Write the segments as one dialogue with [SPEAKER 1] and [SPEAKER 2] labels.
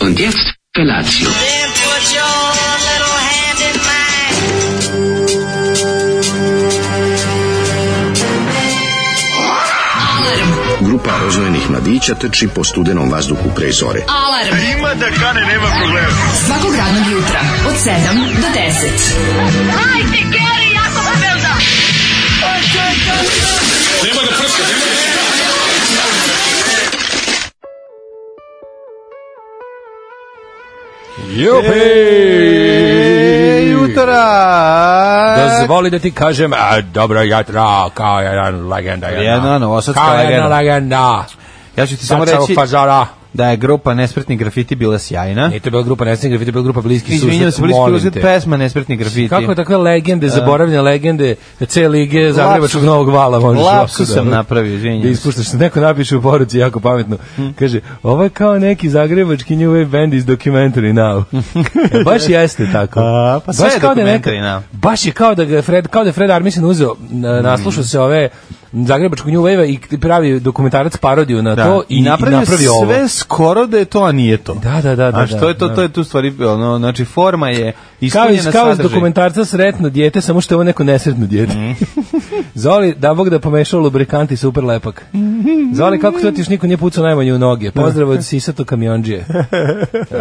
[SPEAKER 1] Und jetzt Felatio.
[SPEAKER 2] Then put your little hand in mine.
[SPEAKER 3] Grupa rozvojenih mladića trči po studenom vazduhu pre zore.
[SPEAKER 4] Alarm. Ima da kane, nema problema. Svakog radnog jutra, od 7 do 10.
[SPEAKER 5] Jupi!
[SPEAKER 6] jutra!
[SPEAKER 5] Dozvoli da ti kažem, a, dobro jutro, kao jedan legenda.
[SPEAKER 6] Jedna novosadska
[SPEAKER 5] Kao
[SPEAKER 6] legenda.
[SPEAKER 5] jedna legenda.
[SPEAKER 6] Ja ću ti samo
[SPEAKER 5] Samo
[SPEAKER 6] reći pa
[SPEAKER 5] Pazara.
[SPEAKER 6] da je grupa Nespretni grafiti bila sjajna.
[SPEAKER 5] Nije to bila grupa Nesnik Grafiti, to je bila grupa Bliski susret.
[SPEAKER 6] Izvinjam se, bili
[SPEAKER 5] molim
[SPEAKER 6] ste
[SPEAKER 5] te.
[SPEAKER 6] pesma Nespretni grafiti.
[SPEAKER 5] Kako takve legende, zaboravljene legende, C lige Zagrebačkog Novog Vala možeš
[SPEAKER 6] Lapsus
[SPEAKER 5] ovako da-
[SPEAKER 6] sam napravio, izvinjam
[SPEAKER 5] Da
[SPEAKER 6] se. Hm?
[SPEAKER 5] ispuštaš se, neko napiše u poruci jako pametno. Kaže, ovo je kao neki zagrebački new wave band iz documentary now. E, baš jeste tako.
[SPEAKER 6] A, pa sve
[SPEAKER 5] baš
[SPEAKER 6] je
[SPEAKER 5] kao da je
[SPEAKER 6] Documentary Now. Mhm.
[SPEAKER 5] Baš je kao da ga je Fred, kao da je Fred Armisen uzeo, na- naslušao se ove zagrebačkog new wave i pravi dokumentarac parodiju na
[SPEAKER 6] Da.
[SPEAKER 5] to i, i napravi, ovo.
[SPEAKER 6] sve skoro da je to, a nije to.
[SPEAKER 5] Da, da, da, da,
[SPEAKER 6] A što je to?
[SPEAKER 5] da.
[SPEAKER 6] To je tu stvari, ono, znači forma je
[SPEAKER 5] Kao
[SPEAKER 6] ispunjena
[SPEAKER 5] iz, kao iz
[SPEAKER 6] sadržaj.
[SPEAKER 5] dokumentarca sretno dijete, samo što je ovo neko nesretno dijete.
[SPEAKER 6] Mhm.
[SPEAKER 5] Zoli, da Bog da je pomešao lubrikant i super lepak. Zoli, kako to ti još niko nije pucao najmanje u noge? Pozdrav od Sisato kamionđije.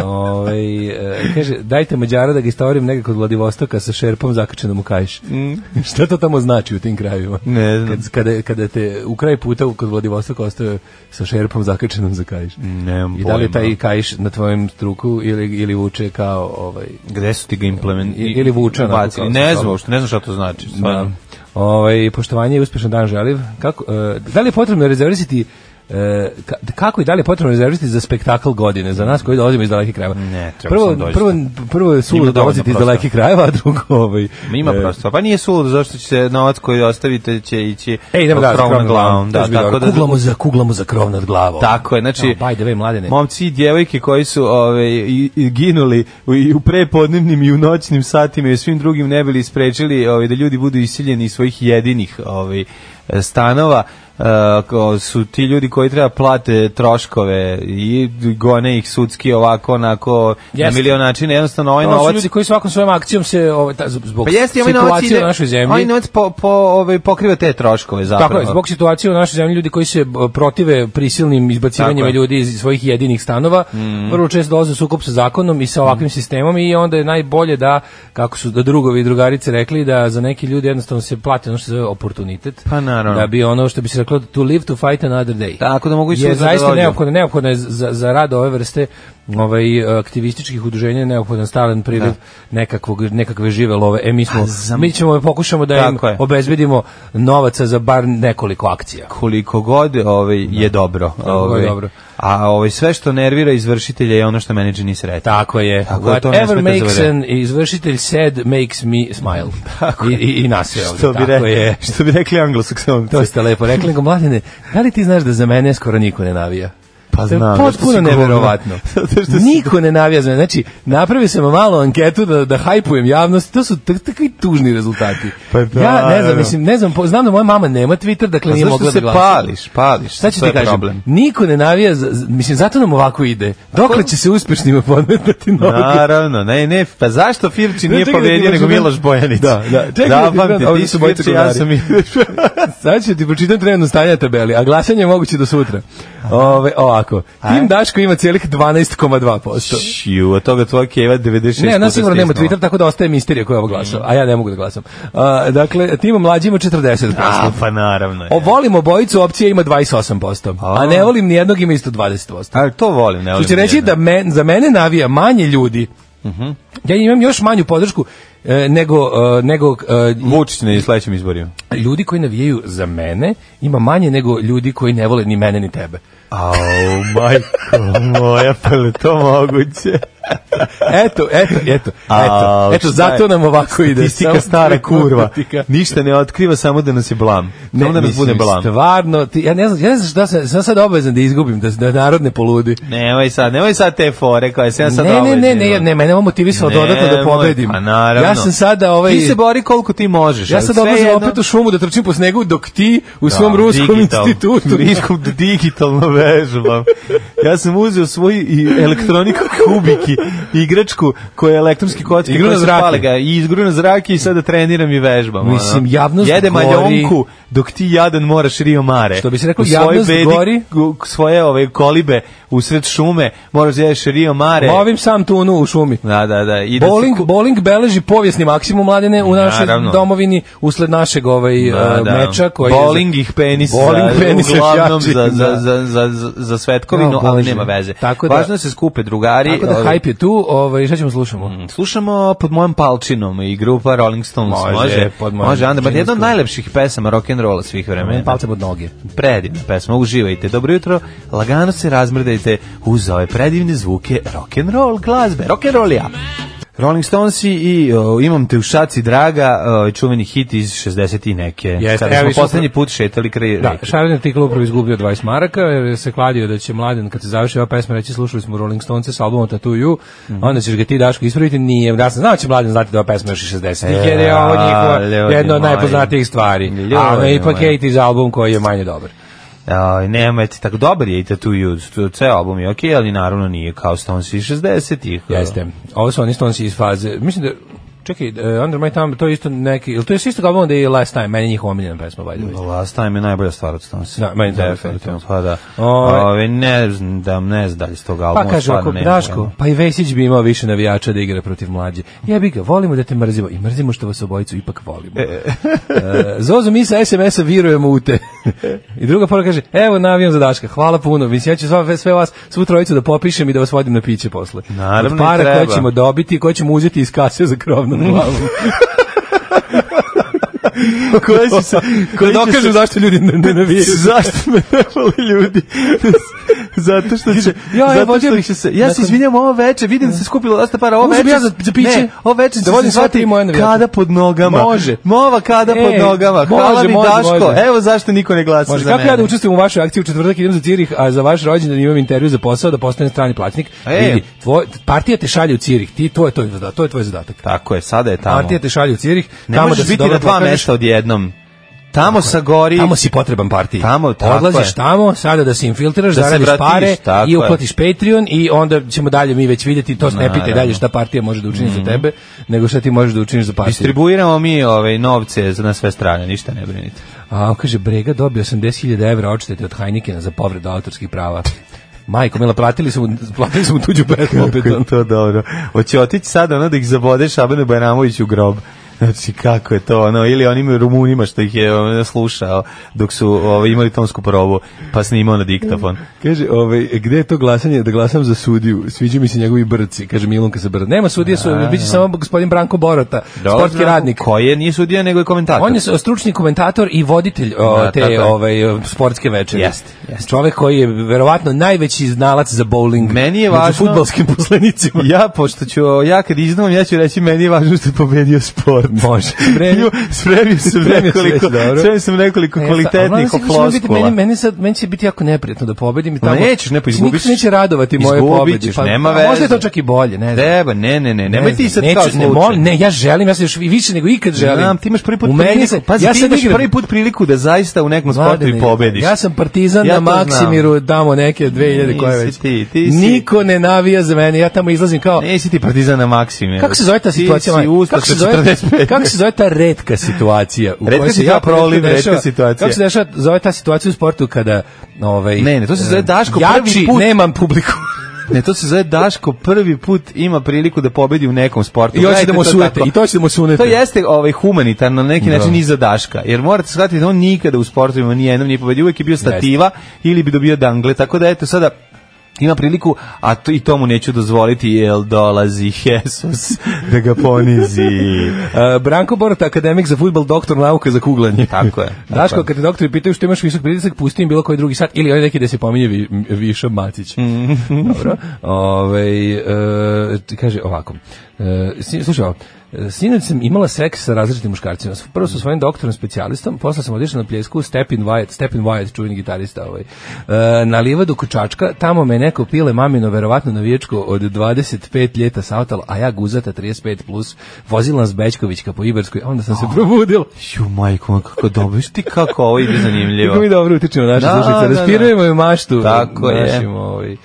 [SPEAKER 5] Ovaj, e, kaže, dajte Mađara da ga istovarim negdje kod Vladivostoka sa šerpom zakačenom u kajš. Šta to tamo znači u tim krajevima?
[SPEAKER 6] Mhm. Ne znam.
[SPEAKER 5] Kad, kada, kada te u kraj puta kod Vladivostoka ostaje sa šerpom zakačenom za kajš.
[SPEAKER 6] Nemam
[SPEAKER 5] I da li je taj
[SPEAKER 6] pojma.
[SPEAKER 5] kajš na tvojem struku ili, ili vuče kao ovaj,
[SPEAKER 6] Gde su ti ga implement...
[SPEAKER 5] I- ili vuče onako kao
[SPEAKER 6] bacili? Ne
[SPEAKER 5] sa
[SPEAKER 6] znam,
[SPEAKER 5] sobom.
[SPEAKER 6] uopšte, ne znam šta to znači.
[SPEAKER 5] Da.
[SPEAKER 6] stvarno.
[SPEAKER 5] Ovaj poštovanje i uspješan dan želim. Kako e, da li je potrebno rezervisati e, ka- kako i da li je potrebno rezervisati za spektakl godine za nas koji dolazimo iz dalekih krajeva?
[SPEAKER 6] Ne, treba
[SPEAKER 5] prvo,
[SPEAKER 6] sam doći.
[SPEAKER 5] prvo, prvo je suludo
[SPEAKER 6] Ima dovoljno
[SPEAKER 5] dolaziti iz
[SPEAKER 6] prostora.
[SPEAKER 5] dalekih krajeva, a drugo ovaj,
[SPEAKER 6] Ma Ima
[SPEAKER 5] e,
[SPEAKER 6] prosto. Pa nije suludo zašto će se novac koji ostavite će ići
[SPEAKER 5] E, idemo da,
[SPEAKER 6] krov nad
[SPEAKER 5] To
[SPEAKER 6] glavom. Da,
[SPEAKER 5] će biti
[SPEAKER 6] tako
[SPEAKER 5] dobro.
[SPEAKER 6] da,
[SPEAKER 5] kuglamo za kuglamo za krov nad glavom.
[SPEAKER 6] Tako je, znači-
[SPEAKER 5] Oh, by the way, mladene.
[SPEAKER 6] Momci i djevojke koji su ove, i, i ginuli u, i u prepodnevnim i u noćnim satima i u svim drugim ne bili sprečili ove, da ljudi budu isiljeni iz svojih jedinih ove, stanova e, ko- su ti ljudi koji treba plate troškove i gone ih sudski ovako onako na
[SPEAKER 5] Jeste.
[SPEAKER 6] milion načina jednostavno ovaj
[SPEAKER 5] To su
[SPEAKER 6] novac
[SPEAKER 5] ljudi koji svakom svojom akcijom se ovaj, ta, zbog
[SPEAKER 6] pa jeste ovaj novac
[SPEAKER 5] situacije
[SPEAKER 6] ide
[SPEAKER 5] u našoj zemlji.
[SPEAKER 6] ovaj novac po, po, ovaj, pokriva te troškove zapravo
[SPEAKER 5] Tako je, zbog situacije u našoj zemlji ljudi koji se b- protive prisilnim
[SPEAKER 6] Tako
[SPEAKER 5] izbacivanjima
[SPEAKER 6] je. Mhm.
[SPEAKER 5] ljudi iz svojih jedinih stanova, vrlo često dolaze u sukob sa zakonom i sa ovakvim sistemom i onda je najbolje da, kako su da drugovi i drugarice rekli, da za neki ljudi jednostavno se plati ono što se zove oportunitet.
[SPEAKER 6] Pa naravno.
[SPEAKER 5] Da bi ono što bi se reklo to live to fight another day.
[SPEAKER 6] Tako da mogu i
[SPEAKER 5] je
[SPEAKER 6] sutra da
[SPEAKER 5] zaista
[SPEAKER 6] dođu.
[SPEAKER 5] neophodno, neophodno je za, za rad ove vrste ovaj, aktivističkih udruženja je neophodan stalan priliv nekakvog, nekakve žive love. E, mi, smo, mi ćemo pokušamo da im
[SPEAKER 6] Tako je.
[SPEAKER 5] obezbedimo novaca za bar nekoliko akcija.
[SPEAKER 6] koliko god ovaj je dobro.
[SPEAKER 5] god
[SPEAKER 6] Ovaj.
[SPEAKER 5] je dobro.
[SPEAKER 6] A ovaj sve što nervira izvršitelja je ono što menadžer ni sreće.
[SPEAKER 5] Tako je.
[SPEAKER 6] Tako da to ne
[SPEAKER 5] Whatever
[SPEAKER 6] smeta
[SPEAKER 5] makes
[SPEAKER 6] za
[SPEAKER 5] an izvršitelj sad makes me smile. I, i, i nas je ovdje.
[SPEAKER 6] Što bi,
[SPEAKER 5] Tako
[SPEAKER 6] re,
[SPEAKER 5] je.
[SPEAKER 6] što bi rekli anglosaksonci.
[SPEAKER 5] To ste lepo rekli. Nego, mladine, da li ti znaš da za mene skoro niko ne navija?
[SPEAKER 6] Pa
[SPEAKER 5] To je
[SPEAKER 6] znam, zato što
[SPEAKER 5] potpuno
[SPEAKER 6] si govno.
[SPEAKER 5] neverovatno.
[SPEAKER 6] Zato što si-
[SPEAKER 5] Niko ne navija za mene. Znači, napravio sam malu anketu da, da hajpujem javnost. To su tak- takvi tužni rezultati.
[SPEAKER 6] Pa da,
[SPEAKER 5] ja ne
[SPEAKER 6] evo.
[SPEAKER 5] znam, mislim, ne znam, po- znam da moja mama nema Twitter, dakle
[SPEAKER 6] A
[SPEAKER 5] nije
[SPEAKER 6] pa
[SPEAKER 5] mogla
[SPEAKER 6] zašto
[SPEAKER 5] da
[SPEAKER 6] se
[SPEAKER 5] glasa.
[SPEAKER 6] pališ, pališ?
[SPEAKER 5] Šta ću
[SPEAKER 6] To
[SPEAKER 5] ti
[SPEAKER 6] je
[SPEAKER 5] kažem?
[SPEAKER 6] problem.
[SPEAKER 5] Niko ne navija, za, za- mislim, zato nam ovako ide. Dokle će se uspešnima podmetati noge?
[SPEAKER 6] Naravno, ne, ne, pa zašto Firči
[SPEAKER 5] Čekaj da
[SPEAKER 6] nije
[SPEAKER 5] ti
[SPEAKER 6] pobedio nego
[SPEAKER 5] razumem.
[SPEAKER 6] Miloš Bojanić?
[SPEAKER 5] Da, da, čekaj da ti
[SPEAKER 6] Zapamti,
[SPEAKER 5] gledam, ovdje
[SPEAKER 6] ti
[SPEAKER 5] su
[SPEAKER 6] si
[SPEAKER 5] moji
[SPEAKER 6] Firči, ja sam i...
[SPEAKER 5] Sad ću ti pročitam trenutno stanje na tabeli, a glasanje je moguće do sutra. Ove, ovako, Tim Daško ima cijelih 12,2%.
[SPEAKER 6] Šiju, od toga tvoja keva 96
[SPEAKER 5] Ne,
[SPEAKER 6] puta
[SPEAKER 5] ona sigurno nema
[SPEAKER 6] stisnula.
[SPEAKER 5] Twitter, tako da ostaje misterija koja je ovo glasa, a ja ne mogu da glasam. A, dakle, Timo Mlađi ima 40%.
[SPEAKER 6] A, pa naravno. je.
[SPEAKER 5] O, volim obojicu, opcija ima 28%, a ne volim nijednog ima isto 20%.
[SPEAKER 6] Ali to volim, ne volim.
[SPEAKER 5] Što će reći
[SPEAKER 6] nijedno.
[SPEAKER 5] da men, za mene navija manje ljudi. Ja imam još manju podršku e, nego, e, nego e,
[SPEAKER 6] Vučić na sledećim izborima.
[SPEAKER 5] ljudi koji navijaju za mene ima manje nego ljudi koji ne vole ni mene ni tebe.
[SPEAKER 6] Au, majko moja, pa li to moguće?
[SPEAKER 5] eto, eto, eto,
[SPEAKER 6] A,
[SPEAKER 5] eto, eto,
[SPEAKER 6] šta
[SPEAKER 5] zato
[SPEAKER 6] je?
[SPEAKER 5] nam ovako ide.
[SPEAKER 6] Statistika
[SPEAKER 5] samo-
[SPEAKER 6] stara kurva. Ništa ne otkriva, samo da nas je blam.
[SPEAKER 5] Ne,
[SPEAKER 6] Samo da nas
[SPEAKER 5] mislim,
[SPEAKER 6] bude blam.
[SPEAKER 5] Stvarno, ti, ja ne znam, ja ne znam šta sam, sam sad obavezan da izgubim, da, da narod ne poludi.
[SPEAKER 6] Nemoj sad, nemoj sad te fore koje sam ja sad
[SPEAKER 5] ne,
[SPEAKER 6] ovaj
[SPEAKER 5] ne, ne,
[SPEAKER 6] obavezan.
[SPEAKER 5] ne, ne, mene ovo motivisalo dodatno da
[SPEAKER 6] Nemoj,
[SPEAKER 5] pobedim.
[SPEAKER 6] Pa naravno.
[SPEAKER 5] Ja sam sada ovaj...
[SPEAKER 6] Ti se bori koliko ti možeš.
[SPEAKER 5] Ja
[SPEAKER 6] ali
[SPEAKER 5] sad
[SPEAKER 6] sve
[SPEAKER 5] odlazim
[SPEAKER 6] jedno-
[SPEAKER 5] opet u šumu da trčim po snegu dok ti u svom
[SPEAKER 6] Da,
[SPEAKER 5] ruskom
[SPEAKER 6] digital-
[SPEAKER 5] institutu.
[SPEAKER 6] Ruskom digitalno vežbam. Ja sam uzeo svoju i elektroniku kubiki, igračku koja je elektronski kocka,
[SPEAKER 5] Igru na
[SPEAKER 6] koja se
[SPEAKER 5] zrake.
[SPEAKER 6] pale ga i izgru na zrake i sada treniram i vežbam. ono.
[SPEAKER 5] Mislim, javnost
[SPEAKER 6] Jede
[SPEAKER 5] gori.
[SPEAKER 6] maljonku dok ti jadan moraš Rio Mare.
[SPEAKER 5] Što bi se reklo,
[SPEAKER 6] U svojoj
[SPEAKER 5] javnost
[SPEAKER 6] bedi,
[SPEAKER 5] gori.
[SPEAKER 6] u- svoje ove kolibe usred šume moraš da jedeš Rio Mare.
[SPEAKER 5] Lovim sam tunu u šumi.
[SPEAKER 6] Da, da, da. I da se
[SPEAKER 5] Bowling,
[SPEAKER 6] ku-
[SPEAKER 5] bowling beleži povijesni maksimum mladene u našoj
[SPEAKER 6] Naravno.
[SPEAKER 5] domovini usled našeg ovaj
[SPEAKER 6] Da,
[SPEAKER 5] e,
[SPEAKER 6] da.
[SPEAKER 5] meča koji
[SPEAKER 6] bowling ih penis
[SPEAKER 5] Bowling
[SPEAKER 6] za,
[SPEAKER 5] penis je
[SPEAKER 6] uglavnom
[SPEAKER 5] jači,
[SPEAKER 6] za,
[SPEAKER 5] da.
[SPEAKER 6] za, za, za, za, za svetkovinu,
[SPEAKER 5] O,
[SPEAKER 6] ali
[SPEAKER 5] Bože.
[SPEAKER 6] nema veze.
[SPEAKER 5] Tako da-
[SPEAKER 6] Važno je da se skupe drugari.
[SPEAKER 5] Tako da
[SPEAKER 6] ovaj,
[SPEAKER 5] hype je tu, ovaj, šta ćemo slušamo?
[SPEAKER 6] Mm, Slušamo pod mojom palčinom i grupa Rolling Stones
[SPEAKER 5] Može,
[SPEAKER 6] može. Može,
[SPEAKER 5] pod mojom
[SPEAKER 6] Andrej,
[SPEAKER 5] palčinom.
[SPEAKER 6] jedna od najlepših pesama rock and rolla svih vremena.
[SPEAKER 5] Palce pod noge.
[SPEAKER 6] Predivna pesma, uživajte. Dobro jutro, lagano se razmrdajte uz ove predivne zvuke rock and roll glazbe. Rock and roll ja. Rolling Stonesi i o, imam te u šaci draga, o, ovaj čuveni hit iz 60 i neke.
[SPEAKER 5] Jeste,
[SPEAKER 6] Kada
[SPEAKER 5] evo
[SPEAKER 6] smo
[SPEAKER 5] i sutra-
[SPEAKER 6] poslednji put šetali kraj
[SPEAKER 5] Da,
[SPEAKER 6] reke.
[SPEAKER 5] Šaran artikl upravo izgubio 20 maraka, jer se kladio da će mladen, kad se završi ova pesma, reći slušali smo Rolling Stonese s albumom Tattoo You,
[SPEAKER 6] Mhm.
[SPEAKER 5] onda ćeš ga ti Daško ispraviti, nije, ja sam znao da će mladen znati da je ova pesma još i 60-ih, jer je ovo njihova
[SPEAKER 6] E, ljudi
[SPEAKER 5] jedna od
[SPEAKER 6] moji.
[SPEAKER 5] najpoznatijih stvari.
[SPEAKER 6] Ljudi
[SPEAKER 5] A ono je ipak
[SPEAKER 6] moji.
[SPEAKER 5] 80's album koji je manje dobar.
[SPEAKER 6] Aj, nemojte, tako dobar je i Tattoo You, to- ceo album je okej, ali naravno nije kao Stones iz 60-ih.
[SPEAKER 5] Jeste. Ovo su oni Stonesi iz faze. Mislim da Čekaj, uh, Under My Thumb, to je isto neki, ili to je isto album da je Last Time, meni je njihova omiljena pesma, by the way.
[SPEAKER 6] Last Time je najbolja stvar od Stonesa.
[SPEAKER 5] Da, meni je najbolja stvar od
[SPEAKER 6] Definitivno, pa da.
[SPEAKER 5] Ovaj.
[SPEAKER 6] Ove, ne znam, da, ne znam da li s tog albuma
[SPEAKER 5] Pa kaže
[SPEAKER 6] stvarno
[SPEAKER 5] ako
[SPEAKER 6] nemam
[SPEAKER 5] Daško,
[SPEAKER 6] pojma.
[SPEAKER 5] pa i Vesić bi imao više navijača da igra protiv mlađe. Jebi ga, volimo da te mrzimo i mrzimo što vas obojicu ipak volimo. E, Zozo, mi sa SMS-a vjerujemo u te. I druga poruka kaže, evo navijam za Daška, hvala puno. Mislim, ja ću sva, sve vas, svu trojicu da popišem i da vas vodim na piće posle.
[SPEAKER 6] Naravno
[SPEAKER 5] Od para
[SPEAKER 6] i treba.
[SPEAKER 5] koje ćemo dobiti i koje ćemo uzeti iz kase za krov nad glavom.
[SPEAKER 6] Koje su se- koje
[SPEAKER 5] da
[SPEAKER 6] ono. će
[SPEAKER 5] dokažem
[SPEAKER 6] se-
[SPEAKER 5] zašto ljudi ne, ne navijaju.
[SPEAKER 6] Zašto me napali ljudi? zato što će...
[SPEAKER 5] ja,
[SPEAKER 6] zato
[SPEAKER 5] vodio
[SPEAKER 6] što
[SPEAKER 5] bih-
[SPEAKER 6] će se... Ja se
[SPEAKER 5] nakon-
[SPEAKER 6] izvinjam, ovo veče, vidim da se skupilo dosta para, ovo
[SPEAKER 5] Uzeo
[SPEAKER 6] veče...
[SPEAKER 5] bih ja za- za piće.
[SPEAKER 6] Ne, ovo veče
[SPEAKER 5] Da
[SPEAKER 6] će
[SPEAKER 5] vodim
[SPEAKER 6] se
[SPEAKER 5] sva tri
[SPEAKER 6] zvati
[SPEAKER 5] moja navijača.
[SPEAKER 6] kada pod nogama.
[SPEAKER 5] Može.
[SPEAKER 6] Nova kada
[SPEAKER 5] Ej,
[SPEAKER 6] pod nogama.
[SPEAKER 5] može,
[SPEAKER 6] Hvala mi
[SPEAKER 5] može,
[SPEAKER 6] Daško.
[SPEAKER 5] može.
[SPEAKER 6] Evo zašto niko ne glasa
[SPEAKER 5] Može,
[SPEAKER 6] za
[SPEAKER 5] kako ja da
[SPEAKER 6] mene.
[SPEAKER 5] učestvujem u vašoj akciji u četvrtak idem za Cirih, a za vaš rođendan imam intervju za posao da postanem strani plaćnik.
[SPEAKER 6] E.
[SPEAKER 5] Vidi, tvoj, partija te šalje u Cirih, ti to je tvoj zadatak, to je tvoj zadatak.
[SPEAKER 6] Tako je, sada je tamo.
[SPEAKER 5] Partija te šalje u Cirih,
[SPEAKER 6] Ne
[SPEAKER 5] tamo
[SPEAKER 6] možeš
[SPEAKER 5] da se
[SPEAKER 6] biti
[SPEAKER 5] dobro
[SPEAKER 6] na dva
[SPEAKER 5] pokažeš,
[SPEAKER 6] mesta odjednom. Tamo sa gori...
[SPEAKER 5] Tamo si potreban partiji.
[SPEAKER 6] Tamo, tako
[SPEAKER 5] Odlaziš
[SPEAKER 6] je.
[SPEAKER 5] tamo, sada da se infiltriraš,
[SPEAKER 6] Da se
[SPEAKER 5] zaradiš
[SPEAKER 6] vratiš,
[SPEAKER 5] pare
[SPEAKER 6] tako
[SPEAKER 5] i
[SPEAKER 6] je.
[SPEAKER 5] uplatiš Patreon i onda ćemo dalje mi već vidjeti, to ne pitaj
[SPEAKER 6] Naravno. Mhm.
[SPEAKER 5] dalje šta partija može da učini za tebe, nego šta ti možeš da učiniš za partiju.
[SPEAKER 6] Distribuiramo mi ove novce za na sve strane, ništa ne brinite.
[SPEAKER 5] A on kaže, Brega dobio 80.000 evra odštete od Heinekena za povredu autorskih prava. Majko, mila, platili smo, platili smo tuđu pesmu opet.
[SPEAKER 6] Kako je to dobro. Hoće otići sada ono da ih zabode Šabane Bajramović u grob. Znači, kako je to, ono, ili onim Rumunima što ih je ono, slušao dok su ovo, imali tonsku probu, pa snimao na diktafon.
[SPEAKER 5] Kaže, ovaj, gde je to glasanje da glasam za sudiju? Sviđa mi se njegovi brci, kaže Milunka sa brda. Nema sudije, su, biće samo gospodin Branko Borota, sportski radnik.
[SPEAKER 6] Koji je, nije sudija, nego je komentator.
[SPEAKER 5] On je s- stručni komentator i voditelj o,
[SPEAKER 6] Da,
[SPEAKER 5] te
[SPEAKER 6] tako je.
[SPEAKER 5] ovaj, o, sportske večere.
[SPEAKER 6] Jeste, jeste.
[SPEAKER 5] Čovek koji je verovatno najveći znalac za bowling.
[SPEAKER 6] Meni je
[SPEAKER 5] Među
[SPEAKER 6] važno-
[SPEAKER 5] futbolskim poslenicima.
[SPEAKER 6] Ja, pošto ću, ja kad iznom, ja ću reći, meni je važno što je pobedio sport.
[SPEAKER 5] Može.
[SPEAKER 6] Spremio, spremio sam
[SPEAKER 5] Spremio sam
[SPEAKER 6] nekoliko,
[SPEAKER 5] već, dobro.
[SPEAKER 6] spremio sam nekoliko
[SPEAKER 5] E, sad, ali
[SPEAKER 6] kvalitetnih
[SPEAKER 5] meni se- meni-
[SPEAKER 6] floskula.
[SPEAKER 5] Meni, meni, sad, meni će biti jako neprijatno da pobedim i tamo.
[SPEAKER 6] Nećeš, ne, pa
[SPEAKER 5] Niko se
[SPEAKER 6] izgubiš.
[SPEAKER 5] neće radovati moje
[SPEAKER 6] Izgubit
[SPEAKER 5] pobedi.
[SPEAKER 6] ćeš, nema
[SPEAKER 5] a Možda je to
[SPEAKER 6] veze.
[SPEAKER 5] čak i bolje, ne znam.
[SPEAKER 6] Treba, ne, ne, ne, nemoj
[SPEAKER 5] Ne
[SPEAKER 6] ti
[SPEAKER 5] znam,
[SPEAKER 6] sad
[SPEAKER 5] neću-
[SPEAKER 6] kao
[SPEAKER 5] ne,
[SPEAKER 6] slučaj.
[SPEAKER 5] molim, ne, ja želim, ja se još i više nego ikad želim.
[SPEAKER 6] Znam, ti imaš prvi put
[SPEAKER 5] U meni
[SPEAKER 6] priliku,
[SPEAKER 5] se-
[SPEAKER 6] pazi,
[SPEAKER 5] ja
[SPEAKER 6] ti
[SPEAKER 5] sad
[SPEAKER 6] imaš
[SPEAKER 5] igram.
[SPEAKER 6] prvi put priliku da zaista u nekom sportu
[SPEAKER 5] Mladene,
[SPEAKER 6] i pobediš.
[SPEAKER 5] Ja sam partizan na
[SPEAKER 6] Ja to znam.
[SPEAKER 5] Maksimiru tamo neke 2000 koje
[SPEAKER 6] Nisi
[SPEAKER 5] već.
[SPEAKER 6] ti, ti si-
[SPEAKER 5] Niko ne navija za mene, ja tamo izlazim kao...
[SPEAKER 6] Nisi ti partizana Maksimir.
[SPEAKER 5] Kako se zove ta situacija?
[SPEAKER 6] Ti si
[SPEAKER 5] Maja?
[SPEAKER 6] ustaša
[SPEAKER 5] kako, se zove,
[SPEAKER 6] 45.
[SPEAKER 5] kako se zove ta retka situacija? U
[SPEAKER 6] Retka
[SPEAKER 5] kojoj se
[SPEAKER 6] situacija,
[SPEAKER 5] jako retko
[SPEAKER 6] prolim, retka
[SPEAKER 5] dešava-
[SPEAKER 6] situacija.
[SPEAKER 5] Kako se dešava, zove ta situacija u sportu kada... Ovaj,
[SPEAKER 6] Ne, ne, to se zove
[SPEAKER 5] e,
[SPEAKER 6] Daško
[SPEAKER 5] jači,
[SPEAKER 6] prvi put.
[SPEAKER 5] nemam publiku.
[SPEAKER 6] Ne, to se zove Daško prvi put ima priliku da pobedi u nekom sportu.
[SPEAKER 5] I hoće
[SPEAKER 6] Gledajte
[SPEAKER 5] da mu
[SPEAKER 6] to
[SPEAKER 5] sunete.
[SPEAKER 6] tako.
[SPEAKER 5] I to će da mu sunete.
[SPEAKER 6] To jeste ovaj humanitarno na neki
[SPEAKER 5] Da.
[SPEAKER 6] način iza Daška. Jer morate shvatiti da on nikada u sportovima ni jednom nije pobedio, uvek je bio stativa ili bi dobio dangle. Tako da eto sada ima priliku, a to, i to mu neću dozvoliti, jer dolazi Jesus da ga ponizi.
[SPEAKER 5] E, Branko Borota, akademik za futbol, doktor nauka za kuglanje.
[SPEAKER 6] Tako je, tako
[SPEAKER 5] Daško,
[SPEAKER 6] je.
[SPEAKER 5] kad te doktori pitaju što imaš visok pritisak, pusti im bilo koji drugi sat, ili ovaj neki da se pominje vi, Viša Matić.
[SPEAKER 6] Mm.
[SPEAKER 5] Dobro. Ove, e, kaže ovako, e, si- slušaj ovo, e, Sinoć sam imala seks sa različitim muškarcima. Prvo sa svojim doktorom specijalistom, posle sam odišla na pljesku Stepin Wyatt, Stepin Wyatt, čuveni gitarista ovaj. E, na livadu Kučačka, tamo me neko pile mamino verovatno navijačko od 25 ljeta sautalo, a ja guzata 35 plus, vozila s Bečkovićka po Iberskoj, a onda sam se
[SPEAKER 6] Oh.
[SPEAKER 5] probudila.
[SPEAKER 6] Ju, majko, ma kako dobro, viš ti kako ovo ide zanimljivo.
[SPEAKER 5] Kako mi dobro utičemo naše
[SPEAKER 6] Da,
[SPEAKER 5] da,
[SPEAKER 6] da, da.
[SPEAKER 5] slušalice. Raspirujemo im maštu.
[SPEAKER 6] Tako je.
[SPEAKER 5] našim, Ovaj,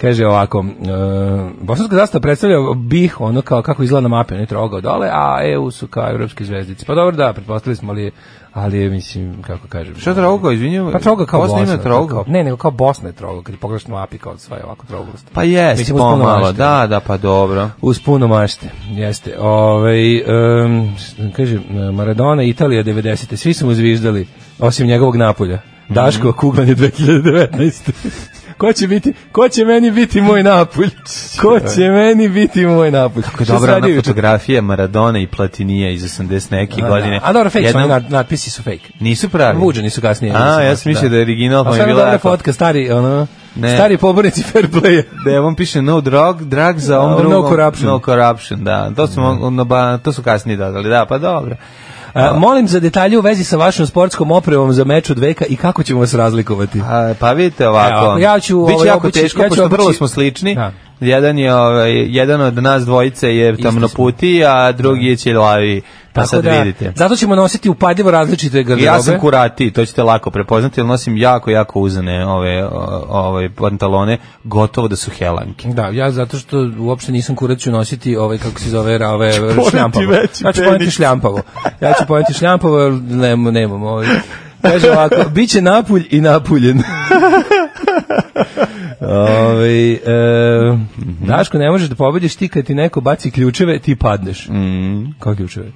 [SPEAKER 5] kaže ovako, e, bosanska zastava predstavlja bih, ono kao kako izgleda na mapi, on je trogao dole, a EU su kao evropske zvezdice. Pa dobro, da, pretpostavili smo, ali, je- ali je, mislim, kako kažem.
[SPEAKER 6] Šta troga, izvinjujem?
[SPEAKER 5] Pa troga kao
[SPEAKER 6] Bosna
[SPEAKER 5] Bosna.
[SPEAKER 6] ima troga?
[SPEAKER 5] Kao, ne, nego kao Bosna je troga, kad je pogledaš na mapi kao sva je ovako troglosta.
[SPEAKER 6] Pa jest,
[SPEAKER 5] Mislim, uz puno
[SPEAKER 6] pomalo,
[SPEAKER 5] mašte.
[SPEAKER 6] da, da, pa dobro.
[SPEAKER 5] Uz puno mašte, jeste. Ove, um, kaže, Maradona, Italija 90. Svi smo zviždali, osim njegovog napolja.
[SPEAKER 6] Mhm.
[SPEAKER 5] Daško, kuglanje 2019. ko će biti, ko će meni biti moj napolj? Ko će meni biti moj napolj?
[SPEAKER 6] Kako je dobra ona fotografija Maradona i Platinija iz 80 neke godine.
[SPEAKER 5] A dobro, fake su,
[SPEAKER 6] Jedna-
[SPEAKER 5] oni nad- natpisi su fake.
[SPEAKER 6] Nisu pravi.
[SPEAKER 5] Vuđeni su kasnije.
[SPEAKER 6] A, ja sam mislio da je original, pa mi je bila
[SPEAKER 5] dobra
[SPEAKER 6] jako.
[SPEAKER 5] fotka, stari, ono,
[SPEAKER 6] Ne.
[SPEAKER 5] stari pobornici fair playa.
[SPEAKER 6] Da je on piše no drug, drug za on
[SPEAKER 5] No
[SPEAKER 6] drugom.
[SPEAKER 5] corruption.
[SPEAKER 6] No corruption, da. To su, mo- ono, ba, to su kasnije dodali, da, pa dobro.
[SPEAKER 5] A, molim za detalje u vezi sa vašom sportskom opremom za meč od veka i kako ćemo vas razlikovati.
[SPEAKER 6] A, pa vidite ovako.
[SPEAKER 5] Evo, ja ću,
[SPEAKER 6] Biće
[SPEAKER 5] ovaj,
[SPEAKER 6] jako
[SPEAKER 5] obući-
[SPEAKER 6] teško,
[SPEAKER 5] ja ću
[SPEAKER 6] pošto
[SPEAKER 5] obući-
[SPEAKER 6] vrlo smo slični.
[SPEAKER 5] Da.
[SPEAKER 6] Jedan je ovaj, jedan od nas dvojice je
[SPEAKER 5] smo.
[SPEAKER 6] tamnoputi, a drugi je ćelavi. Pa sad vidite.
[SPEAKER 5] Zato ćemo nositi upadljivo različite garderobe.
[SPEAKER 6] Ja sam kurati, to ćete lako prepoznati, jer nosim jako, jako uzane ove, o- ove pantalone, gotovo da su helanke.
[SPEAKER 5] Da, ja zato što uopšte nisam kurac ću nositi ovaj, kako se zove, ove, šljampavo.
[SPEAKER 6] veći
[SPEAKER 5] Ja ću
[SPEAKER 6] penis.
[SPEAKER 5] poneti šljampavo. Ja ću poneti šljampavo, jer nemam, nemam ovaj. Kaže ovako, bit će napulj i napuljen. Ove, e, Daško, ne možeš da pobediš ti kad ti neko baci ključeve, ti padneš. Mm. Kao ključeve?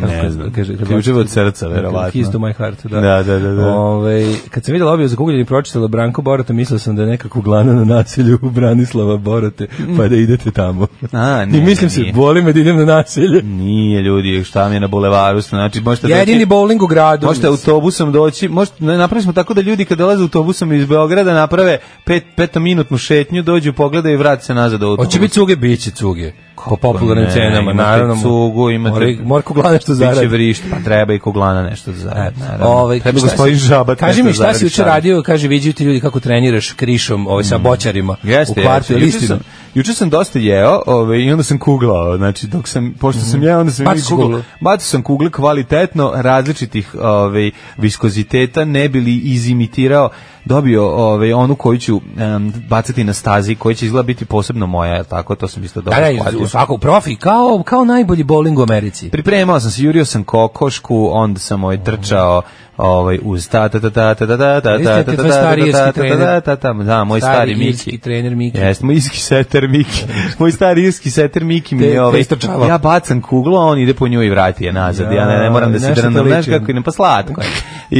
[SPEAKER 5] Kako
[SPEAKER 6] Mhm. Ne
[SPEAKER 5] kad-
[SPEAKER 6] znam.
[SPEAKER 5] kaže- kad
[SPEAKER 6] Ključeve
[SPEAKER 5] baci-
[SPEAKER 6] od srca, verovatno.
[SPEAKER 5] Keys to my heart, da.
[SPEAKER 6] Da, da, da, da.
[SPEAKER 5] Ovaj, kad sam vidjela objavu za kugljenje i pročitala Branko Borota, mislio sam da je nekako glana na nasilju u Branislava Borote, pa da idete tamo.
[SPEAKER 6] A, ne,
[SPEAKER 5] I mislim
[SPEAKER 6] ne,
[SPEAKER 5] se,
[SPEAKER 6] nije.
[SPEAKER 5] boli me da idem na nasilje.
[SPEAKER 6] Nije ljudi, šta mi je na bulevaru, znači možete
[SPEAKER 5] Jedini bowling u gradu.
[SPEAKER 6] Možete autobusom doći, možete, ne, napravili smo tako da ljudi kad dolaze autobusom iz Beograda naprave pet, petominutnu šetnju, dođu, pogledaju i vrate se nazad autobusom.
[SPEAKER 5] Hoće biti cuge, bit će cuge. Po popularnim
[SPEAKER 6] ne,
[SPEAKER 5] cenama,
[SPEAKER 6] imate
[SPEAKER 5] naravno.
[SPEAKER 6] cugu, imate-
[SPEAKER 5] Mora- Morko glane što zaradi.
[SPEAKER 6] Biće vrišt, pa treba i koglana nešto za zaradi, naravno.
[SPEAKER 5] Ovaj,
[SPEAKER 6] treba
[SPEAKER 5] šta
[SPEAKER 6] gospodin
[SPEAKER 5] si-
[SPEAKER 6] Žabat
[SPEAKER 5] Kaži mi
[SPEAKER 6] nešto
[SPEAKER 5] šta
[SPEAKER 6] zaradi,
[SPEAKER 5] si juče
[SPEAKER 6] šta?
[SPEAKER 5] radio, kaže viđaju ti ljudi kako treniraš krišom, ovaj sa boćarima
[SPEAKER 6] Jeste,
[SPEAKER 5] u kvartu,
[SPEAKER 6] jeste.
[SPEAKER 5] je
[SPEAKER 6] Juče sam,
[SPEAKER 5] istina.
[SPEAKER 6] juče sam dosta jeo ovaj, i onda sam kuglao. Znači, dok sam, pošto sam
[SPEAKER 5] Mhm.
[SPEAKER 6] jeo, onda sam
[SPEAKER 5] Bacio
[SPEAKER 6] i
[SPEAKER 5] si
[SPEAKER 6] kuglao.
[SPEAKER 5] kugle?
[SPEAKER 6] Bacio sam kugle kvalitetno različitih ovaj, viskoziteta, ne bi li izimitirao, dobio ovaj, onu koju ću em, bacati na stazi, koja će izgleda biti posebno moja, jel tako, to sam isto dobro
[SPEAKER 5] Da, da,
[SPEAKER 6] shvatio.
[SPEAKER 5] u svakom profi, kao, kao najbolji bowling u Americi.
[SPEAKER 6] Pripremao sam se, jurio sam kokošku, onda sam ovaj trčao ovaj uz ta ta ta ta ta ta ta ta ta
[SPEAKER 5] Istina,
[SPEAKER 6] ta
[SPEAKER 5] ti
[SPEAKER 6] ta ta
[SPEAKER 5] je
[SPEAKER 6] ta
[SPEAKER 5] tvoj stari
[SPEAKER 6] ta ta
[SPEAKER 5] irski trener.
[SPEAKER 6] ta ta ta da moj
[SPEAKER 5] Stari
[SPEAKER 6] stari
[SPEAKER 5] irski
[SPEAKER 6] Miki
[SPEAKER 5] trener Miki.
[SPEAKER 6] Jeste, moj irski seter Miki. Moj stari irski seter Miki mi
[SPEAKER 5] Te-
[SPEAKER 6] je
[SPEAKER 5] te
[SPEAKER 6] ovaj
[SPEAKER 5] istrčava.
[SPEAKER 6] ja bacam kuglu, a on ide po nju i vrati je nazad. Ja ne, ne moram da se
[SPEAKER 5] Nešto
[SPEAKER 6] drnam,
[SPEAKER 5] to
[SPEAKER 6] znaš
[SPEAKER 5] liči.
[SPEAKER 6] kako ne pa slatko. je.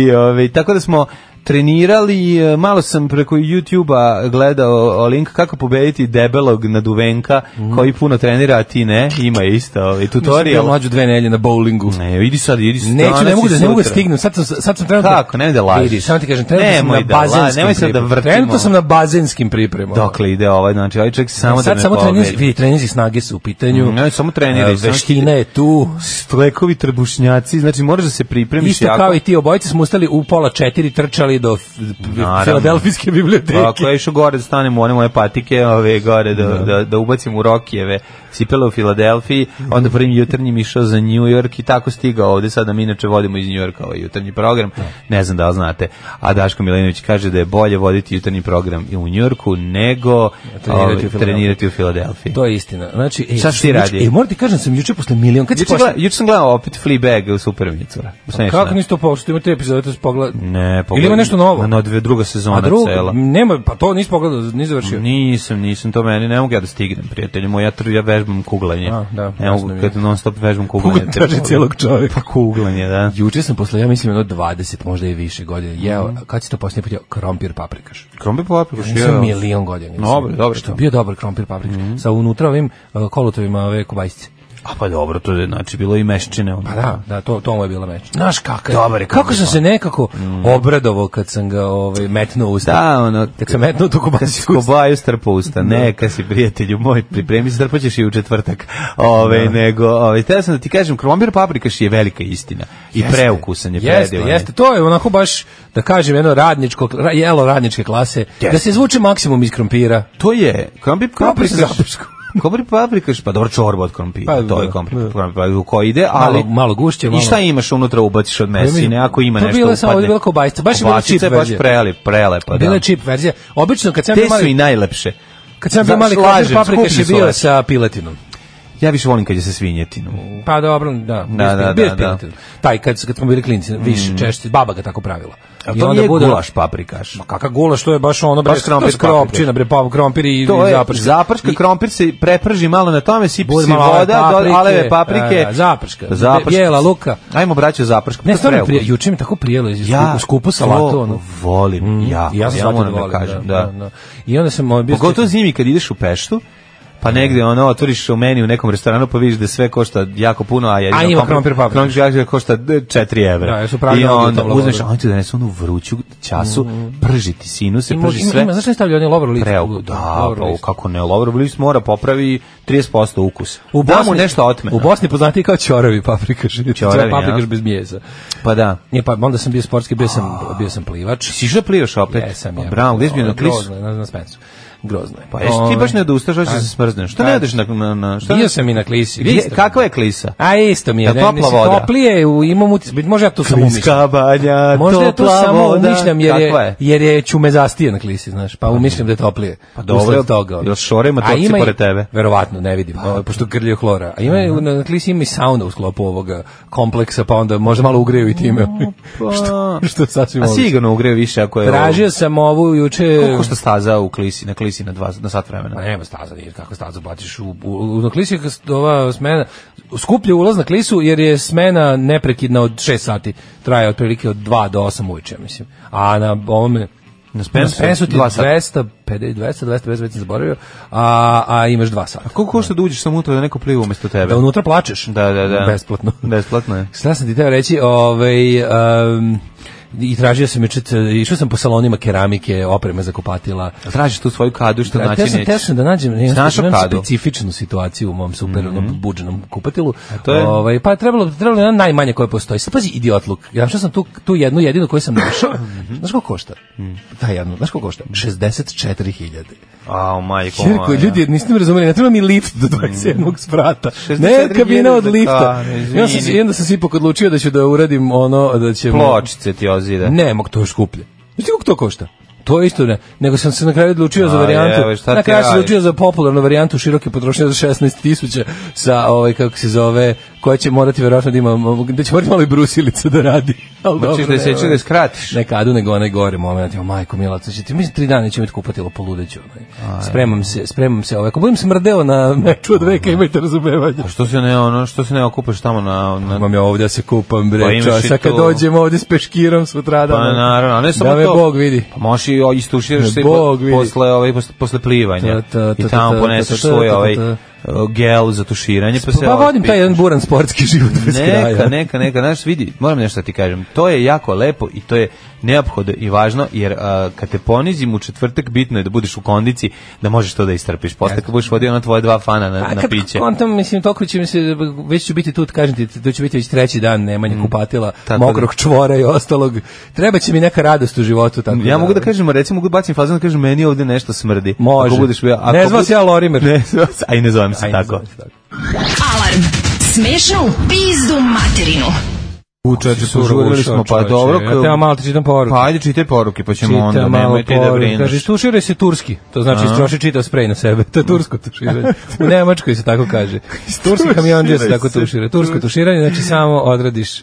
[SPEAKER 6] I ovaj tako da smo trenirali, e, malo sam preko YouTube-a gledao o, link kako pobediti debelog naduvenka
[SPEAKER 5] Mm.
[SPEAKER 6] koji puno trenira, a ti ne, ima isto ovaj,
[SPEAKER 5] Tutorial.
[SPEAKER 6] tutorial.
[SPEAKER 5] mlađu dve nelje na bowlingu.
[SPEAKER 6] Ne, idi sad, idi sad.
[SPEAKER 5] Neću, ne
[SPEAKER 6] danas
[SPEAKER 5] mogu
[SPEAKER 6] i
[SPEAKER 5] da ne mogu da
[SPEAKER 6] sutra.
[SPEAKER 5] stignem. Sad sam sad sam trenutno
[SPEAKER 6] Kako, nemoj da lažeš.
[SPEAKER 5] Vidi, samo ti kažem, trenutno
[SPEAKER 6] Nemoj
[SPEAKER 5] sam
[SPEAKER 6] da
[SPEAKER 5] na
[SPEAKER 6] lažeš,
[SPEAKER 5] bazenskim.
[SPEAKER 6] nemoj sad da
[SPEAKER 5] pripremama.
[SPEAKER 6] vrtimo.
[SPEAKER 5] Trenutno sam na bazenskim pripremama.
[SPEAKER 6] Dokle ide ovaj, znači ovaj čovjek samo da
[SPEAKER 5] sad
[SPEAKER 6] me
[SPEAKER 5] samo
[SPEAKER 6] pobedi.
[SPEAKER 5] treninzi, vidi, treninzi snage su u pitanju.
[SPEAKER 6] Ne, samo treniraj,
[SPEAKER 5] A,
[SPEAKER 6] samo
[SPEAKER 5] Veština je tu.
[SPEAKER 6] Stlekovi trbušnjaci, znači moraš da se pripremiš
[SPEAKER 5] Isto kao i ti, obojice smo ustali u pola četiri, trčali do f-
[SPEAKER 6] Naravno.
[SPEAKER 5] Filadelfijske biblioteke.
[SPEAKER 6] Pa, Ako ja išao gore da stanem u one moje patike, ove gore da, da, da ubacim u Rokijeve cipele u Filadelfiji, onda prvim jutarnjim išao za New York i tako stigao ovde, sada mi inače vodimo iz New Yorka ovaj jutarnji program, ne znam da li znate, a Daško Milenović kaže da je bolje voditi jutarnji program i u New Yorku nego
[SPEAKER 5] Trenirati u
[SPEAKER 6] ovaj,
[SPEAKER 5] Filadelfiji.
[SPEAKER 6] trenirati u Filadelfiji.
[SPEAKER 5] To je istina. Znači, ej,
[SPEAKER 6] Šta si ti
[SPEAKER 5] juče-
[SPEAKER 6] radio?
[SPEAKER 5] Ej, moram ti kažem, sam juče posle milion. Kad si
[SPEAKER 6] Juče,
[SPEAKER 5] posle...
[SPEAKER 6] gleda, juče sam gledao opet Fleabag u Supermnicu. U Snešana.
[SPEAKER 5] Kako niste to pošto? Imate epizode, to se pogleda.
[SPEAKER 6] Ne,
[SPEAKER 5] Pa Ili
[SPEAKER 6] pogledao
[SPEAKER 5] ima nešto novo.
[SPEAKER 6] Na dve druga sezona
[SPEAKER 5] A druga,
[SPEAKER 6] cela.
[SPEAKER 5] nema, pa to nisi pogledao, nisi završio.
[SPEAKER 6] Nisam, nisam to meni, ne mogu ja da stignem, prijatelju moj, ja, tr, ja vežbam kuglanje.
[SPEAKER 5] A, da,
[SPEAKER 6] ne mogu,
[SPEAKER 5] jasno mi je.
[SPEAKER 6] kad non stop vežbam kuglanje.
[SPEAKER 5] Kugle traži cijelog čovjeka.
[SPEAKER 6] Pa kuglanje, da.
[SPEAKER 5] Juče sam posle, ja mislim, jedno 20, možda i više godina, jeo, kad si to posljednje put jeo, krompir paprikaš.
[SPEAKER 6] Krombe paprikaš,
[SPEAKER 5] Nisam milion godina. nisam.
[SPEAKER 6] Dobro, dobro.
[SPEAKER 5] Što je bio dobar krompir paprikaš, sa unutra ovim uh, kolutovima ove kobajsice.
[SPEAKER 6] A pa dobro, to je znači bilo i meščine. Onda.
[SPEAKER 5] Pa da, da, to, to mu je bila meč. Znaš kakav
[SPEAKER 6] Dobar je
[SPEAKER 5] kako
[SPEAKER 6] krompir
[SPEAKER 5] sam se nekako obradovao kad sam ga ovaj, metnuo u usta.
[SPEAKER 6] Da, ono,
[SPEAKER 5] Kad sam metnuo tu kobasicu.
[SPEAKER 6] Skobaju strpa usta, neka si prijatelju moj, pripremi se, strpaćeš i u četvrtak. Ove, nego, ove, teo sam da ti kažem, krompir paprikaš je velika istina. I preukusan je
[SPEAKER 5] Jeste,
[SPEAKER 6] predivan. je.
[SPEAKER 5] jeste, to je onako baš, da kažem, jedno radničko, ra- jelo radničke klase,
[SPEAKER 6] Jeste.
[SPEAKER 5] da se izvuče maksimum iz krompira.
[SPEAKER 6] To je, krompir
[SPEAKER 5] Krompir sa
[SPEAKER 6] paprikaš.
[SPEAKER 5] zapušku.
[SPEAKER 6] Krompir paprikaš, pa dobro čorba od krompira,
[SPEAKER 5] Pa,
[SPEAKER 6] to je
[SPEAKER 5] da,
[SPEAKER 6] krompir
[SPEAKER 5] da.
[SPEAKER 6] paprikaš u koji ide, ali...
[SPEAKER 5] Malo- malo gušće, malo-
[SPEAKER 6] I šta imaš unutra, ubaciš od mesine, ako ima
[SPEAKER 5] To
[SPEAKER 6] nešto
[SPEAKER 5] bila
[SPEAKER 6] upadne.
[SPEAKER 5] samo- bila kobasica, baš je bila
[SPEAKER 6] Kobasica
[SPEAKER 5] čip
[SPEAKER 6] baš
[SPEAKER 5] verzija.
[SPEAKER 6] prelep, prelepa, Pa da.
[SPEAKER 5] Bila je čip verzija. Obično kad sam
[SPEAKER 6] Te
[SPEAKER 5] bio
[SPEAKER 6] su i
[SPEAKER 5] mali,
[SPEAKER 6] najlepše.
[SPEAKER 5] kad sam bio
[SPEAKER 6] Znaš,
[SPEAKER 5] mali krompir
[SPEAKER 6] lažem,
[SPEAKER 5] paprikaš
[SPEAKER 6] skuplji
[SPEAKER 5] je
[SPEAKER 6] su
[SPEAKER 5] bio
[SPEAKER 6] lepši.
[SPEAKER 5] sa piletinom.
[SPEAKER 6] Ja više volim kad je sa svinjetinom.
[SPEAKER 5] Pa dobro, da. Da, da, da, da. Taj kad, kad smo bili klinci, više češće, baba ga tako pravila.
[SPEAKER 6] Mm. A
[SPEAKER 5] I
[SPEAKER 6] to
[SPEAKER 5] onda
[SPEAKER 6] nije
[SPEAKER 5] bude-
[SPEAKER 6] gulaš paprikaš.
[SPEAKER 5] Ma kakav gulaš, to je baš ono, bre,
[SPEAKER 6] Baš krompir
[SPEAKER 5] to je skropčina, bre, pa krompir i,
[SPEAKER 6] To
[SPEAKER 5] i
[SPEAKER 6] je
[SPEAKER 5] zaprška.
[SPEAKER 6] zaprška,
[SPEAKER 5] I-
[SPEAKER 6] krompir se preprži malo na tome, sipi
[SPEAKER 5] Bude
[SPEAKER 6] si
[SPEAKER 5] malo aleve
[SPEAKER 6] voda,
[SPEAKER 5] paprike,
[SPEAKER 6] do- aleve paprike.
[SPEAKER 5] da, da, zaprška.
[SPEAKER 6] Zaprška.
[SPEAKER 5] Bijela luka.
[SPEAKER 6] Ajmo braćo zaprška.
[SPEAKER 5] Ne,
[SPEAKER 6] to
[SPEAKER 5] stvarno,
[SPEAKER 6] preukus.
[SPEAKER 5] prije, juče mi tako prijelo, ja, skupu, skupu salatu,
[SPEAKER 6] to
[SPEAKER 5] ono.
[SPEAKER 6] volim, ja,
[SPEAKER 5] I ja sam
[SPEAKER 6] ja
[SPEAKER 5] shvatio
[SPEAKER 6] moram da
[SPEAKER 5] volim,
[SPEAKER 6] kažem, da.
[SPEAKER 5] I onda sam ovaj bio...
[SPEAKER 6] Pogotovo zimi kad ideš u Peštu, pa negde ono otvoriš u meni u nekom restoranu pa vidiš da sve košta jako puno, a ja
[SPEAKER 5] A ima krompir paprika.
[SPEAKER 6] košta 4 evra.
[SPEAKER 5] Da, jer su pravi
[SPEAKER 6] I
[SPEAKER 5] ovdje u
[SPEAKER 6] onda
[SPEAKER 5] tom lavoru.
[SPEAKER 6] uzmeš, a oni ti donesu onu vruću ćasu, prži ti sinuse,
[SPEAKER 5] mm. Ima,
[SPEAKER 6] prži
[SPEAKER 5] ima,
[SPEAKER 6] sve.
[SPEAKER 5] ima, znaš ne stavlja oni lovro list?
[SPEAKER 6] Preuku, da,
[SPEAKER 5] Lovro
[SPEAKER 6] pa
[SPEAKER 5] list.
[SPEAKER 6] kako ne, Lovro list mora popravi 30% ukusa.
[SPEAKER 5] U
[SPEAKER 6] da mu
[SPEAKER 5] Bosni-
[SPEAKER 6] nešto otme.
[SPEAKER 5] U Bosni poznati kao ćoravi paprikaš.
[SPEAKER 6] Ćoravi,
[SPEAKER 5] Ćoravi, paprikaš
[SPEAKER 6] ja.
[SPEAKER 5] bez mijeza.
[SPEAKER 6] Pa da.
[SPEAKER 5] Nije, pa onda sam bio sportski, bio sam, bio sam plivač.
[SPEAKER 6] Si išao da plivaš opet?
[SPEAKER 5] Jesam
[SPEAKER 6] pa,
[SPEAKER 5] ja.
[SPEAKER 6] Bravo, gdje si bio na klisu?
[SPEAKER 5] Grozno je, na, na Spensu. Grozno je.
[SPEAKER 6] Pa jesi ti baš ne odustaš, hoćeš da
[SPEAKER 5] Ovaj, A-
[SPEAKER 6] se smrzneš. Šta
[SPEAKER 5] a-
[SPEAKER 6] ne odeš na... na, na šta
[SPEAKER 5] Bio sam i na klisi.
[SPEAKER 6] Gdje-
[SPEAKER 5] isto.
[SPEAKER 6] kakva je klisa?
[SPEAKER 5] A isto mi je.
[SPEAKER 6] Jel
[SPEAKER 5] ne,
[SPEAKER 6] topla
[SPEAKER 5] mislim,
[SPEAKER 6] voda?
[SPEAKER 5] Toplije, u- imam utis. Može ja tu samo umišljam.
[SPEAKER 6] Klinska banja,
[SPEAKER 5] Možda ja tu
[SPEAKER 6] topla
[SPEAKER 5] samo
[SPEAKER 6] voda.
[SPEAKER 5] umišljam jer je,
[SPEAKER 6] Kakva je?
[SPEAKER 5] jer je čumezastije na klisi, znaš, pa umišljam da je toplije. Pa
[SPEAKER 6] dobro,
[SPEAKER 5] toga. ono.
[SPEAKER 6] jel šore ima
[SPEAKER 5] A
[SPEAKER 6] topci
[SPEAKER 5] i-
[SPEAKER 6] pored tebe? Pa Mhm.
[SPEAKER 5] Verovatno, ne vidim, ovaj, pošto grlje hlora. A ima, na, na klisi ima i sauna u sklopu ovoga kompleksa, pa onda možda malo ugreju i time.
[SPEAKER 6] Mhm.
[SPEAKER 5] što, što sasvim
[SPEAKER 6] Pa, A
[SPEAKER 5] moguće.
[SPEAKER 6] sigurno ugreju više ako je...
[SPEAKER 5] Tražio sam ovu juče...
[SPEAKER 6] Koliko što staza u klisi, na klisi na, dva, na sat
[SPEAKER 5] Pa
[SPEAKER 6] vremena?
[SPEAKER 5] nema staza, jer kako stazu platiš u, u, u na klisi je kas- ova smena, skuplje ulaz na klisu jer je smena neprekidna od 6 sati, traje otprilike od 2 do 8 uveče, ja mislim. A na ovome
[SPEAKER 6] Na Spensu?
[SPEAKER 5] na Spensu ti je
[SPEAKER 6] Dva sata.
[SPEAKER 5] 200, 50, 200, 200, već sam zaboravio, a, a imaš 2 sata.
[SPEAKER 6] Koliko košta da uđeš samo unutra da neko pliva umesto tebe?
[SPEAKER 5] Da ono- unutra plačeš?
[SPEAKER 6] Da, da, da.
[SPEAKER 5] Besplatno.
[SPEAKER 6] Besplatno je.
[SPEAKER 5] Šta sam ti teo reći, ovaj, em, i tražio sam juče, išao sam po salonima keramike, opreme za kupatila,
[SPEAKER 6] Tražiš tu svoju kadu što znači
[SPEAKER 5] Da,
[SPEAKER 6] naći
[SPEAKER 5] teo sam, teo
[SPEAKER 6] nećeš.
[SPEAKER 5] sam da nađem ne,
[SPEAKER 6] Znaš
[SPEAKER 5] imam
[SPEAKER 6] opadu?
[SPEAKER 5] specifičnu situaciju u mom super onom budženom kupatilu.
[SPEAKER 6] to je?
[SPEAKER 5] Ovaj, pa je trebalo, trebalo je ona najmanja koja postoji. Sad pazi, idiotluk. Ja našao sam tu, tu jednu jedinu koju sam našao.
[SPEAKER 6] Mhm.
[SPEAKER 5] znaš koliko košta? Ta jednu, znaš koliko košta? 64.000.
[SPEAKER 6] A, majko,
[SPEAKER 5] Jerko,
[SPEAKER 6] moja.
[SPEAKER 5] ljudi, niste mi razumeli, ne treba mi lift
[SPEAKER 6] Mhm.
[SPEAKER 5] do 27. sprata. Ne,
[SPEAKER 6] 64.000
[SPEAKER 5] kabina od lifta.
[SPEAKER 6] da,
[SPEAKER 5] I onda sam, se-
[SPEAKER 6] pa, izvini.
[SPEAKER 5] i onda sam se ipak odlučio da ću da uradim ono, da ćemo...
[SPEAKER 6] Pločice ti ozide.
[SPEAKER 5] Ne, mog to je skuplje. Znaš ti kako to košta? To je isto ne. Nego sam se na kraju odlučio za
[SPEAKER 6] A,
[SPEAKER 5] varijantu.
[SPEAKER 6] evo, šta
[SPEAKER 5] na
[SPEAKER 6] ti
[SPEAKER 5] kraju sam se
[SPEAKER 6] radiš?
[SPEAKER 5] odlučio za popularnu varijantu široke potrošnje za 16 tisuća sa, ovaj, kako se zove, koja će morati verovatno da ima, da će morati malo i brusilica da radi. Ali
[SPEAKER 6] Hoćeš da
[SPEAKER 5] ne, ovaj,
[SPEAKER 6] je sečeš, da je skratiš.
[SPEAKER 5] ne kadu, nego onaj gore moment. Jo, majko, mila, sad će ti, mislim, tri dana ću imati kupatilo, poludeću. Onaj. Spremam se, spremam se. Ovaj, ako budem smrdeo na meču od veka, imajte razumevanja.
[SPEAKER 6] A Što se ne, ono, što se ne okupaš tamo na... na
[SPEAKER 5] Imam ja ovdje da se kupam, bre,
[SPEAKER 6] Pa imaš
[SPEAKER 5] čovječe,
[SPEAKER 6] i
[SPEAKER 5] sad kad
[SPEAKER 6] tu.
[SPEAKER 5] dođem ovdje s peškirom sutradan.
[SPEAKER 6] Pa naravno, a ne samo
[SPEAKER 5] da
[SPEAKER 6] to.
[SPEAKER 5] me Bog vidi.
[SPEAKER 6] Pa možeš i o, istuširaš se i
[SPEAKER 5] Bog
[SPEAKER 6] po,
[SPEAKER 5] vidi.
[SPEAKER 6] posle, ovaj, posle, posle
[SPEAKER 5] Ta,
[SPEAKER 6] plivanja.
[SPEAKER 5] ta, ta,
[SPEAKER 6] I
[SPEAKER 5] ta, ta,
[SPEAKER 6] tamo poneseš
[SPEAKER 5] ta, ta, ta,
[SPEAKER 6] svoj
[SPEAKER 5] ta, ta,
[SPEAKER 6] ovaj
[SPEAKER 5] ta.
[SPEAKER 6] uh, gel za tuširanje, pa se...
[SPEAKER 5] Pa vodim taj
[SPEAKER 6] otpiš.
[SPEAKER 5] jedan buran sportski život bez kraja.
[SPEAKER 6] Neka, neka, neka, znaš, vidi, moram nešto da ti kažem, to je jako lepo i to je neophodno i važno, jer a, kad te ponizim u četvrtak, bitno je da budeš u kondici, da možeš to da istrpiš. Posle kad budeš vodio na tvoje dva fana na,
[SPEAKER 5] A
[SPEAKER 6] na
[SPEAKER 5] kad
[SPEAKER 6] piće.
[SPEAKER 5] kontam, mislim, toliko će mi se, već ću biti tu, kažem ti, to će biti već treći dan nemanje kupatila,
[SPEAKER 6] Mm. tako
[SPEAKER 5] mokrog čvora i ostalog. Treba će mi neka radost u životu. Tako
[SPEAKER 6] Ja mogu da kažem, recimo, mogu da bacim fazon da kažem, meni ovde nešto smrdi.
[SPEAKER 5] Može.
[SPEAKER 6] Ako budeš, ako
[SPEAKER 5] ne zvao
[SPEAKER 6] bud-
[SPEAKER 5] se ja Lorimer.
[SPEAKER 6] Ne zvao se, a i ne zovem se
[SPEAKER 5] Aj, ne
[SPEAKER 6] tako.
[SPEAKER 5] zvao se tako.
[SPEAKER 4] Alarm. Smešno u pizdu materinu.
[SPEAKER 6] Učač,
[SPEAKER 5] Suro
[SPEAKER 6] požurili
[SPEAKER 5] ušao,
[SPEAKER 6] smo, pa
[SPEAKER 5] čoveče.
[SPEAKER 6] dobro.
[SPEAKER 5] Ja te malo ti čitam poruku.
[SPEAKER 6] Pa ajde čitaj poruke, pa ćemo
[SPEAKER 5] Čita
[SPEAKER 6] onda,
[SPEAKER 5] malo
[SPEAKER 6] nemojte da
[SPEAKER 5] poruke. Kaže,
[SPEAKER 6] brineš.
[SPEAKER 5] tuširaj se turski. To znači, istroši čitav sprej na sebe. To je tursko tuširanje. U Nemačkoj se tako kaže. Turski kamionđe se
[SPEAKER 6] Istuširaj
[SPEAKER 5] tako
[SPEAKER 6] se.
[SPEAKER 5] tušira. Tursko tuširanje, znači samo odradiš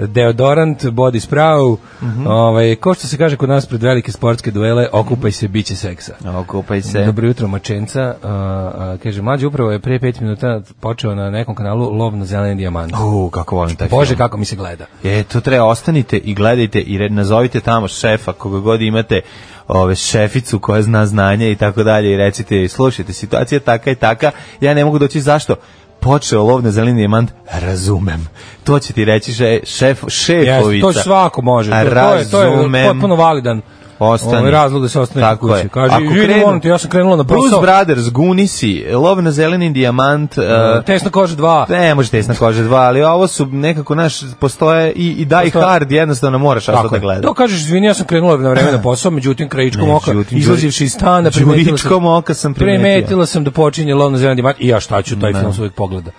[SPEAKER 5] deodorant, body spravu.
[SPEAKER 6] Mhm.
[SPEAKER 5] Ovaj, ko što se kaže kod nas pred velike sportske duele, okupaj se, biće seksa.
[SPEAKER 6] Okupaj se.
[SPEAKER 5] Dobro jutro, Mačenca. A, a, kaže, mlađe upravo je pre pet minuta počeo na nekom kanalu lov na zeleni dijamant.
[SPEAKER 6] U, kako volim taj
[SPEAKER 5] Bože,
[SPEAKER 6] film.
[SPEAKER 5] kako mi se gleda.
[SPEAKER 6] E, to treba, ostanite i gledajte i red, nazovite tamo šefa, koga god imate, ove, šeficu koja zna znanje i tako dalje i recite, slušajte, situacija je taka i taka, ja ne mogu doći zašto? počeo lov na zeleni dijamant, razumem. To će ti reći še, šef, šefovica.
[SPEAKER 5] Jeste, to svako može. To, to je, to je
[SPEAKER 6] Razumem.
[SPEAKER 5] potpuno validan
[SPEAKER 6] Ostani.
[SPEAKER 5] ovaj razlog da se ostane
[SPEAKER 6] Tako
[SPEAKER 5] kod
[SPEAKER 6] je.
[SPEAKER 5] kuće. Kaže,
[SPEAKER 6] Ako
[SPEAKER 5] vidi,
[SPEAKER 6] krenu-
[SPEAKER 5] molim te, ja sam krenula na
[SPEAKER 6] Bruce
[SPEAKER 5] posao.
[SPEAKER 6] Brothers, Gunisi, lov na zeleni dijamant, e,
[SPEAKER 5] Tesno kože 2.
[SPEAKER 6] Ne, može tesna koža dva, ali ovo su nekako, naš, postoje i, i Die
[SPEAKER 5] Postoje.
[SPEAKER 6] Hard, jednostavno moraš
[SPEAKER 5] Tako
[SPEAKER 6] tako da
[SPEAKER 5] je.
[SPEAKER 6] gledaš.
[SPEAKER 5] To kažeš, izvini, ja sam krenula na vreme na posao, međutim, krajičkom oka,
[SPEAKER 6] Međutim,
[SPEAKER 5] izlazivši iz stana,
[SPEAKER 6] Đuričkom
[SPEAKER 5] primetila sam,
[SPEAKER 6] oka sam primetio.
[SPEAKER 5] primetila sam da počinje lovno zeleni dimat i ja šta ću, taj film se uvijek pogleda.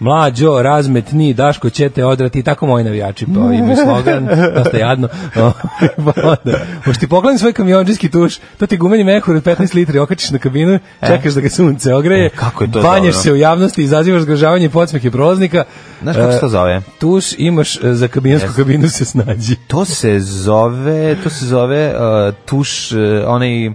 [SPEAKER 5] Mlađo, razmetni, Daško će te odrati, i tako moji navijači, pa imaju slogan, dosta jadno. pa onda, možeš ti pogledam svoj kamionđijski tuš, to ti gumeni mehur od 15 litri okačiš na kabinu, čekaš da ga sunce ogreje,
[SPEAKER 6] E, kako je to
[SPEAKER 5] banješ
[SPEAKER 6] dobro.
[SPEAKER 5] se u javnosti, izazivaš zgražavanje i podsmehe prolaznika.
[SPEAKER 6] Znaš kako se
[SPEAKER 5] E,
[SPEAKER 6] to zove?
[SPEAKER 5] Tuš imaš e, za kabinsku kabinu se snađi.
[SPEAKER 6] To se zove, to se zove uh, tuš, uh, onaj uh,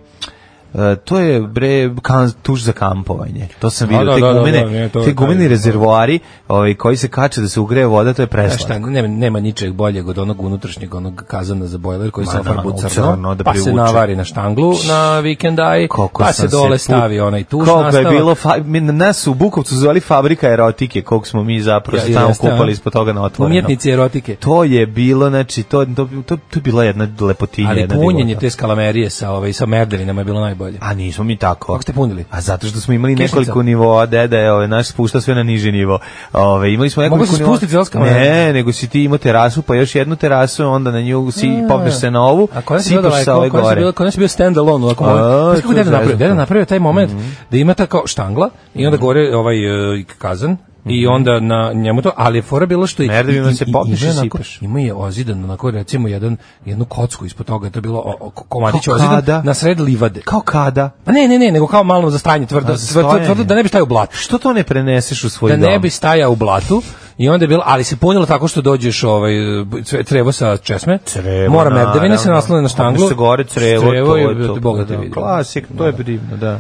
[SPEAKER 6] to je bre kan, tuš za kampovanje. To sam
[SPEAKER 5] A,
[SPEAKER 6] vidio,
[SPEAKER 5] da,
[SPEAKER 6] te
[SPEAKER 5] da, da,
[SPEAKER 6] gumene,
[SPEAKER 5] da, nije, to je
[SPEAKER 6] te
[SPEAKER 5] taj-
[SPEAKER 6] gumeni rezervoari, ovaj koji se kače da se ugreje voda, to je
[SPEAKER 5] Znaš
[SPEAKER 6] preslatko.
[SPEAKER 5] šta, nema, nema ničeg boljeg od onog unutrašnjeg, onog kazana za bojler koji se
[SPEAKER 6] Ma,
[SPEAKER 5] ofarbu
[SPEAKER 6] na,
[SPEAKER 5] crno,
[SPEAKER 6] crno da
[SPEAKER 5] pa se
[SPEAKER 6] privuče.
[SPEAKER 5] navari na štanglu na vikendaj,
[SPEAKER 6] Koliko
[SPEAKER 5] pa se
[SPEAKER 6] sam
[SPEAKER 5] dole
[SPEAKER 6] put-
[SPEAKER 5] stavi onaj tuš
[SPEAKER 6] Koliko je
[SPEAKER 5] nastavak.
[SPEAKER 6] bilo, fa, mi- nas u Bukovcu zvali fabrika erotike, koliko smo mi zapravo
[SPEAKER 5] Ja,
[SPEAKER 6] ja, tamo
[SPEAKER 5] jeste, a?
[SPEAKER 6] kupali ispod toga na otvoreno.
[SPEAKER 5] Umjetnici erotike.
[SPEAKER 6] To je bilo, znači, to, to, to, to je bila jedna lepotinja.
[SPEAKER 5] Ali
[SPEAKER 6] jedna
[SPEAKER 5] punjenje
[SPEAKER 6] divota.
[SPEAKER 5] te skalamerije sa, ovaj, sa merdevinama je bilo najbolje.
[SPEAKER 6] A nismo mi tako.
[SPEAKER 5] Kako ste punili?
[SPEAKER 6] A zato što smo imali
[SPEAKER 5] Kešnica?
[SPEAKER 6] nekoliko nivoa, deda je ovaj, naš spušta sve na niži nivo. Ove, imali smo
[SPEAKER 5] Mogu
[SPEAKER 6] nekoliko
[SPEAKER 5] se spustiti
[SPEAKER 6] nivoa.
[SPEAKER 5] zelskama?
[SPEAKER 6] Ne, nego si ti imao terasu, pa još jednu terasu, onda na nju si, popneš se na ovu,
[SPEAKER 5] A koja si bila
[SPEAKER 6] sipaš sa ove
[SPEAKER 5] daleko, koja si
[SPEAKER 6] gore.
[SPEAKER 5] bila, koja si bio stand alone, ovako
[SPEAKER 6] A,
[SPEAKER 5] malo. Znaš kako
[SPEAKER 6] to je
[SPEAKER 5] deda
[SPEAKER 6] Mhm.
[SPEAKER 5] napravio?
[SPEAKER 6] zeznuto.
[SPEAKER 5] Deda napravio taj moment da ima ta kao štangla i onda gore ovaj e, kazan i onda na njemu to, ali je fora bilo što i-
[SPEAKER 6] Merdevinu
[SPEAKER 5] i- i-
[SPEAKER 6] Mhm. se
[SPEAKER 5] i-
[SPEAKER 6] popneš
[SPEAKER 5] ima je
[SPEAKER 6] i
[SPEAKER 5] onako-
[SPEAKER 6] sipaš.
[SPEAKER 5] Ima je ozidan, onako recimo jedan, jednu kocku ispod toga, to je bilo o, o, komadić
[SPEAKER 6] Kao
[SPEAKER 5] ozidan
[SPEAKER 6] kada?
[SPEAKER 5] na sred livade.
[SPEAKER 6] Kao kada?
[SPEAKER 5] Pa ne, ne, ne, nego kao malo za stajanje, tvrdo,
[SPEAKER 6] A, za
[SPEAKER 5] tvrdo,
[SPEAKER 6] stajanje.
[SPEAKER 5] tvrdo da ne bi stajao u blatu
[SPEAKER 6] Što to ne preneseš u svoj
[SPEAKER 5] da
[SPEAKER 6] dom?
[SPEAKER 5] ne bi stajao u blatu i onda je bilo, ali se punilo tako što dođeš ovaj cve- crevo sa česme,
[SPEAKER 6] Crevo,
[SPEAKER 5] mora merdevine se
[SPEAKER 6] naravno.
[SPEAKER 5] naslone na štanglu,
[SPEAKER 6] Popneš se gore crevo,
[SPEAKER 5] crevo
[SPEAKER 6] to,
[SPEAKER 5] i
[SPEAKER 6] je to,
[SPEAKER 5] Boga te
[SPEAKER 6] da,
[SPEAKER 5] vidi.
[SPEAKER 6] Klasik, to je divno, da.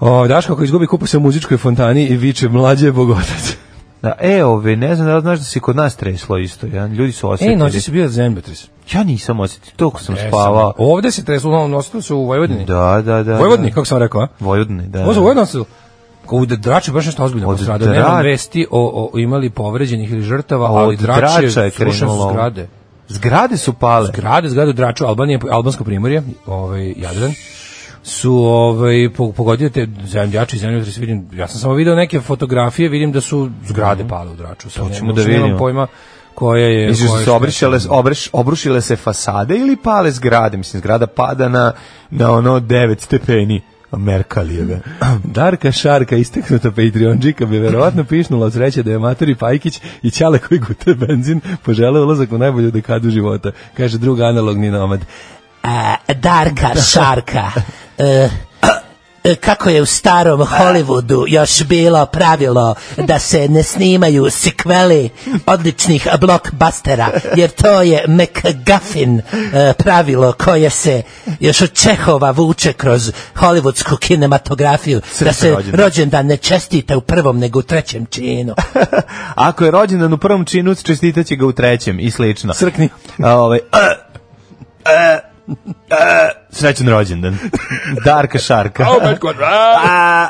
[SPEAKER 5] O, Daško ako izgubi kupu se u muzičkoj fontani i viče mlađe je bogotac.
[SPEAKER 6] Da, e, ove, ne znam da li znaš da se i kod nas treslo isto, ja? ljudi su osjetili.
[SPEAKER 5] Ej, E, noći se bio zemljotres.
[SPEAKER 6] Ja nisam osjetio, toliko
[SPEAKER 5] E,
[SPEAKER 6] sam spavao.
[SPEAKER 5] Ovde se treslo, ono, nosilo se u Vojvodini.
[SPEAKER 6] Da, da, da.
[SPEAKER 5] Vojvodini,
[SPEAKER 6] da.
[SPEAKER 5] kako sam rekao, a?
[SPEAKER 6] Vojvodini, da.
[SPEAKER 5] Ovo su Vojvodini su Kao u Draču je baš nešto ozbiljno
[SPEAKER 6] Od
[SPEAKER 5] postradao. Nemam
[SPEAKER 6] Drač-
[SPEAKER 5] vesti o, o imali povređenih ili žrtava,
[SPEAKER 6] A
[SPEAKER 5] ali
[SPEAKER 6] od Drača
[SPEAKER 5] Drače,
[SPEAKER 6] je
[SPEAKER 5] srušene su
[SPEAKER 6] krenulo.
[SPEAKER 5] zgrade.
[SPEAKER 6] Zgrade su pale.
[SPEAKER 5] Grade, zgrade u Draču, Albanije, Albansko primorje, ovaj, Jadran, su ovaj, po- pogodili te zemljači i zemljotres, vidim, ja sam samo video neke fotografije, vidim da su zgrade pale u Draču. Sad
[SPEAKER 6] ćemo
[SPEAKER 5] nemam-
[SPEAKER 6] da
[SPEAKER 5] nemam
[SPEAKER 6] vidimo.
[SPEAKER 5] pojma koja je...
[SPEAKER 6] Misliš da
[SPEAKER 5] koja je
[SPEAKER 6] su obrišile,
[SPEAKER 5] šteta.
[SPEAKER 6] obreš, obrušile se fasade ili pale zgrade? Mislim, zgrada pada na, na ono 9 stepeni Merkalijeve.
[SPEAKER 5] Darka Šarka, isteknuta Patreonđika, bi verovatno pišnula od sreće da je Maturi Pajkić i Ćale koji gute benzin požele ulazak u najbolju dekadu života, kaže drug analogni nomad.
[SPEAKER 1] A, Eh, Darka Šarka. E, e, kako je u starom Hollywoodu još bilo pravilo da se ne snimaju sekveli odličnih blockbustera, jer to je McGuffin e, pravilo koje se još od Čehova vuče kroz hollywoodsku kinematografiju, da se
[SPEAKER 6] rođendan.
[SPEAKER 1] rođendan ne čestite u prvom nego u trećem činu.
[SPEAKER 6] Ako je rođendan u prvom činu, čestitaće ga u trećem i slično.
[SPEAKER 5] Crkni.
[SPEAKER 6] A, ovaj, e, e, e, srećan rođendan. Darka Šarka. A,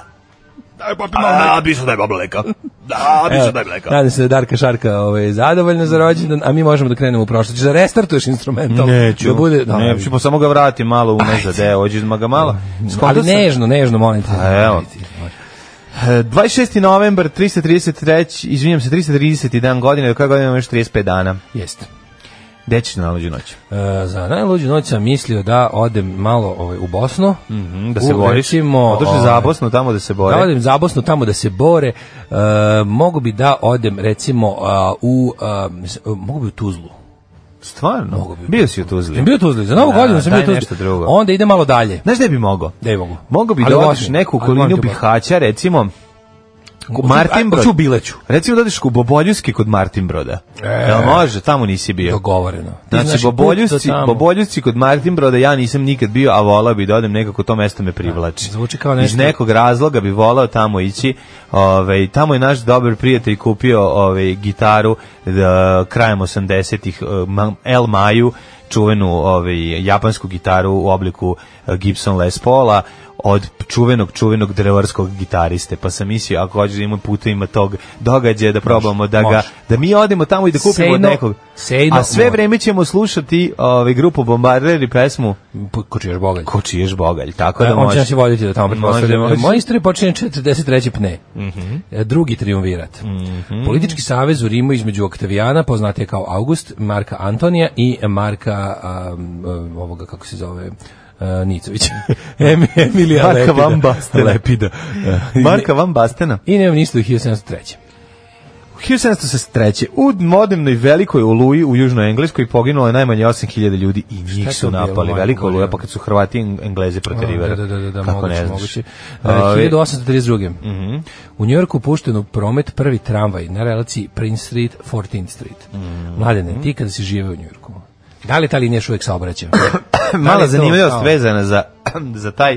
[SPEAKER 6] a, bi se daj baba leka. A, Pa bi se daj mleka.
[SPEAKER 5] Nadam se da je Darka Šarka ovaj, zadovoljna za rođendan, a mi možemo da krenemo u prošlost. Ćeš da restartuješ instrumental?
[SPEAKER 6] Neću.
[SPEAKER 5] Da bude, da,
[SPEAKER 6] neću, pa samo ga vrati malo unazad, evo, ođi ma ga malo. Skonto
[SPEAKER 5] ali
[SPEAKER 6] sam-
[SPEAKER 5] nežno, nežno, molim te.
[SPEAKER 6] A, evo. E, 26. novembar, 333, izvinjam se, 331 godine, do koje godine imamo još 35 dana?
[SPEAKER 5] Jeste.
[SPEAKER 6] Gde ćeš na najluđu noć?
[SPEAKER 5] E, za najluđu noć sam mislio da odem malo ovaj, u Bosnu.
[SPEAKER 6] Mhm, Mm, Da se
[SPEAKER 5] U,
[SPEAKER 6] boriš?
[SPEAKER 5] recimo,
[SPEAKER 6] Odošli
[SPEAKER 5] ovaj,
[SPEAKER 6] za Bosnu tamo da se bore.
[SPEAKER 5] Da odem zabosno tamo da se bore. E, mogu bi da odem recimo a, u a, s- mogu bi u Tuzlu.
[SPEAKER 6] Stvarno? Bio si u Tuzli.
[SPEAKER 5] Sam bio u Tuzli. Za novu
[SPEAKER 6] Da,
[SPEAKER 5] godinu sam
[SPEAKER 6] daj
[SPEAKER 5] bio u Tuzli.
[SPEAKER 6] nešto drugo.
[SPEAKER 5] Onda ide malo dalje.
[SPEAKER 6] Znaš gde bi mogao?
[SPEAKER 5] Gde mogu?
[SPEAKER 6] Mogao bi
[SPEAKER 5] Ali
[SPEAKER 6] da
[SPEAKER 5] volim
[SPEAKER 6] odeš
[SPEAKER 5] te.
[SPEAKER 6] neku
[SPEAKER 5] Ali volim
[SPEAKER 6] kolinu
[SPEAKER 5] te,
[SPEAKER 6] Bihaća, recimo
[SPEAKER 5] Hoću-
[SPEAKER 6] Martin
[SPEAKER 5] hoću u Bileću. E.
[SPEAKER 6] Recimo da odeš u Boboljevski kod Martin Broda. Jel može? Tamo nisi bio.
[SPEAKER 5] Dogovoreno. Ti
[SPEAKER 6] Znači,
[SPEAKER 5] znaš, put do
[SPEAKER 6] Boboljusci,
[SPEAKER 5] tamo.
[SPEAKER 6] Boboljusci kod Martin Broda ja nisam nikad bio, a volao bi da odem nekako to mesto me privlači.
[SPEAKER 5] Zvuči kao nešto-
[SPEAKER 6] Iz nekog razloga bi volao tamo ići. Ovaj tamo je naš dobar prijatelj kupio ovaj gitaru da, krajem 80-ih eh, Ma- El Maju, čuvenu ovaj japansku gitaru u obliku eh, Gibson Les Paula od čuvenog čuvenog drvarskog gitariste pa sam mislio ako hoćeš da ima puta ima tog događaja da probamo da ga
[SPEAKER 5] može.
[SPEAKER 6] da mi odemo tamo i da kupimo
[SPEAKER 5] Say
[SPEAKER 6] od
[SPEAKER 5] no-
[SPEAKER 6] nekog
[SPEAKER 5] say
[SPEAKER 6] a
[SPEAKER 5] no
[SPEAKER 6] sve
[SPEAKER 5] more.
[SPEAKER 6] vreme ćemo slušati ovaj grupu Bombarder i pesmu
[SPEAKER 5] P- Kočiješ bogalj.
[SPEAKER 6] Ko čiješ bogalj, tako da
[SPEAKER 5] Da, E, on će
[SPEAKER 6] može.
[SPEAKER 5] nas i voditi do tamo pretpostavljamo.
[SPEAKER 6] može. Mhm.
[SPEAKER 5] Moja istorija počinje 43. pne. E, Drugi triumvirat. Politički savez u Rimu između Oktavijana, poznatije kao August, Marka Antonija i Marka um, um, ovoga kako se zove uh, Nicovića. Em- Emilija
[SPEAKER 6] Marka
[SPEAKER 5] Lepida.
[SPEAKER 6] Van Bastena.
[SPEAKER 5] Lepida. E,
[SPEAKER 6] Marka Van Bastena.
[SPEAKER 5] I nemam ništa do 1703.
[SPEAKER 6] 1773. U modernoj velikoj oluji u Južnoj Engleskoj poginulo je najmanje 8000 ljudi i njih
[SPEAKER 5] je
[SPEAKER 6] su
[SPEAKER 5] to bilo,
[SPEAKER 6] napali.
[SPEAKER 5] majko
[SPEAKER 6] Velika
[SPEAKER 5] Božja?
[SPEAKER 6] oluja, pa kad su Hrvati i Eng- Englezi proterivali.
[SPEAKER 5] Da, da, da, da, da,
[SPEAKER 6] Kako
[SPEAKER 5] moguće,
[SPEAKER 6] ne znaš. Mhm.
[SPEAKER 5] moguće. E,
[SPEAKER 6] Ovaj,
[SPEAKER 5] 1832. U Njorku pušten u promet prvi tramvaj na relaciji Prince Street, 14th Street.
[SPEAKER 6] Mhm.
[SPEAKER 5] Mladene, ti kada si žive u Njorku, da li ta linija još uvijek saobraća? Da li
[SPEAKER 6] Mala
[SPEAKER 5] je to
[SPEAKER 6] zanimljivost
[SPEAKER 5] kao-
[SPEAKER 6] vezana za, za taj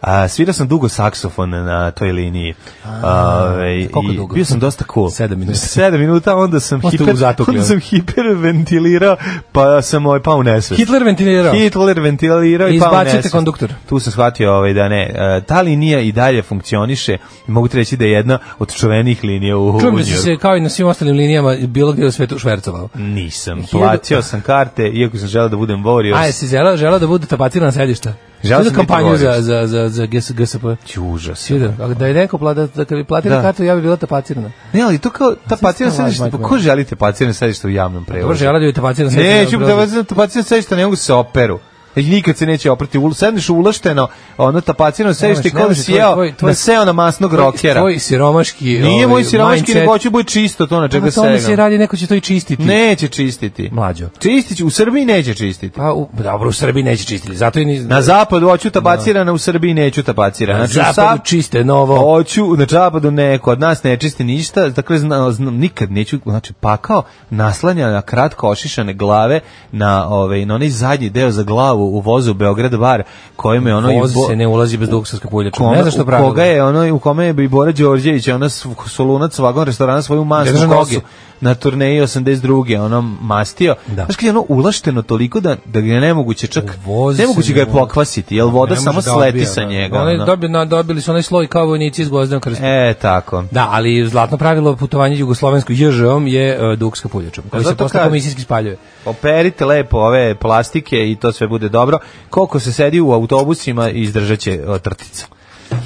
[SPEAKER 6] A, svirao sam dugo saksofon na toj liniji. Ove,
[SPEAKER 5] koliko
[SPEAKER 6] i
[SPEAKER 5] dugo?
[SPEAKER 6] Bio sam dosta cool.
[SPEAKER 5] Sedam minuta.
[SPEAKER 6] Sedam minuta, onda sam,
[SPEAKER 5] Onda ste
[SPEAKER 6] hiper,
[SPEAKER 5] u zatukli,
[SPEAKER 6] onda
[SPEAKER 5] ono.
[SPEAKER 6] sam hiperventilirao, pa sam ovaj, pa u nesvest.
[SPEAKER 5] Hitler ventilirao.
[SPEAKER 6] Hitler ventilirao i pao u
[SPEAKER 5] Izbacite
[SPEAKER 6] nesvest.
[SPEAKER 5] konduktor.
[SPEAKER 6] Tu sam shvatio ovaj, da ne. E, ta linija i dalje funkcioniše. Mogu ti reći da je jedna od čuvenih linija u, u
[SPEAKER 5] Čujem da si
[SPEAKER 6] Njujorku.
[SPEAKER 5] se kao i na svim ostalim linijama bilo gdje u svetu švercovao.
[SPEAKER 6] Nisam. Platio sam karte, iako sam želeo da budem warriors.
[SPEAKER 5] A, jesi želeo, želeo da budu tapatirana sedišta?
[SPEAKER 6] Želeo
[SPEAKER 5] Želeo
[SPEAKER 6] sam
[SPEAKER 5] sam
[SPEAKER 6] biti
[SPEAKER 5] kampanju
[SPEAKER 6] Boris.
[SPEAKER 5] za, za, za, za GS, GSP.
[SPEAKER 6] Ti užas.
[SPEAKER 5] Svi Da da je neko plata, da kad bi platila
[SPEAKER 6] Da.
[SPEAKER 5] kartu, ja bi bila tapacirana.
[SPEAKER 6] Ne, ali to kao ta pacirna
[SPEAKER 5] stvarno
[SPEAKER 6] sedišta,
[SPEAKER 5] majko
[SPEAKER 6] pa ko želite pacirna sedišta u javnom prevozu?
[SPEAKER 5] Pa Dobro, želeo da bi tapacirana
[SPEAKER 6] Neću da vas na pacirna sedišta, ne mogu se operu. I nikad se neće oprati. Ul, sedneš ulašteno, ono tapacirno sedište,
[SPEAKER 5] Nemaš,
[SPEAKER 6] kao da
[SPEAKER 5] nemaš,
[SPEAKER 6] si
[SPEAKER 5] tvoj-
[SPEAKER 6] jeo,
[SPEAKER 5] tvoj- tvoj-
[SPEAKER 6] naseo na masnog rokera.
[SPEAKER 5] Tvoj siromaški
[SPEAKER 6] Nije
[SPEAKER 5] ovaj,
[SPEAKER 6] moj siromaški,
[SPEAKER 5] mindset.
[SPEAKER 6] nego hoću bude čisto to na
[SPEAKER 5] Pa
[SPEAKER 6] čega
[SPEAKER 5] na tome se
[SPEAKER 6] segam.
[SPEAKER 5] radi, neko će to i čistiti.
[SPEAKER 6] Neće čistiti.
[SPEAKER 5] Mlađo.
[SPEAKER 6] Čistit će, u Srbiji neće čistiti.
[SPEAKER 5] Pa, u, dobro, u Srbiji neće čistiti, zato i ni...
[SPEAKER 6] Na zapadu hoću tapacirana, u Srbiji neću tapacirana.
[SPEAKER 5] na
[SPEAKER 6] Znači, u
[SPEAKER 5] zapadu
[SPEAKER 6] Sab-
[SPEAKER 5] čiste, novo.
[SPEAKER 6] Hoću, na čabadu neko, od nas ne čisti ništa, dakle, zna, zna- nikad neću, znači, pakao naslanja na kratko ošišane glave na, ovaj, na onaj zadnji deo za glavu u vozu Beograd bar, kojim je ono... i
[SPEAKER 5] Voz
[SPEAKER 6] bo-
[SPEAKER 5] se ne ulazi bez duksorska puljača.
[SPEAKER 6] kome-
[SPEAKER 5] Znači, Ne znaš što
[SPEAKER 6] u
[SPEAKER 5] pravilo.
[SPEAKER 6] Koga je ono, u kome je i Bora Đorđević, ona sv- solunac vagon restorana svoju masnu
[SPEAKER 5] Drži
[SPEAKER 6] kogi
[SPEAKER 5] nosu.
[SPEAKER 6] na turneji 82. ono mastio.
[SPEAKER 5] Da.
[SPEAKER 6] Znaš kad je ono ulašteno toliko da, da ga je nemoguće čak,
[SPEAKER 5] U vozu
[SPEAKER 6] nemoguće
[SPEAKER 5] se
[SPEAKER 6] ga je
[SPEAKER 5] ne ulazi.
[SPEAKER 6] pokvasiti, jer voda
[SPEAKER 5] Ne
[SPEAKER 6] samo
[SPEAKER 5] može da
[SPEAKER 6] sleti
[SPEAKER 5] odbija,
[SPEAKER 6] sa
[SPEAKER 5] da.
[SPEAKER 6] njega.
[SPEAKER 5] Onaj
[SPEAKER 6] ono.
[SPEAKER 5] dobi- na- dobili su onaj sloj kao vojnici iz Gvozdenog krstom.
[SPEAKER 6] E, tako.
[SPEAKER 5] Da, ali zlatno pravilo putovanja jugoslovensko JŽom je uh, dukska puljačom, koji se
[SPEAKER 6] Pa zato
[SPEAKER 5] posle
[SPEAKER 6] kažem.
[SPEAKER 5] komisijski spaljuje.
[SPEAKER 6] Operite lepo ove plastike i to sve bude dobro. Koliko se sedi u autobusima izdržat će e, trtica.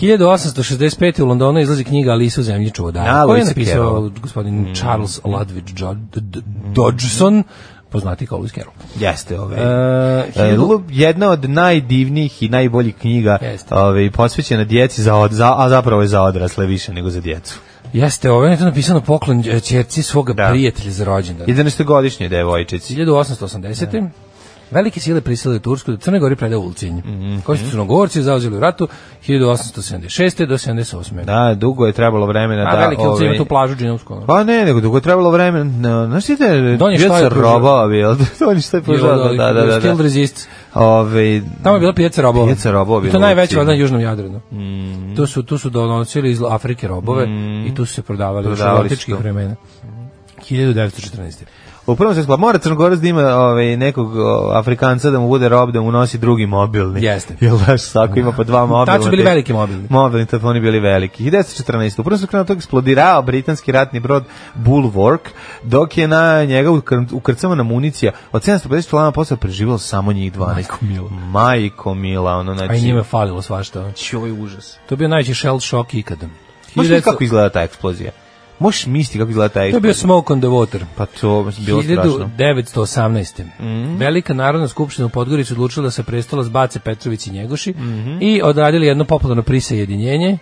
[SPEAKER 5] 1865. u Londonu izlazi knjiga Alisa u zemlji čuda.
[SPEAKER 6] Da,
[SPEAKER 5] koju je
[SPEAKER 6] Lewis
[SPEAKER 5] napisao
[SPEAKER 6] Carroll. Mm.
[SPEAKER 5] gospodin Charles Ludwig Jo- D- D- Dodgson, poznati kao Lewis Carroll.
[SPEAKER 6] Jeste ove.
[SPEAKER 5] E,
[SPEAKER 6] E,
[SPEAKER 5] hiljadu-
[SPEAKER 6] lu- jedna od najdivnijih i najboljih knjiga
[SPEAKER 5] Jeste.
[SPEAKER 6] ove, posvećena djeci, za od, za, a zapravo je za odrasle više nego za djecu.
[SPEAKER 5] Jeste, ovo je to napisano poklon e, ćerci svoga
[SPEAKER 6] Da.
[SPEAKER 5] prijatelja za rođendan.
[SPEAKER 6] 11-godišnje devojčici.
[SPEAKER 5] 1880. Velike sile prisilile Tursku da Crnoj Gori preda Ulcinj,
[SPEAKER 6] Mhm.
[SPEAKER 5] koji su Crnogorci zauzeli u ratu 1876. do 78.
[SPEAKER 6] Da, dugo je trebalo vremena
[SPEAKER 5] A
[SPEAKER 6] da...
[SPEAKER 5] veliki Ulcinj ima
[SPEAKER 6] ove-
[SPEAKER 5] tu plažu džinovsku. ono.
[SPEAKER 6] Pa ne, nego dugo je trebalo vremena. No, znaš ti da je
[SPEAKER 5] Donji
[SPEAKER 6] bio
[SPEAKER 5] šta je
[SPEAKER 6] se
[SPEAKER 5] pružao? ovaj
[SPEAKER 6] robao, bio. Donji šta je pružao,
[SPEAKER 5] Bilo
[SPEAKER 6] da, da, Ovaj, da. da.
[SPEAKER 5] Skilled resist.
[SPEAKER 6] Ove,
[SPEAKER 5] Tamo je bila pijaca robova.
[SPEAKER 6] Pijaca robova
[SPEAKER 5] I
[SPEAKER 6] bila
[SPEAKER 5] to
[SPEAKER 6] u Mm.
[SPEAKER 5] najveća
[SPEAKER 6] Ulcinju.
[SPEAKER 5] valjda na južnom Jadranu. Tu su tu su donosili iz Afrike robove i tu su se prodavali,
[SPEAKER 6] Mm. Prodavali
[SPEAKER 5] prodavali u
[SPEAKER 6] su
[SPEAKER 5] antičkih
[SPEAKER 6] to.
[SPEAKER 5] vremena. 1914.
[SPEAKER 6] U prvom svetskom ratu mora Crnogorac da ima ovaj nekog o, Afrikanca da mu bude rob da mu nosi drugi mobilni.
[SPEAKER 5] Jeste.
[SPEAKER 6] Jel daš sako ima po dva mobilna.
[SPEAKER 5] Tad su bili
[SPEAKER 6] te-
[SPEAKER 5] veliki mobilni.
[SPEAKER 6] Mobilni telefoni bili veliki. 1914. U prvom svetskom ratu eksplodirao britanski ratni brod Bulwark, dok je na njega ukr- ukrcavana municija. Od 750 lama posle preživjelo samo njih 12.
[SPEAKER 5] Majko mila.
[SPEAKER 6] Majko mila, ono znači.
[SPEAKER 5] A i njima je falilo svašta. ono.
[SPEAKER 6] Ćoj užas.
[SPEAKER 5] To je bio najveći shell shock ikada.
[SPEAKER 6] Možeš vidjeti
[SPEAKER 5] 1900
[SPEAKER 6] kako izgleda ta eksplozija? Možeš misliti kako izgleda taj
[SPEAKER 5] To je bio
[SPEAKER 6] eksplozija?
[SPEAKER 5] Smoke on the Water.
[SPEAKER 6] Pa to je bilo strašno. Mhm.
[SPEAKER 5] 1918. Velika narodna skupština u Podgorici odlučila da se prestola zbace Petrović i Njegoši
[SPEAKER 6] Mhm.
[SPEAKER 5] i odradili jedno popularno prisajedinjenje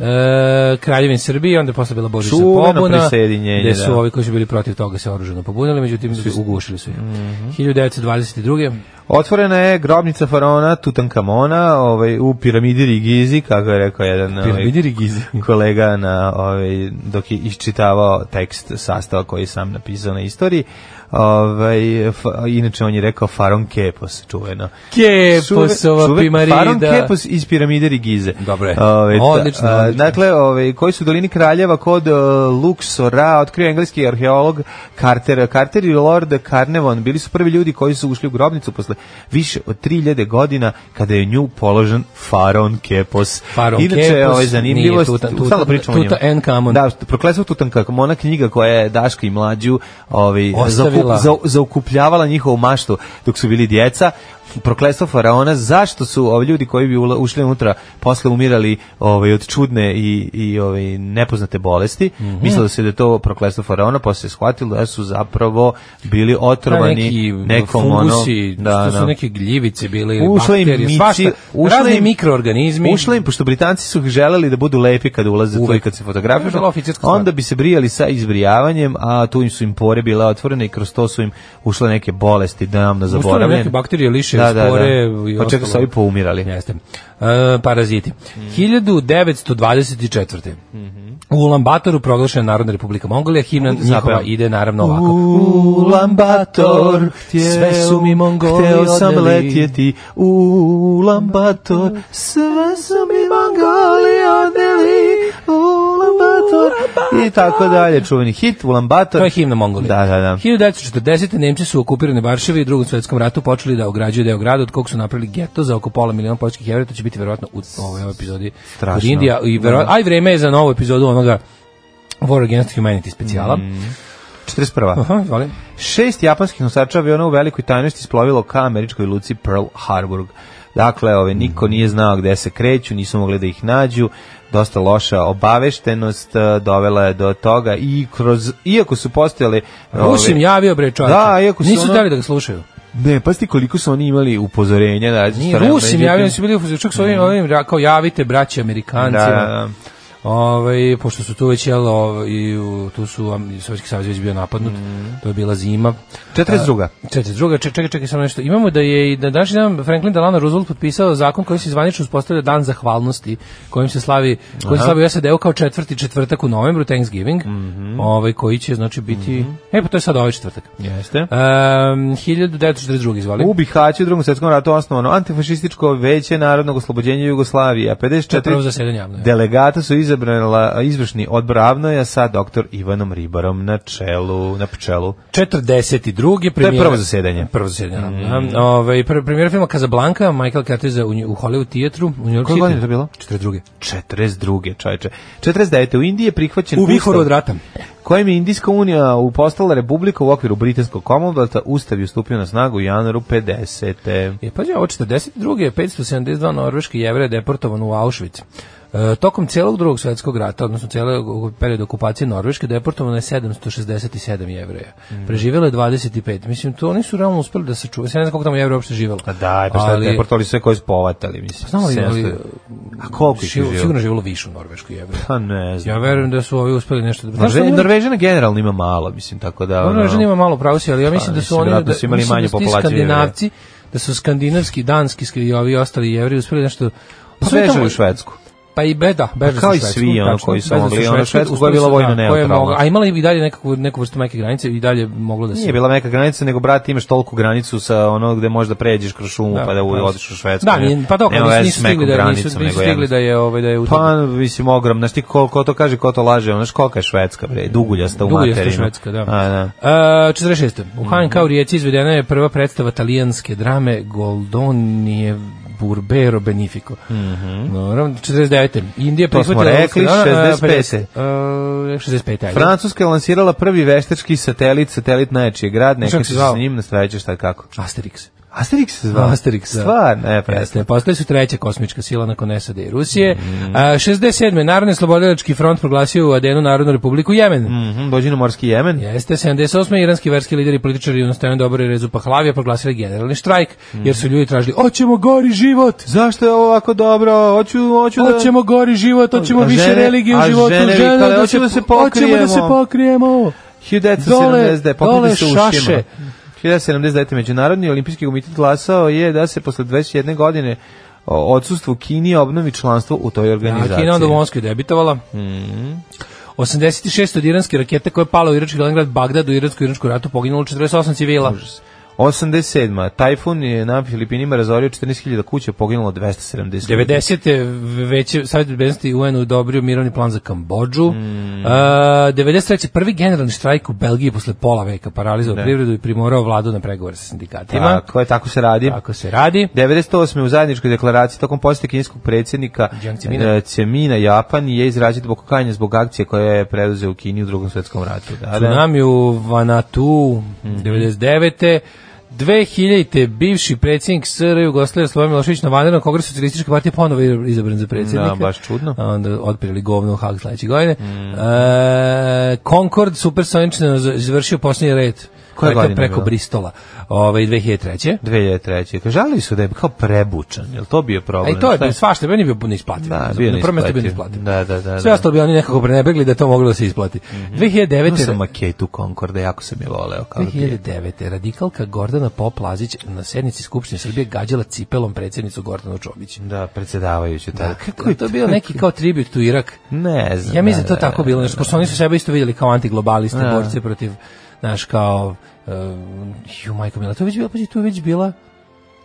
[SPEAKER 5] e, Kraljevin Srbije, onda je posle bila Božića
[SPEAKER 6] Čuveno
[SPEAKER 5] pobuna,
[SPEAKER 6] prisajedinjenje,
[SPEAKER 5] gde su
[SPEAKER 6] da.
[SPEAKER 5] ovi koji su bili protiv toga se oružano pobunili, međutim ugušili su ih.
[SPEAKER 6] Mhm.
[SPEAKER 5] 1922.
[SPEAKER 6] Otvorena je grobnica faraona Tutankamona ovaj, u piramidi Rigizi, kako je rekao jedan ovaj,
[SPEAKER 5] Piramidi Rigizi.
[SPEAKER 6] kolega na, ovaj, dok je iščitavao tekst sastava koji je sam napisao na istoriji. Ovaj, fa, inače, on je rekao Faron Kepos, čuveno.
[SPEAKER 5] Keposova
[SPEAKER 6] Čuve-
[SPEAKER 5] pimarida.
[SPEAKER 6] Faron Kepos iz piramide Rigize.
[SPEAKER 5] Dobro je.
[SPEAKER 6] Ovaj, ta-
[SPEAKER 5] Odlično,
[SPEAKER 6] a,
[SPEAKER 5] odlično.
[SPEAKER 6] Dakle, ovaj, koji su u dolini Kraljeva kod eh, Luxora, otkrio engleski arheolog Carter. Carter i Lord Carnevon bili su prvi ljudi koji su ušli u grobnicu posle više od 3000 godina kada je u nju položen Faraon Kepos.
[SPEAKER 5] Faraon
[SPEAKER 6] Inače,
[SPEAKER 5] Kepos
[SPEAKER 6] ovaj,
[SPEAKER 5] nije
[SPEAKER 6] zanimljivost,
[SPEAKER 5] Tutan- Tutan-
[SPEAKER 6] stalno pričamo o njemu.
[SPEAKER 5] Tuta Ankamon.
[SPEAKER 6] Da, proklesav Tutankamona knjiga koja je Daška i mlađu ovaj,
[SPEAKER 5] Ostavila.
[SPEAKER 6] zakup- za, zaukupljavala njihovu maštu dok su bili djeca proklestvo faraona zašto su ovi ljudi koji bi ula- ušli unutra posle umirali ovaj od čudne i i ovaj nepoznate bolesti
[SPEAKER 5] Mhm.
[SPEAKER 6] mislilo se da je to proklestvo faraona posle se shvatilo da su zapravo bili otrovani
[SPEAKER 5] neki
[SPEAKER 6] nekom ono-
[SPEAKER 5] fungusi,
[SPEAKER 6] da,
[SPEAKER 5] da, su
[SPEAKER 6] da.
[SPEAKER 5] neke gljivice bile ili
[SPEAKER 6] Ušla im
[SPEAKER 5] bakterije,
[SPEAKER 6] miči-
[SPEAKER 5] svašta,
[SPEAKER 6] ušla
[SPEAKER 5] razni
[SPEAKER 6] im-
[SPEAKER 5] mikroorganizmi.
[SPEAKER 6] Ušla im, pošto Britanci su želeli da budu lepi kada ulaze tu i
[SPEAKER 5] Uvek.
[SPEAKER 6] kad se
[SPEAKER 5] To je
[SPEAKER 6] fotografišu,
[SPEAKER 5] bila oficirska stvar.
[SPEAKER 6] onda bi se brijali sa izbrijavanjem, a tu im su im pore bile otvorene i kroz to su im ušle neke bolesti, da nam da
[SPEAKER 5] Ustavljaju
[SPEAKER 6] zaboravljene.
[SPEAKER 5] neke bakterije, liše,
[SPEAKER 6] Da, da, da.
[SPEAKER 5] spore i
[SPEAKER 6] Od čega su
[SPEAKER 5] ostalo.
[SPEAKER 6] ovi poumirali.
[SPEAKER 5] Jeste. E, paraziti. 1924.
[SPEAKER 6] Mhm.
[SPEAKER 5] U Ulambatoru proglašena Narodna republika Mongolija, himna njihova
[SPEAKER 6] Zapravo.
[SPEAKER 5] ide naravno ovako.
[SPEAKER 6] Ulambator,
[SPEAKER 5] sve su mi Mongoli
[SPEAKER 6] hteo sam
[SPEAKER 5] odneli.
[SPEAKER 6] letjeti. Ulambator, sve su mi Mongoli odneli. Ulambator. I tako dalje, čuveni hit, Ulambator.
[SPEAKER 5] To je himna Mongolije.
[SPEAKER 6] Da, da, da.
[SPEAKER 5] 1940. Nemci su u okupirane Varšavi i drugom svetskom ratu počeli da ograđuju deo grada od kog su napravili geto za oko pola miliona poljskih jevreja. To će biti verovatno u ovoj, ovoj epizodi
[SPEAKER 6] Strašno.
[SPEAKER 5] kod Indija. I verovatno, a i vreme je za novu epizodu onoga War Against Humanity specijala.
[SPEAKER 6] Mhm. 41.
[SPEAKER 5] Aha, izvoli.
[SPEAKER 6] Šest japanskih nosača aviona u velikoj tajnosti isplovilo ka američkoj luci Pearl Harbor. Dakle, ove,
[SPEAKER 5] Mhm.
[SPEAKER 6] niko nije znao gde se kreću, nisu mogli da ih nađu, dosta loša obaveštenost e, dovela je do toga i kroz, iako su postojale... ove-
[SPEAKER 5] Rusim javio bre čovječe.
[SPEAKER 6] Da, iako su
[SPEAKER 5] Nisu
[SPEAKER 6] ono-
[SPEAKER 5] hteli da ga slušaju.
[SPEAKER 6] Ne, pa sti koliko su oni imali upozorenja da
[SPEAKER 5] Nije Rusim javio, su bili u fuziju, čak su ovim, ovim ra- kao javite braći Amerikancima.
[SPEAKER 6] Da, Mm. da, da.
[SPEAKER 5] Ovaj, pošto su tu već jelo, ovaj, i u- tu su am, Sovjetski savez već bio napadnut,
[SPEAKER 6] Mm.
[SPEAKER 5] to je bila zima.
[SPEAKER 6] 42.
[SPEAKER 5] Čekaj, druga, čekaj, čekaj, čekaj samo nešto. Imamo da je i na današnji dan Franklin Delano Roosevelt potpisao zakon kojim se zvanično uspostavlja dan zahvalnosti, kojim se slavi, kojim se slavi u SAD-u kao četvrti četvrtak u novembru, Thanksgiving,
[SPEAKER 6] Mhm.
[SPEAKER 5] ovaj, koji će znači biti, e pa to je sad ovaj četvrtak.
[SPEAKER 6] Jeste.
[SPEAKER 5] Um, 1942, izvoli.
[SPEAKER 6] U Bihaću u drugom svjetskom ratu osnovano antifašističko veće narodnog oslobođenja Jugoslavije, a
[SPEAKER 5] To je prvo
[SPEAKER 6] 54
[SPEAKER 5] zasedanje javno. je.
[SPEAKER 6] Delegata su izabrala izvršni odbor Avnoja sa doktor Ivanom Ribarom na čelu, na pčelu.
[SPEAKER 5] 42.
[SPEAKER 6] To je
[SPEAKER 5] premijera-
[SPEAKER 6] prvo zasedanje.
[SPEAKER 5] Prvo zasedanje. Mm. Da. Ove, pr premijera filma Casablanca, Michael Cateza u, nju- u Hollywood teatru u New York
[SPEAKER 6] Koje
[SPEAKER 5] City.
[SPEAKER 6] godine je to bilo?
[SPEAKER 5] 42.
[SPEAKER 6] 42. čoveče. 49. U Indiji je prihvaćen
[SPEAKER 5] U vihoru
[SPEAKER 6] ustav
[SPEAKER 5] od rata.
[SPEAKER 6] kojim je Indijska unija upostala republika u okviru Britanskog Commonwealtha. Ustav je stupio na snagu u januaru 50.
[SPEAKER 5] Je, pađe, E, pa, ovo 42. je 572 norveški jevreja deportovano u Auschwitz. E, tokom celog drugog svetskog rata, odnosno celog perioda okupacije Norveške, deportovano je 767 jevreja.
[SPEAKER 6] Mm.
[SPEAKER 5] Preživjelo je 25. Mislim, to oni su realno uspeli da se čuvaju. Ja ne znam koliko tamo jevreja uopšte živjelo.
[SPEAKER 6] A da, pa šta
[SPEAKER 5] Ali- Pa
[SPEAKER 6] ali... deportovali sve koji su povatali, mislim.
[SPEAKER 5] Znamo li, ali,
[SPEAKER 6] 700. A koliko ih je
[SPEAKER 5] Živo-
[SPEAKER 6] živio?
[SPEAKER 5] Sigurno je živjelo više u Norvešku jevreja.
[SPEAKER 6] Pa ne znam.
[SPEAKER 5] Ja verujem da su ovi uspeli nešto da... Znaš šta,
[SPEAKER 6] Norve,
[SPEAKER 5] oni-
[SPEAKER 6] Norvežana generalno ima malo, mislim, tako da... ono-
[SPEAKER 5] Norvežani ima malo pravo si, ali ja mislim da su
[SPEAKER 6] Pa, mislim,
[SPEAKER 5] oni
[SPEAKER 6] vjerojatno
[SPEAKER 5] da
[SPEAKER 6] su imali
[SPEAKER 5] mislim
[SPEAKER 6] manju
[SPEAKER 5] da su ti
[SPEAKER 6] populaciju
[SPEAKER 5] Skandinavci, da su skandinavski, danski skri- i ovi ostali jevreji uspeli nešto
[SPEAKER 6] Pa
[SPEAKER 5] sve
[SPEAKER 6] sve
[SPEAKER 5] tamo-
[SPEAKER 6] u Švedsku.
[SPEAKER 5] Pa i beda, bežali
[SPEAKER 6] kao
[SPEAKER 5] su
[SPEAKER 6] i
[SPEAKER 5] Švedsku,
[SPEAKER 6] svi, ono,
[SPEAKER 5] tačno,
[SPEAKER 6] koji su
[SPEAKER 5] bežali
[SPEAKER 6] mogli,
[SPEAKER 5] u
[SPEAKER 6] ono,
[SPEAKER 5] Švedsku,
[SPEAKER 6] Švedsku koja je bila
[SPEAKER 5] uspeli su-
[SPEAKER 6] vojno
[SPEAKER 5] da, koja je
[SPEAKER 6] neutralna.
[SPEAKER 5] mogla- A imala je i dalje nekakvu, neku vrstu meke granice i dalje moglo da se...
[SPEAKER 6] Nije bila meka granica, nego brate imaš toliku granicu sa ono gde možeš da pređeš kroz šumu
[SPEAKER 5] Da,
[SPEAKER 6] pa da u-
[SPEAKER 5] pa-
[SPEAKER 6] odiš u Švedsku.
[SPEAKER 5] Da,
[SPEAKER 6] ne-
[SPEAKER 5] nije- pa dok
[SPEAKER 6] nema
[SPEAKER 5] nisu,
[SPEAKER 6] veze
[SPEAKER 5] nisu
[SPEAKER 6] s mekom
[SPEAKER 5] stigli da nisu,
[SPEAKER 6] granicom,
[SPEAKER 5] nisu
[SPEAKER 6] nego
[SPEAKER 5] stigli da je ovaj da je utopljeno.
[SPEAKER 6] Pa, mislim, ogrom, znaš ti ko, ko to kaže, ko to laže, ono, znaš kolika je Švedska, bre, duguljasta u materinu.
[SPEAKER 5] Duguljasta Švedska, da.
[SPEAKER 6] A, da. Mhm.
[SPEAKER 5] E, 46. U HNK u Rijeci izvedena je prva predstava talijanske drame Goldonije Burbero Benefico. Mm 49. Indija
[SPEAKER 6] Mhm. To smo
[SPEAKER 5] prihvatila...
[SPEAKER 6] rekli,
[SPEAKER 5] Da, da, da,
[SPEAKER 6] 65..
[SPEAKER 5] e, 65. ajde.
[SPEAKER 6] Francuska je lansirala prvi veštački satelit, satelit najjačiji grad,
[SPEAKER 5] Kako
[SPEAKER 6] neka
[SPEAKER 5] se
[SPEAKER 6] će se
[SPEAKER 5] zvao?
[SPEAKER 6] s njim nastavit će šta kako.
[SPEAKER 5] Asterix.
[SPEAKER 6] Asterix se zvao?
[SPEAKER 5] Asterix, da.
[SPEAKER 6] Stvarno, e, pa
[SPEAKER 5] Jeste, postali su treća kosmička sila nakon SAD i Rusije.
[SPEAKER 6] Mhm.
[SPEAKER 5] A, 67. Narodni slobodilački front proglasio u Adenu Narodnu republiku Jemen.
[SPEAKER 6] Mhm, dođi na morski Jemen.
[SPEAKER 5] Jeste, 78. iranski verski lideri i političari u nastojanju dobro i rezu Pahlavija proglasili generalni štrajk, jer su ljudi tražili, oćemo gori život,
[SPEAKER 6] Zašto je ovo ovako dobro? Hoću, hoću da...
[SPEAKER 5] hoćemo gori život, hoćemo
[SPEAKER 6] A
[SPEAKER 5] više
[SPEAKER 6] žene-
[SPEAKER 5] religije u
[SPEAKER 6] a
[SPEAKER 5] životu,
[SPEAKER 6] žene
[SPEAKER 5] žene
[SPEAKER 6] vikale, "Hoćemo da se
[SPEAKER 5] hoćemo da se
[SPEAKER 6] pokrijemo."
[SPEAKER 5] pokrijemo.
[SPEAKER 6] 1970.
[SPEAKER 5] dole
[SPEAKER 6] Popili se u
[SPEAKER 5] šaše.
[SPEAKER 6] šima. 1979. Međunarodni olimpijski komitet glasao je da se posle 21 godine o, odsustvu Kini obnovi članstvo u toj
[SPEAKER 5] Da,
[SPEAKER 6] organizaciji.
[SPEAKER 5] Kina onda u Moskvi debitovala.
[SPEAKER 6] Mhm.
[SPEAKER 5] 86 od iranske rakete koja je pala u irački glavni grad Bagdad u iransko-iračku ratu poginulo 48 civila.
[SPEAKER 6] 87. Tajfun je na Filipinima razorio 14.000 kuća, poginulo 270.
[SPEAKER 5] 90. već je Savjet bezbednosti UN udobrio mirovni plan za Kambodžu. Uh, 93. prvi generalni štrajk u Belgiji posle pola veka paralizao privredu i primorao vladu na pregovore sa sindikatima.
[SPEAKER 6] Tako je, tako se radi.
[SPEAKER 5] Tako se radi.
[SPEAKER 6] 98. u zajedničkoj deklaraciji tokom posete kineskog predsjednika
[SPEAKER 5] Jiang Cemina.
[SPEAKER 6] eh, Cemina Japan je izrađen zbog kokajanja zbog akcije koja je preuzeo u Kini u drugom svjetskom ratu. Da, Mhm. da.
[SPEAKER 5] Tsunami u Vanatu 99. 2000. bivši predsjednik SR Jugoslavije Slobodan Milošević na vanrednom kongresu socijalističke partije ponovo je izabran za predsjednika.
[SPEAKER 6] Da, baš čudno. Mhm.
[SPEAKER 5] A onda otpirali govno u Hag sledeće godine. E, Concord supersonično z- izvršio posljednji red.
[SPEAKER 6] Koje
[SPEAKER 5] Preko-
[SPEAKER 6] godine je
[SPEAKER 5] Preko
[SPEAKER 6] bilo?
[SPEAKER 5] Bristola. ovaj, Ove, 2003.
[SPEAKER 6] 2003. Kaže, Žalili su da je kao prebučan, jel to bio
[SPEAKER 5] A
[SPEAKER 6] problem?
[SPEAKER 5] i E, to je
[SPEAKER 6] Šta
[SPEAKER 5] bio svašta, meni je bio neisplativ.
[SPEAKER 6] Da,
[SPEAKER 5] Za-
[SPEAKER 6] bio
[SPEAKER 5] na prvom mjestu bio
[SPEAKER 6] neisplativ.
[SPEAKER 5] neisplativ.
[SPEAKER 6] Da, da, da,
[SPEAKER 5] Sve
[SPEAKER 6] da. Mhm.
[SPEAKER 5] ostalo bi oni nekako prenebegli da je to moglo da se isplati. 2009.
[SPEAKER 6] Imao sam maketu Concorde, jako sam je voleo. Kao je.
[SPEAKER 5] 2009. radikalka Gordana Pop Lazić na sednici Skupštine Srbije gađala cipelom predsjednicu Gordanu Čobić.
[SPEAKER 6] Da, predsjedavajući. Da,
[SPEAKER 5] Kako je to bio neki kao tribut u Irak?
[SPEAKER 6] Ne znam.
[SPEAKER 5] Ja mislim da
[SPEAKER 6] da,
[SPEAKER 5] to tako bilo, nešto, pošto oni su sebe isto vidjeli kao antiglobaliste,
[SPEAKER 6] Da.
[SPEAKER 5] borce protiv, znaš, kao, um, ju, majko mila, to je već bila, pazi, tu je već bila,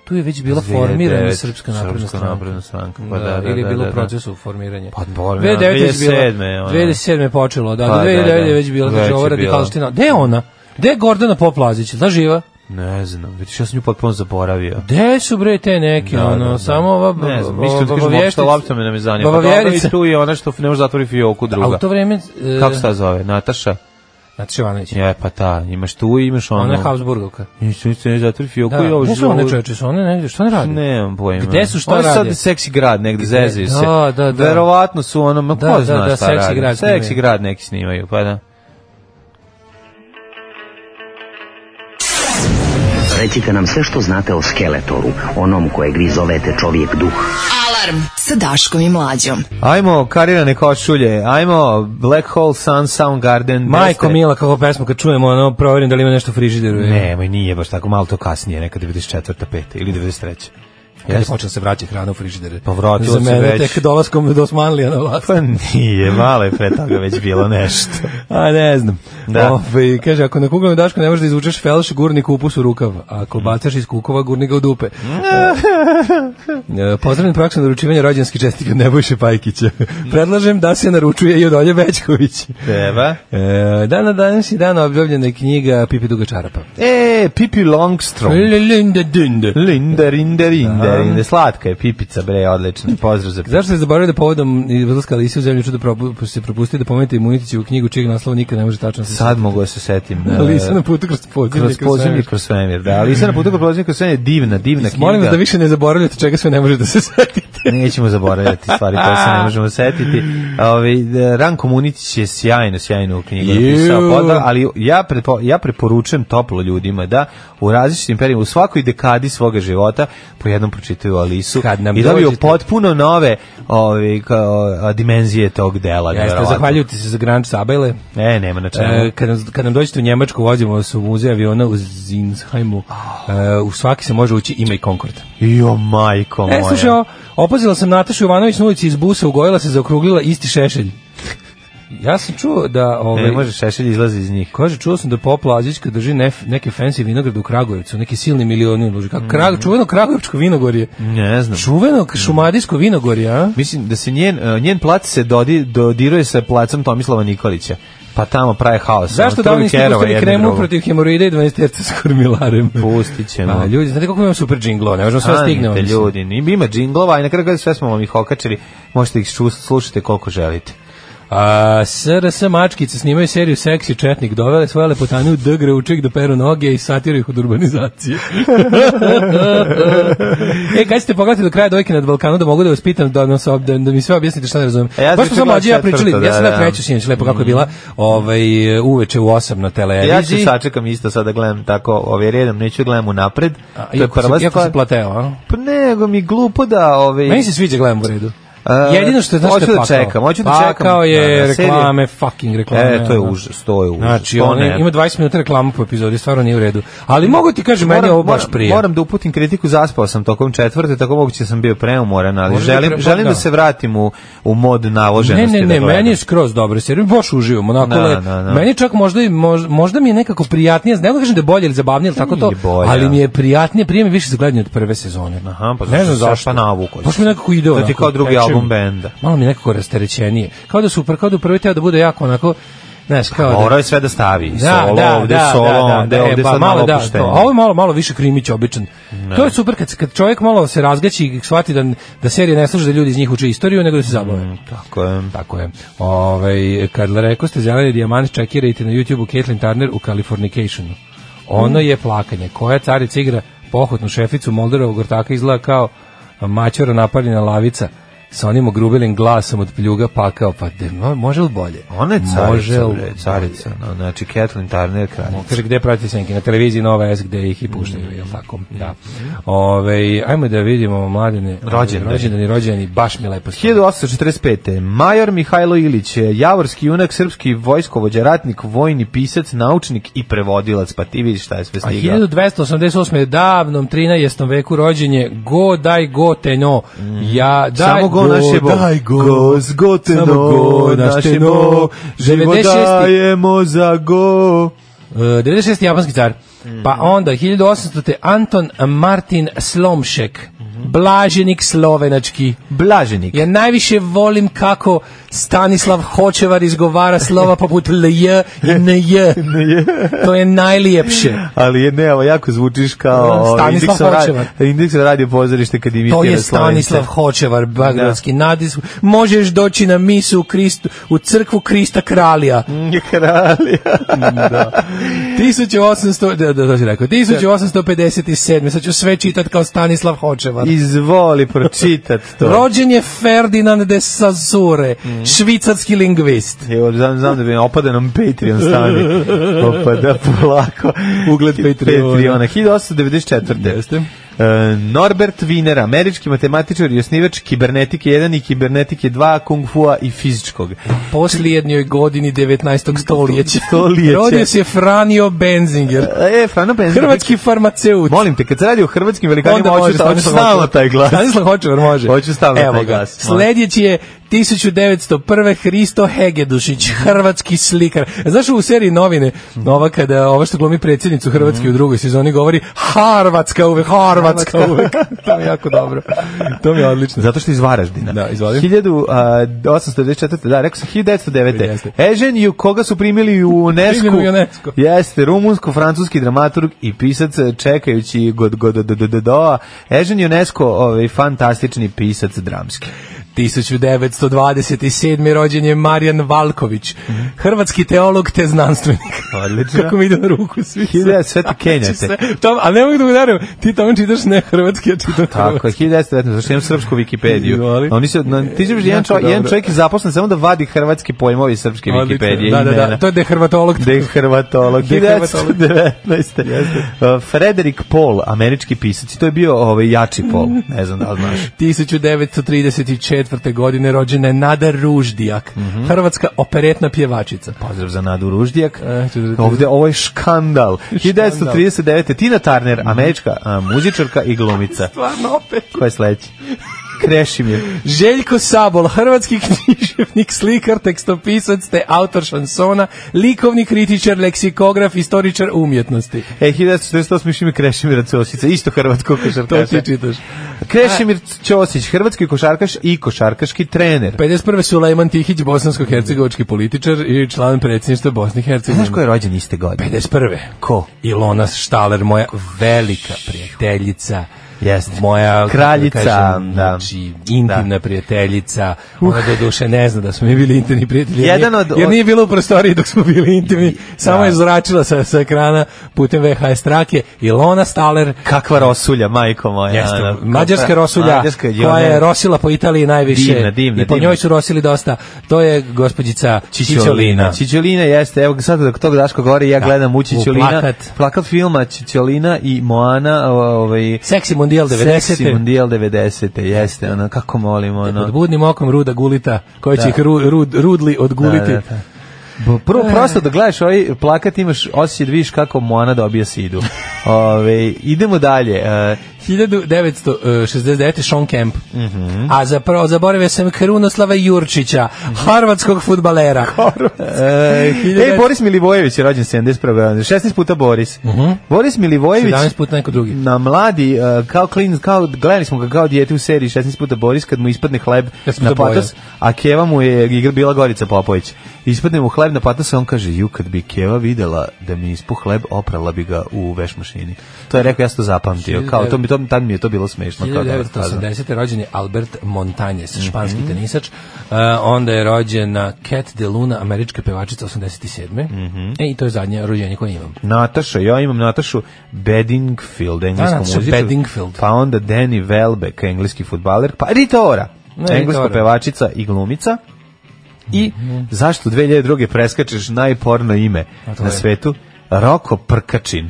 [SPEAKER 5] tu je već bila
[SPEAKER 6] 2009
[SPEAKER 5] formirana srpska napredna
[SPEAKER 6] Srpska
[SPEAKER 5] stranka.
[SPEAKER 6] napredna stranka, pa da, da,
[SPEAKER 5] ili je
[SPEAKER 6] da,
[SPEAKER 5] bilo
[SPEAKER 6] da,
[SPEAKER 5] u
[SPEAKER 6] da.
[SPEAKER 5] procesu formiranja.
[SPEAKER 6] Pa, dobro,
[SPEAKER 5] 2007.
[SPEAKER 6] 2007 je ona.
[SPEAKER 5] 2007. je počelo, da,
[SPEAKER 6] ono. Pa,
[SPEAKER 5] do
[SPEAKER 6] da,
[SPEAKER 5] 2009. je
[SPEAKER 6] da.
[SPEAKER 5] već bila,
[SPEAKER 6] Već
[SPEAKER 5] kaže,
[SPEAKER 6] je
[SPEAKER 5] ova
[SPEAKER 6] bila.
[SPEAKER 5] radikalština. Gde je ona? Gde je Gordana Poplazić? Da živa?
[SPEAKER 6] Ne znam, vidiš, ja sam nju potpuno zaboravio.
[SPEAKER 5] Gde su bre te neke,
[SPEAKER 6] Da,
[SPEAKER 5] ono,
[SPEAKER 6] da, da.
[SPEAKER 5] samo ova
[SPEAKER 6] Ne znam, mislim da kažem,
[SPEAKER 5] vještica-
[SPEAKER 6] lopta, lopta me ne me zanima. Pa dobro, i
[SPEAKER 5] Babavjerica.
[SPEAKER 6] tu je ona što ne može zatvori fioku druga.
[SPEAKER 5] A u to vreme... e,
[SPEAKER 6] Kako se ta zove? Nataša?
[SPEAKER 5] Nataša Ivanović.
[SPEAKER 6] Je, pa ta, imaš tu i imaš ono.
[SPEAKER 5] Ona je Habsburgovka.
[SPEAKER 6] Nisu, nisu, ne zatvori fioku
[SPEAKER 5] Da,
[SPEAKER 6] i ovo
[SPEAKER 5] ne su one
[SPEAKER 6] ovo-
[SPEAKER 5] čoveče, su one negdje, što ne radi?
[SPEAKER 6] Nemam pojma.
[SPEAKER 5] Gde su, šta
[SPEAKER 6] Oni sad
[SPEAKER 5] rade?
[SPEAKER 6] seksi grad negde, zezaju se.
[SPEAKER 5] Da, da, da.
[SPEAKER 6] Verovatno su ono, ma ko
[SPEAKER 5] Da, da,
[SPEAKER 6] zna
[SPEAKER 5] da,
[SPEAKER 6] šta
[SPEAKER 5] seksi
[SPEAKER 6] rade.
[SPEAKER 5] grad
[SPEAKER 6] seksi
[SPEAKER 5] snimaju.
[SPEAKER 6] grad neki snimaju, pa da.
[SPEAKER 3] Recite nam sve što znate o Skeletoru, onom kojeg vi zovete čovjek duh.
[SPEAKER 4] Alarm sa Daškom i Mlađom.
[SPEAKER 6] Ajmo, karirane košulje, ajmo, Black Hole Sun, Soundgarden.
[SPEAKER 5] Majko
[SPEAKER 6] Deste-
[SPEAKER 5] Mila, kako pesmu, kad čujemo, ono, provjerim da li ima nešto u frižideru. je.
[SPEAKER 6] Ne, moj nije baš tako, malo to kasnije, neka 94. 5. ili 93.
[SPEAKER 5] Kad je
[SPEAKER 6] Jeste.
[SPEAKER 5] počela se vraća hrana u frižidere.
[SPEAKER 6] Pa vratilo
[SPEAKER 5] Za
[SPEAKER 6] se
[SPEAKER 5] mene
[SPEAKER 6] već.
[SPEAKER 5] tek dolaskom do Osmanlija na vlast.
[SPEAKER 6] Pa nije, malo je pre toga već bilo nešto.
[SPEAKER 5] A ne znam.
[SPEAKER 6] Da.
[SPEAKER 5] Ovaj, kaže, ako na kuglom dašku ne možeš da izvučeš felš, gurni kupus u rukav. A Ako bacaš iz kukova, gurni ga u dupe. E, pozdravim praksu naručivanja rođenskih čestika od Nebojše Pajkića. Predlažem da se naručuje i od Olje Bećković.
[SPEAKER 6] Treba.
[SPEAKER 5] E, dan na danas i dan objavljena je knjiga Pipi Duga Čarapa.
[SPEAKER 6] E, Pipi Longstrom. Linda, rinda, rinda, rinda. Slatka je pipica, bre, odlična. Pozdrav za pipicu.
[SPEAKER 5] Zašto ste zaboravili da povodom izlaska Alise u zemlju čuda propu- se propustio da pomenete imunitiću u knjigu čijeg naslova nikad ne može tačno se
[SPEAKER 6] Sad mogu da se setim.
[SPEAKER 5] Alisa
[SPEAKER 6] e,
[SPEAKER 5] na putu kroz podzemlje.
[SPEAKER 6] Kroz pozemlje, kroz svemir. Da, ali na putu kroz pozemlje, kroz svemir je divna, divna knjiga.
[SPEAKER 5] Molim vas da više ne zaboravljate čega sve ne može da se setite.
[SPEAKER 6] Nećemo zaboravljati stvari koje se ne možemo setiti. Ove, Ranko Munitić je sjajno, sjajnu knjigu
[SPEAKER 5] Ju.
[SPEAKER 6] napisao, podla, ali ja, prepo, ja preporučujem toplo ljudima da u različitim periodima, u svakoj dekadi svoga života po jednom pročitaju Alisu
[SPEAKER 5] Kad nam
[SPEAKER 6] i dobiju
[SPEAKER 5] dođete.
[SPEAKER 6] potpuno nove ove, kao, a, dimenzije tog dela.
[SPEAKER 5] Jeste,
[SPEAKER 6] nevjerovatno.
[SPEAKER 5] zahvaljuju ti se za Grand Sabajle.
[SPEAKER 6] Ne, nema na čemu.
[SPEAKER 5] E, kad, nam, kad nam dođete u Njemačku, vozimo vas u muzej aviona u Zinsheimu.
[SPEAKER 6] Oh.
[SPEAKER 5] E, u svaki se može ući ima i Concord.
[SPEAKER 6] Jo, majko moja.
[SPEAKER 5] E, slušaj, o, opazila sam Natašu Jovanović na ulici iz busa, ugojila se, zaokruglila isti šešelj. Ja sam čuo da... Ovaj,
[SPEAKER 6] Ne E, može, šešelj izlazi iz njih.
[SPEAKER 5] Kaže, čuo sam da Pop Lazić kad drži nef, neke fancy vinograde u Kragujevcu, neki silni milioni luži. Kako, krag, čuveno Kragujevčko vinogorje.
[SPEAKER 6] Mm. Ne znam.
[SPEAKER 5] Čuveno šumadijsko vinogorje, a?
[SPEAKER 6] Mislim da se njen e, njen plac se dodi dodiruje sa placom Tomislava Nikolića. Pa tamo pravi haos.
[SPEAKER 5] Zašto da
[SPEAKER 6] Ono,
[SPEAKER 5] oni
[SPEAKER 6] truju
[SPEAKER 5] niste
[SPEAKER 6] kerova
[SPEAKER 5] pustili
[SPEAKER 6] jedno
[SPEAKER 5] kremu
[SPEAKER 6] drugo.
[SPEAKER 5] protiv hemoroida i 12 terca s kormilarem?
[SPEAKER 6] Pustit ćemo.
[SPEAKER 5] A, ljudi, znate kako imam super džinglo, ne možemo sve da
[SPEAKER 6] Stanite,
[SPEAKER 5] stignemo. mislim.
[SPEAKER 6] ljudi, Im- ima džinglova i na kraju kada sve smo vam ih okačili, možete ih ču- slušati koliko želite.
[SPEAKER 5] A, SRS mačkice snimaju seriju Seksi Četnik, dovele svoje lepotane u dgre uček da peru noge i satiru ih od urbanizacije. e, kad ćete pogledati do kraja dojke nad Balkanu da mogu da vas pitam da, nas, ob- da, da mi sve objasnite šta ne razumem.
[SPEAKER 6] A E, ja sam
[SPEAKER 5] Baš smo
[SPEAKER 6] juče
[SPEAKER 5] samo mlađi i ja
[SPEAKER 6] gledao
[SPEAKER 5] pričali,
[SPEAKER 6] četvrto,
[SPEAKER 5] ja sam
[SPEAKER 6] da,
[SPEAKER 5] na
[SPEAKER 6] da.
[SPEAKER 5] treću sinoć, lepo kako je bila ovaj, uveče u 8 na televiziji.
[SPEAKER 6] Ja ću sačekam isto sad da gledam tako ovaj redom, neću da gledam unapred.
[SPEAKER 5] A,
[SPEAKER 6] To je
[SPEAKER 5] iako si-
[SPEAKER 6] prva
[SPEAKER 5] iako si
[SPEAKER 6] stvar.
[SPEAKER 5] plateo, a?
[SPEAKER 6] Pa nego mi glupo da... Ovaj,
[SPEAKER 5] Meni se sviđa gledam u redu.
[SPEAKER 6] E,
[SPEAKER 5] Jedino što je znaš
[SPEAKER 6] hoću
[SPEAKER 5] što je
[SPEAKER 6] da
[SPEAKER 5] pakao.
[SPEAKER 6] čekam, hoću da čekam.
[SPEAKER 5] Pakao je
[SPEAKER 6] Da, da, serije.
[SPEAKER 5] reklame, fucking reklame.
[SPEAKER 6] E, to je
[SPEAKER 5] ono.
[SPEAKER 6] užas, to je užas.
[SPEAKER 5] Znači,
[SPEAKER 6] to
[SPEAKER 5] on
[SPEAKER 6] ne.
[SPEAKER 5] ima 20 minuta reklama po epizodi, stvarno nije u redu. Ali mogu ti kažem, meni je ovo baš prije.
[SPEAKER 6] Moram da uputim kritiku, zaspao sam tokom četvrte, tako moguće sam bio preumoran, ali
[SPEAKER 5] Možda
[SPEAKER 6] želim,
[SPEAKER 5] bi pre-
[SPEAKER 6] želim
[SPEAKER 5] da.
[SPEAKER 6] da se vratim u, u mod
[SPEAKER 5] Ne,
[SPEAKER 6] navoženosti.
[SPEAKER 5] ne, ne,
[SPEAKER 6] da gledam.
[SPEAKER 5] meni je skroz dobro, jer baš uživam, onako
[SPEAKER 6] Da,
[SPEAKER 5] le,
[SPEAKER 6] da, da.
[SPEAKER 5] meni čak možda, i mož- možda mi je nekako prijatnije, ne mogu kažem da je bolje ili zabavnije, ili tako
[SPEAKER 6] mi
[SPEAKER 5] to,
[SPEAKER 6] je bolje.
[SPEAKER 5] ali mi je prijatnije, prije mi je više za gledanje od prve sezone.
[SPEAKER 6] Aha, pa
[SPEAKER 5] ne znam
[SPEAKER 6] sad
[SPEAKER 5] zašto.
[SPEAKER 6] Pa navuko.
[SPEAKER 5] Baš mi nekako ide
[SPEAKER 6] To ti je
[SPEAKER 5] onako,
[SPEAKER 6] kao drugi
[SPEAKER 5] teče mi.
[SPEAKER 6] album benda.
[SPEAKER 5] Malo mi je nekako rasterećenije. Kao da su, kao da u prvi teo da bude jako onako, znaš, kao da,
[SPEAKER 6] Morao je sve da stavi. solo, ovde solo, onda je
[SPEAKER 5] e,
[SPEAKER 6] ovde
[SPEAKER 5] pa
[SPEAKER 6] sad malo
[SPEAKER 5] da,
[SPEAKER 6] opuštenje.
[SPEAKER 5] to. A ovo je malo, malo više krimić običan. To je super kad, kad čovjek malo se razgaći i shvati da, da serije ne služe da ljudi iz njih uče istoriju, nego da se zabave.
[SPEAKER 6] Mm, Tako je.
[SPEAKER 5] Tako je. Ove, kad rekao ste zeleni dijamant, čekirajte na YouTube-u Caitlyn Turner u Californicationu.
[SPEAKER 6] Mm.
[SPEAKER 5] Ono je plakanje. Koja carica igra pohotnu šeficu Molderovog ortaka izgleda kao maćora napaljena lavica sa onim ogrubelim glasom od pljuga pakao, pa de, mo- može li bolje?
[SPEAKER 6] Ona je
[SPEAKER 5] Može
[SPEAKER 6] carica,
[SPEAKER 5] li
[SPEAKER 6] bre, carica. no, Znači, Kathleen Turner kraljica.
[SPEAKER 5] Kaže, gde pratite senke? Na televiziji Nova S, gde ih i puštaju, jel
[SPEAKER 6] Mm.
[SPEAKER 5] tako? Da. Ove, ajmo da vidimo mladene.
[SPEAKER 6] Rođendani.
[SPEAKER 5] Rođendani, rođendani, baš mi lepo. stoji.
[SPEAKER 6] 1845. Major Mihajlo Ilić, javorski junak, srpski vojskovođa, ratnik, vojni pisac, naučnik i prevodilac, pa ti vidiš šta je sve
[SPEAKER 5] A
[SPEAKER 6] stigao.
[SPEAKER 5] 1288. davnom 13. veku rođen je Go daj go te no. Ja, daj,
[SPEAKER 6] Samo go naš je Bog.
[SPEAKER 5] daj go.
[SPEAKER 6] zgoteno,
[SPEAKER 5] Samo go naš
[SPEAKER 6] naš je
[SPEAKER 5] je Bog.
[SPEAKER 6] Bog. Život
[SPEAKER 5] 96.
[SPEAKER 6] dajemo za go.
[SPEAKER 5] E, 96. japanski car. Pa onda 1800. Anton Martin Slomšek. Blaženik slovenački.
[SPEAKER 6] Blaženik.
[SPEAKER 5] Ja najviše volim kako Stanislav Hočevar izgovara slova poput LJ i NJ. To je najlijepše.
[SPEAKER 6] Ali je ne, evo, jako zvučiš kao
[SPEAKER 5] Mm,
[SPEAKER 6] ovaj,
[SPEAKER 5] Stanislav
[SPEAKER 6] Indiksa
[SPEAKER 5] Hočevar.
[SPEAKER 6] ra- Indiksa radio pozorište kad imitira
[SPEAKER 5] To je
[SPEAKER 6] Slovence.
[SPEAKER 5] Stanislav Hočevar, Bagradski nadis. Možeš doći na misu u, Kristu, u crkvu Krista Kralja.
[SPEAKER 6] Kralja.
[SPEAKER 5] da. 1800, da, da, to si rekao, 1857. Sad ću sve čitat kao Stanislav Hočevar.
[SPEAKER 6] Izvoli pročitat to.
[SPEAKER 5] Rođen je Ferdinand de Sazure, švicarski lingvist.
[SPEAKER 6] Evo, znam, znam da bi opada nam Patreon stani. Opada polako.
[SPEAKER 5] Ugled Patreona.
[SPEAKER 6] Patreona. 1894.
[SPEAKER 5] Jeste.
[SPEAKER 6] E, Norbert Wiener, američki matematičar i osnivač kibernetike 1 i kibernetike 2, kung fua i fizičkog.
[SPEAKER 5] Posljednjoj godini 19. stoljeća.
[SPEAKER 6] Stoljeća.
[SPEAKER 5] Rodio se Franjo Benzinger,
[SPEAKER 6] E, Frano Penzin.
[SPEAKER 5] hrvatski farmaceut.
[SPEAKER 6] Molim te, kad se radi o hrvatskim velikanima,
[SPEAKER 5] Onda može
[SPEAKER 6] hoću, ta- hoću
[SPEAKER 5] Stanislav
[SPEAKER 6] stalno
[SPEAKER 5] Hočevar.
[SPEAKER 6] taj glas.
[SPEAKER 5] Stanislav Hočevar može.
[SPEAKER 6] Hoću stalno
[SPEAKER 5] Evo
[SPEAKER 6] taj
[SPEAKER 5] ga.
[SPEAKER 6] glas.
[SPEAKER 5] Sledeći je 1901. Hristo Hegedušić, hrvatski slikar. Znaš u seriji novine, nova kada ova što glumi predsjednicu Hrvatske
[SPEAKER 6] Mhm.
[SPEAKER 5] u drugoj sezoni govori Harvatska uvek, Harvatska uvek. to mi je jako dobro. To mi je odlično.
[SPEAKER 6] Zato što je iz Varaždina.
[SPEAKER 5] Da, iz Varaždina. Pa
[SPEAKER 6] 1894. Da, rekao sam 1909.
[SPEAKER 5] Jeste.
[SPEAKER 6] Eženju, koga su primili u UNESCO.
[SPEAKER 5] Primili u UNESCO.
[SPEAKER 6] Jeste, rumunsko-francuski dramaturg i pisac čekajući god god do do do do. Ežen UNESCO, ovaj fantastični pisac dramski.
[SPEAKER 5] 1927. rođen je Marijan Valković, hrvatski teolog te znanstvenik.
[SPEAKER 6] Odlično.
[SPEAKER 5] Kako mi ide na ruku svi.
[SPEAKER 6] Hiljada- sve ti
[SPEAKER 5] Znači
[SPEAKER 6] kenjate.
[SPEAKER 5] sve. Tom, a ne mogu da udarim, ti tamo čitaš ne hrvatski, ja čitam
[SPEAKER 6] Tako je, 1919, zašto imam srpsku Wikipediju.
[SPEAKER 5] Izvoli.
[SPEAKER 6] Oni se, na, ti ćeš jedan,
[SPEAKER 5] Jako
[SPEAKER 6] čo, jedan
[SPEAKER 5] dobro.
[SPEAKER 6] čovjek je zaposlen samo da vadi hrvatski pojmovi iz srpske
[SPEAKER 5] Odlično.
[SPEAKER 6] Wikipedije.
[SPEAKER 5] Da, da, da,
[SPEAKER 6] imena.
[SPEAKER 5] to je dehrvatolog.
[SPEAKER 6] De Hrvatolog.
[SPEAKER 5] De Hrvatolog.
[SPEAKER 6] 1919. Uh, Frederik Paul, američki pisac. I To je bio ovaj, jači Paul. Ne znam da li znaš.
[SPEAKER 5] 1934. godine rođena je Nada Ruždijak,
[SPEAKER 6] Mhm.
[SPEAKER 5] hrvatska operetna pjevačica. Pa,
[SPEAKER 6] Pozdrav za Nadu Ruždijak.
[SPEAKER 5] E, čudite.
[SPEAKER 6] Ovde ovo je Eh, škandal. Mhm. 1939. Tina Turner, američka a, muzičarka i glumica.
[SPEAKER 5] Stvarno opet.
[SPEAKER 6] Ko je sledeći? Krešimir.
[SPEAKER 5] Željko Sabol, hrvatski književnik, slikar, tekstopisac te autor šansona, likovni kritičar, leksikograf, istoričar umjetnosti.
[SPEAKER 6] E, 1948. išime Krešimira Ćosica, isto hrvatsko
[SPEAKER 5] To
[SPEAKER 6] košarkaša.
[SPEAKER 5] ti čitaš.
[SPEAKER 6] Krešimir Ćosić, hrvatski košarkaš i košarkaški trener.
[SPEAKER 5] 51. Sulejman Tihić, bosansko-hercegovački političar i član predsjedništva Bosne i Hercegovine.
[SPEAKER 6] Pa, Znaš ko je rođen iste godine?
[SPEAKER 5] 51.
[SPEAKER 6] Ko?
[SPEAKER 5] Ilona Štaler, moja velika prijateljica
[SPEAKER 6] Jeste.
[SPEAKER 5] moja kako
[SPEAKER 6] Kraljica,
[SPEAKER 5] kažem,
[SPEAKER 6] da. Uh.
[SPEAKER 5] znači, intimna prijateljica. Ona do duše ne zna da smo mi bili intimni prijatelji. jer
[SPEAKER 6] Jedan
[SPEAKER 5] nije-
[SPEAKER 6] od-
[SPEAKER 5] jer nije bilo u prostoriji dok smo bili intimni. Samo je zračila sa, sa ekrana putem VHS trake Ilona Staler
[SPEAKER 6] Kakva rosulja, majko moja.
[SPEAKER 5] Jeste,
[SPEAKER 6] ono,
[SPEAKER 5] mađarska
[SPEAKER 6] kakva-
[SPEAKER 5] rosulja
[SPEAKER 6] Mađarska je
[SPEAKER 5] koja
[SPEAKER 6] ona-
[SPEAKER 5] je rosila po Italiji najviše
[SPEAKER 6] Divna, divna,
[SPEAKER 5] i po
[SPEAKER 6] divna.
[SPEAKER 5] njoj su rosili dosta. To je gospođica
[SPEAKER 6] Čičolina.
[SPEAKER 5] Čičolina.
[SPEAKER 6] Čičolina jeste, evo sad dok tog Daško govori, ja
[SPEAKER 5] Da.
[SPEAKER 6] gledam u Čičolina.
[SPEAKER 5] U plakat.
[SPEAKER 6] plakat filma Čičolina i Moana, o- ovaj,
[SPEAKER 5] Seksi Mundial 90.
[SPEAKER 6] Seksi Mundial 90. Jeste, ono, kako molim,
[SPEAKER 5] Pod
[SPEAKER 6] ono.
[SPEAKER 5] budnim okom Ruda Gulita, koji će
[SPEAKER 6] Da.
[SPEAKER 5] ih ru- rud- rudli odguliti.
[SPEAKER 6] Da, da, da. Bo- Prvo,
[SPEAKER 5] E.
[SPEAKER 6] prosto da gledaš ovaj plakat, imaš osjećaj da vidiš kako Moana dobija sidu. Ove, idemo dalje. E,
[SPEAKER 5] e, 1969. Sean Kemp.
[SPEAKER 6] Mhm.
[SPEAKER 5] A zapravo zaboravio sam Krunoslava Jurčića, harvatskog futbalera. E,
[SPEAKER 6] Ej,
[SPEAKER 5] 1900
[SPEAKER 6] Boris Milivojević je rođen 71. 16 puta Boris.
[SPEAKER 5] Mhm.
[SPEAKER 6] Boris Milivojević
[SPEAKER 5] 17 puta neko drugi.
[SPEAKER 6] na mladi, e, kao klin, kao, gledali smo ga kao dijete u seriji 16 puta Boris kad mu ispadne hleb
[SPEAKER 5] Kad smo
[SPEAKER 6] na
[SPEAKER 5] ga bojali.
[SPEAKER 6] patos, a Keva mu je igra bila Gorica Popović. Ispadne mu hleb na patos, a on kaže, ju, kad bi Keva videla da mi ispu hleb, oprala bi ga u veš mašini. To je rekao, ja sam to zapamtio. Kao, to mi, to, tad mi je to bilo smešno. Kao, da, Mhm. da,
[SPEAKER 5] 1980. rođen je Albert Montanjes, španski tenisač. E, onda je rođena Cat de Luna, američka pevačica 87.
[SPEAKER 6] Mhm.
[SPEAKER 5] E, I to je zadnje rođenje koje imam.
[SPEAKER 6] Nataša, ja imam Natašu Bedingfield, englesku
[SPEAKER 5] Nataša
[SPEAKER 6] muziku.
[SPEAKER 5] Bedingfield.
[SPEAKER 6] Pa onda Danny Welbeck, engleski futbaler. Pa Rita Ora,
[SPEAKER 5] Ne,
[SPEAKER 6] engleska
[SPEAKER 5] Rita Ora.
[SPEAKER 6] pevačica i glumica. I zašto u 2002. preskačeš najporno ime
[SPEAKER 5] Mhm. to
[SPEAKER 6] na
[SPEAKER 5] je?
[SPEAKER 6] svetu? Roko Prkačin.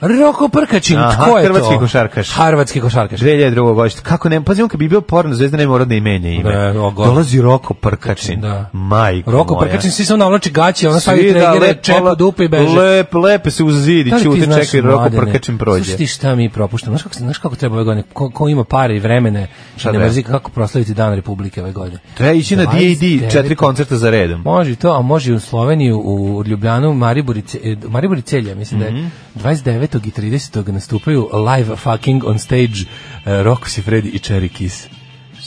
[SPEAKER 5] Roko Prkačin,
[SPEAKER 6] Aha,
[SPEAKER 5] tko je to?
[SPEAKER 6] hrvatski košarkaš.
[SPEAKER 5] Hrvatski košarkaš.
[SPEAKER 6] 2002. godište. Kako ne, pazi on kad bi bio porno zvezda ne mora da i menja ime.
[SPEAKER 5] Ne, o, go-
[SPEAKER 6] Dolazi Roko Prkačin.
[SPEAKER 5] Da.
[SPEAKER 6] Majko
[SPEAKER 5] Roko
[SPEAKER 6] moja.
[SPEAKER 5] Prkačin, svi se on navlači gaće, ona stavi
[SPEAKER 6] Svi da,
[SPEAKER 5] tregere,
[SPEAKER 6] lepo,
[SPEAKER 5] čepu dupe i beže.
[SPEAKER 6] Lep, lepe se uz zid i
[SPEAKER 5] Da li ti
[SPEAKER 6] čute,
[SPEAKER 5] znaš,
[SPEAKER 6] čekaj, Roko
[SPEAKER 5] Mladene,
[SPEAKER 6] Prkačin prođe.
[SPEAKER 5] Slušaj ti šta mi propuštamo. Znaš kako, znaš kako treba ove godine? Ko, ko ima pare i vremene, šta ne
[SPEAKER 6] treba?
[SPEAKER 5] mrzi kako proslaviti Dan Republike ove godine?
[SPEAKER 6] Treba ići na DAD,
[SPEAKER 5] 29.
[SPEAKER 6] četiri koncerta za redom.
[SPEAKER 5] Može i to, a može i u Sloveniju, u Ljubljanu, Maribor i, Ce, e, Maribor i Celje, mislim da je 29. i 30. nastupaju live fucking on stage uh, Rokus i Freddy i Cherry Kiss.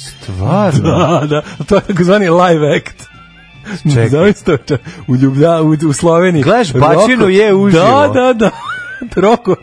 [SPEAKER 6] Stvarno?
[SPEAKER 5] Da, da, to je takozvani live act.
[SPEAKER 6] Čekaj.
[SPEAKER 5] Zavisno, u, Ljublja, u, u Sloveniji.
[SPEAKER 6] Gledaš,
[SPEAKER 5] Roko-
[SPEAKER 6] Bačinu je uživo.
[SPEAKER 5] Da, da, da. Roko,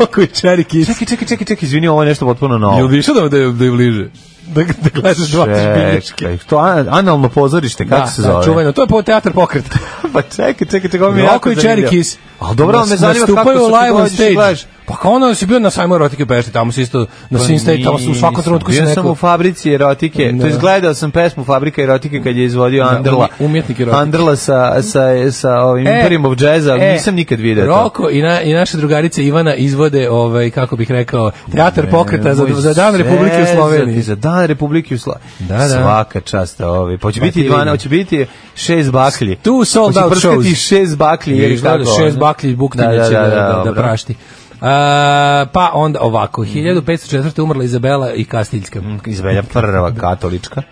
[SPEAKER 5] Roko i Cherry Kiss.
[SPEAKER 6] Čekaj, čekaj, čekaj, čekaj, izvini, ovo je nešto potpuno
[SPEAKER 5] Jel
[SPEAKER 6] novo.
[SPEAKER 5] bi išao da, da, je- da je bliže? Da, da gledaš dva bilješke.
[SPEAKER 6] Čekaj, to an- analno pozorište, kako
[SPEAKER 5] pa, Da,
[SPEAKER 6] se zove?
[SPEAKER 5] da, čuveno. To je po teatar pokret.
[SPEAKER 6] Pa čekaj, čekaj, čekaj, ovo mi je jako
[SPEAKER 5] Roko i
[SPEAKER 6] zanimljivo.
[SPEAKER 5] Cherry Kiss.
[SPEAKER 6] Ali dobro, ali me zanima kako
[SPEAKER 5] Nastupaju
[SPEAKER 6] su ti
[SPEAKER 5] live on
[SPEAKER 6] dođeš i
[SPEAKER 5] stage.
[SPEAKER 6] gledaš.
[SPEAKER 5] Pa kao ono si bio na sajmu erotike u Pešti, tamo si isto, na pa, stage, tamo su u svakom
[SPEAKER 6] Nisam.
[SPEAKER 5] trenutku si
[SPEAKER 6] Bio sam u
[SPEAKER 5] neko...
[SPEAKER 6] fabrici erotike, to
[SPEAKER 5] Da.
[SPEAKER 6] jest gledao sam pesmu Fabrika erotike kad je izvodio Andrla.
[SPEAKER 5] umje- umjetnik erotike.
[SPEAKER 6] Andrla sa, sa, sa ovim
[SPEAKER 5] E,
[SPEAKER 6] Imperium of Jazz, ali
[SPEAKER 5] e,
[SPEAKER 6] nisam nikad video to.
[SPEAKER 5] Roko i, na, i naša drugarica Ivana izvode, ovaj, kako bih rekao, teatar pokreta za,
[SPEAKER 6] Nemoj
[SPEAKER 5] za dan Republike u
[SPEAKER 6] zezati,
[SPEAKER 5] Sloveniji.
[SPEAKER 6] Za dan Republike u Sloveniji.
[SPEAKER 5] Da, da.
[SPEAKER 6] Svaka čast ovi. Pa će
[SPEAKER 5] Pa
[SPEAKER 6] biti
[SPEAKER 5] ti
[SPEAKER 6] 12,
[SPEAKER 5] vidi.
[SPEAKER 6] hoće biti šest baklji.
[SPEAKER 5] Tu sold out
[SPEAKER 6] Hoće prskati
[SPEAKER 5] shows.
[SPEAKER 6] šest baklji ili
[SPEAKER 5] Izgleda
[SPEAKER 6] kako.
[SPEAKER 5] Šest
[SPEAKER 6] ono?
[SPEAKER 5] baklji buktinje će da, da, da prašti. A, pa onda ovako, 1504. umrla Izabela i Kastiljska.
[SPEAKER 6] Izbelja prva katolička.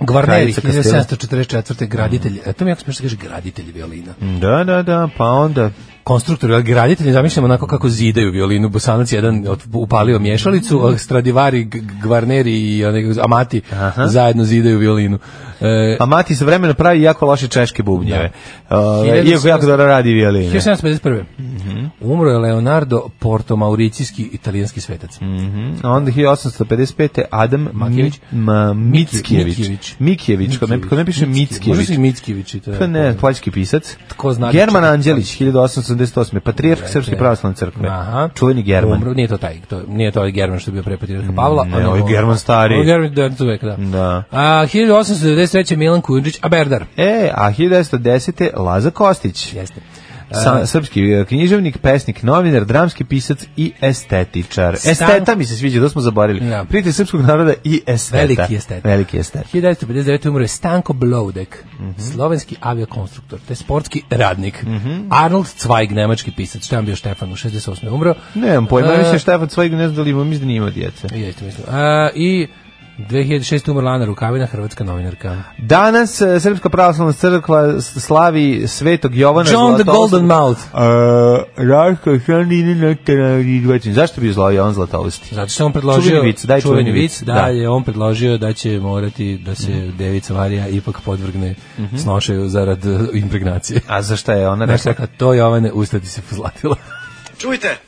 [SPEAKER 5] Gvarneri,
[SPEAKER 6] Mm, Kraljica Mm. Kastila.
[SPEAKER 5] 1744. graditelj, e, to mi je jako smiješno kaže graditelj violina.
[SPEAKER 6] Da, da, da, pa onda...
[SPEAKER 5] Konstruktor, ali graditelj, zamišljam onako kako zidaju violinu, Bosanac jedan od- upalio mješalicu, a Stradivari, G- Gvarneri i one- Amati zajedno zidaju violinu. E,
[SPEAKER 6] A pa mati se vremena pravi jako loše češke bubnjeve. Ove,
[SPEAKER 5] 1700
[SPEAKER 6] iako jako dobro radi violine.
[SPEAKER 5] 1751.
[SPEAKER 6] Mhm.
[SPEAKER 5] Umro je Leonardo Portomauricijski italijanski svetac.
[SPEAKER 6] A Onda 1855. Adam
[SPEAKER 5] Makijević?
[SPEAKER 6] Mi- Ma- Mickijević.
[SPEAKER 5] Mickijević.
[SPEAKER 6] Mickijević. Kod me, kod me piše
[SPEAKER 5] Možda
[SPEAKER 6] Mickijević.
[SPEAKER 5] si Mickijević. i to je-
[SPEAKER 6] Pa ne, poljski pisac.
[SPEAKER 5] Tko zna
[SPEAKER 6] German
[SPEAKER 5] čak-
[SPEAKER 6] Anđelić, 1888. Patrijarh Srpske pravoslavne crkve.
[SPEAKER 5] Aha.
[SPEAKER 6] Čuveni German.
[SPEAKER 5] Umro, nije to taj, to, nije to ovaj German što je bio pre Patriarha Pavla.
[SPEAKER 6] Ne,
[SPEAKER 5] a nego-
[SPEAKER 6] ovaj German stariji.
[SPEAKER 5] Ovaj German, da, to uvek, da.
[SPEAKER 6] Da.
[SPEAKER 5] A, 1893. Milan Kujundžić, a Berdar.
[SPEAKER 6] E, a 1910. Laza Kostić.
[SPEAKER 5] Jeste.
[SPEAKER 6] Sa, srpski e, književnik, pesnik, novinar, dramski pisac i estetičar.
[SPEAKER 5] Stan-
[SPEAKER 6] Esteta mi se sviđa, to smo zaboravili.
[SPEAKER 5] Da.
[SPEAKER 6] Prijatelj srpskog naroda i esteta.
[SPEAKER 5] Veliki estet.
[SPEAKER 6] Veliki estet.
[SPEAKER 5] 1959. umro je Stanko Blodek,
[SPEAKER 6] Mhm.
[SPEAKER 5] slovenski aviokonstruktor, te sportski radnik. Arnold Zweig, nemački pisac, što je on bio Štefan, u 68. umro.
[SPEAKER 6] Nemam pojma,
[SPEAKER 5] E,
[SPEAKER 6] više Štefan Cvajg ne znam da li ima, mislim da nije imao djece.
[SPEAKER 5] Jeste, mislim. A, I 2006. umrla Ana Rukavina, hrvatska novinarka.
[SPEAKER 6] Danas e, Srpska pravoslavna crkva s- slavi svetog Jovana
[SPEAKER 5] John the
[SPEAKER 6] Zlatoustog.
[SPEAKER 5] Golden Mouth.
[SPEAKER 6] Raško Šanine Nektararidovačin. Zašto bi zlao Jovan Zlatousti?
[SPEAKER 5] Zato što je on predložio
[SPEAKER 6] Čuveni vic, daj čuveni vic, da. Mhm.
[SPEAKER 5] da, je on predložio da će morati da se devica Marija ipak podvrgne snošaju zarad eh, impregnacije.
[SPEAKER 6] A zašto je ona
[SPEAKER 5] Znaš
[SPEAKER 6] rekla?
[SPEAKER 5] rekla, to Jovane, ustati se pozlatila.
[SPEAKER 7] Čujte,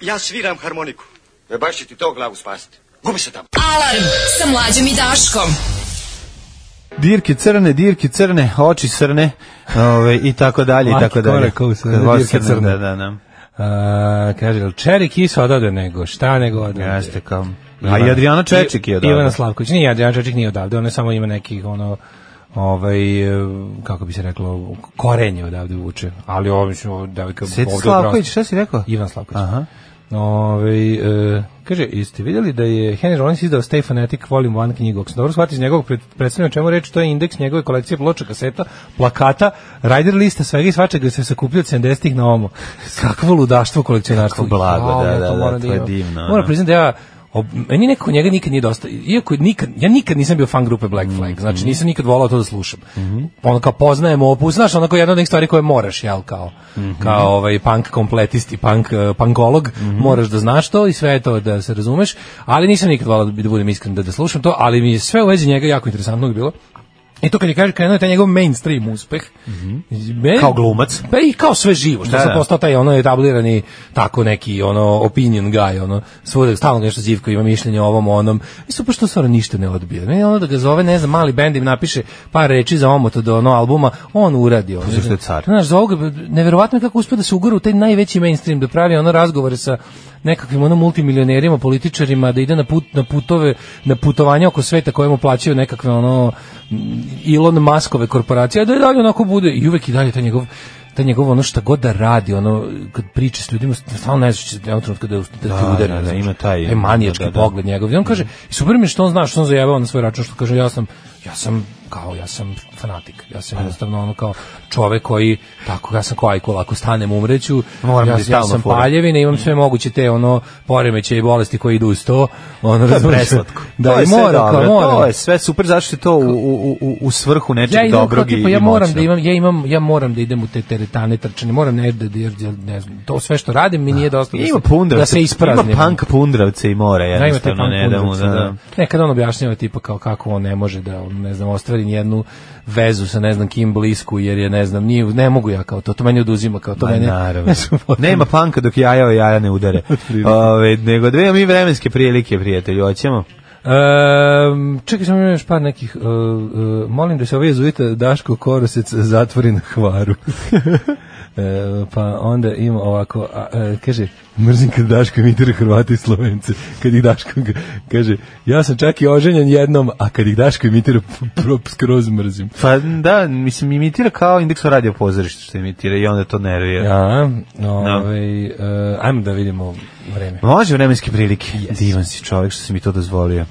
[SPEAKER 7] ja sviram harmoniku. E baš će ti to glavu spasiti. Gubi se tamo.
[SPEAKER 4] Alarm sa mlađom i Daškom.
[SPEAKER 6] Dirke crne, dirke crne, oči crne, ove, i tako dalje, i
[SPEAKER 5] Laki
[SPEAKER 6] tako dalje.
[SPEAKER 5] korak, ovo crne,
[SPEAKER 6] Ovo
[SPEAKER 5] dirke crne.
[SPEAKER 6] Da, da, da.
[SPEAKER 5] A, kaže, jel Čeri Kis odavde nego? Šta nego odavde?
[SPEAKER 6] Jeste kao... A i Adriana Čečik je odavde.
[SPEAKER 5] Ivana Slavković. Nije, Adriana Čečik nije odavde, ona samo ima nekih, ono, ovaj, e, kako bi se reklo, korenje odavde vuče. Ali ovo, mislim, ovo devojka...
[SPEAKER 6] Sjeti
[SPEAKER 5] ovde u
[SPEAKER 6] Slavković,
[SPEAKER 5] prostoru.
[SPEAKER 6] šta si rekao?
[SPEAKER 5] Ivan Slavković.
[SPEAKER 6] Aha.
[SPEAKER 5] Ovaj, e, kaže, jeste vidjeli da je Henry Rollins izdao Stay Fanatic Volume 1 knjigu? Ako sam dobro shvatio iz njegovog pred- predstavljanja o čemu je reč, to je indeks njegove kolekcije ploča, kaseta, plakata, rider lista, svega i svačega se sakupljio od 70-ih na ovom. Kakvo ludaštvo kolekcionarstvo.
[SPEAKER 6] Kako blago,
[SPEAKER 5] Jao,
[SPEAKER 6] da,
[SPEAKER 5] ja
[SPEAKER 6] da, da,
[SPEAKER 5] moram
[SPEAKER 6] to je
[SPEAKER 5] imam.
[SPEAKER 6] divno,
[SPEAKER 5] Moram
[SPEAKER 6] ono.
[SPEAKER 5] priznati da ja Ob, meni neko njega nikad nije dosta. Iako nikad, ja nikad nisam bio fan grupe Black Flag. Znači nisam nikad volao to da slušam. Ono kao poznajem opus, znaš, onako jedna od onih stvari koje moraš, jel, kao, kao ovaj punk kompletist i punk, eh, punkolog, moraš da znaš to i sve je to da se razumeš, ali nisam nikad volao da, bi- da budem iskren da, da slušam to, ali mi je sve u vezi njega jako interesantno bilo. I to kad je kaže krenuo je taj njegov mainstream uspeh. meni-
[SPEAKER 6] Kao glumac.
[SPEAKER 5] pa i kao sve živo, što
[SPEAKER 6] Da,
[SPEAKER 5] sam
[SPEAKER 6] da.
[SPEAKER 5] postao taj ono etablirani tako neki ono opinion guy, ono svuda stalno nešto zivko ima mišljenje o ovom onom. I super što stvarno ništa ne odbije. Meni ono da ga zove, ne znam, mali bend im napiše par reči za omot do ono albuma, on uradi ono.
[SPEAKER 6] zato što Pa je car.
[SPEAKER 5] Znaš, za ovoga, neverovatno je kako uspio da se ugura u taj najveći mainstream, da pravi ono razgovore sa nekakvim ono multimilionerima, političarima, da ide na, put, na putove, na putovanja oko sveta koje mu plaćaju nekakve ono mm, Elon Muskove korporacije, a da i dalje onako bude i uvek i dalje taj njegov taj njegov ono šta god da radi, ono kad priča s ljudima, stvarno ne znaš da je trenutka da, da, da ti udari.
[SPEAKER 6] da, da,
[SPEAKER 5] znaš.
[SPEAKER 6] ima taj-
[SPEAKER 5] E, manijački
[SPEAKER 6] da, da, da.
[SPEAKER 5] pogled njegov. I on kaže, i super mi je što on zna, što on zajebao na svoj račun, što kaže, ja sam, ja sam kao, ja sam fanatik, ja sam jednostavno ono kao čovek koji, tako, ja sam kao ajkul, ako stanem umreću,
[SPEAKER 6] Moram
[SPEAKER 5] ja,
[SPEAKER 6] biti
[SPEAKER 5] ja
[SPEAKER 6] stalno
[SPEAKER 5] sam
[SPEAKER 6] fora.
[SPEAKER 5] paljevina, imam
[SPEAKER 6] Mm.
[SPEAKER 5] sve moguće te ono poremeće i bolesti koji idu uz to, ono
[SPEAKER 6] To je
[SPEAKER 5] razumeš?
[SPEAKER 6] preslatko.
[SPEAKER 5] Da,
[SPEAKER 6] to je
[SPEAKER 5] i
[SPEAKER 6] sve
[SPEAKER 5] mora, kao,
[SPEAKER 6] dobro,
[SPEAKER 5] mora.
[SPEAKER 6] to je sve super, zašto je to u, u, u, u svrhu nečeg
[SPEAKER 5] Ja imam kao
[SPEAKER 6] dobrog i,
[SPEAKER 5] tipa,
[SPEAKER 6] i
[SPEAKER 5] ja moram
[SPEAKER 6] moćnog.
[SPEAKER 5] da imam, ja imam, ja moram da idem u te teretane trčanje, moram ne da, da, da ne znam, to sve što radim mi nije dosta da,
[SPEAKER 6] Ima
[SPEAKER 5] se,
[SPEAKER 6] pundravce,
[SPEAKER 5] da se ispraznim.
[SPEAKER 6] Ima punk pundravce i more,
[SPEAKER 5] Da, ima taj
[SPEAKER 6] jednostavno,
[SPEAKER 5] punk
[SPEAKER 6] ne da mu,
[SPEAKER 5] Kunduz,
[SPEAKER 6] da, da.
[SPEAKER 5] Nekad on objašnjava tipa kao kako on ne može da, on, ne znam, ostvari jednu vezu sa ne znam kim blisku, jer je, ne znam, nije, ne mogu ja kao to, to meni oduzima kao to.
[SPEAKER 6] Ma,
[SPEAKER 5] meni,
[SPEAKER 6] naravno. Nema panka dok jaja o jaja ne udare. Ove, nego dve mi vremenske prilike, prijatelji, hoćemo.
[SPEAKER 5] Ehm, čekaj, samo imam još par nekih. e, e, molim da se ovaj jezuita Daško Korosec zatvori na hvaru. E, pa onda ima ovako, a, e, kaže, mrzim kad Daško imitira Hrvate i Slovence, kad ih Daško, g- kaže, ja sam čak i oženjen jednom, a kad ih Daško imitira, p- pro- skroz mrzim.
[SPEAKER 6] Pa da, mislim, imitira kao indeks radio pozorište što imitira i onda to nervira.
[SPEAKER 5] Ja, ovaj, e, ajmo da vidimo vreme.
[SPEAKER 6] Može vremenske prilike. Divan si čovjek što si mi to dozvolio.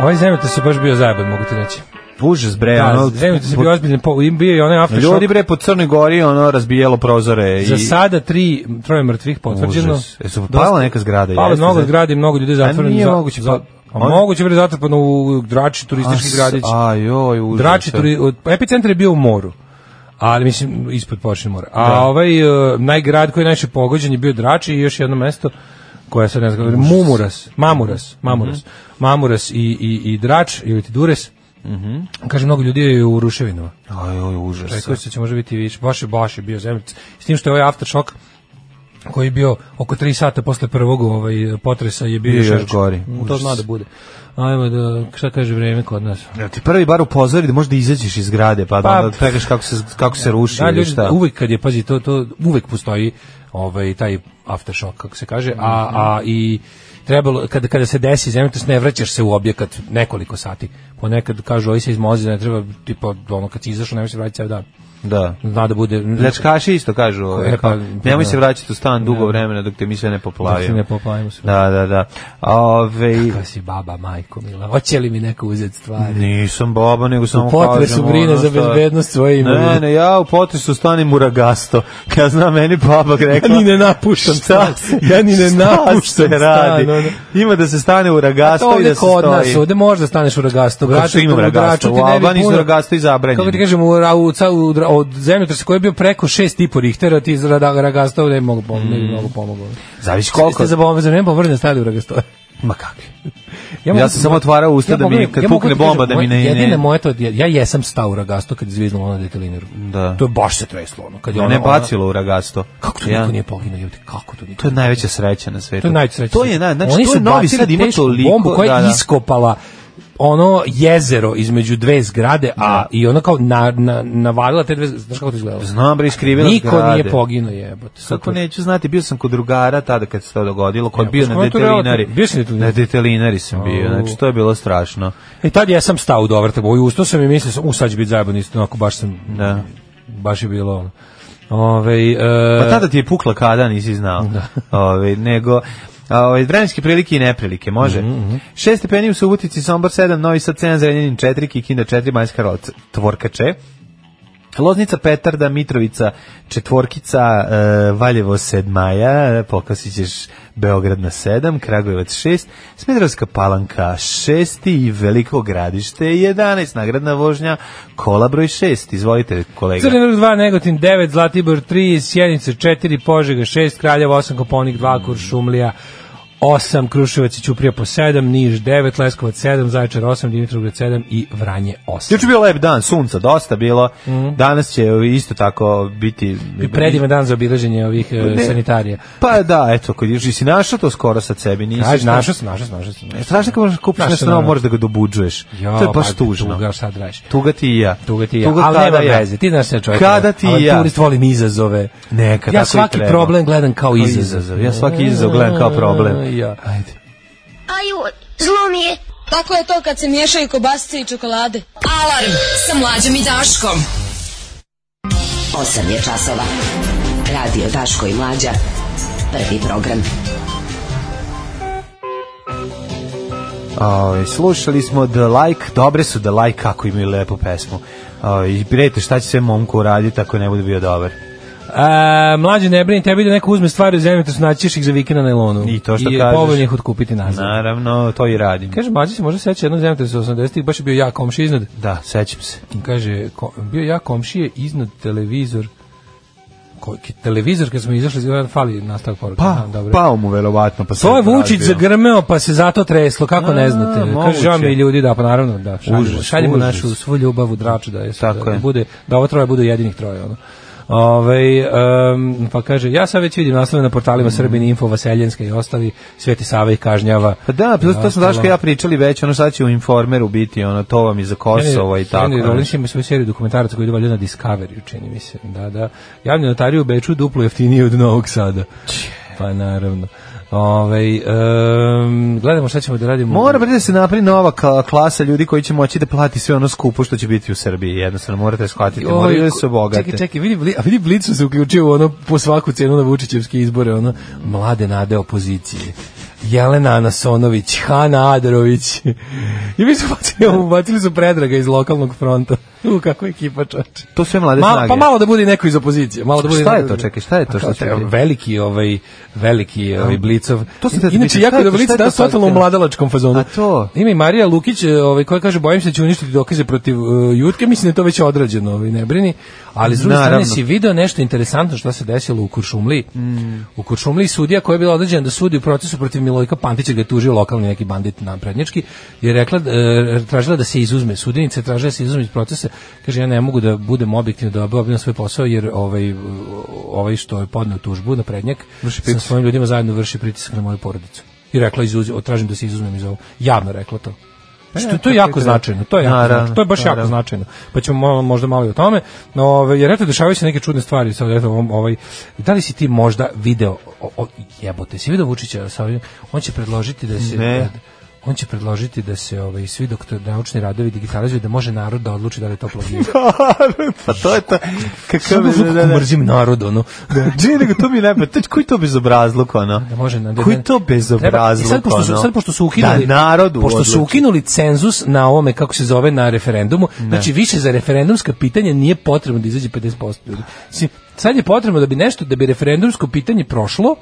[SPEAKER 5] Ovaj zemljate su baš bio zajeban, mogu ti reći.
[SPEAKER 6] Užas bre, ono...
[SPEAKER 5] Da, zemljate su bio ozbiljno, po- bio je i onaj aftershock.
[SPEAKER 6] Ljudi bre po Crnoj Gori ono razbijelo prozore
[SPEAKER 5] Za
[SPEAKER 6] i
[SPEAKER 5] sada tri, troje mrtvih potvrđeno.
[SPEAKER 6] Užas. Jesu pala neka zgrada,
[SPEAKER 5] Pala
[SPEAKER 6] jeste,
[SPEAKER 5] mnogo
[SPEAKER 6] zato-
[SPEAKER 5] zgrada i mnogo ljudi zatvoreno.
[SPEAKER 6] nije
[SPEAKER 5] za-
[SPEAKER 6] moguće,
[SPEAKER 5] za-
[SPEAKER 6] pa-
[SPEAKER 5] a
[SPEAKER 6] on-
[SPEAKER 5] moguće bre zatrpano u Drači turistički
[SPEAKER 6] As-
[SPEAKER 5] gradić.
[SPEAKER 6] Ajoj, užas. e.
[SPEAKER 5] Drači turi, od, epicentar je bio u moru. Ali mislim ispod površine mora. A ovaj e, najgrad koji je najviše pogođen je bio Drači i još jedno mesto koje sad ne znam, kako- Mumuras, Mamuras,
[SPEAKER 6] Mhm.
[SPEAKER 5] Mamuras. Mamuras i, i, i Drač ili ti Dures.
[SPEAKER 6] Mhm.
[SPEAKER 5] Kaže, mnogo ljudi je u ruševinama.
[SPEAKER 6] Ajoj, užas.
[SPEAKER 5] Rekao se da će možda biti više. Baš je, baš je bio zemljic. S tim što je ovaj aftershock koji je bio oko 3 sata posle prvog ovaj potresa je bio
[SPEAKER 6] Bio još
[SPEAKER 5] jači.
[SPEAKER 6] gori.
[SPEAKER 5] Mm, To
[SPEAKER 6] Užas.
[SPEAKER 5] zna da bude. Ajmo da šta kaže vreme kod nas.
[SPEAKER 6] Ja ti prvi bar upozori da možda izađeš iz grade,
[SPEAKER 5] Pa,
[SPEAKER 6] pa, da onda pregaš kako se, kako se ruši
[SPEAKER 5] Da,
[SPEAKER 6] ili
[SPEAKER 5] ljudi,
[SPEAKER 6] šta.
[SPEAKER 5] uvek kad je pazi to to uvek postoji ovaj taj aftershock kako se kaže, a
[SPEAKER 6] Mhm.
[SPEAKER 5] a i trebalo kada kada se desi zemljotres ne vraćaš se u objekat nekoliko sati. Ponekad kažu oj se izmozi, ne treba tipa ono kad si izašao ne možeš se vratiti ceo dan.
[SPEAKER 6] Da.
[SPEAKER 5] Zna da bude
[SPEAKER 6] Pljačkaši isto kažu, ovaj,
[SPEAKER 5] E, pa,
[SPEAKER 6] kao, nemoj
[SPEAKER 5] da.
[SPEAKER 6] se vraćati u stan dugo vremena dok te mi sve ne
[SPEAKER 5] Da se
[SPEAKER 6] poplavio.
[SPEAKER 5] ne poplavimo se.
[SPEAKER 6] Da, da, da. Ove,
[SPEAKER 5] Kakva si baba, majko mila, hoće li mi neko uzeti stvari?
[SPEAKER 6] nisam baba, nego Mhm. samo
[SPEAKER 5] U
[SPEAKER 6] kažem. ono,
[SPEAKER 5] potresu brine za
[SPEAKER 6] šta-
[SPEAKER 5] bezbednost svoje imovine.
[SPEAKER 6] Ne, ne, ja u potresu stanem u ragasto. Ja znam, meni baba rekla...
[SPEAKER 5] Ja ni ne napuštam
[SPEAKER 6] Šta?
[SPEAKER 5] stan. Ja ni ne
[SPEAKER 6] šta
[SPEAKER 5] napuštam
[SPEAKER 6] se
[SPEAKER 5] stan,
[SPEAKER 6] radi.
[SPEAKER 5] ono. Pa
[SPEAKER 6] Ima da se stane u
[SPEAKER 5] To
[SPEAKER 6] ragasto i
[SPEAKER 5] ovde
[SPEAKER 6] da se
[SPEAKER 5] kod nas,
[SPEAKER 6] stoji.
[SPEAKER 5] ovde možda staneš u ragastu.
[SPEAKER 6] Kako što ima u ragasto? U Albaniji su ragasto i zabranjeni.
[SPEAKER 5] Kako ti kažem, u, ra- u, ca- u, dra- od zemljotresa koji je bio preko 6,5 Richtera, ti iz rada- ragasta ovde ne bi mogu pomogu. Mm.
[SPEAKER 6] Zavisi
[SPEAKER 5] Koliko? Ste za bombe, za nema bombe, stavili u ragasto.
[SPEAKER 6] Ma kakvi. Ja,
[SPEAKER 5] mogu-
[SPEAKER 6] sam samo otvarao usta da mi,
[SPEAKER 5] mogu-
[SPEAKER 6] kad
[SPEAKER 5] ja mogu
[SPEAKER 6] pukne
[SPEAKER 5] ti kažem,
[SPEAKER 6] bomba, da mi
[SPEAKER 5] moje-
[SPEAKER 6] ne...
[SPEAKER 5] Jedina
[SPEAKER 6] ne
[SPEAKER 5] moja to, ja, ja jesam stao u ragastu kad je zviznulo na detelinaru.
[SPEAKER 6] Da.
[SPEAKER 5] To je baš se treslo. Ono, kad je
[SPEAKER 6] ne,
[SPEAKER 5] ona,
[SPEAKER 6] ne
[SPEAKER 5] ona-
[SPEAKER 6] bacilo u ragasto.
[SPEAKER 5] Kako to
[SPEAKER 6] Ja-
[SPEAKER 5] niko nije poginuo, jebote, kako to niko
[SPEAKER 6] To je najveća sreća na svetu.
[SPEAKER 5] To je najsrećnije.
[SPEAKER 6] To je, naj, znači,
[SPEAKER 5] Oni
[SPEAKER 6] to
[SPEAKER 5] su
[SPEAKER 6] je novi
[SPEAKER 5] bacili
[SPEAKER 6] sad ima
[SPEAKER 5] tešku
[SPEAKER 6] toliko...
[SPEAKER 5] bombu koja je
[SPEAKER 6] da, da.
[SPEAKER 5] iskopala ono jezero između dve zgrade, a i ona kao na, na, navalila te dve zgrade. Znaš kako to izgledalo?
[SPEAKER 6] Znam, bre, iskrivila
[SPEAKER 5] Niko
[SPEAKER 6] zgrade.
[SPEAKER 5] nije poginuo jebote. Sad
[SPEAKER 6] Kako
[SPEAKER 5] to-
[SPEAKER 6] neću znati, bio sam kod drugara tada kad se to dogodilo, kod
[SPEAKER 5] Evo,
[SPEAKER 6] bio
[SPEAKER 5] pa
[SPEAKER 6] na
[SPEAKER 5] skoro je to
[SPEAKER 6] detelinari.
[SPEAKER 5] relativno. Bio si na detelinari?
[SPEAKER 6] Na detelinari sam bio,
[SPEAKER 5] Au.
[SPEAKER 6] znači to je bilo strašno.
[SPEAKER 5] I E, tad ja sam stao u dovrte, u usto sam i mislio sam, u sad će biti zajeban isto, onako baš sam,
[SPEAKER 6] Da.
[SPEAKER 5] baš je bilo ono. Ovaj, e, Ove,
[SPEAKER 6] Pa tada ti je pukla kada, nisi znao. Ove, nego, a, ove, vremenske prilike i neprilike, može? 6 stepeni u Subotici, Sombor 7, Novi Sad 7, Zrenjanin 4, Kikinda 4, Majska Karlovac Tvorkače. Loznica Petarda, Mitrovica Četvorkica, e, Valjevo Sedmaja, e, Pokasit ćeš Beograd na 7, Kragujevac 6, Smedrovska palanka 6 i Veliko gradište 11, nagradna vožnja, kola broj 6, izvolite kolega.
[SPEAKER 5] Crni vrh 2, Negotin 9, Zlatibor 3, Sjenica 4, Požega 6, Kraljevo 8, Koponik 2, Kuršumlija 8, Kruševac i Ćuprija po 7, Niš 9, Leskovac 7, Zaječar 8, Dimitrovgrad 7 i Vranje 8.
[SPEAKER 6] Juče je bio lep dan, sunca dosta bilo. Danas će isto tako biti
[SPEAKER 5] Mhm. I predivan dan za obilaženje ovih e,
[SPEAKER 6] Ne.
[SPEAKER 5] sanitarija.
[SPEAKER 6] Pa da, eto, kad ješ- jesi našao to skoro sa sebi, nisi.
[SPEAKER 5] Kaži, našao sam, našao sam, našao sam.
[SPEAKER 6] E, Strašno kad možeš kupiš
[SPEAKER 5] Našao
[SPEAKER 6] nešto
[SPEAKER 5] sam,
[SPEAKER 6] novo,
[SPEAKER 5] da.
[SPEAKER 6] moraš da ga dobuđuješ.
[SPEAKER 5] Jo,
[SPEAKER 6] to je baš
[SPEAKER 5] pa,
[SPEAKER 6] tužno.
[SPEAKER 5] tuga, šta da radiš?
[SPEAKER 6] Tuga ti i ja.
[SPEAKER 5] Tuga ti i ja, ali
[SPEAKER 6] kada
[SPEAKER 5] nema
[SPEAKER 6] ja.
[SPEAKER 5] veze, ti znaš se čovjek.
[SPEAKER 6] Kada ti i ja.
[SPEAKER 5] Avanturist volim izazove.
[SPEAKER 6] Neka,
[SPEAKER 5] ja
[SPEAKER 6] tako i
[SPEAKER 5] svaki
[SPEAKER 6] treba.
[SPEAKER 5] problem gledam kao
[SPEAKER 6] Kao
[SPEAKER 5] izazov. E,
[SPEAKER 6] izazov. Ja svaki izazov gledam kao problem.
[SPEAKER 5] Ja.
[SPEAKER 6] Ajde.
[SPEAKER 2] Aju, zlo mi je.
[SPEAKER 8] Tako je to kad se miješaju kobasice i čokolade.
[SPEAKER 4] Alarm sa mlađom i Daškom.
[SPEAKER 9] 8 je časova. Radio Daško i Mlađa. Prvi program.
[SPEAKER 6] Ovaj, slušali smo The Like, dobre su The Like, kako imaju lepu pesmu. Ovaj, I prijatelj, šta će sve momku uraditi ako ne bude bio dobar?
[SPEAKER 5] A, mlađe ne brini, tebi da neko uzme stvari u zemlju, to su naći ćeš ih za vikend na nailonu.
[SPEAKER 6] I to što
[SPEAKER 5] I
[SPEAKER 6] kažeš.
[SPEAKER 5] povoljno ih otkupiti nazad.
[SPEAKER 6] Naravno, to i radim.
[SPEAKER 5] Kaže, mlađe se možda seća jednog zemljotresa 80-ih, baš je bio ja komšija iznad.
[SPEAKER 6] Da, sećam se.
[SPEAKER 5] Kaže, ko, bio ja komšije iznad televizor. Ko, ki- televizor kad smo izašli, zove, fali nastavak poruka.
[SPEAKER 6] Pa,
[SPEAKER 5] Aha, dobro.
[SPEAKER 6] pao mu verovatno. Pa se
[SPEAKER 5] To je ovaj Vučić
[SPEAKER 6] razbio.
[SPEAKER 5] zagrmeo, pa se zato treslo, kako
[SPEAKER 6] A,
[SPEAKER 5] ne znate.
[SPEAKER 6] moguće.
[SPEAKER 5] Kaže, žao mi je ljudi, da, pa naravno, da, šaljemo,
[SPEAKER 6] Užas,
[SPEAKER 5] šaljemo
[SPEAKER 6] užas.
[SPEAKER 5] našu svu ljubav u draču, da, je, sad,
[SPEAKER 6] Tako
[SPEAKER 5] da,
[SPEAKER 6] je.
[SPEAKER 5] bude, da ovo troje bude jedinih troje, ono. Ove, em, pa kaže, ja sad već vidim naslove na portalima
[SPEAKER 6] Mm.
[SPEAKER 5] Srbini Info, Vaseljenska i ostavi, Sveti Sava ih kažnjava.
[SPEAKER 6] Pa da, plus to smo
[SPEAKER 5] Ostalo.
[SPEAKER 6] Daško i ja pričali već, ono šta će u Informeru biti, ono to vam i za Kosovo i tako.
[SPEAKER 5] Henry
[SPEAKER 6] ono.
[SPEAKER 5] Rollins ima svoju seriju dokumentaraca koji je valjda na Discovery, čini mi se. Da, da. Javni notari u Beču duplo jeftinije od Novog Sada. Pa naravno. Ove, gledamo šta ćemo da radimo.
[SPEAKER 6] Mora bre da se napravi nova kla- klasa ljudi koji će moći da plati sve ono skupo što će biti u Srbiji. Jednostavno morate shvatiti,
[SPEAKER 5] Joj,
[SPEAKER 6] moraju da
[SPEAKER 5] ko-
[SPEAKER 6] se obogate.
[SPEAKER 5] Čekaj, čekaj, vidi, Bli- a vidi Blicu se uključio u ono po svaku cenu na Vučićevske izbore, ono mlade nade opozicije. Jelena Anasonović, Hana Adrović. I mi su bacili, bacili su predraga iz lokalnog fronta. U, kako ekipa čoče.
[SPEAKER 6] To sve mlade
[SPEAKER 5] Ma,
[SPEAKER 6] snage.
[SPEAKER 5] pa malo da bude i neko iz opozicije, malo da bude.
[SPEAKER 6] Šta je
[SPEAKER 5] neko-
[SPEAKER 6] to, čekaj, šta je to
[SPEAKER 5] Pa
[SPEAKER 6] što
[SPEAKER 5] kao
[SPEAKER 6] će
[SPEAKER 5] te-
[SPEAKER 6] biti?
[SPEAKER 5] Veliki ovaj veliki ovaj blicov.
[SPEAKER 6] To sam te
[SPEAKER 5] Inače
[SPEAKER 6] pitao, šta
[SPEAKER 5] jako
[SPEAKER 6] je
[SPEAKER 5] da
[SPEAKER 6] to, šta
[SPEAKER 5] blic
[SPEAKER 6] je to
[SPEAKER 5] da totalno u
[SPEAKER 6] sad?
[SPEAKER 5] mladalačkom fazonu.
[SPEAKER 6] A to?
[SPEAKER 5] Ima i Marija Lukić, e, ovaj koja kaže bojim se da će uništiti dokaze protiv e, Jutke, mislim da je to već odrađeno, ovaj ne brini. Ali s druge strane
[SPEAKER 6] Naravno.
[SPEAKER 5] si Znači, video nešto interesantno što se desilo u Kuršumliji. U Kuršumliji sudija koja je bila određena da sudi u procesu protiv Milojka Pantića gde je tužio lokalni neki bandit naprednjački je rekla e, tražila da se izuzme sudjenica je tražila da se izuzme iz procesa. Kaže ja ne mogu da budem objektivno da obavljam svoj posao jer ovaj ovaj što je podneo tužbu na prednjak
[SPEAKER 6] Vrši
[SPEAKER 5] sa
[SPEAKER 6] pritisak.
[SPEAKER 5] svojim ljudima zajedno vrši pritisak na moju porodicu. I rekla izuzim, tražim da se izuzmem iz ovog. Javno rekla to. Što to je jako značajno, to je jako
[SPEAKER 6] Naravno,
[SPEAKER 5] značajno, to je baš jako
[SPEAKER 6] naravno.
[SPEAKER 5] značajno. Pa ćemo malo, možda malo i o tome. No, ovaj, jer eto dešavaju se neke čudne stvari sad eto ovom, ovaj da li si ti možda video o, o, jebote, si video Vučića sa ovim on će predložiti da se
[SPEAKER 6] Ne.
[SPEAKER 5] on će predložiti da se ovaj svi doktor naučni radovi digitalizuju da može narod da odluči da li je to plagijat.
[SPEAKER 6] pa to je to. Kako
[SPEAKER 5] Samo
[SPEAKER 6] mi
[SPEAKER 5] znaš
[SPEAKER 6] da,
[SPEAKER 5] kako
[SPEAKER 6] da, da.
[SPEAKER 5] mrzim narod ono.
[SPEAKER 6] Da, čini nego to mi je najbolje. To- Koji to bezobrazluk, ono?
[SPEAKER 5] da može na
[SPEAKER 6] Koji to bezobrazluk,
[SPEAKER 5] Treba- i sad pošto su,
[SPEAKER 6] ono?
[SPEAKER 5] sad pošto su ukinuli
[SPEAKER 6] Da narodu
[SPEAKER 5] pošto su
[SPEAKER 6] odluči.
[SPEAKER 5] ukinuli cenzus na ovome kako se zove na referendumu znači više za referendumska pitanja nije potrebno da izađe 50% ljudi Mislim, sad je potrebno da bi nešto da bi referendumsko pitanje prošlo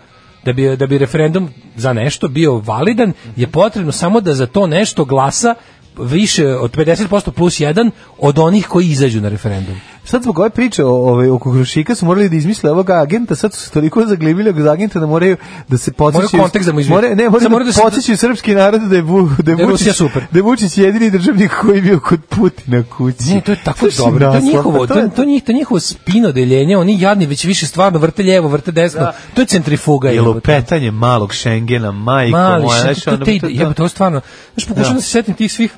[SPEAKER 5] da bi, da bi referendum za nešto bio validan je potrebno samo da za to nešto glasa više od 50% plus 1 od onih koji izađu na referendum.
[SPEAKER 6] Sad zbog ove priče o, ove, o kukurušika su morali da izmisle ovog agenta, sad su se toliko zaglibili ovog agenta da moraju da se podsjećaju...
[SPEAKER 5] Moraju kontekst da mu izvinu.
[SPEAKER 6] More- ne, moraju
[SPEAKER 5] Sad
[SPEAKER 6] da,
[SPEAKER 5] moraju da se-
[SPEAKER 6] podsjećaju srpski narod da je, bu, da je,
[SPEAKER 5] Da je Rusija
[SPEAKER 6] Vučić,
[SPEAKER 5] super.
[SPEAKER 6] da je Vučić jedini državnik koji je bio kod Putina kući.
[SPEAKER 5] Ne, Znači, to je tako
[SPEAKER 6] Slušaj,
[SPEAKER 5] dobro. To je
[SPEAKER 6] naslov,
[SPEAKER 5] njihovo,
[SPEAKER 6] pa
[SPEAKER 5] to, je- to, njih, to je njihovo spino deljenje, oni jadni već više stvarno vrte lijevo, vrte desno. To je centrifuga.
[SPEAKER 6] je
[SPEAKER 5] jebote.
[SPEAKER 6] lupetanje malog Šengena, majko
[SPEAKER 5] Mali,
[SPEAKER 6] moja,
[SPEAKER 5] šta
[SPEAKER 6] znaš,
[SPEAKER 5] ti to
[SPEAKER 6] ono
[SPEAKER 5] te
[SPEAKER 6] bi
[SPEAKER 5] ide, jebote, ovo stvarno, znaš, pokušam da se setim tih svih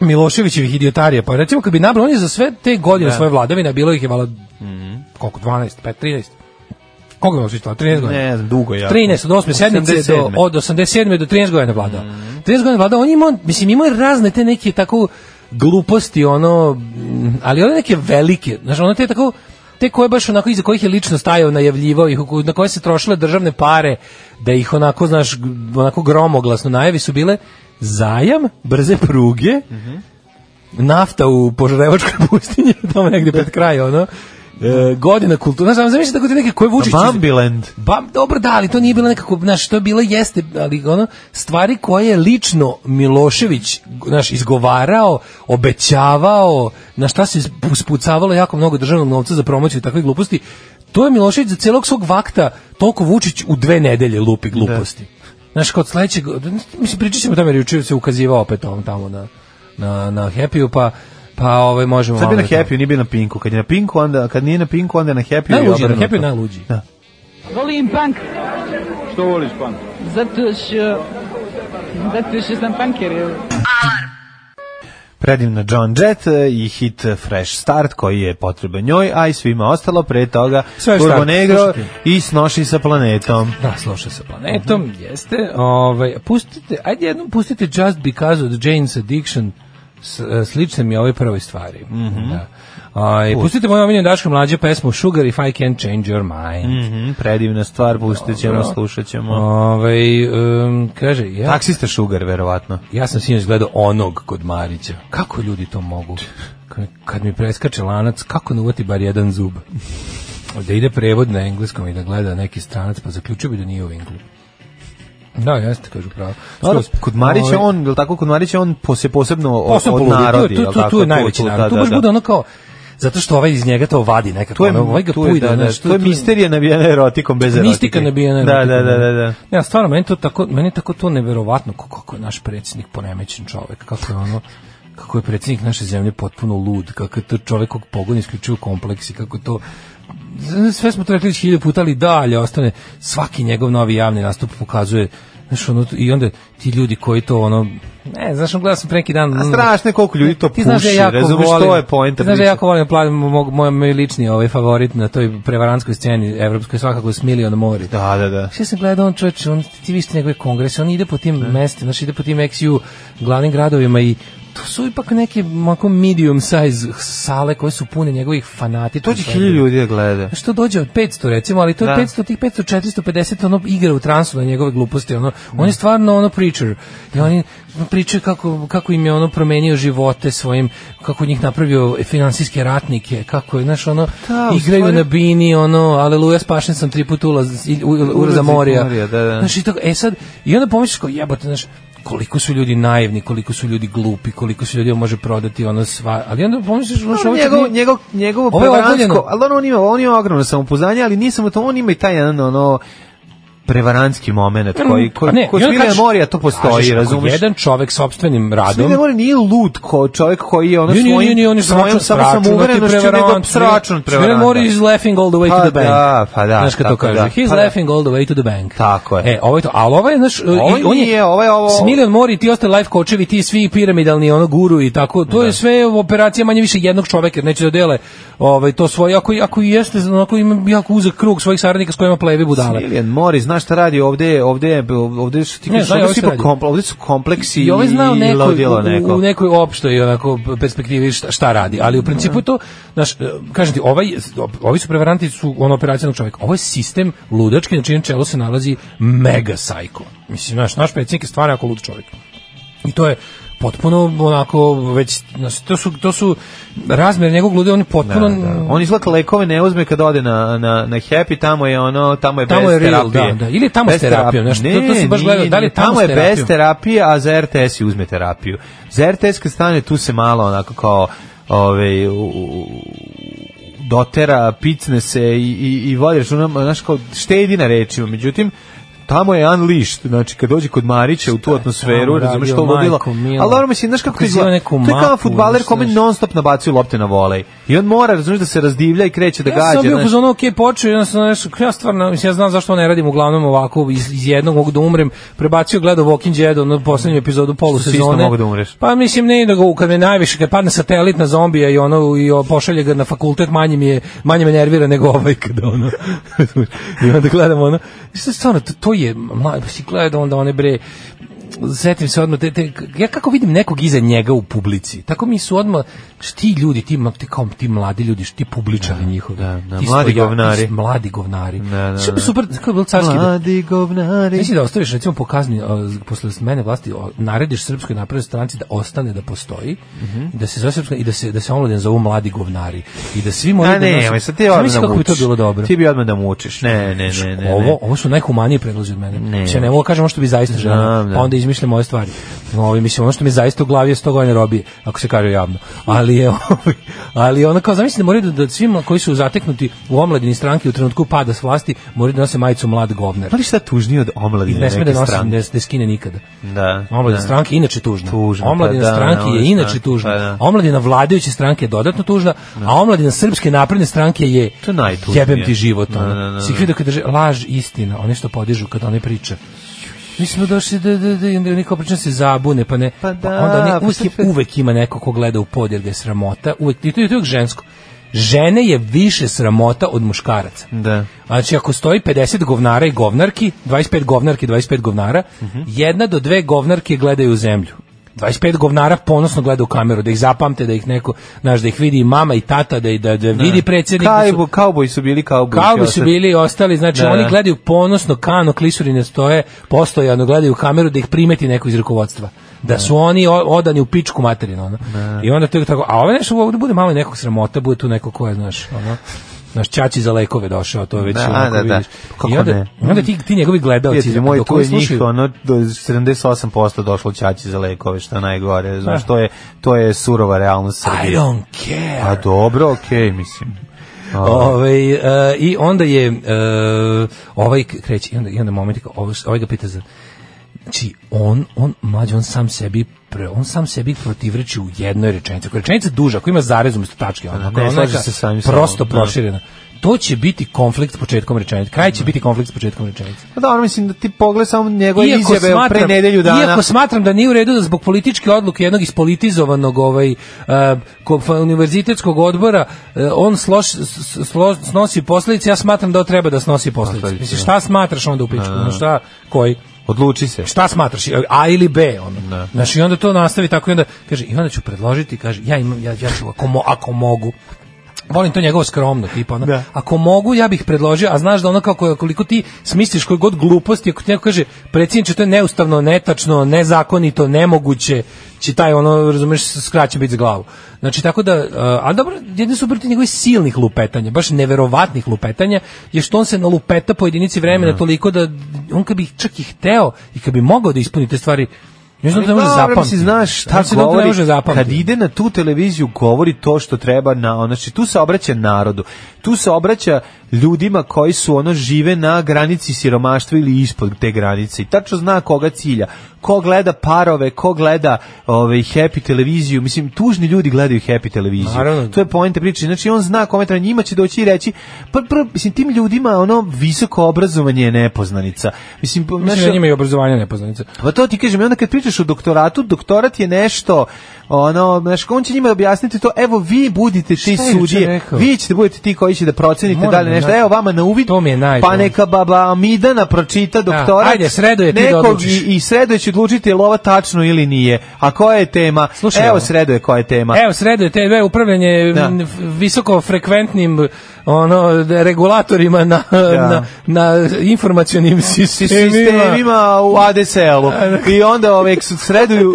[SPEAKER 5] Miloševićevih idiotarija, pa recimo kad bi nabrao, on je za sve te godine svoje vladavine, a bilo ih je valjda koliko, 12, 5, 13, koliko je Milošević vladao, 13 godina?
[SPEAKER 6] Ne znam, dugo je jako.
[SPEAKER 5] 13 od 8. sedmice do
[SPEAKER 6] 87..
[SPEAKER 5] od 87 do 13 godina vladao. 13 godina vladao, on ima mislim ima razne te neke tako gluposti ono, mm, ali one neke velike, znači ono te tako te koje baš onako iza kojih je lično stajao najavljivao ih na koje se trošile državne pare da ih onako znaš g- onako gromoglasno najavi su bile zajam brze pruge nafta u Požarevačkoj pustinji tamo negde pred kraj ono E, godina kultura, znaš, zamislite tako te neke
[SPEAKER 6] Pa
[SPEAKER 5] koje Vučić iz-
[SPEAKER 6] Bambiland.
[SPEAKER 5] Ba, dobro, da, ali to nije bilo nekako, znaš, to je bilo jeste, ali ono, stvari koje je lično Milošević, znaš, izgovarao, obećavao, na šta se spu- spucavalo jako mnogo državnog novca za promociju takve gluposti, to je Milošević za celog svog vakta, toliko Vučić u dve nedelje lupi gluposti. Znaš, kod sledećeg, mislim, pričat ćemo o tome, jer juče se ukazivao opet on tamo na, na, na Happy-u, pa, pa ovaj, možemo...
[SPEAKER 6] Sad bi
[SPEAKER 5] malo
[SPEAKER 6] na
[SPEAKER 5] o tome.
[SPEAKER 6] Happy, nije bio na Pinku. Kad je na Pinku, onda, kad nije na Pinku, onda je na Happy.
[SPEAKER 5] Najluđi, na Happy-u je najluđi.
[SPEAKER 6] Da.
[SPEAKER 10] Volim punk,
[SPEAKER 7] Što voliš, pan?
[SPEAKER 10] zato što... Zato što sam punker, evo.
[SPEAKER 6] Predivna John Jett e, i hit e, Fresh Start koji je potreban njoj, a i svima ostalo pre toga
[SPEAKER 5] Sve
[SPEAKER 6] Turbo
[SPEAKER 5] Start,
[SPEAKER 6] Negro
[SPEAKER 5] slušajte.
[SPEAKER 6] i Snoši sa planetom.
[SPEAKER 5] Da, sluša
[SPEAKER 6] pa.
[SPEAKER 5] sa planetom,
[SPEAKER 6] Mhm.
[SPEAKER 5] jeste. Ovaj, pustite, ajde jednom pustite Just Because od Jane's Addiction, s, e, slične mi ovoj prvoj stvari.
[SPEAKER 6] Mhm.
[SPEAKER 5] da. Aj, pustite moju omiljenu Daško mlađe pesmu Sugar If I Can Change Your Mind.
[SPEAKER 6] Mhm, predivna stvar, pustit ćemo, slušat ćemo.
[SPEAKER 5] Ovaj, em, kaže, ja,
[SPEAKER 6] Taksista Sugar, verovatno.
[SPEAKER 5] ja sam sinoć gledao onog kod Marića. Kako ljudi to mogu? Kad, kad mi preskače lanac, kako ne uvati bar jedan zub? Da ide prevod na engleskom i da gleda neki stranac, pa zaključio bi da nije u Englu. Da, jeste, kažu pravo.
[SPEAKER 6] Dobro,
[SPEAKER 5] Skroz.
[SPEAKER 6] kod Marića
[SPEAKER 5] Ovaj-
[SPEAKER 6] on, je li tako, kod Marića on po- se posebno od,
[SPEAKER 5] Posebno
[SPEAKER 6] od
[SPEAKER 5] poludi,
[SPEAKER 6] narodi.
[SPEAKER 5] Tu,
[SPEAKER 6] je
[SPEAKER 5] tu,
[SPEAKER 6] li
[SPEAKER 5] tu,
[SPEAKER 6] tako?
[SPEAKER 5] tu je najveći
[SPEAKER 6] da,
[SPEAKER 5] narod. Tu
[SPEAKER 6] da,
[SPEAKER 5] baš
[SPEAKER 6] da.
[SPEAKER 5] bude ono kao, zato što ovaj iz njega to vadi nekako.
[SPEAKER 6] Tu je,
[SPEAKER 5] ono, ovaj ga
[SPEAKER 6] tu je,
[SPEAKER 5] pujda,
[SPEAKER 6] da, da,
[SPEAKER 5] znaš,
[SPEAKER 6] tu je misterija nabijena erotikom bez erotike.
[SPEAKER 5] Mistika nabijena
[SPEAKER 6] Da, da,
[SPEAKER 5] erotikom,
[SPEAKER 6] da, da. da.
[SPEAKER 5] Ja, stvarno, meni, to tako, meni je tako to neverovatno ko- kako je naš predsjednik poremećen čovek, kako je ono kako je predsjednik naše zemlje potpuno lud, kako je to čovek kog pogoni isključivo kompleksi, kako to sve smo to rekli već hiljadu puta, ali dalje ostane svaki njegov novi javni nastup pokazuje znaš, ono, i onda ti ljudi koji to ono, ne, znaš, ono, gledao sam pre neki dan
[SPEAKER 6] A
[SPEAKER 5] ono,
[SPEAKER 6] strašno je koliko ljudi to
[SPEAKER 5] ti znaš da
[SPEAKER 6] puši,
[SPEAKER 5] jako
[SPEAKER 6] razumeš,
[SPEAKER 5] volim,
[SPEAKER 6] to je poenta
[SPEAKER 5] ti Znaš da
[SPEAKER 6] priče.
[SPEAKER 5] jako volim plan, moj, moj, moj lični ovaj favorit na toj prevaranskoj sceni evropskoj svakako je Smiljan Mori.
[SPEAKER 6] Da, da, da.
[SPEAKER 5] Šta sam gledao, on čovječ, on, ti vi ste njegove kongrese, on ide po tim mestima, znači ide po tim XU glavnim gradovima i to su ipak neke mako medium size sale koje su pune njegovih fanati.
[SPEAKER 6] To će hiljadu ljudi da gleda.
[SPEAKER 5] Što dođe od 500 recimo, ali to je
[SPEAKER 6] Da.
[SPEAKER 5] 500 tih 500 450 ono igra u transu na njegove gluposti, ono on je stvarno ono preacher. I oni pričaju kako kako im je ono promenio živote svojim, kako je njih napravio finansijske ratnike, kako je znaš ono
[SPEAKER 6] Da, u
[SPEAKER 5] igraju
[SPEAKER 6] stvari-
[SPEAKER 5] na bini ono aleluja spašen sam tri puta ulaz i- u- u-
[SPEAKER 6] Uraza
[SPEAKER 5] uraza
[SPEAKER 6] i
[SPEAKER 5] morija.
[SPEAKER 6] Morija, da, da.
[SPEAKER 5] Znaš, i, tako, e sad, I onda pomisliš kao jebote, znaš, koliko su ljudi naivni, koliko su ljudi glupi, koliko su ljudi ovo može prodati ono sva, ali onda pomisliš, znaš,
[SPEAKER 6] Ono
[SPEAKER 5] ovo će
[SPEAKER 6] njegov,
[SPEAKER 5] biti-
[SPEAKER 6] njegov, njegovo
[SPEAKER 5] Ovo je
[SPEAKER 6] prevarantsko,
[SPEAKER 5] ogoljeno.
[SPEAKER 6] ali ono, on ima, on ima ogromno samopouzdanje, ali nije samo to, on ima i taj jedan, ono, prevarantski moment koji, koji,
[SPEAKER 5] A
[SPEAKER 6] ne, kod
[SPEAKER 5] Mm. i onda
[SPEAKER 6] Smilja
[SPEAKER 5] kažeš-
[SPEAKER 6] Morija to postoji,
[SPEAKER 5] kažeš, ako
[SPEAKER 6] razumiješ?
[SPEAKER 5] Jedan čovek sopstvenim
[SPEAKER 6] Smilja
[SPEAKER 5] radom,
[SPEAKER 6] Morija nije lud ko čovjek koji je ono
[SPEAKER 5] Nije, nije,
[SPEAKER 6] svojim,
[SPEAKER 5] nije, nije, on je
[SPEAKER 6] svojom
[SPEAKER 5] sračun,
[SPEAKER 6] samo
[SPEAKER 5] sračun,
[SPEAKER 6] samouverenošću,
[SPEAKER 5] on je
[SPEAKER 6] nego
[SPEAKER 5] prevarant.
[SPEAKER 6] sračun
[SPEAKER 5] Smilja
[SPEAKER 6] prevaranta.
[SPEAKER 5] Mora is laughing all the way
[SPEAKER 6] Pa
[SPEAKER 5] to the bank.
[SPEAKER 6] da, pa da,
[SPEAKER 5] Znaš kad
[SPEAKER 6] tako
[SPEAKER 5] to kaže.
[SPEAKER 6] da.
[SPEAKER 5] He's
[SPEAKER 6] Pa da.
[SPEAKER 5] laughing all the way to the bank.
[SPEAKER 6] Tako je.
[SPEAKER 5] E, ovo je to. Ali ovo je, znaš,
[SPEAKER 6] Ovo
[SPEAKER 5] i- on
[SPEAKER 6] nije, ovo je ovo-
[SPEAKER 5] Smiljan Mori, ti ostali life coachevi, ti svi piramidalni ono guru i tako, to je sve operacija manje više jednog čoveka, jer neće da dele ovaj, to svoje, ako, i- ako i jeste, onako ima jako uzak krug svojih saradnika s kojima plevi budale.
[SPEAKER 6] Smiljan Mori, znaš šta radi ovde, ovde, ovde su ti
[SPEAKER 5] Ne,
[SPEAKER 6] kažeš,
[SPEAKER 5] znaju
[SPEAKER 6] ovde
[SPEAKER 5] ovi
[SPEAKER 6] su
[SPEAKER 5] šta
[SPEAKER 6] ipak
[SPEAKER 5] radi.
[SPEAKER 6] kompl- ovde su kompleksi i,
[SPEAKER 5] I ovaj znao
[SPEAKER 6] i
[SPEAKER 5] neko,
[SPEAKER 6] lodilo neko.
[SPEAKER 5] U, u nekoj opštoj onako perspektivi šta, šta radi, ali u principu je to, znaš, e, kažem ti, ovaj, ovi su prevaranti su ono operacijnog čovjeka. Ovo je sistem ludački, na čijem čelu se nalazi mega sajko. Mislim, znaš, naš predsjednik je stvarno jako lud čovjek. I to je potpuno onako već znači, to su to su razmjer njegovog luda on je potpuno
[SPEAKER 6] On izlaka lekove ne uzme kad ode na, na, na Happy, tamo je ono, tamo je
[SPEAKER 5] Tamo
[SPEAKER 6] bez
[SPEAKER 5] je real,
[SPEAKER 6] terapije.
[SPEAKER 5] da, da. Ili je tamo s
[SPEAKER 6] Bez
[SPEAKER 5] terapijom,
[SPEAKER 6] terapije.
[SPEAKER 5] znaš, to- to se baš
[SPEAKER 6] nije,
[SPEAKER 5] gleda, da li je
[SPEAKER 6] nije,
[SPEAKER 5] tamo s
[SPEAKER 6] je
[SPEAKER 5] terapijom?
[SPEAKER 6] bez terapije, a za RTS i uzme terapiju. Za RTS kad stane, tu se malo onako kao ove, u- u- dotera, picne se i, i, i vodi računa, znaš, kao štedi na rečima, međutim, tamo je unleashed, znači kad dođe kod Marića u tu atmosferu,
[SPEAKER 5] tamo
[SPEAKER 6] razumeš
[SPEAKER 5] radio,
[SPEAKER 6] što vodilo.
[SPEAKER 5] majko mila?
[SPEAKER 6] Ali dobro, mislim, znaš kako to
[SPEAKER 5] Pokazivao
[SPEAKER 6] izgleda?
[SPEAKER 5] neku
[SPEAKER 6] To je kao
[SPEAKER 5] mapu,
[SPEAKER 6] futbaler
[SPEAKER 5] znaš,
[SPEAKER 6] kome
[SPEAKER 5] znaš.
[SPEAKER 6] non stop nabacuje lopte na volej. I on mora, razumeš, da se razdivlja i kreće da
[SPEAKER 5] Ja
[SPEAKER 6] gađa.
[SPEAKER 5] sam bio
[SPEAKER 6] znaš.
[SPEAKER 5] uz ono, okej, počeo, ja sam nešto, ja stvarno, mislim, ja znam zašto ne radim uglavnom ovako, iz, iz jednog mogu da umrem, prebacio gledao Walking Dead, ono, poslednju epizodu
[SPEAKER 6] si isto
[SPEAKER 5] polusezone.
[SPEAKER 6] mogao da umreš.
[SPEAKER 5] Pa mislim, ne da ga, kad me najviše, kad padne satelit na zombija i ono, i o, pošalje ga na fakultet, manje mi je, manje me nervira nego ovaj kada ono, i onda gledam ono, mislim, stvarno, to, to je, mlad, si gledao onda one bre, setim se odmah, te, te, ja kako vidim nekog iza njega u publici, tako mi su odmah, što ti ljudi, ti, ma- ti, kao, ti mladi ljudi, što ti publičari njihovi,
[SPEAKER 6] da, da,
[SPEAKER 5] ti
[SPEAKER 6] mladi
[SPEAKER 5] stoja-
[SPEAKER 6] govnari.
[SPEAKER 5] ti mladi govnari.
[SPEAKER 6] Da, da, da.
[SPEAKER 5] Super, super, kako je bilo carski da-
[SPEAKER 6] Mladi govnari.
[SPEAKER 5] Mislim da ostaviš recimo po kazni a, z- posle smene vlasti o, narediš srpskoj naprednoj stranci da ostane da postoji,
[SPEAKER 6] Mhm.
[SPEAKER 5] da se zove srpska i da se da se omladina zovu mladi govnari i da svi moraju
[SPEAKER 6] A
[SPEAKER 5] da
[SPEAKER 6] ne,
[SPEAKER 5] nose-
[SPEAKER 6] ma sad ti
[SPEAKER 5] Znaš,
[SPEAKER 6] odmah
[SPEAKER 5] mislim
[SPEAKER 6] da
[SPEAKER 5] kako bi to
[SPEAKER 6] mučiš.
[SPEAKER 5] bilo dobro.
[SPEAKER 6] Ti bi odmah da mučiš. Ne, ne, ne, ne. ne.
[SPEAKER 5] Ovo, ovo su najhumaniji predlozi od mene.
[SPEAKER 6] Ne.
[SPEAKER 5] Ne. ne mogu da kažem ono što bi zaista želeo,
[SPEAKER 6] Znam, da.
[SPEAKER 5] pa onda izmišljam moje stvari. Ovi, mislim, ono što mi zaista u glavi je 100 godina robije, ako se kaže javno. Ali je, ovaj, ali je ono kao, zamisli da moraju da, da svima koji su zateknuti u omladini stranke u trenutku pada s vlasti, moraju da nose majicu mlad govner.
[SPEAKER 6] Pa li šta tužnije od omladine
[SPEAKER 5] Ne sme
[SPEAKER 6] neke
[SPEAKER 5] da nosim,
[SPEAKER 6] strane?
[SPEAKER 5] da, da skine nikada.
[SPEAKER 6] Da.
[SPEAKER 5] Omladina
[SPEAKER 6] da.
[SPEAKER 5] stranke je inače tužna.
[SPEAKER 6] Tužna,
[SPEAKER 5] omladina
[SPEAKER 6] pa da,
[SPEAKER 5] stranke
[SPEAKER 6] omladina
[SPEAKER 5] je inače
[SPEAKER 6] stranke,
[SPEAKER 5] tužna.
[SPEAKER 6] pa da.
[SPEAKER 5] Omladina vladajuće stranke je dodatno tužna, a omladina srpske napredne stranke je
[SPEAKER 6] To je najtužnije.
[SPEAKER 5] jebem ti život.
[SPEAKER 6] Da,
[SPEAKER 5] ono.
[SPEAKER 6] da, da,
[SPEAKER 5] Si ih vidio kad drže laž, istina, one što podižu kad one priče. Mi smo došli da, da, da, i onda oni kao pričaju da se zabune, pa ne.
[SPEAKER 6] Pa da,
[SPEAKER 5] onda oni,
[SPEAKER 6] pa
[SPEAKER 5] uvek,
[SPEAKER 6] sad
[SPEAKER 5] je-
[SPEAKER 6] sve-
[SPEAKER 5] uvek ima neko ko gleda u pod jer ga je sramota. Uvek, i to je to je uvek žensko. Žene je više sramota od muškaraca.
[SPEAKER 6] Da.
[SPEAKER 5] Znači, ako stoji 50 govnara i govnarki, 25 govnarki, 25 govnara, jedna do dve govnarke gledaju u zemlju. 25 govnara ponosno gleda u kameru, da ih zapamte, da ih neko, znaš, da ih vidi i mama i tata, da, ih- da, da vidi predsjednik. da su-
[SPEAKER 6] Kajbo, kauboj su bili kauboj.
[SPEAKER 5] kao bi su bili i ostali, znači
[SPEAKER 6] Da,
[SPEAKER 5] oni
[SPEAKER 6] da.
[SPEAKER 5] gledaju ponosno kano, klisuri ne stoje, postojano gledaju u kameru da ih primeti neko iz rukovodstva. Da su oni o- odani u pičku materinu, ono. I onda to je tako, a ovo nešto ovde bude malo i nekog sramota, bude tu neko ko je, znaš, ono, naš ćaći za lekove došao, to je već
[SPEAKER 6] Da,
[SPEAKER 5] onako
[SPEAKER 6] da, da.
[SPEAKER 5] vidiš.
[SPEAKER 6] Kako
[SPEAKER 5] I onda,
[SPEAKER 6] ne?
[SPEAKER 5] i onda ti, ti njegovi gledalci,
[SPEAKER 6] Prijatelji moji,
[SPEAKER 5] dok
[SPEAKER 6] tu
[SPEAKER 5] oni
[SPEAKER 6] je njih,
[SPEAKER 5] slušaju-
[SPEAKER 6] ono, do 78% došlo ćaći za lekove, što je najgore. Znaš, to je, to je surova realnost
[SPEAKER 5] I
[SPEAKER 6] Srbije.
[SPEAKER 5] don't care.
[SPEAKER 6] A dobro, okej, mislim.
[SPEAKER 5] Ovaj e, I onda je e, ovaj k- kreće i onda, i onda moment kao, ovaj, ovaj ga pita za znači on, on mlađi, on sam sebi pre, on sam sebi protivreči u jednoj rečenici. Ako je rečenica duža, ako ima zarez umjesto tačke, ono, ako
[SPEAKER 6] ne,
[SPEAKER 5] je ona
[SPEAKER 6] slaže
[SPEAKER 5] neka
[SPEAKER 6] se samim sobom,
[SPEAKER 5] prosto
[SPEAKER 6] da.
[SPEAKER 5] proširena. To će biti konflikt s početkom rečenice. Kraj će biti konflikt s početkom rečenice.
[SPEAKER 6] Pa dobro, mislim da ti pogled samo njegove izjave pre nedelju dana.
[SPEAKER 5] Iako smatram da nije u redu da zbog političke odluke jednog ispolitizovanog ovaj, e, ko- fa- univerzitetskog odbora e, on sloš, s- slo- snosi posledice, ja smatram da on treba da snosi posledice.
[SPEAKER 6] Posledice,
[SPEAKER 5] Mislim, šta smatraš onda u pičku? Ono, Šta, koji?
[SPEAKER 6] Odluči se.
[SPEAKER 5] Šta smatraš? A ili B? Ono. Znaš, i onda to nastavi tako i onda, kaže, i onda ću predložiti, kaže, ja imam, ja, ja ću, ako, mo- ako mogu, volim to njegovo skromno tipa ono,
[SPEAKER 6] Da.
[SPEAKER 5] ako mogu ja bih predložio a znaš da ono kako koliko ti smisliš koju god gluposti ako ti neko kaže predsjedniče to je neustavno netačno nezakonito nemoguće će taj ono razumeš skraćen biti s glavu znači tako da e, a dobro jedni su protiv njegovih silnih lupetanja baš neverovatnih lupetanja je što on se nalupeta po jedinici vremena toliko da on kad bi čak i hteo i kad bi mogao da ispuni te stvari ne znam da ne može
[SPEAKER 6] Dobro,
[SPEAKER 5] zapamtiti
[SPEAKER 6] mislim, znaš šta
[SPEAKER 5] Mislim da on to ne
[SPEAKER 6] govori,
[SPEAKER 5] može
[SPEAKER 6] kad
[SPEAKER 5] zapamtiti.
[SPEAKER 6] ide na tu televiziju govori to što treba, na, ono, znači tu se obraća narodu, tu se obraća ljudima koji su ono žive na granici siromaštva ili ispod te granice i tačno zna koga cilja, ko gleda parove, ko gleda ovaj, happy televiziju, mislim tužni ljudi gledaju happy televiziju,
[SPEAKER 5] Naravno.
[SPEAKER 6] to je poenta priče, znači on zna kome treba, njima će doći i reći, pa, pa, mislim tim ljudima ono visoko obrazovanje je nepoznanica, mislim,
[SPEAKER 5] Mislim da njima i obrazovanje nepoznanica.
[SPEAKER 6] Pa to ti kažem, i onda kad pričaš o doktoratu, doktorat je nešto, ono, znaš, on će njima objasniti to, evo vi budite ti
[SPEAKER 5] Šta je juče
[SPEAKER 6] sudije,
[SPEAKER 5] rekao?
[SPEAKER 6] vi ćete budete ti koji će da procenite
[SPEAKER 5] Moram
[SPEAKER 6] da li
[SPEAKER 5] da
[SPEAKER 6] nešto,
[SPEAKER 5] nađem.
[SPEAKER 6] evo vama na uvid,
[SPEAKER 5] To mi je najbolje.
[SPEAKER 6] pa neka baba Amidana pročita doktorat,
[SPEAKER 5] ajde, sredo je ti da
[SPEAKER 6] nekog
[SPEAKER 5] odlučiš.
[SPEAKER 6] i, i sredo će će odlučiti je li ovo tačno ili nije. A koja je tema?
[SPEAKER 5] Slušaj,
[SPEAKER 6] Evo
[SPEAKER 5] ovo.
[SPEAKER 6] sredo je koja je tema.
[SPEAKER 5] Evo, sredo je TV upravljanje
[SPEAKER 6] Pa- Da.
[SPEAKER 5] m, visokofrekventnim ono, d- regulatorima na, na, na informacionim sistemima.
[SPEAKER 6] sistemima u ADSL-u. I onda ove sreduju,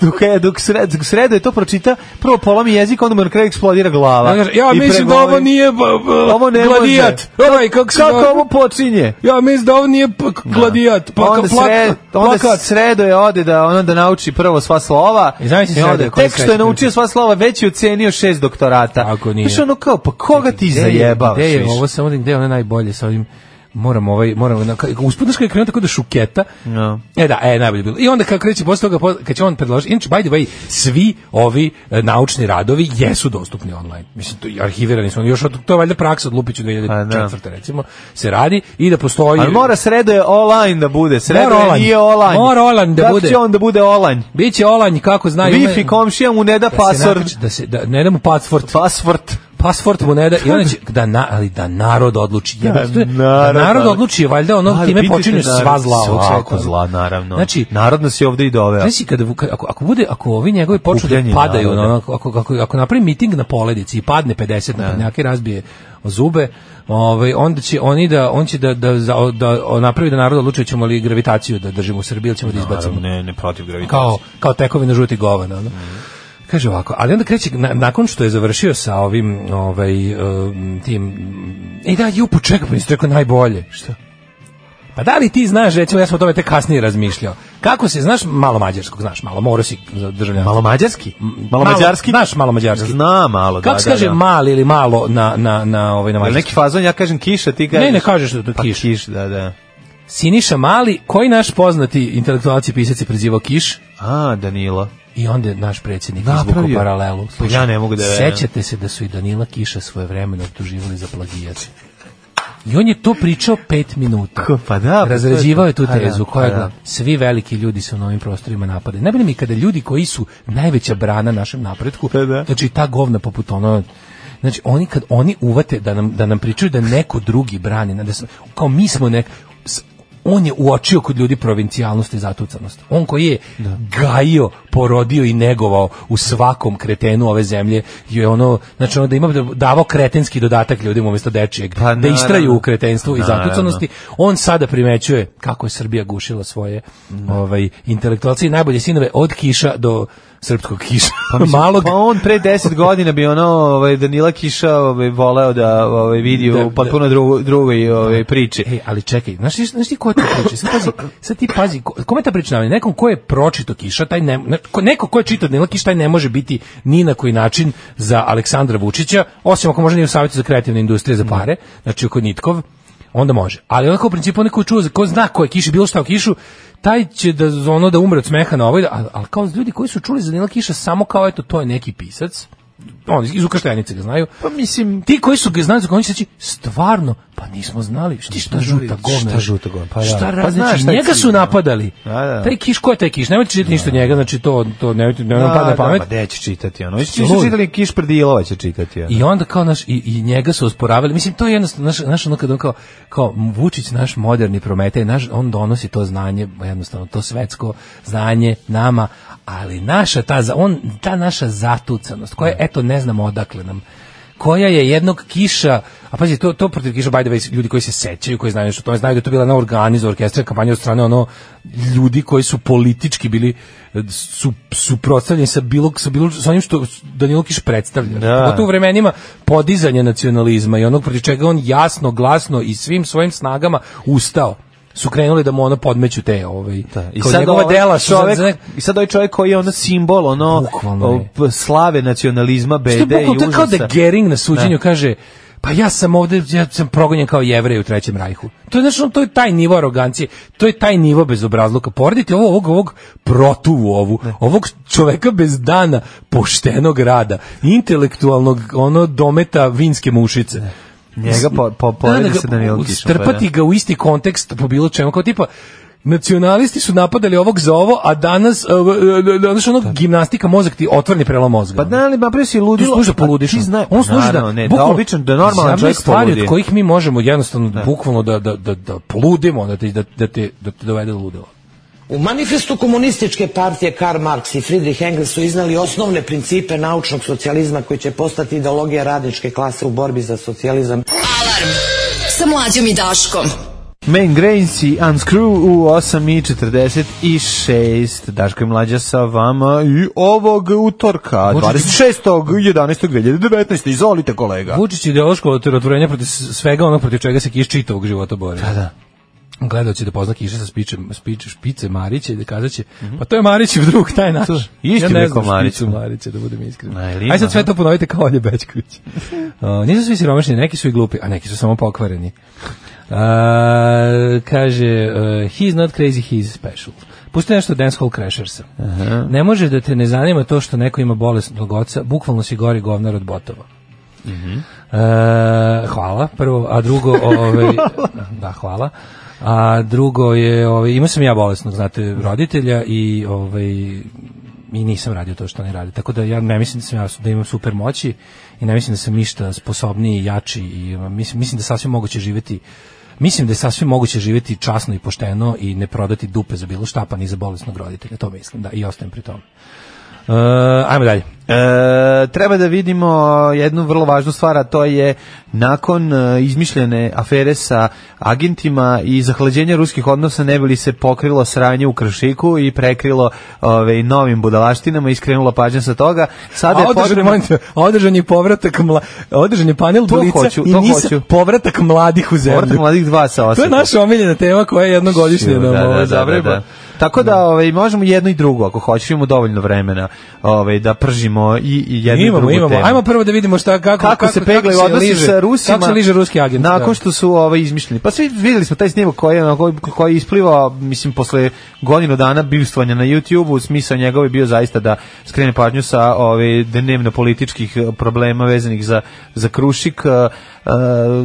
[SPEAKER 6] dok, je- dok, sred, dok sredo je to pročita, prvo polomi jezik, onda mu na kraju eksplodira glava.
[SPEAKER 5] Ja, kažem, ja
[SPEAKER 6] I
[SPEAKER 5] mislim da
[SPEAKER 6] pregovori-
[SPEAKER 5] ovo nije b- b-
[SPEAKER 6] Ovo ne
[SPEAKER 5] gladijat.
[SPEAKER 6] može.
[SPEAKER 5] Ovaj, kako se
[SPEAKER 6] Kako
[SPEAKER 5] zove?
[SPEAKER 6] ovo počinje?
[SPEAKER 5] Ja mislim da ovo nije p- gladijat. Pa
[SPEAKER 6] onda,
[SPEAKER 5] ka- plak-
[SPEAKER 6] sred, onda
[SPEAKER 5] plakat.
[SPEAKER 6] sredo je ode da ono da nauči prvo sva slova.
[SPEAKER 5] I zamisli
[SPEAKER 6] onda-
[SPEAKER 5] Sredo koji
[SPEAKER 6] Tek što
[SPEAKER 5] sreće
[SPEAKER 6] je naučio
[SPEAKER 5] priča.
[SPEAKER 6] sva slova, već je ocenio šest doktorata.
[SPEAKER 5] Ako nije.
[SPEAKER 6] Znaš, ono kao, pa koga ti
[SPEAKER 5] Gde je-
[SPEAKER 6] zajebavaš?
[SPEAKER 5] Gde je
[SPEAKER 6] više?
[SPEAKER 5] ovo samo gde je ono najbolje sa ovim moram ovaj moram na usput znaš kad je krenuo tako da šuketa.
[SPEAKER 6] Ja.
[SPEAKER 5] E da, e najbolje bilo. I onda kad kreće posle toga po- kad će on predložiti, inače by the way, svi ovi e, naučni radovi jesu dostupni online. Mislim to i arhivirani su oni još od to je valjda praksa od Lupića
[SPEAKER 6] A,
[SPEAKER 5] 2004
[SPEAKER 6] Pa da.
[SPEAKER 5] recimo se radi i da postoji
[SPEAKER 6] Ali mora sredo je online da bude. Sredo
[SPEAKER 5] Mora
[SPEAKER 6] je
[SPEAKER 5] online.
[SPEAKER 6] nije online.
[SPEAKER 5] Mora online da
[SPEAKER 6] Kako
[SPEAKER 5] bude.
[SPEAKER 6] će on da bude online?
[SPEAKER 5] biće olanj kako znaju
[SPEAKER 6] Wi-Fi
[SPEAKER 5] ume-
[SPEAKER 6] komšija mu ne da
[SPEAKER 5] da ovaj- se
[SPEAKER 6] pasor.
[SPEAKER 5] nakači- da se da ne da mu password
[SPEAKER 6] Pasvrt.
[SPEAKER 5] pasport mu ne da i onda će da na, ali da narod odluči jebote, to je- da
[SPEAKER 6] narod,
[SPEAKER 5] narod
[SPEAKER 6] ali-
[SPEAKER 5] odluči je valjda ono
[SPEAKER 6] Ali
[SPEAKER 5] time
[SPEAKER 6] vidite
[SPEAKER 5] počinju
[SPEAKER 6] narod,
[SPEAKER 5] sva zla ovog
[SPEAKER 6] Svako
[SPEAKER 5] sveta.
[SPEAKER 6] zla, naravno.
[SPEAKER 5] znači
[SPEAKER 6] narod nas je ovde i doveo.
[SPEAKER 5] Znači kada Vuk- ako ako bude ako ovi njegovi počnu da
[SPEAKER 6] Okupljanje
[SPEAKER 5] padaju
[SPEAKER 6] naroda.
[SPEAKER 5] ono, ako ako ako, ako napravi miting na poledici i padne 50 na i razbije zube ovaj onda će oni da on će da da za- da napravi da narod odluči ćemo li gravitaciju da držimo u Srbiji ili ćemo da izbacimo
[SPEAKER 6] ne, ne protiv gravitacije.
[SPEAKER 5] kao, kao tekovina žutih govana. Ono. Kaže ovako, ali onda kreće, na, nakon što je završio sa ovim, ovaj, um, tim, i da, ju, počekaj, pa nisi rekao najbolje. Šta? Pa da li ti znaš, recimo, ja sam o tome tek kasnije razmišljao, kako se, znaš, malo mađarskog, znaš, malo, morao si za državljanstvo.
[SPEAKER 6] Malo mađarski? Malo mađarski?
[SPEAKER 5] Znaš, malo mađarski.
[SPEAKER 6] Znam malo, da,
[SPEAKER 5] Kako se
[SPEAKER 6] da,
[SPEAKER 5] kaže
[SPEAKER 6] da.
[SPEAKER 5] mali ili malo na, na, na, ovaj, na
[SPEAKER 6] Jel
[SPEAKER 5] mađarski?
[SPEAKER 6] neki fazon, ja kažem kiša, ti kažeš...
[SPEAKER 5] Ne, ne kažeš da to
[SPEAKER 6] pa
[SPEAKER 5] kiš.
[SPEAKER 6] kiš, da, da.
[SPEAKER 5] Siniša Mali, koji naš poznati intelektualci i pisac je prezivao Kiš?
[SPEAKER 6] A, Danilo.
[SPEAKER 5] I onda je naš predsjednik
[SPEAKER 6] Napravio. Pa
[SPEAKER 5] izvukao paralelu.
[SPEAKER 6] ja ne mogu da verujem.
[SPEAKER 5] Sećate se da su i Danila Kiša svoje vremena optuživali za plagijat. I on je to pričao pet minuta.
[SPEAKER 6] Ko, pa da, pa to je
[SPEAKER 5] Razrađivao je tu
[SPEAKER 6] to. Pa da,
[SPEAKER 5] tezu koja
[SPEAKER 6] pa da.
[SPEAKER 5] gla- svi veliki ljudi su na ovim prostorima napade. Ne bi mi kada ljudi koji su najveća brana našem napretku,
[SPEAKER 6] Pa da.
[SPEAKER 5] znači ta govna poput ono Znači, oni kad oni uvate da nam, da nam pričaju da neko drugi brani, da se, kao mi smo nek... s- On je uočio kod ljudi provincijalnost i zatucanost. On koji je gajio, porodio i negovao u svakom kretenu ove zemlje, je ono, znači ono da ima davao kretenski dodatak ljudima umjesto dečijeg,
[SPEAKER 6] Pa
[SPEAKER 5] da istraju
[SPEAKER 6] naravno.
[SPEAKER 5] u kretenstvu i
[SPEAKER 6] Naravno.
[SPEAKER 5] zatucanosti. On sada primećuje kako je Srbija gušila svoje ovaj, intelektualce i najbolje sinove od kiša do srpskog kiša. Malog,
[SPEAKER 6] Pa on pre 10 godina bi ono ovaj Danila Kiša ovaj voleo da ovaj vidi
[SPEAKER 5] Da, E,
[SPEAKER 6] u potpuno drugo drugoj ovaj priči.
[SPEAKER 5] Ej, ali čekaj, znaš, ti- znaš ti ko je to priča? Sad, pazi, sad ti pazi, ko- kome ta priča namenja? Nekom ko je pročito Kiša, taj ne, ne- ko- neko ko je čitao Danila Kiša, taj ne može biti ni na koji način za Aleksandra Vučića, osim ako može nije u savjetu za kreativne industrije za pare, znači oko Nitkov, onda može. Ali onako u principu onaj ko je čuo, za- ko zna ko je Kiša, bilo šta o Kišu, taj će da ono da umre od smeha na ovoj, ali, ali kao ljudi koji su čuli za Danila Kiša samo kao eto to je neki pisac, on iz Ukrštenice ga znaju.
[SPEAKER 6] Pa mislim
[SPEAKER 5] Ti koji su ga znali, za koji će reći, stvarno, pa nismo znali, šta, šta žuta govna.
[SPEAKER 6] Šta žuta govna, pa da.
[SPEAKER 5] Šta, ra-
[SPEAKER 6] Pa znaš
[SPEAKER 5] znači,
[SPEAKER 6] šta je
[SPEAKER 5] njega
[SPEAKER 6] cilj,
[SPEAKER 5] su
[SPEAKER 6] da.
[SPEAKER 5] napadali.
[SPEAKER 6] Da, da.
[SPEAKER 5] Taj kiš, ko je taj kiš? Nemojte čitati ništa od njega, znači to, to nemojte, nemojte da,
[SPEAKER 6] da,
[SPEAKER 5] pada pamet.
[SPEAKER 6] Pa gde će čitati ono? Isto
[SPEAKER 5] Lud.
[SPEAKER 6] su čitali Kiš Predilova će čitati ono.
[SPEAKER 5] I onda kao naš i, i njega su osporavali. Mislim to je jednostavno naš naš ono kad on kao kao Vučić naš moderni Prometej, naš on donosi to znanje, jednostavno to svetsko znanje nama, ali naša ta za- on ta naša zatucanost koja eto ne znamo odakle nam koja je jednog kiša, a pazi, to, to protiv kiša, by the way, ljudi koji se sećaju, koji znaju što to znaju da je to bila jedna organizovana orkestra kampanja od strane ono ljudi koji su politički bili e, su, suprotstavljeni sa bilo, sa bilo, sa onim što Danilo Kiš predstavlja.
[SPEAKER 6] Da.
[SPEAKER 5] Pogotovo u vremenima podizanja nacionalizma i onog protiv čega on jasno, glasno i svim svojim snagama ustao su krenuli da mu ono podmeću te ovaj
[SPEAKER 6] Da,
[SPEAKER 5] kao njegova
[SPEAKER 6] ovaj
[SPEAKER 5] dela su za-
[SPEAKER 6] čovek,
[SPEAKER 5] za nek-
[SPEAKER 6] i sad ovaj čovjek koji je ono simbol ono
[SPEAKER 5] Bukvalno
[SPEAKER 6] o,
[SPEAKER 5] je.
[SPEAKER 6] p- slave nacionalizma
[SPEAKER 5] Što je
[SPEAKER 6] bede i
[SPEAKER 5] bukvalno, to je kao da
[SPEAKER 6] užasa.
[SPEAKER 5] Gering na suđenju kaže pa ja sam ovde, ja sam progonjen kao jevrej u Trećem rajhu. To je, znaš, ono, to je taj nivo arogancije, to je taj nivo bezobrazluka. Poredite ovo, ovog, ovog protuvu ovu, ovog čoveka bez dana poštenog rada, intelektualnog, ono, dometa vinske mušice.
[SPEAKER 6] Njega po, po,
[SPEAKER 5] Da, da
[SPEAKER 6] poredi
[SPEAKER 5] ga-
[SPEAKER 6] sa Danilom Kišom. pa da.
[SPEAKER 5] Strpati ga u isti kontekst po bilo čemu, kao tipa, nacionalisti su napadali ovog za ovo, a danas, uh, uh, danas ono, gimnastika mozak ti otvrni prelom mozga.
[SPEAKER 6] Pa da li, ma prije si
[SPEAKER 5] Tu
[SPEAKER 6] ludilo.
[SPEAKER 5] služi da
[SPEAKER 6] pa ti
[SPEAKER 5] poludiš.
[SPEAKER 6] zna-
[SPEAKER 5] on služi da,
[SPEAKER 6] Naravno, ne, da
[SPEAKER 5] bukvalno-
[SPEAKER 6] običan, da normalan
[SPEAKER 5] Zamisli
[SPEAKER 6] čovjek
[SPEAKER 5] stvari
[SPEAKER 6] poludi.
[SPEAKER 5] od kojih mi možemo jednostavno bukvalno da, da, da, da poludimo, da te, da, da te, da te dovede do ludila.
[SPEAKER 2] U manifestu komunističke partije Karl Marx i Friedrich Engels su iznali osnovne principe naučnog socijalizma koji će postati ideologija radničke klase u borbi za socijalizam.
[SPEAKER 4] Alarm sa mlađom i Daškom.
[SPEAKER 6] Main Grains i Unscrew u 8.46. Daško je mlađa sa vama i ovog utorka, 26.11.2019. Izvolite kolega.
[SPEAKER 5] Vučić je ideološko otvorenje protiv s- svega onog protiv čega se kiš čitavog života bori. Da, da. Gledao će da pozna kiša sa spičem, spič, špice Marića i da kazat će, pa to je Marićev drug, taj naš.
[SPEAKER 6] Mhm. To- isti
[SPEAKER 5] ja ne
[SPEAKER 6] mi
[SPEAKER 5] znam
[SPEAKER 6] kao Marić.
[SPEAKER 5] špicu Marića, da budem iskren.
[SPEAKER 6] Na, ili ima,
[SPEAKER 5] Aj sad sve
[SPEAKER 6] da.
[SPEAKER 5] to ponovite kao Olje Bećković. Uh, nisu svi siromašni, neki su i glupi, a neki su samo pokvareni. Uh, kaže, uh, he's not crazy, he's special. Pusti nešto od Dancehall Crashersa. Ne može da te ne zanima to što neko ima bolesnog oca, bukvalno si gori govnar od botova. E, hvala, prvo, a drugo, ovaj, da, hvala. A drugo je, ovaj, imao sam ja bolesnog, znate, roditelja i ovaj, i nisam radio to što oni rade. Tako da ja ne mislim da sam ja da imam super moći i ne mislim da sam ništa sposobniji, jači i um, mislim, mislim da je sasvim moguće živjeti Mislim da je sasvim moguće živjeti časno i pošteno i ne prodati dupe za bilo šta, pa ni za bolesnog roditelja. To mislim, da, i ostajem pri tome. E, ajmo dalje.
[SPEAKER 6] E, treba da vidimo jednu vrlo važnu stvar, a to je nakon e, izmišljene afere sa agentima i zahlađenja ruskih odnosa ne bi li se pokrilo sranje u kršiku i prekrilo ove, novim budalaštinama i skrenulo pažnje sa toga. Sada
[SPEAKER 5] A
[SPEAKER 6] je
[SPEAKER 5] održan, je,
[SPEAKER 6] potrebno...
[SPEAKER 5] molim te, održan je povratak mla, održan je panel
[SPEAKER 6] To
[SPEAKER 5] blica
[SPEAKER 6] hoću,
[SPEAKER 5] i
[SPEAKER 6] to
[SPEAKER 5] nisa-
[SPEAKER 6] hoću.
[SPEAKER 5] povratak mladih u zemlju.
[SPEAKER 6] Povratak mladih dva sa
[SPEAKER 5] to je
[SPEAKER 6] Osijeka.
[SPEAKER 5] naša omiljena tema koja je jednogodišnje nam da, ovaj, zavreba.
[SPEAKER 6] Tako da ovaj možemo jedno i drugo ako hoćeš imamo dovoljno vremena ovaj da pržimo i, i jednu i
[SPEAKER 5] imamo,
[SPEAKER 6] drugu
[SPEAKER 5] imamo.
[SPEAKER 6] temu.
[SPEAKER 5] Ajmo prvo da vidimo šta kako
[SPEAKER 6] kako, se peglaju
[SPEAKER 5] kako se
[SPEAKER 6] odnosi
[SPEAKER 5] liže-
[SPEAKER 6] sa Rusima.
[SPEAKER 5] Kako se liže ruski agent.
[SPEAKER 6] Nakon što su ovaj izmišljeni. Pa svi videli smo taj snimak koji je ono, koji, koji je isplivao mislim posle godinu dana bivstvovanja na YouTubeu, smisao njegov je bio zaista da skrene pažnju sa ove dnevno političkih eh, problema vezanih za za Krušik, eh, eh,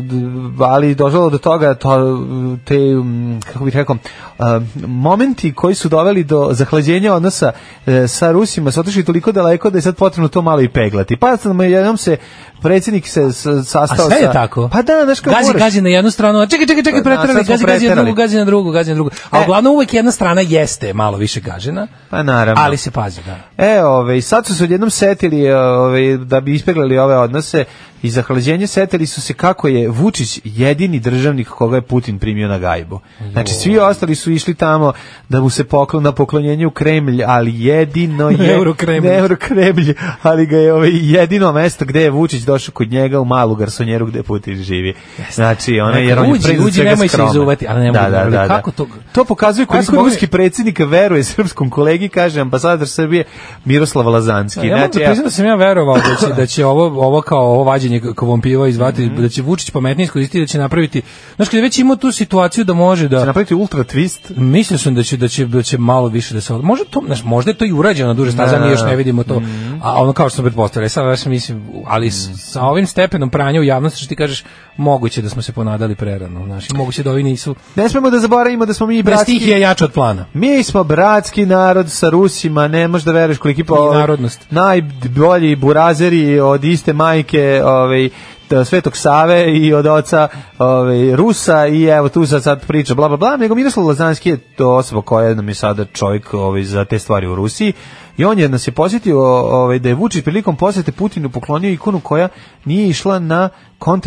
[SPEAKER 6] d- ali došlo je do toga to te mm, kako bih rekao eh, momenti koji su doveli do zahlađenja odnosa eh, sa Rusima su otišli toliko daleko da je sad potrebno to malo i peglati. Pa sad jednom se predsjednik se s-
[SPEAKER 5] A
[SPEAKER 6] sastao
[SPEAKER 5] sve je
[SPEAKER 6] sa-
[SPEAKER 5] tako.
[SPEAKER 6] Pa da, znaš kako
[SPEAKER 5] gazi,
[SPEAKER 6] moraš.
[SPEAKER 5] gazi na jednu stranu, a čekaj, čekaj, čekaj,
[SPEAKER 6] Pa da,
[SPEAKER 5] preterali,
[SPEAKER 6] sad smo
[SPEAKER 5] gazi, gazi na drugu,
[SPEAKER 6] preterali.
[SPEAKER 5] gazi na drugu, gazi na drugu. A
[SPEAKER 6] E.
[SPEAKER 5] uglavnom uvek jedna strana jeste malo više gažena,
[SPEAKER 6] Pa naravno.
[SPEAKER 5] ali se pazi, da.
[SPEAKER 6] E, ove, sad su se odjednom setili ove, da bi ispeglali ove odnose i za hlađenje setili su se kako je Vučić jedini državnik koga je Putin primio na gajbu. Znači, svi ostali su išli tamo da mu se poklon, na poklonjenje u Kremlj, ali jedino je...
[SPEAKER 5] Eurokremlj.
[SPEAKER 6] Eurokremlj, ali ga je ove, jedino mesto gde je Vučić došao kod njega u malu garsonjeru gde Putin živi. Znači, ona, jer on je
[SPEAKER 5] Uđi,
[SPEAKER 6] pre iznad
[SPEAKER 5] uđi,
[SPEAKER 6] svega
[SPEAKER 5] nemoj se
[SPEAKER 6] skroman.
[SPEAKER 5] izuvati, ali ne
[SPEAKER 6] Da,
[SPEAKER 5] mogu,
[SPEAKER 6] da,
[SPEAKER 5] ali
[SPEAKER 6] da, da.
[SPEAKER 5] kako to-
[SPEAKER 6] To pokazuje koliko
[SPEAKER 5] Kako ne-
[SPEAKER 6] ruski predsjednik veruje srpskom kolegi, kaže ambasador Srbije Miroslav Lazanski.
[SPEAKER 5] Pa Ja moram da
[SPEAKER 6] Znači,
[SPEAKER 5] priznam da sam ja verovao da će, da će ovo, ovo kao ovo vađenje kovom piva izvati,
[SPEAKER 6] Mhm.
[SPEAKER 5] da će Vučić pametnije iskoristiti, da će napraviti... Znaš, kada je već imao tu situaciju da može
[SPEAKER 6] ja, će
[SPEAKER 5] da...
[SPEAKER 6] napraviti ultra twist.
[SPEAKER 5] Mislio sam da će, da će, da će malo više da se... od- Možda, to, znaš, možda je to i urađeno na duže staze, a mi još ne vidimo to.
[SPEAKER 6] Mhm.
[SPEAKER 5] A ono kao što sam pretpostavljali, sad baš mislim, ali s- sa ovim stepenom pranja u javnosti, što ti kažeš, moguće da smo se ponadali prerano, znaš, i moguće da ovi nisu...
[SPEAKER 6] Ne smemo da zaboravimo da smo mi bratski...
[SPEAKER 5] Prestihija je jača od plana.
[SPEAKER 6] Mi smo bratski narod sa Rusima, ne možeš da veruješ koliki
[SPEAKER 5] I narodnost.
[SPEAKER 6] Najbolji burazeri od iste majke, ovaj t- Svetog Save i od oca ovaj, Rusa i evo tu sad, sad priča bla bla bla, nego Miroslav Lazanski je to osoba koja nam je sada čovjek ovaj, za te stvari u Rusiji i on je nas je posjetio ovaj, da je Vučić prilikom posjete Putinu poklonio ikonu koja nije išla na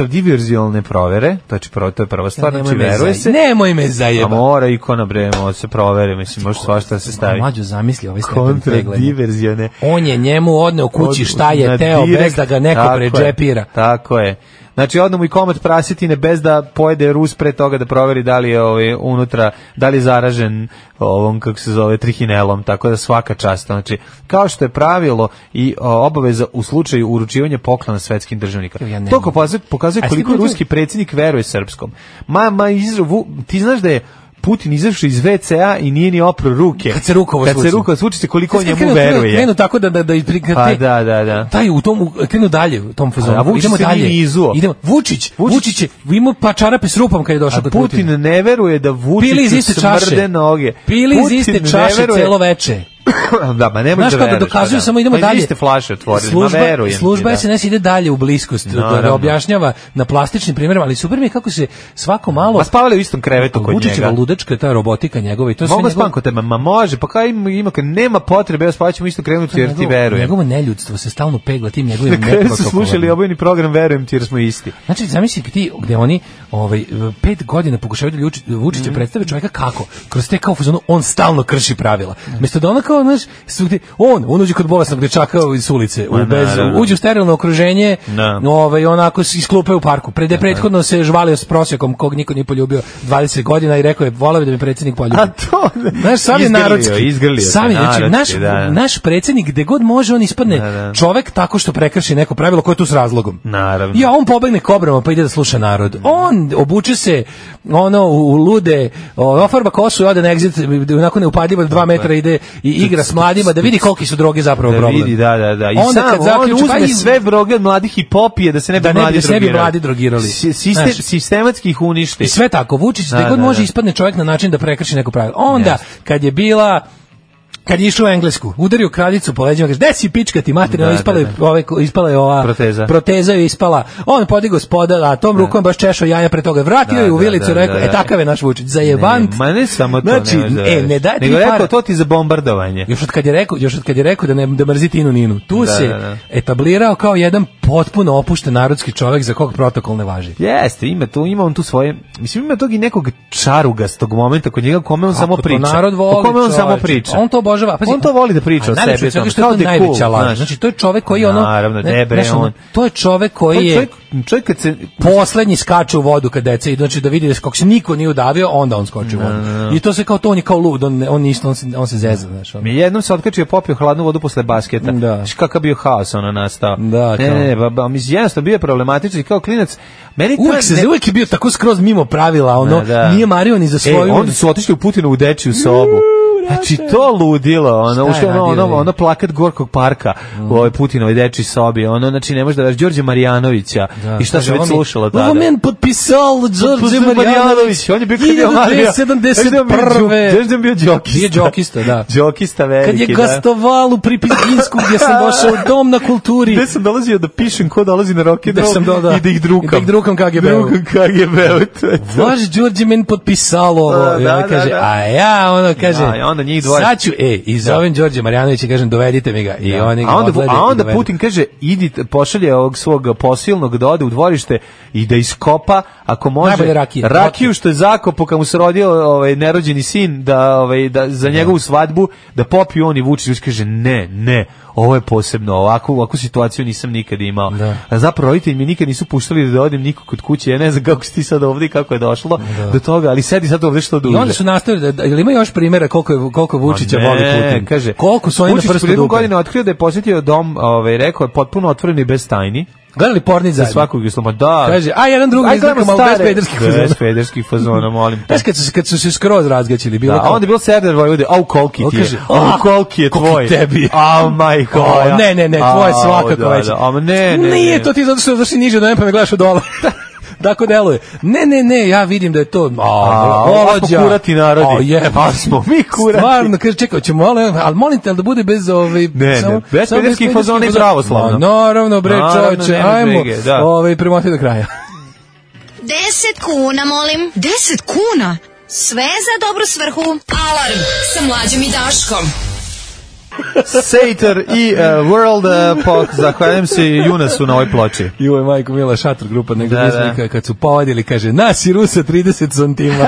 [SPEAKER 6] kontradiverzijalne provere, to je, prvo- to je prva stvar, znači
[SPEAKER 5] me
[SPEAKER 6] veruje
[SPEAKER 5] zaj-
[SPEAKER 6] se.
[SPEAKER 5] Nemoj me
[SPEAKER 6] A
[SPEAKER 5] zajebati.
[SPEAKER 6] mora ikona bre, mora se proveri, mislim, može svašta da se
[SPEAKER 5] A
[SPEAKER 6] stavi. E,
[SPEAKER 5] Mlađo zamisli ovaj stepen preglanja.
[SPEAKER 6] Kontradiverzione.
[SPEAKER 5] On je njemu odneo kući šta je
[SPEAKER 6] Na
[SPEAKER 5] teo bez
[SPEAKER 6] direkt-
[SPEAKER 5] da ga neko
[SPEAKER 6] Tako je,
[SPEAKER 5] pređepira.
[SPEAKER 6] Tako je. Znači, odno mu i komad prasetine bez da pojede Rus pre toga da proveri da li je ovaj, unutra, da li je zaražen ovom, kako se zove, trihinelom, tako da svaka čast. Znači, kao što je pravilo i o, obaveza u slučaju uručivanja poklona svetskim državnikom.
[SPEAKER 5] Ja ne
[SPEAKER 6] to
[SPEAKER 5] mogu.
[SPEAKER 6] pokazuje, pokazuje
[SPEAKER 5] A jeste
[SPEAKER 6] koliko
[SPEAKER 5] vidio-
[SPEAKER 6] ruski predsjednik veruje srpskom. Ma, ma, izra- Vu- ti znaš da je Putin izašao iz WC-a i nije ni opro ruke.
[SPEAKER 5] Kad se rukovo
[SPEAKER 6] Kad se
[SPEAKER 5] sluči.
[SPEAKER 6] rukovo sluči, koliko
[SPEAKER 5] Sad
[SPEAKER 6] njemu
[SPEAKER 5] krenu-
[SPEAKER 6] veruje.
[SPEAKER 5] Krenu tako da da da i pri-
[SPEAKER 6] Pa
[SPEAKER 5] te-
[SPEAKER 6] da, da, da.
[SPEAKER 5] Taj u tom u- krenu dalje u tom fazonu.
[SPEAKER 6] A Vučić
[SPEAKER 5] Idemo
[SPEAKER 6] se
[SPEAKER 5] dalje.
[SPEAKER 6] nije izuo.
[SPEAKER 5] Idemo. Vučić,
[SPEAKER 6] Vučić-
[SPEAKER 5] Vučić je imao pa čarape s rupom kad je došao
[SPEAKER 6] A
[SPEAKER 5] kod
[SPEAKER 6] Putin
[SPEAKER 5] Putina.
[SPEAKER 6] ne veruje da Vučiću
[SPEAKER 5] Pili iz iste
[SPEAKER 6] smrde
[SPEAKER 5] čaše.
[SPEAKER 6] noge.
[SPEAKER 5] Pili iz
[SPEAKER 6] Putin
[SPEAKER 5] iste
[SPEAKER 6] ne
[SPEAKER 5] čaše
[SPEAKER 6] veruje-
[SPEAKER 5] celo veče.
[SPEAKER 6] da, ma ne možeš
[SPEAKER 5] Znaš
[SPEAKER 6] da
[SPEAKER 5] kako,
[SPEAKER 6] veruješ,
[SPEAKER 5] dokazuju,
[SPEAKER 6] pa da.
[SPEAKER 5] samo idemo
[SPEAKER 6] Pa i
[SPEAKER 5] dalje.
[SPEAKER 6] vi ste flaše otvorili,
[SPEAKER 5] služba,
[SPEAKER 6] ma verujem ti,
[SPEAKER 5] Služba
[SPEAKER 6] da.
[SPEAKER 5] SNS ide dalje u bliskost, da, da,
[SPEAKER 6] Naravno.
[SPEAKER 5] objašnjava na plastičnim primjerima, ali super mi je kako se svako malo...
[SPEAKER 6] Ma spavali u istom krevetu Pa kod
[SPEAKER 5] Vučićeva
[SPEAKER 6] njega.
[SPEAKER 5] ludačka, ta robotika njegova i to sve
[SPEAKER 6] Mogu
[SPEAKER 5] njegov-
[SPEAKER 6] spavam kod tebe, ma može, pa kaj ima, ima kad nema potrebe, ja spavat ćemo isto krenuti jer ti
[SPEAKER 5] njegovo-
[SPEAKER 6] verujem.
[SPEAKER 5] Njegovo neljudstvo se stalno pegla tim njegovim
[SPEAKER 6] Na kraju su
[SPEAKER 5] neprotokolarnim.
[SPEAKER 6] slušali obojni program, verujem ti jer smo isti.
[SPEAKER 5] Znači, zamisli ti gde oni ovaj, pet godina pokušavaju da Ljuči- Vučića
[SPEAKER 6] Mhm.
[SPEAKER 5] predstave čovjeka kako? Kroz te kao fuzonu, on stalno krši pravila.
[SPEAKER 6] Mhm.
[SPEAKER 5] Mesto da ona kao, znaš, svugde, on, on uđe kod bolesnog dečaka iz ulice, u
[SPEAKER 6] Ma,
[SPEAKER 5] bez,
[SPEAKER 6] Pa naravno.
[SPEAKER 5] uđe u sterilno okruženje,
[SPEAKER 6] Da.
[SPEAKER 5] ovaj, onako s- iz klupe u parku. Prede prethodno se žvalio s prosjekom kog niko nije poljubio 20 godina i rekao je, volao bi da me predsjednik poljubi.
[SPEAKER 6] A to-
[SPEAKER 5] Znaš, sam je
[SPEAKER 6] Izgrlio,
[SPEAKER 5] narodski.
[SPEAKER 6] izgrlio se
[SPEAKER 5] Sam je, znači,
[SPEAKER 6] narodski,
[SPEAKER 5] naš,
[SPEAKER 6] da.
[SPEAKER 5] naš predsjednik gde god može, on ispadne
[SPEAKER 6] Da, da.
[SPEAKER 5] čovek tako što prekrši neko pravilo koje je tu s razlogom.
[SPEAKER 6] Naravno.
[SPEAKER 5] Ja, on pobegne kobrama pa ide da sluša narod. On obuče se ono u lude, o, ofarba kosu i ode na exit, onako neupadljivo, dva metra ide i igra s mladima da vidi koliki su droge zapravo
[SPEAKER 6] Da
[SPEAKER 5] problem.
[SPEAKER 6] vidi, da, da, da. I
[SPEAKER 5] Onda
[SPEAKER 6] sam,
[SPEAKER 5] kad
[SPEAKER 6] on
[SPEAKER 5] zaključi, pa
[SPEAKER 6] uzme
[SPEAKER 5] i-
[SPEAKER 6] sve broge od mladih i popije da se ne bi
[SPEAKER 5] Da ne bi-
[SPEAKER 6] mladi
[SPEAKER 5] da se ne bi
[SPEAKER 6] drogirali.
[SPEAKER 5] mladi drogirali.
[SPEAKER 6] Si- siste-
[SPEAKER 5] Znaš.
[SPEAKER 6] sistematski ih uništi.
[SPEAKER 5] I sve tako, Vučić, da,
[SPEAKER 6] Da,
[SPEAKER 5] god
[SPEAKER 6] da,
[SPEAKER 5] može
[SPEAKER 6] da.
[SPEAKER 5] ispadne čovjek na način da prekrši neko pravilo. Onda, kad je bila kad je išao u Englesku, udario kraljicu po leđima, kaže, gde si pička ti materina,
[SPEAKER 6] Da,
[SPEAKER 5] ispala, je-
[SPEAKER 6] da,
[SPEAKER 5] ovaj, ko- ispala je ova
[SPEAKER 6] Proteza.
[SPEAKER 5] proteza je ispala, on podigo spoda, a tom rukom baš češao jaja pre toga, vratio
[SPEAKER 6] Da,
[SPEAKER 5] je u
[SPEAKER 6] da,
[SPEAKER 5] vilicu,
[SPEAKER 6] da,
[SPEAKER 5] rekao,
[SPEAKER 6] da,
[SPEAKER 5] e
[SPEAKER 6] da.
[SPEAKER 5] takav je naš Vučić, zajebant.
[SPEAKER 6] Ne, ma ne samo to,
[SPEAKER 5] znači,
[SPEAKER 6] ne, možeš da
[SPEAKER 5] e, ne
[SPEAKER 6] veruješ.
[SPEAKER 5] daj ti
[SPEAKER 6] Nego je
[SPEAKER 5] para.
[SPEAKER 6] rekao, to ti za bombardovanje.
[SPEAKER 5] Još od kad je rekao, još od kad je rekao da ne da mrzi Tinu Ninu. Tu
[SPEAKER 6] Da,
[SPEAKER 5] se
[SPEAKER 6] da, da.
[SPEAKER 5] etablirao kao jedan potpuno opušten narodski čovjek za kog protokol ne važi.
[SPEAKER 6] Jeste, ima tu, ima on tu svoje, mislim ima tog i nekog čarugastog momenta kod njega kome on samo
[SPEAKER 5] Kako to
[SPEAKER 6] priča.
[SPEAKER 5] narod voli,
[SPEAKER 6] O kome on
[SPEAKER 5] čoveče.
[SPEAKER 6] samo priča.
[SPEAKER 5] On to obožava.
[SPEAKER 6] on to voli da priča
[SPEAKER 5] a
[SPEAKER 6] o
[SPEAKER 5] najveće
[SPEAKER 6] sebi,
[SPEAKER 5] od svega
[SPEAKER 6] o tome,
[SPEAKER 5] što je
[SPEAKER 6] kao
[SPEAKER 5] to
[SPEAKER 6] da je
[SPEAKER 5] najveća
[SPEAKER 6] cool,
[SPEAKER 5] laž.
[SPEAKER 6] znaš.
[SPEAKER 5] Znači, to je čovjek koji ono...
[SPEAKER 6] Naravno,
[SPEAKER 5] ne,
[SPEAKER 6] ne, bre,
[SPEAKER 5] znaš, ono,
[SPEAKER 6] on-
[SPEAKER 5] To je čovjek koji je
[SPEAKER 6] Čovjek, čovjek kad se
[SPEAKER 5] poslednji skače u vodu kad deca idu, znači da vidi da kako se niko nije udavio, onda on skoči u vodu. I to se kao to, on je kao lud, on, ne- on, isto, on, se, on se zeza, znaš. ono.
[SPEAKER 6] Mi jednom se otkačio i popio hladnu vodu posle basketa.
[SPEAKER 5] Da.
[SPEAKER 6] Znaš kakav bio haos ono nastao.
[SPEAKER 5] Da,
[SPEAKER 6] ne,
[SPEAKER 5] kao.
[SPEAKER 6] ne, ne, ba, ba, mislim, jednostavno bio je problematičan i kao klinac. Meni to
[SPEAKER 5] Uvijek, se,
[SPEAKER 6] ne-
[SPEAKER 5] uvijek je bio tako skroz mimo pravila, ono,
[SPEAKER 6] Da, da.
[SPEAKER 5] nije mario ni za svoju...
[SPEAKER 6] E, onda su otišli u Putinovu dečiju sobu. Znači to ludilo, ono,
[SPEAKER 5] je
[SPEAKER 6] ušlo ono,
[SPEAKER 5] radio,
[SPEAKER 6] ono,
[SPEAKER 5] je?
[SPEAKER 6] ono plakat Gorkog parka u ovoj Putinovoj dečiji sobi, ono, znači ne može da veš Đorđe Marjanovića i šta se već slušalo tada. Pa
[SPEAKER 5] Ovo men potpisao Đorđe
[SPEAKER 6] Đorđe
[SPEAKER 5] Marjanović.
[SPEAKER 6] Marjanović, on je bio kad je Marija.
[SPEAKER 5] 1971.
[SPEAKER 6] Znaš da je bio džokista.
[SPEAKER 5] Bio džokista, da.
[SPEAKER 6] Džokista veliki,
[SPEAKER 5] Kad je
[SPEAKER 6] da.
[SPEAKER 5] gastovalo pri Pizginsku gdje sam došao u dom na kulturi.
[SPEAKER 6] Gde sam dolazio da pišem ko dolazi na rock and
[SPEAKER 5] Da
[SPEAKER 6] roll
[SPEAKER 5] sam do- da.
[SPEAKER 6] i da ih drukam.
[SPEAKER 5] I da ih drukam KGB-u.
[SPEAKER 6] Drukam KGB-u, to je to.
[SPEAKER 5] Vaš Đorđe men potpisalo ovo.
[SPEAKER 6] Da,
[SPEAKER 5] I on
[SPEAKER 6] da,
[SPEAKER 5] kaže,
[SPEAKER 6] da, da.
[SPEAKER 5] a ja, ono kaže,
[SPEAKER 6] Da, i onda njih dvoje.
[SPEAKER 5] sad ću, e, i zovem Đorđe Marjanović i kažem, dovedite mi ga. I oni ga
[SPEAKER 6] a onda,
[SPEAKER 5] odvede i
[SPEAKER 6] a onda
[SPEAKER 5] dovedu.
[SPEAKER 6] Putin kaže, idi, pošalje ovog svog posilnog da ode u dvorište i da iskopa, ako može,
[SPEAKER 5] Najbolje rakije.
[SPEAKER 6] rakiju što je zakopo kad mu se rodio ovaj, nerođeni sin, da, ovaj, da, za njegovu svadbu, da popiju on i Vučić kaže, ne, ne, ovo je posebno, ovakvu, ovakvu situaciju nisam nikad imao.
[SPEAKER 5] Da.
[SPEAKER 6] A zapravo roditelji mi nikad nisu puštali da odem nikog kod kuće, ja ne znam kako si ti sad ovdje i kako je došlo do toga, ali sedi sad ovdje što duže.
[SPEAKER 5] I onda su nastavili da, da jel ima još primjera koliko je- koliko Vučića
[SPEAKER 6] Ma
[SPEAKER 5] voli
[SPEAKER 6] ne,
[SPEAKER 5] Putin.
[SPEAKER 6] Kaže,
[SPEAKER 5] koliko su oni na
[SPEAKER 6] Vučić
[SPEAKER 5] prstu
[SPEAKER 6] prilikom
[SPEAKER 5] dupe.
[SPEAKER 6] godina otkrio da je posjetio dom, ovaj, rekao je potpuno otvoren i bez tajni.
[SPEAKER 5] Gledali pornić
[SPEAKER 6] Za
[SPEAKER 5] zajedno.
[SPEAKER 6] svakog isloma, da.
[SPEAKER 5] Kaže, a jedan drugi
[SPEAKER 6] Aj,
[SPEAKER 5] iz
[SPEAKER 6] gledamo
[SPEAKER 5] drugom, ali bez
[SPEAKER 6] stare-
[SPEAKER 5] pederskih fazona.
[SPEAKER 6] Bez pederskih fazona, molim te.
[SPEAKER 5] Znaš kad su, se- kad su se skroz razgaćili, bilo
[SPEAKER 6] Da,
[SPEAKER 5] kao-
[SPEAKER 6] a onda je bilo serdar Vojvode, au kolki
[SPEAKER 5] On
[SPEAKER 6] ti je,
[SPEAKER 5] kaže,
[SPEAKER 6] au
[SPEAKER 5] "A,
[SPEAKER 6] kolki je
[SPEAKER 5] koliki
[SPEAKER 6] tvoj.
[SPEAKER 5] tebi."
[SPEAKER 6] Au majko.
[SPEAKER 5] O,
[SPEAKER 6] moja.
[SPEAKER 5] ne, ne, ne, tvoje
[SPEAKER 6] Au,
[SPEAKER 5] svakako
[SPEAKER 6] da,
[SPEAKER 5] već.
[SPEAKER 6] da, a ne, ne,
[SPEAKER 5] Nije
[SPEAKER 6] ne.
[SPEAKER 5] to ti zato što završi niže od pa me gledaš od dole. Tako deluje. Ne, ne, ne, ja vidim da je to... A,
[SPEAKER 6] A, ovo smo
[SPEAKER 5] volođa.
[SPEAKER 6] kurati narodi.
[SPEAKER 5] A, jebe.
[SPEAKER 6] A smo mi kurati.
[SPEAKER 5] Stvarno, kaže, čekaj, ćemo, ali, ali molim te, ali da bude bez ovaj...
[SPEAKER 6] Ne, ne, bez
[SPEAKER 5] samo
[SPEAKER 6] pederskih
[SPEAKER 5] pederskih
[SPEAKER 6] fazona i pravoslavno.
[SPEAKER 5] Ma, Naravno, bre,
[SPEAKER 6] Naravno,
[SPEAKER 5] čoveče,
[SPEAKER 6] nema
[SPEAKER 5] ajmo,
[SPEAKER 6] brige, da.
[SPEAKER 5] ovaj, premoti do kraja.
[SPEAKER 4] 10 kuna, molim. 10 kuna? Sve za dobru svrhu. Alarm sa mlađom i Daškom.
[SPEAKER 6] Sator i uh, World uh, Pop, zahvaljujem se Junasu na ovoj ploči.
[SPEAKER 5] Juj, majko, mila šator grupa, negdje
[SPEAKER 6] Da,
[SPEAKER 5] da,
[SPEAKER 6] da.
[SPEAKER 5] kad su povadili, kaže, nas i Rusa 30 santima.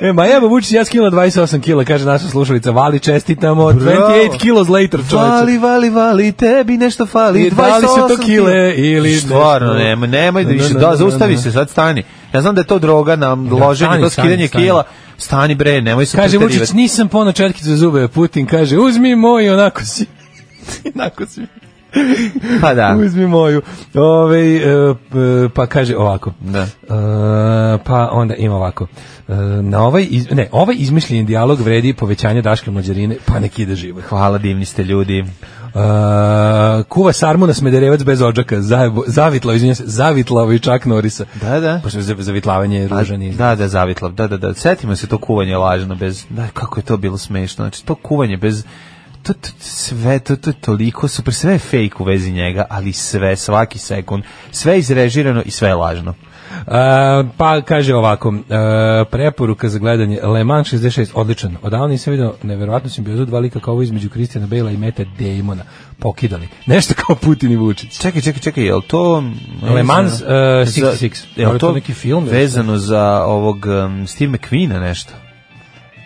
[SPEAKER 5] e, ma jeba, Vučić, ja skinula 28 kila, kaže naša slušalica, vali čestitamo, 28 kilos later, čovječe.
[SPEAKER 6] Vali, vali, vali, tebi nešto fali.
[SPEAKER 5] I da li su to
[SPEAKER 6] 28
[SPEAKER 5] kile
[SPEAKER 6] kila.
[SPEAKER 5] ili nešto?
[SPEAKER 6] Stvarno, nemoj, nemoj da
[SPEAKER 5] Da,
[SPEAKER 6] više,
[SPEAKER 5] da,
[SPEAKER 6] da,
[SPEAKER 5] da,
[SPEAKER 6] zaustavi
[SPEAKER 5] da, da.
[SPEAKER 6] se, sad stani. Ja znam da je to droga nam loženje,
[SPEAKER 5] stani,
[SPEAKER 6] to skidanje
[SPEAKER 5] stani, stani.
[SPEAKER 6] kila. Stani bre, nemoj se
[SPEAKER 5] Kaže,
[SPEAKER 6] preterivati.
[SPEAKER 5] Vučić, nisam ponao četkicu za zube, Putin kaže, uzmi moj, onako si. onako si.
[SPEAKER 6] Pa da.
[SPEAKER 5] Uzmi moju. Ove, e, p- pa kaže ovako.
[SPEAKER 6] Da.
[SPEAKER 5] E, pa onda ima ovako. E, na ovaj, iz, ne, ovaj izmišljeni dijalog vredi povećanja Daške mlađarine, pa nek ide živo.
[SPEAKER 6] Hvala, divni ste ljudi.
[SPEAKER 5] E, kuva sarmu na smederevac bez odžaka. Zajebo, zavitlao, izvinjam se, zavitlao i čak Norisa.
[SPEAKER 6] Da, da.
[SPEAKER 5] Pošto za- zavitlavanje je ružan izraz.
[SPEAKER 6] Da, da, zavitlav, da, da, da. Sjetimo se to kuvanje lažno bez, da, kako je to bilo smešno. Znači, to kuvanje bez, to, to- sve, to, to je toliko super, sve je fake u vezi njega, ali sve, svaki sekund, sve je izrežirano i sve je lažno.
[SPEAKER 5] E, pa kaže ovako, e, preporuka za gledanje Le Mans 66, odličan. Odavno nisam vidio neverovatnu simbiozu dva lika kao ovo između Kristijana Bela i Mete Damona. Pokidali. Nešto kao Putin i Vučić.
[SPEAKER 6] Čekaj, čekaj, čekaj, je li to... mm,
[SPEAKER 5] Le Mans,
[SPEAKER 6] za-
[SPEAKER 5] e, 66.
[SPEAKER 6] Je li
[SPEAKER 5] Možda
[SPEAKER 6] to
[SPEAKER 5] to neki film ili
[SPEAKER 6] vezano za ovog um, Steve McQueena nešto?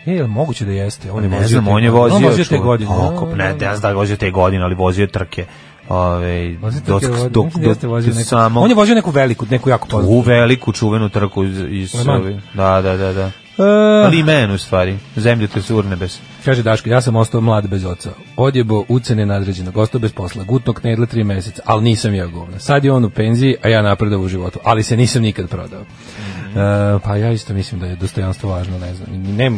[SPEAKER 5] E, jel moguće da jeste? On je
[SPEAKER 6] Ne
[SPEAKER 5] vozio
[SPEAKER 6] znam,
[SPEAKER 5] te-
[SPEAKER 6] on je vozio...
[SPEAKER 5] On vozio te
[SPEAKER 6] čuv-
[SPEAKER 5] godine.
[SPEAKER 6] Oko, ne, ne znam da je vozio te godine, ali vozio je trke. Ove,
[SPEAKER 5] Vozio te
[SPEAKER 6] dok,
[SPEAKER 5] godine,
[SPEAKER 6] dok,
[SPEAKER 5] mislim da
[SPEAKER 6] dok,
[SPEAKER 5] jeste vozio neku-
[SPEAKER 6] samo...
[SPEAKER 5] On je vozio neku veliku, neku jako
[SPEAKER 6] U
[SPEAKER 5] poznatu.
[SPEAKER 6] veliku čuvenu trku iz, iz
[SPEAKER 5] Le Mans.
[SPEAKER 6] ovi- Da, da, da, da.
[SPEAKER 5] E,
[SPEAKER 6] Ali men u stvari. Zemlje te su urnebes.
[SPEAKER 5] Kaže Daško, ja sam ostao mlad bez oca. Odjebo ucene nadređenog, ostao bez posla, gutno knedle tri meseca, ali nisam ja govna. Sad je on u penziji, a ja napredao u životu, ali se nisam nikad prodao. E, pa ja isto mislim da je dostojanstvo važno, ne znam. Ne,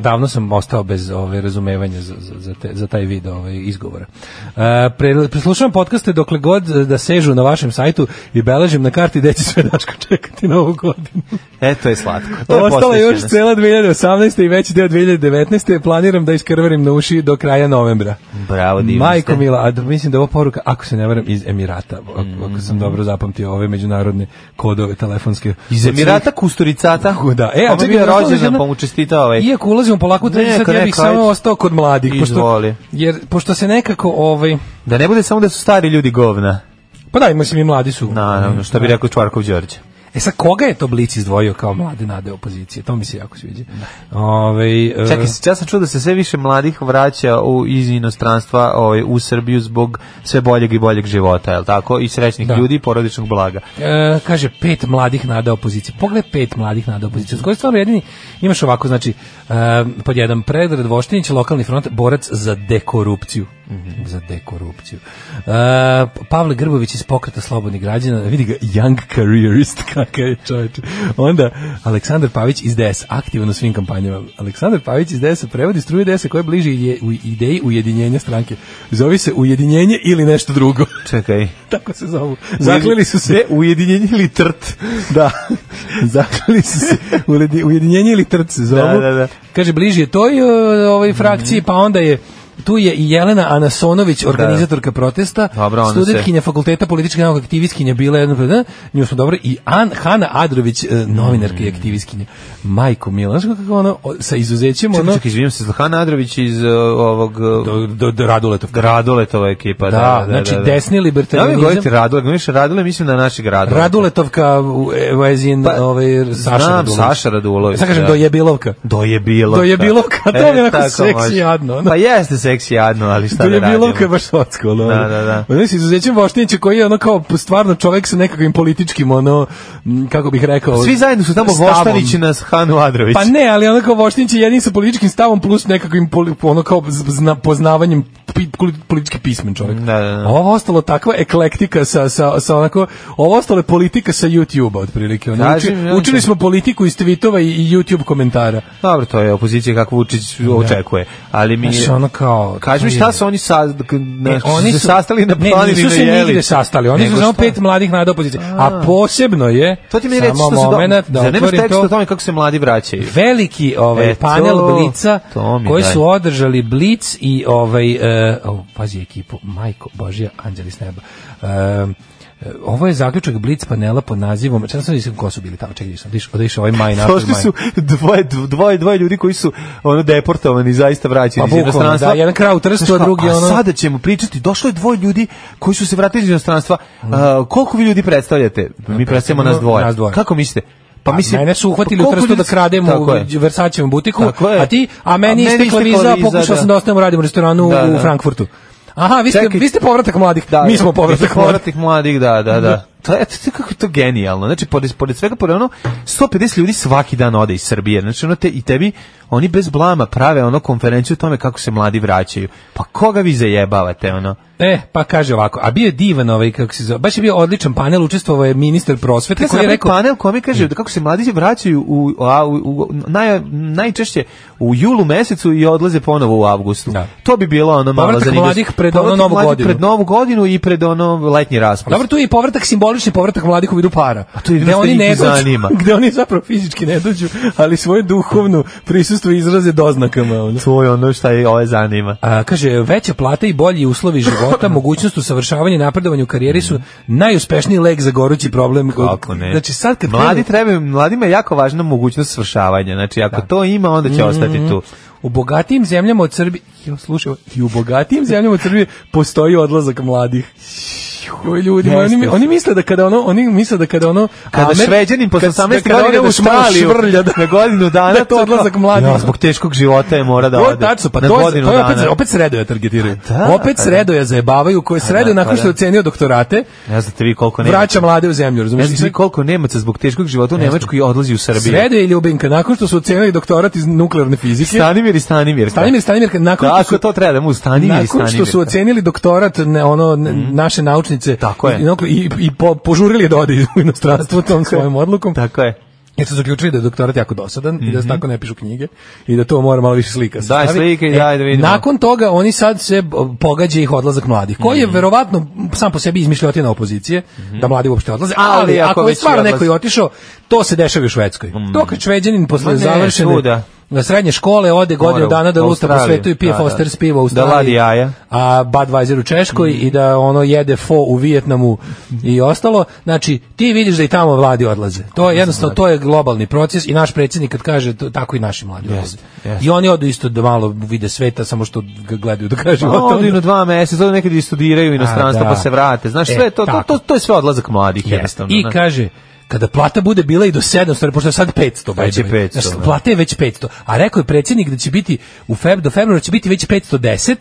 [SPEAKER 5] davno sam ostao bez ove razumevanja za, za, za, te, za taj vid ovaj, izgovora. E, pre, preslušavam podcaste dokle god da sežu na vašem sajtu i beležim na karti gde će sve Daško čekati novu godinu.
[SPEAKER 6] E, to je slatko. To je
[SPEAKER 5] Ostala je još
[SPEAKER 6] posvećenost.
[SPEAKER 5] cela 2018. i veći deo 2019. Planiram da iskrvarim na uši do kraja novembra.
[SPEAKER 6] Bravo, divni
[SPEAKER 5] Majko
[SPEAKER 6] ste.
[SPEAKER 5] Mila, a da- mislim da je ovo poruka, ako se ne varam, iz Emirata, ako,
[SPEAKER 6] Mm.
[SPEAKER 5] ako sam dobro zapamtio ove međunarodne kodove telefonske.
[SPEAKER 6] Iz Emirata Kusturicata.
[SPEAKER 5] Da. E, a
[SPEAKER 6] Ona
[SPEAKER 5] čekaj,
[SPEAKER 6] mi je
[SPEAKER 5] ostalo je
[SPEAKER 6] rođena,
[SPEAKER 5] žena-
[SPEAKER 6] pa mu čestita ovaj.
[SPEAKER 5] Iako ulazimo polako u treći
[SPEAKER 6] Neka,
[SPEAKER 5] sad, ja bih
[SPEAKER 6] neka,
[SPEAKER 5] samo
[SPEAKER 6] ajde.
[SPEAKER 5] ostao kod mladih. Pošto,
[SPEAKER 6] Izvoli.
[SPEAKER 5] jer, pošto se nekako, ovaj,
[SPEAKER 6] Da ne bude samo da su stari ljudi govna.
[SPEAKER 5] pa da, mislim i mladi su.
[SPEAKER 6] Naravno, što bi rekao Čvarkov Đorđe.
[SPEAKER 5] E sad, koga je to Blic izdvojio kao mlade nade opozicije? To mi se jako sviđa. Ovaj, e,
[SPEAKER 6] Čekaj, ja sam čuo da se sve više mladih vraća u, iz inostranstva ovaj, u Srbiju zbog sve boljeg i boljeg života, je li tako? I srećnih
[SPEAKER 5] Da.
[SPEAKER 6] ljudi i porodičnog blaga.
[SPEAKER 5] E, kaže pet mladih nada opozicije. Pogledaj pet mladih nada opozicije. S koje stvarno jedini imaš ovako, znači, e, pod jedan Predrad Voštinić, lokalni front, borac za dekorupciju. Za dekorupciju. E, Pavle Grbović iz pokreta slobodnih građana, vidi ga, young careerist, kakav je čovječe. Onda, Aleksandar Pavić iz DS, aktivan u svim kampanjama. Aleksandar Pavić iz DS prevodi struju DS koja je bliže ide- u ideji ujedinjenja stranke. Zove se ujedinjenje ili nešto drugo.
[SPEAKER 6] Čekaj.
[SPEAKER 5] Tako se zovu. Zakleli su se
[SPEAKER 6] ujedinjenje ili trt.
[SPEAKER 5] da. Zakljeli su se Uledi- ujedinjenje ili trt se zovu.
[SPEAKER 6] Da, da, da.
[SPEAKER 5] Kaže, bliži je toj e, ovoj frakciji, pa onda je Tu je i Jelena Anasonović, organizatorka protesta,
[SPEAKER 6] Dobro, ona se-
[SPEAKER 5] studentkinja fakulteta političke nauke, aktivistkinja bila jedna, da, nju smo dobro, i An, Hanna Adrović, e, novinarka i aktivistkinja. Majko Mila, znaš kako ono, o, sa izuzećem, ono,
[SPEAKER 6] Čekaj, čekaj, izvinjam se, Zlahan Adrović iz uh, ovog... uh,
[SPEAKER 5] do, do, do Raduletovka.
[SPEAKER 6] Radoletova ekipa, da, da, da
[SPEAKER 5] znači
[SPEAKER 6] da.
[SPEAKER 5] desni
[SPEAKER 6] Da li
[SPEAKER 5] libertarianizam.
[SPEAKER 6] govorite Radule, govoriš Radule, mislim na našeg Radule.
[SPEAKER 5] Raduletovka, u- e, vezin,
[SPEAKER 6] Pa,
[SPEAKER 5] ovaj, Saša
[SPEAKER 6] znam,
[SPEAKER 5] Radulović.
[SPEAKER 6] Saša Radulović,
[SPEAKER 5] Sad kažem,
[SPEAKER 6] da. E,
[SPEAKER 5] do jebilovka.
[SPEAKER 6] Do je bilo. E,
[SPEAKER 5] Do je bilo kad, to mi je onako
[SPEAKER 6] tako
[SPEAKER 5] seksi
[SPEAKER 6] može.
[SPEAKER 5] jadno, ono.
[SPEAKER 6] Pa jeste seksi jadno, ali šta
[SPEAKER 5] To
[SPEAKER 6] da
[SPEAKER 5] je
[SPEAKER 6] radimo.
[SPEAKER 5] bilo kao baš socko, ono.
[SPEAKER 6] Da, da, da.
[SPEAKER 5] Ono se izuzećem Voštinića koji je ono kao stvarno čovjek sa nekakvim političkim, ono, m, kako bih rekao...
[SPEAKER 6] Svi zajedno su tamo
[SPEAKER 5] stavom.
[SPEAKER 6] Voštanići na Hanu Adrović.
[SPEAKER 5] Pa ne, ali ono kao Voštinić je jedin sa političkim stavom plus nekakvim poli- ono kao zna, poznavanjem pi, kuli- politički pismen čovjek.
[SPEAKER 6] Da, da, da.
[SPEAKER 5] A Ovo ostalo takva eklektika sa, sa, sa onako, ovo ostalo je politika sa YouTube-a otprilike. Ono,
[SPEAKER 6] Kažem,
[SPEAKER 5] uči-
[SPEAKER 6] ja ti-
[SPEAKER 5] učili smo politiku iz tweetova i, i YouTube komentara.
[SPEAKER 6] Dobro, to je opozicija kako Vučić očekuje. Ali mi
[SPEAKER 5] Znaš,
[SPEAKER 6] je...
[SPEAKER 5] ono kao...
[SPEAKER 6] Kaži mi
[SPEAKER 5] to je-
[SPEAKER 6] šta su oni sa, na,
[SPEAKER 5] E, oni
[SPEAKER 6] se
[SPEAKER 5] su-
[SPEAKER 6] sastali na
[SPEAKER 5] ne,
[SPEAKER 6] planini
[SPEAKER 5] nisu se
[SPEAKER 6] na jeli.
[SPEAKER 5] nigde sastali, oni
[SPEAKER 6] Nego
[SPEAKER 5] su samo
[SPEAKER 6] šta?
[SPEAKER 5] pet mladih nada opozicije. A posebno je,
[SPEAKER 6] To ti mi reći
[SPEAKER 5] samo
[SPEAKER 6] što su
[SPEAKER 5] moment, da,
[SPEAKER 6] Zar nemaš
[SPEAKER 5] otvorim
[SPEAKER 6] tekst
[SPEAKER 5] to,
[SPEAKER 6] o tome kako se mladi vraćaju?
[SPEAKER 5] veliki ovaj
[SPEAKER 6] E, to-
[SPEAKER 5] panel Blica
[SPEAKER 6] to mi
[SPEAKER 5] koji
[SPEAKER 6] daj.
[SPEAKER 5] su održali Blic i ovaj e, au, pazi ekipu Majko Božja Anđeli s neba. E, e, ovo je zaključak Blic panela pod nazivom, čekaj sam nisam ko su bili tamo, čekaj sam, odiš, odiš ovaj maj nakon
[SPEAKER 6] Došli
[SPEAKER 5] maj.
[SPEAKER 6] su dvoje, dvoje, dvoje ljudi koji su ono deportovani, zaista
[SPEAKER 5] Pa
[SPEAKER 6] vraćeni iz
[SPEAKER 5] bukvalno,
[SPEAKER 6] inostranstva.
[SPEAKER 5] da, jedan kraj u Trstu,
[SPEAKER 6] Znaš
[SPEAKER 5] a
[SPEAKER 6] kao,
[SPEAKER 5] drugi ono-
[SPEAKER 6] A sada ćemo pričati, došlo je dvoje ljudi koji su se vratili iz inostranstva. A, koliko vi ljudi predstavljate? Mi predstavljamo nas dvoje.
[SPEAKER 5] Mm. nas dvoje.
[SPEAKER 6] Kako mislite? Pa mislim,
[SPEAKER 5] mene su uhvatili
[SPEAKER 6] pa
[SPEAKER 5] u
[SPEAKER 6] koliko
[SPEAKER 5] trstu da
[SPEAKER 6] ljudi-
[SPEAKER 5] krademo
[SPEAKER 6] Tako je.
[SPEAKER 5] u Versacevom butiku,
[SPEAKER 6] Tako je.
[SPEAKER 5] a ti, a
[SPEAKER 6] A
[SPEAKER 5] meni
[SPEAKER 6] meni
[SPEAKER 5] istekla
[SPEAKER 6] istekla
[SPEAKER 5] viza,
[SPEAKER 6] viza,
[SPEAKER 5] pokušao
[SPEAKER 6] da.
[SPEAKER 5] sam da ostavim u radim restoranu
[SPEAKER 6] Da,
[SPEAKER 5] u
[SPEAKER 6] da.
[SPEAKER 5] Frankfurtu. Aha, vi ste,
[SPEAKER 6] Čekaj.
[SPEAKER 5] vi ste povratak mladih, mi smo povratak mladih.
[SPEAKER 6] povratak mladih, da, da, da. to je to, kako je to genijalno. Znači pored pored svega pored ono 150 ljudi svaki dan ode iz Srbije. Znači ono te i tebi oni bez blama prave ono konferenciju o tome kako se mladi vraćaju. Pa koga vi zajebavate ono?
[SPEAKER 5] E, pa kaže ovako, a bio je divan ovaj, kako se zove, baš je bio odličan panel, učestvovao je ministar prosvete
[SPEAKER 6] Tako
[SPEAKER 5] koji je rekao,
[SPEAKER 6] panel kome kaže da kako se mladi vraćaju u, a, u, u naj, najčešće u julu mesecu i odlaze ponovo u avgustu.
[SPEAKER 5] Da.
[SPEAKER 6] To bi bilo ono malo
[SPEAKER 5] Povratak
[SPEAKER 6] zanimljivo.
[SPEAKER 5] mladih pred ono
[SPEAKER 6] Povratak
[SPEAKER 5] Novu
[SPEAKER 6] mladih
[SPEAKER 5] godinu.
[SPEAKER 6] Pred novu godinu i pred ono letnji raspust.
[SPEAKER 5] Dobro, tu je i povratak, simbolični povratak mladih u vidu para. A
[SPEAKER 6] to je jedino što njih i zanima.
[SPEAKER 5] Gde oni zapravo fizički ne dođu, ali svoje duhovno prisustvo izraze doznakama. Ono.
[SPEAKER 6] To je ono šta je ove zanima.
[SPEAKER 5] A, kaže, veća plata i bolji uslovi života, mogućnost usavršavanja i napredovanja u karijeri su najuspešniji lek za gorući problem.
[SPEAKER 6] Kako ne?
[SPEAKER 5] Znači, sad kad
[SPEAKER 6] Mladi
[SPEAKER 5] krenu-
[SPEAKER 6] treba, mladima je jako važna mogućnost svršavanja. Znači, ako to ima, onda
[SPEAKER 5] Mhm.
[SPEAKER 6] će ostati tu.
[SPEAKER 5] U bogatijim zemljama od Srbije, jo, slušaj, ovo, i u bogatijim zemljama od Srbije postoji odlazak mladih. Joj, ljudi, moji, oni, mi- oni misle da kada ono, oni misle da kada ono
[SPEAKER 6] Kada
[SPEAKER 5] Amer-
[SPEAKER 6] šveđanin posle
[SPEAKER 5] kad-
[SPEAKER 6] 18
[SPEAKER 5] kada
[SPEAKER 6] godina
[SPEAKER 5] ode
[SPEAKER 6] u
[SPEAKER 5] tamo
[SPEAKER 6] Šmaliju
[SPEAKER 5] švrlja, da,
[SPEAKER 6] na godinu dana,
[SPEAKER 5] da je to
[SPEAKER 6] kao-
[SPEAKER 5] odlazak mladih.
[SPEAKER 6] Ja, zbog teškog života je mora da
[SPEAKER 5] To
[SPEAKER 6] ode.
[SPEAKER 5] je tačno, pa
[SPEAKER 6] na
[SPEAKER 5] to, je,
[SPEAKER 6] godinu
[SPEAKER 5] to je opet,
[SPEAKER 6] dana.
[SPEAKER 5] opet sredoja targetiraju.
[SPEAKER 6] da,
[SPEAKER 5] opet
[SPEAKER 6] pa da.
[SPEAKER 5] sredoja zajebavaju, koje sredoja
[SPEAKER 6] da,
[SPEAKER 5] nakon
[SPEAKER 6] pa
[SPEAKER 5] što je
[SPEAKER 6] da.
[SPEAKER 5] ocenio doktorate,
[SPEAKER 6] Ne znate vi koliko nema.
[SPEAKER 5] vraća mlade u zemlju,
[SPEAKER 6] Ne
[SPEAKER 5] razumiješ?
[SPEAKER 6] znate vi koliko Nemaca zbog teškog života u Nemačku i odlazi u Srbiju.
[SPEAKER 5] Sredoja i Ljubinka, nakon što su ocenili doktorat iz nuklearne fizike,
[SPEAKER 6] Stanimir i Stanimir.
[SPEAKER 5] Stanimir, Stanimir, nakon što
[SPEAKER 6] Tako,
[SPEAKER 5] su,
[SPEAKER 6] to treba da mu Stanimir i
[SPEAKER 5] nakon
[SPEAKER 6] Stanimir. Mhm.
[SPEAKER 5] što su ocenili doktorat ne, ono ne, naše naučnice
[SPEAKER 6] Tako je.
[SPEAKER 5] i, i, i po, požurili je da ode u inostranstvo tom svojom odlukom
[SPEAKER 6] Tako je.
[SPEAKER 5] jer su zaključili da je doktorat jako dosadan i da se tako ne pišu knjige i da to mora malo više slika. se
[SPEAKER 6] Mhm. Daj
[SPEAKER 5] stavi. e,
[SPEAKER 6] slike i daj da vidimo.
[SPEAKER 5] Nakon toga oni sad se b- pogađa ih odlazak mlladih, koji je
[SPEAKER 6] Mhm.
[SPEAKER 5] verovatno sam po sebi izmišljotina opozicije, da mladi uopšte odlaze, ali,
[SPEAKER 6] Ali ako
[SPEAKER 5] ako, je
[SPEAKER 6] već
[SPEAKER 5] stvarno
[SPEAKER 6] odlaze. Mhm.
[SPEAKER 5] neko i otišao, to se dešava i u Švedskoj. To kad Šveđanin
[SPEAKER 6] Ma
[SPEAKER 5] posle
[SPEAKER 6] ne,
[SPEAKER 5] završene
[SPEAKER 6] svuda.
[SPEAKER 5] na srednje škole ode godinu
[SPEAKER 6] Mora u
[SPEAKER 5] dana da luta po
[SPEAKER 6] Australiju.
[SPEAKER 5] svetu i pije
[SPEAKER 6] Da, da.
[SPEAKER 5] Foster's pivo u
[SPEAKER 6] Da
[SPEAKER 5] Australiji.
[SPEAKER 6] ladi jaja.
[SPEAKER 5] A Budweiser u Češkoj i da ono jede fo u Vijetnamu i ostalo. Znači, ti vidiš da i tamo vladi odlaze. To je jednostavno, to je globalni proces i naš predsjednik kad kaže, to, tako i naši mladi odlaze.
[SPEAKER 6] jeste.
[SPEAKER 5] I oni odu isto da malo vide sveta, samo što ga gledaju do kraja
[SPEAKER 6] Pa
[SPEAKER 5] života.
[SPEAKER 6] Odinu dva meseca, onda nekad i studiraju u inostranstvo,
[SPEAKER 5] da.
[SPEAKER 6] pa se vrate. Znaš,
[SPEAKER 5] E,
[SPEAKER 6] sve to, to,
[SPEAKER 5] tako.
[SPEAKER 6] to, to je sve odlazak mladih,
[SPEAKER 5] Je.
[SPEAKER 6] jednostavno.
[SPEAKER 5] I
[SPEAKER 6] znaš.
[SPEAKER 5] kaže, kada plata bude bila i do 700, pošto je sad 500, by
[SPEAKER 6] Već
[SPEAKER 5] the
[SPEAKER 6] je
[SPEAKER 5] way.
[SPEAKER 6] 500,
[SPEAKER 5] Znači,
[SPEAKER 6] da.
[SPEAKER 5] plata je već 500. A rekao je predsjednik da će biti u feb, do februara će biti već 510,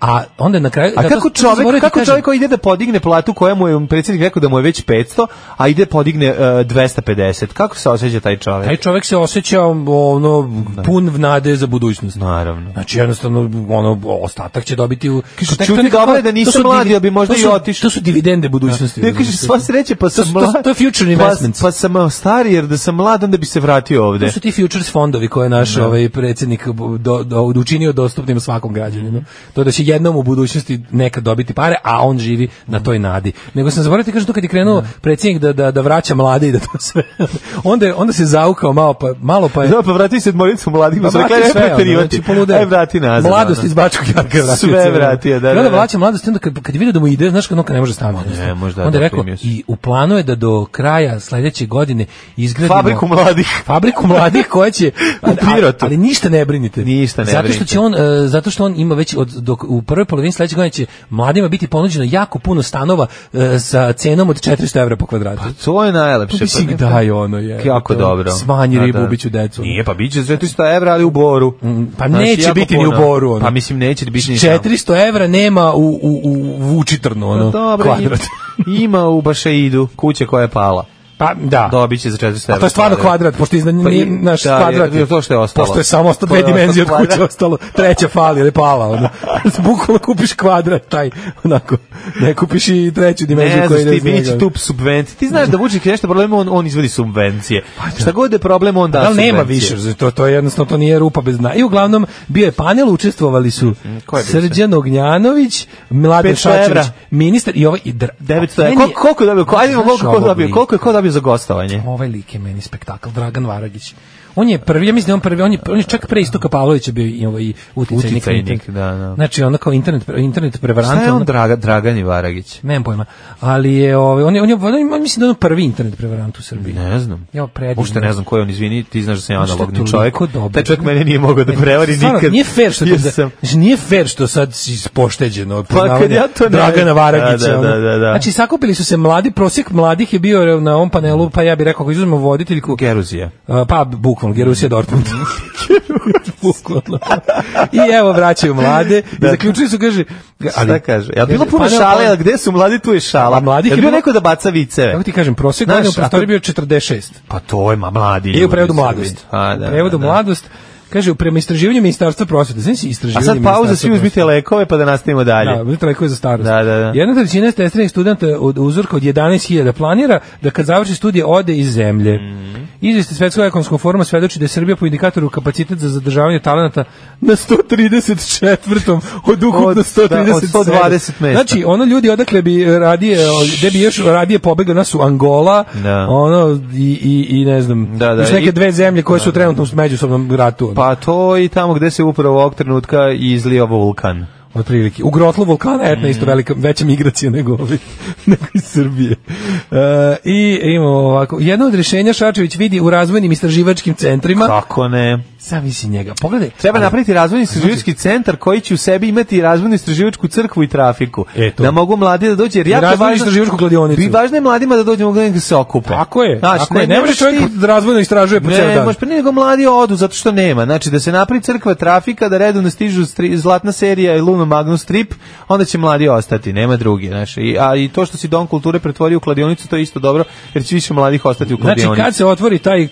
[SPEAKER 5] a onda je na kraju...
[SPEAKER 6] Mhm. A
[SPEAKER 5] da, to-
[SPEAKER 6] kako
[SPEAKER 5] to sam zaboravio
[SPEAKER 6] čovjek
[SPEAKER 5] ti
[SPEAKER 6] kako
[SPEAKER 5] kažem.
[SPEAKER 6] čovjek koji ide da podigne platu koja mu je predsjednik rekao da mu je već 500, a ide podigne uh, 250. Kako se osjeća taj čovjek?
[SPEAKER 5] Taj čovjek se osjeća ono pun nade za budućnost.
[SPEAKER 6] Naravno.
[SPEAKER 5] Znači jednostavno ono ostatak će dobiti u
[SPEAKER 6] Kaže,
[SPEAKER 5] Kako tek
[SPEAKER 6] čuti,
[SPEAKER 5] to neka-
[SPEAKER 6] dobro je da
[SPEAKER 5] to
[SPEAKER 6] nisam
[SPEAKER 5] su
[SPEAKER 6] mlad,
[SPEAKER 5] divi-
[SPEAKER 6] ja bi možda
[SPEAKER 5] to
[SPEAKER 6] i
[SPEAKER 5] su-
[SPEAKER 6] otišao.
[SPEAKER 5] To su dividende budućnosti.
[SPEAKER 6] Ne kaže sva sreće pa
[SPEAKER 5] To
[SPEAKER 6] sam
[SPEAKER 5] su- to su-
[SPEAKER 6] mlad.
[SPEAKER 5] to je future investments.
[SPEAKER 6] Pa, pa sam uh, stari jer da sam mlad onda bi se vratio
[SPEAKER 5] To
[SPEAKER 6] ovde.
[SPEAKER 5] su ti futures fondovi koje je naš ovaj predsjednik do, do, učinio dostupnim svakom građaninu. To da će jednom u budućnosti nekad dobiti pare, a on živi na toj nadi. Nego sam zaboravio ti kažem to kad je krenuo predsjednik da, da, da vraća mlade i da to sve. onda, je- onda se zaukao malo pa, malo pa je
[SPEAKER 6] Da, pa vrati se moricu mladih, pa
[SPEAKER 5] Pa
[SPEAKER 6] su rekli,
[SPEAKER 5] vrati
[SPEAKER 6] "Aj,
[SPEAKER 5] sve, ono,
[SPEAKER 6] preterivati.
[SPEAKER 5] znači, poludeo.
[SPEAKER 6] Aj, E, vrati nazad.
[SPEAKER 5] Mladost
[SPEAKER 6] ono.
[SPEAKER 5] iz Bačkog jarka je vratio.
[SPEAKER 6] Sve
[SPEAKER 5] cijelu.
[SPEAKER 6] vratio, da,
[SPEAKER 5] I
[SPEAKER 6] da,
[SPEAKER 5] onda
[SPEAKER 6] da.
[SPEAKER 5] vraća mladost, i onda kad, kad vidi da mu ide, znaš kad ono kad ne može stane. Ne,
[SPEAKER 6] možda,
[SPEAKER 5] onda
[SPEAKER 6] da,
[SPEAKER 5] je rekao,
[SPEAKER 6] primio si.
[SPEAKER 5] i u planu je da do kraja sledeće godine izgradimo...
[SPEAKER 6] Fabriku mladih.
[SPEAKER 5] Fabriku mladih koja će
[SPEAKER 6] U Pirotu.
[SPEAKER 5] ali ništa ne brinite.
[SPEAKER 6] Ništa ne
[SPEAKER 5] zato što će on e, zato što on ima već od dok u prvoj polovini sledeće godine će mladima biti ponuđeno jako puno stanova e, sa cenom od 400 evra po kvadratu.
[SPEAKER 6] To je najlepše.
[SPEAKER 5] Pa mislim,
[SPEAKER 6] pa ne-
[SPEAKER 5] daj ono, je.
[SPEAKER 6] Jako
[SPEAKER 5] To-
[SPEAKER 6] dobro.
[SPEAKER 5] smanji
[SPEAKER 6] Da,
[SPEAKER 5] ribu,
[SPEAKER 6] da.
[SPEAKER 5] ubiću decu. ono.
[SPEAKER 6] Nije, pa biće 400 evra, ali u boru.
[SPEAKER 5] pa neće
[SPEAKER 6] Znači, jako
[SPEAKER 5] biti ni u
[SPEAKER 6] puno.
[SPEAKER 5] boru, ono.
[SPEAKER 6] Pa mislim, neće biti ni tamo.
[SPEAKER 5] 400 evra nema u, u, u Vučitrnu, ono,
[SPEAKER 6] Pa Dobro,
[SPEAKER 5] kvadrat.
[SPEAKER 6] ima, ima u Bašeidu kuće koja je pala.
[SPEAKER 5] Pa, da.
[SPEAKER 6] Dobit će za 400 evra.
[SPEAKER 5] A to je stvarno kvadrat, pošto iznad
[SPEAKER 6] Pa i-
[SPEAKER 5] nije naš
[SPEAKER 6] da,
[SPEAKER 5] kvadrat.
[SPEAKER 6] je- je to što je ostalo.
[SPEAKER 5] Pošto je samo ostalo
[SPEAKER 6] To je
[SPEAKER 5] dve dimenzije od
[SPEAKER 6] ostalo
[SPEAKER 5] kuće
[SPEAKER 6] kvadrat.
[SPEAKER 5] ostalo. Treća fali, ili je pala. Ono. Bukvalno kupiš kvadrat, taj, onako. Ne kupiš i treću dimenziju koja
[SPEAKER 6] Ne znaš
[SPEAKER 5] ide
[SPEAKER 6] ti,
[SPEAKER 5] iz
[SPEAKER 6] bit
[SPEAKER 5] njega.
[SPEAKER 6] će tu subvencije. Ti znaš da Vučić je nešto problem, on, on izvodi subvencije. Šta god je problem, on da
[SPEAKER 5] Da, ali
[SPEAKER 6] subvencije.
[SPEAKER 5] Pa nema više, znači, to, to je jednostavno, to nije rupa bez dna. I uglavnom, bio je panel, učestvovali su
[SPEAKER 6] Mhm, ko je bio sve?
[SPEAKER 5] Srđan Ognjanović, Mladen
[SPEAKER 6] 500 evra.
[SPEAKER 5] Šačević, ministar i ovaj... I dra,
[SPEAKER 6] 900 evra.
[SPEAKER 5] Meni je-
[SPEAKER 6] Koliko, koliko je dobio? Ko- Ajde,
[SPEAKER 5] Znaš
[SPEAKER 6] koliko, ko
[SPEAKER 5] ovog
[SPEAKER 6] dobio?
[SPEAKER 5] lika?
[SPEAKER 6] koliko je ko dobio za gostovanje?
[SPEAKER 5] Ovaj lik je meni spektakl, Dragan Varagić. On je prvi, ja mislim da je on prvi, on je, on je čak pre Istoka Pavlovića bio i ovaj uticajnik. na
[SPEAKER 6] Uticajnik,
[SPEAKER 5] internet.
[SPEAKER 6] da, da.
[SPEAKER 5] Znači, ono kao internet, internet prevarant.
[SPEAKER 6] Šta je on
[SPEAKER 5] ono-
[SPEAKER 6] Draga, Dragan Ivaragić?
[SPEAKER 5] Nemam pojma. Ali je, ovaj, on je, on je, on je- on mislim da je on prvi internet prevarant u Srbiji.
[SPEAKER 6] Ne znam.
[SPEAKER 5] Ja predivno.
[SPEAKER 6] Ušte ne znam ko je on, izvini, ti znaš da sam ja
[SPEAKER 5] Znaš šta je
[SPEAKER 6] analogni
[SPEAKER 5] toliko
[SPEAKER 6] čovjek.
[SPEAKER 5] dobro?
[SPEAKER 6] Taj čovjek mene nije mogao da prevari
[SPEAKER 5] Stvarno,
[SPEAKER 6] nikad.
[SPEAKER 5] Nije fair što,
[SPEAKER 6] Ja
[SPEAKER 5] da,
[SPEAKER 6] sam- Pa,
[SPEAKER 5] znači, nije fair što sad si pošteđeno od
[SPEAKER 6] kad
[SPEAKER 5] poznavanja
[SPEAKER 6] ja to ne-
[SPEAKER 5] Dragana Varagića.
[SPEAKER 6] Da, da,
[SPEAKER 5] ono.
[SPEAKER 6] da, da, da.
[SPEAKER 5] Znači, sakupili su se mladi, prosjek mladih je bio na ovom panelu, pa ja bih rekao, ako izuzmemo voditeljku,
[SPEAKER 6] Geruzija.
[SPEAKER 5] Uh, pa bukvalno bukvalno, Gerusija Dortmund. bukvalno. I evo vraćaju mlade i zaključili su, kaže...
[SPEAKER 6] Šta kaže? Ja bilo
[SPEAKER 5] Kaže,
[SPEAKER 6] puno
[SPEAKER 5] pa ne,
[SPEAKER 6] šale,
[SPEAKER 5] ali-
[SPEAKER 6] ali gde su mladi, tu je šala.
[SPEAKER 5] A mladih
[SPEAKER 6] Jel
[SPEAKER 5] je
[SPEAKER 6] bio
[SPEAKER 5] bilo-
[SPEAKER 6] neko da baca viceve?
[SPEAKER 5] Kako ti kažem, prosjek
[SPEAKER 6] Znaš,
[SPEAKER 5] godine u prostoriji
[SPEAKER 6] ako-
[SPEAKER 5] bio 46.
[SPEAKER 6] Pa to je ma mladi
[SPEAKER 5] I u
[SPEAKER 6] ljudi
[SPEAKER 5] prevodu
[SPEAKER 6] Srbi.
[SPEAKER 5] mladost.
[SPEAKER 6] A, da,
[SPEAKER 5] u prevodu
[SPEAKER 6] da, da.
[SPEAKER 5] mladost. Kaže, prema istraživanju ministarstva prosvete. Znači,
[SPEAKER 6] A
[SPEAKER 5] istraživanje
[SPEAKER 6] sad pauza,
[SPEAKER 5] Ministarstva
[SPEAKER 6] svi uzmite
[SPEAKER 5] prosvete.
[SPEAKER 6] lekove pa da nastavimo dalje.
[SPEAKER 5] Da, budete lekove za starost.
[SPEAKER 6] Da, da, da.
[SPEAKER 5] Jedna trećina testiranih studenta od uzorka od 11.000 planira da kad završi studije ode iz zemlje.
[SPEAKER 6] Mhm.
[SPEAKER 5] Mm. Izveste Svetskog ekonomskog foruma svedoči da je Srbija po indikatoru kapacitet za zadržavanje talenata na 134. od
[SPEAKER 6] Od-
[SPEAKER 5] ukupno
[SPEAKER 6] da,
[SPEAKER 5] 137.
[SPEAKER 6] od 120 mesta.
[SPEAKER 5] Znači, ono ljudi odakle bi radije, gde bi još radije pobegli, nas su Angola,
[SPEAKER 6] Da.
[SPEAKER 5] ono, i, i, i ne znam,
[SPEAKER 6] Da, da,
[SPEAKER 5] još neke
[SPEAKER 6] i-
[SPEAKER 5] dve zemlje koje su trenutno u međusobnom ratu. ono.
[SPEAKER 6] Pa to i tamo gde se upravo ovog trenutka izlio vulkan.
[SPEAKER 5] otprilike. U grotlu vulkana etna
[SPEAKER 6] Mhm.
[SPEAKER 5] isto velika, veća migracija nego ovi, nego iz Srbije. E, I imamo ovako, jedno od rješenja Šačević vidi u razvojnim istraživačkim centrima.
[SPEAKER 6] Kako ne?
[SPEAKER 5] Sam visi njega. Pogledaj.
[SPEAKER 6] Treba napraviti razvojni
[SPEAKER 5] Znači-
[SPEAKER 6] istraživački centar koji će u sebi imati razvojnu istraživačku crkvu i trafiku.
[SPEAKER 5] E, to.
[SPEAKER 6] da mogu mladi da dođe. Jer
[SPEAKER 5] I
[SPEAKER 6] jako je
[SPEAKER 5] razvojnu
[SPEAKER 6] važno-
[SPEAKER 5] istraživačku kladionicu.
[SPEAKER 6] Bi važno je mladima da dođu mogu da se okupe.
[SPEAKER 5] Tako je.
[SPEAKER 6] Znaš,
[SPEAKER 5] tako je. Ne, može
[SPEAKER 6] možeš
[SPEAKER 5] čovjek
[SPEAKER 6] ti-
[SPEAKER 5] da razvojno istražuje po cijel
[SPEAKER 6] Ne,
[SPEAKER 5] Pa dan.
[SPEAKER 6] možeš pre nego mladi odu, zato što nema. Znači, da se napravi crkva trafika, da redovno stižu stri, zlatna serija i Luno Magnus Strip, onda će mladi ostati, nema drugi. Znači, i, a i to što si Dom kulture pretvorio u kladionicu, to je isto dobro, jer će više mladih ostati u kladionici.
[SPEAKER 5] Znači, kad se otvori taj k-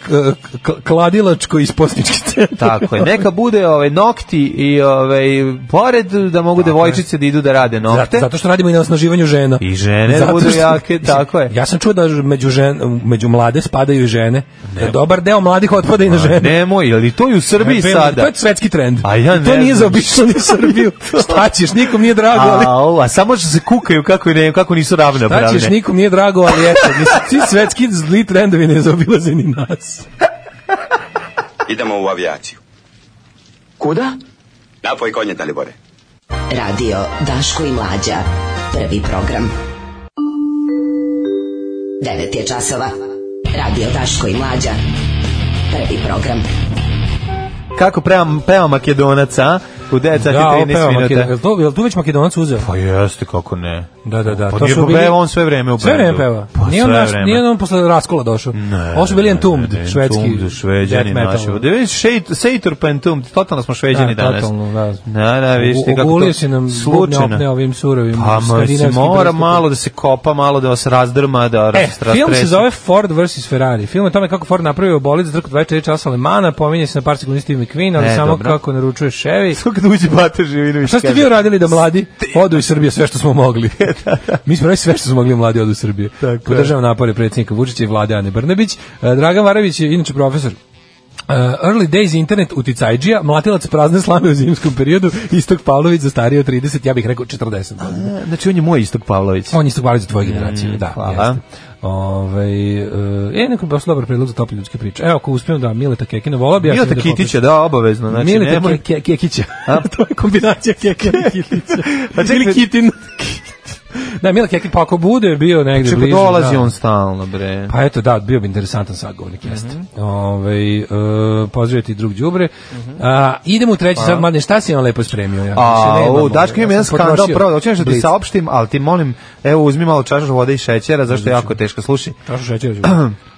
[SPEAKER 5] k- kladilačko isposnički centar.
[SPEAKER 6] Tako je. Neka bude ove nokti i ove pored da mogu devojčice da idu da rade nokte.
[SPEAKER 5] Zato, zato što radimo i na osnaživanju žena.
[SPEAKER 6] I žene da
[SPEAKER 5] Zato
[SPEAKER 6] budu
[SPEAKER 5] što-
[SPEAKER 6] jake, tako je.
[SPEAKER 5] Ja sam čuo da među, žen, među mlade spadaju i žene. Da dobar deo mladih otpada i na žene.
[SPEAKER 6] Nemoj, ili to i u Srbiji
[SPEAKER 5] Evo,
[SPEAKER 6] sada.
[SPEAKER 5] To je svetski trend.
[SPEAKER 6] A ja
[SPEAKER 5] I to
[SPEAKER 6] ne
[SPEAKER 5] nije
[SPEAKER 6] znam.
[SPEAKER 5] zaobišlo ni Srbiju. Šta ćeš, nikom nije drago, ali...
[SPEAKER 6] A, o, a samo što se kukaju kako, ne, kako nisu
[SPEAKER 5] Šta
[SPEAKER 6] ravnopravne.
[SPEAKER 5] ćeš, nikom nije drago, ali eto, mislim, ti svetski zli trendovi ne zaobilaze ni nas.
[SPEAKER 7] Idemo u avijaciju.
[SPEAKER 9] Kuda?
[SPEAKER 7] Napoj konje, Dalibore.
[SPEAKER 9] Radio Daško i Mlađa. Prvi program. 9 je časova. Radio Daško i Mlađa. Prvi program.
[SPEAKER 6] Kako prema, prema Makedonaca, a? u 9 sati
[SPEAKER 5] Da,
[SPEAKER 6] 13
[SPEAKER 5] opeva
[SPEAKER 6] minuta.
[SPEAKER 5] Makedonac. Jel to- Jel tu već Makedonac uzeo?
[SPEAKER 6] Pa jeste, kako ne.
[SPEAKER 5] Da, da, da.
[SPEAKER 6] Pa
[SPEAKER 5] to
[SPEAKER 6] nije
[SPEAKER 5] su
[SPEAKER 6] pa
[SPEAKER 5] bili-
[SPEAKER 6] peva on sve vreme u
[SPEAKER 5] Sve
[SPEAKER 6] bendu.
[SPEAKER 5] vreme peva.
[SPEAKER 6] Pa
[SPEAKER 5] nije, on
[SPEAKER 6] sve
[SPEAKER 5] naš,
[SPEAKER 6] vreme.
[SPEAKER 5] nije on posle raskola došao.
[SPEAKER 6] Ne,
[SPEAKER 5] Ovo su bili
[SPEAKER 6] ne,
[SPEAKER 5] Entombed,
[SPEAKER 6] ne, ne,
[SPEAKER 5] švedski.
[SPEAKER 6] Entombed, šveđani
[SPEAKER 5] death metal.
[SPEAKER 6] naši. Da vidiš, Šeit- Seitor pa Entombed, totalno smo šveđani
[SPEAKER 5] Da,
[SPEAKER 6] danas.
[SPEAKER 5] totalno, da.
[SPEAKER 6] Da, da, vidiš ti
[SPEAKER 5] O-
[SPEAKER 6] kako
[SPEAKER 5] ogulio
[SPEAKER 6] to
[SPEAKER 5] si nam bubne
[SPEAKER 6] slučajno.
[SPEAKER 5] opne ovim surovim
[SPEAKER 6] Pa ma, se
[SPEAKER 5] skandinavskim
[SPEAKER 6] mora
[SPEAKER 5] pristupom.
[SPEAKER 6] malo da se kopa, malo da se razdrma, da
[SPEAKER 5] E,
[SPEAKER 6] rastrese.
[SPEAKER 5] film se zove Ford vs. Ferrari. Film je o tome kako Ford napravio bolid za trku 24 časa Alemana, pominje se na par sekundi Steve McQueen, ali
[SPEAKER 6] E,
[SPEAKER 5] samo
[SPEAKER 6] dobro.
[SPEAKER 5] kako naručuje Chevy.
[SPEAKER 6] Sve kad uđe Bata Živinović.
[SPEAKER 5] Šta ste
[SPEAKER 6] kaže,
[SPEAKER 5] vi uradili da mladi odu iz Srbije sve što smo mogli? Mi smo radili sve što smo mogli mladi odu iz Srbije.
[SPEAKER 6] Tako
[SPEAKER 5] Podržavam napore predsjednika Vučića i vlade Ane Brnabić. E, Dragan Varavić je inače profesor Uh, early days internet uticajđija, mlatilac prazne slame u zimskom periodu, Istok Pavlović za starije od 30, ja bih rekao 40 godina.
[SPEAKER 6] E, Znači, on je moj Istok Pavlović.
[SPEAKER 5] On je stvarno za tvoju generaciju, da.
[SPEAKER 6] Mm, hvala.
[SPEAKER 5] jeste. Ovaj e, e, neko je baš dobar predlog za topi ljudske priče. Evo, ako uspijemo da Mileta Kekina volao bi... ja
[SPEAKER 6] Mileta
[SPEAKER 5] sam da
[SPEAKER 6] Kitića, da, obavezno.
[SPEAKER 5] popričam.
[SPEAKER 6] Znači,
[SPEAKER 5] Mileta
[SPEAKER 6] nemoj-
[SPEAKER 5] Ke- Ke- Kekića. to je kombinacija Kekina i Kitića.
[SPEAKER 6] A Pa čekaj-
[SPEAKER 5] Ili Kitin. da, Mileta Kekin, pa ako bude bio negde
[SPEAKER 6] Čekaj, pa
[SPEAKER 5] blizu...
[SPEAKER 6] dolazi
[SPEAKER 5] da.
[SPEAKER 6] on Mhm. stalno, bre.
[SPEAKER 5] Pa eto, da, bio bi interesantan sagovornik, jeste. Ovaj, e, pozdravio ti drug Đubre. A, idemo u treći sad, mladine, šta si vam lepo spremio? Ja? Više
[SPEAKER 6] Mhm. A,
[SPEAKER 5] nemam,
[SPEAKER 6] u,
[SPEAKER 5] ovaj,
[SPEAKER 6] Dačko imam
[SPEAKER 5] ja
[SPEAKER 6] jedan
[SPEAKER 5] sam
[SPEAKER 6] skandal,
[SPEAKER 5] potrošio
[SPEAKER 6] pravo, hoćeš da ti
[SPEAKER 5] blic.
[SPEAKER 6] saopštim, ali ti molim, evo, uzmi malo čašu vode i šećera, zašto je
[SPEAKER 5] Znači.
[SPEAKER 6] jako teško, slušaj.
[SPEAKER 5] Čašu šećera ću.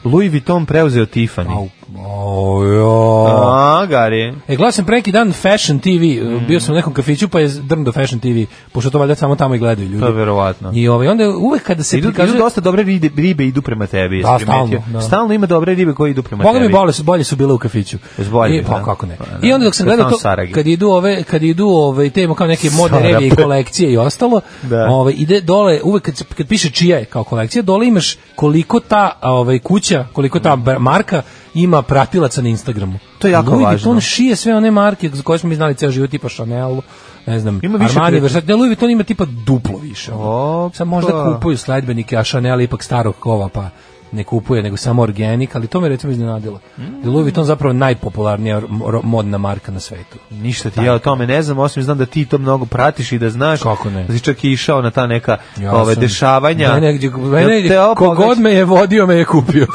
[SPEAKER 6] Louis Vuitton preuzeo Tiffany.
[SPEAKER 5] Au, jo.
[SPEAKER 6] A, Gari.
[SPEAKER 5] E, gledao sam pre neki dan Fashion TV,
[SPEAKER 6] Mm.
[SPEAKER 5] bio sam u nekom kafiću pa je drn do Fashion TV, pošto to valjda samo tamo i gledaju ljudi.
[SPEAKER 6] To je Pa, verovatno.
[SPEAKER 5] I ovaj, onda uvek kada se
[SPEAKER 6] Idu, idu
[SPEAKER 5] prikazuje...
[SPEAKER 6] dosta dobre ribe, ribe idu prema tebi. jesi
[SPEAKER 5] Da,
[SPEAKER 6] primetio?
[SPEAKER 5] stalno, da.
[SPEAKER 6] Stalno ima dobre ribe koje idu prema
[SPEAKER 5] Boga mi
[SPEAKER 6] tebi.
[SPEAKER 5] bolje su, bolje su bile u kafiću.
[SPEAKER 6] Jesu bolje
[SPEAKER 5] I,
[SPEAKER 6] bile,
[SPEAKER 5] pa
[SPEAKER 6] da?
[SPEAKER 5] kako ne.
[SPEAKER 6] Pa, da.
[SPEAKER 5] I onda dok sam
[SPEAKER 6] Kad
[SPEAKER 5] gledao
[SPEAKER 6] sam
[SPEAKER 5] to,
[SPEAKER 6] Saragi.
[SPEAKER 5] kad idu ove, kad idu ove, te ima kao neke modne
[SPEAKER 6] Sarape.
[SPEAKER 5] revije i kolekcije i ostalo,
[SPEAKER 6] Da.
[SPEAKER 5] ove, ide dole, uvek kad, se- kad piše čija je kao kolekcija, dole imaš koliko ta a, ovaj, kuća, koliko ta br- marka ima pratilaca na Instagramu.
[SPEAKER 6] To je jako
[SPEAKER 5] Louis
[SPEAKER 6] važno.
[SPEAKER 5] Vuitton šije sve one marke za koje smo mi znali ceo život, tipa Chanel, ne znam,
[SPEAKER 6] Ima više
[SPEAKER 5] Armani,
[SPEAKER 6] prijatelja.
[SPEAKER 5] Versace, ne, Louis Vuitton ima tipa duplo više. ono.
[SPEAKER 6] Opa.
[SPEAKER 5] Sad možda kupuju sledbenike, a Chanel je ipak starog kova, pa ne kupuje, nego samo organik, ali to me recimo iznenadilo. Da Louis Vuitton zapravo najpopularnija ro- modna marka na svetu.
[SPEAKER 6] Ništa ti ja o tome ne znam, osim znam da ti to mnogo pratiš i da znaš.
[SPEAKER 5] Kako ne?
[SPEAKER 6] Da si čak i išao na ta neka
[SPEAKER 5] Ja
[SPEAKER 6] ove,
[SPEAKER 5] sam-
[SPEAKER 6] dešavanja.
[SPEAKER 5] Mene, gdje-
[SPEAKER 6] Jel
[SPEAKER 5] mene,
[SPEAKER 6] te ovo
[SPEAKER 5] kogod
[SPEAKER 6] pogod-
[SPEAKER 5] me je vodio, me je kupio.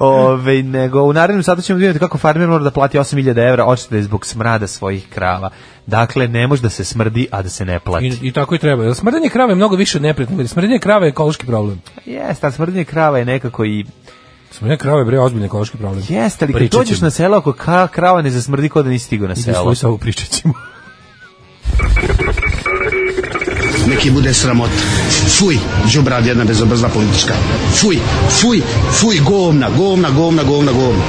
[SPEAKER 6] Ove, nego u narednom satu ćemo vidjeti kako farmer mora da plati 8000 evra, očito je zbog smrada svojih krava. Dakle, ne može da se smrdi, a da se ne plati.
[SPEAKER 5] I, I tako i treba. Jer Smrdenje krave je mnogo više neprijatno. jer Smrdenje krave je ekološki problem.
[SPEAKER 6] Jeste, ali smrdenje krava je nekako i
[SPEAKER 5] Smo ne krave bre ozbiljni ekološki problem.
[SPEAKER 6] Jeste, ali kad
[SPEAKER 5] Pričat
[SPEAKER 6] dođeš
[SPEAKER 5] ćemo.
[SPEAKER 6] na selo, ako ka, krava ne zasmrdi, ko da nisi stigao na
[SPEAKER 5] Ide
[SPEAKER 6] selo.
[SPEAKER 5] svoju savu pričat ćemo.
[SPEAKER 11] neki bude sramot. Fuj, džubrad jedna bezobrzna politička. Fuj, fuj, fuj, govna, govna, govna, govna, govna.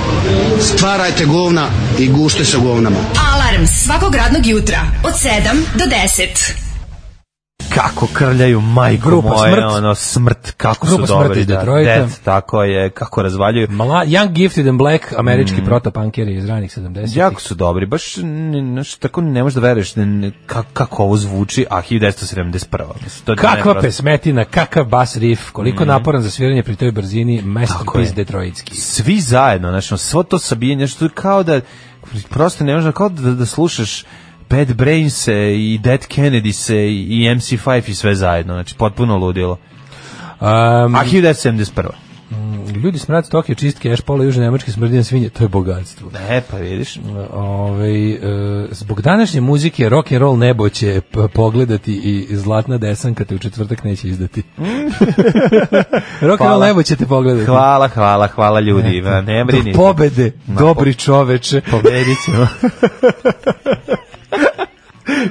[SPEAKER 11] Stvarajte govna i gušte se u govnama.
[SPEAKER 4] Alarm svakog radnog jutra od 7 do 10.
[SPEAKER 6] kako krljaju majko
[SPEAKER 5] Grupa
[SPEAKER 6] moje,
[SPEAKER 5] Smrt.
[SPEAKER 6] ono smrt kako
[SPEAKER 5] Grupa
[SPEAKER 6] su
[SPEAKER 5] Smrt
[SPEAKER 6] dobri
[SPEAKER 5] iz
[SPEAKER 6] da,
[SPEAKER 5] Detroita.
[SPEAKER 6] Death, tako je, kako razvaljuju.
[SPEAKER 5] Mala, Young Gifted and Black, američki mm. protopunkeri iz ranih 70-ih.
[SPEAKER 6] Jako su dobri, baš ne, znaš, tako ne možeš da veruješ ne, ne, ka, kako ovo zvuči, a 1971. Mislim, to je
[SPEAKER 5] Kakva
[SPEAKER 6] neprosto.
[SPEAKER 5] pesmetina, kakav bas riff, koliko naporan za sviranje pri toj brzini,
[SPEAKER 6] Mhm. Tako je.
[SPEAKER 5] masterpiece detroitski.
[SPEAKER 6] Svi zajedno, znači, ono, svo to sabijanje, što je kao da, prosto ne možeš, kao da, da slušaš Bad Brains e, i Dead Kennedy se i MC5 i sve zajedno, znači potpuno ludilo.
[SPEAKER 5] Um,
[SPEAKER 6] A 1971.
[SPEAKER 5] ljudi smrad Tokio, čistke, ešpola, južne nemačke smrdine svinje, to je bogatstvo.
[SPEAKER 6] E, pa vidiš.
[SPEAKER 5] Mhm. Ove, e, zbog današnje muzike rock and roll nebo će p- pogledati i zlatna desanka te u četvrtak neće izdati. rock and roll
[SPEAKER 6] Hvala.
[SPEAKER 5] nebo će te pogledati.
[SPEAKER 6] Hvala, hvala, hvala ljudi. ma, Ne brini.
[SPEAKER 5] Do pobede,
[SPEAKER 6] Ma,
[SPEAKER 5] dobri čoveče.
[SPEAKER 6] Pobedit ćemo.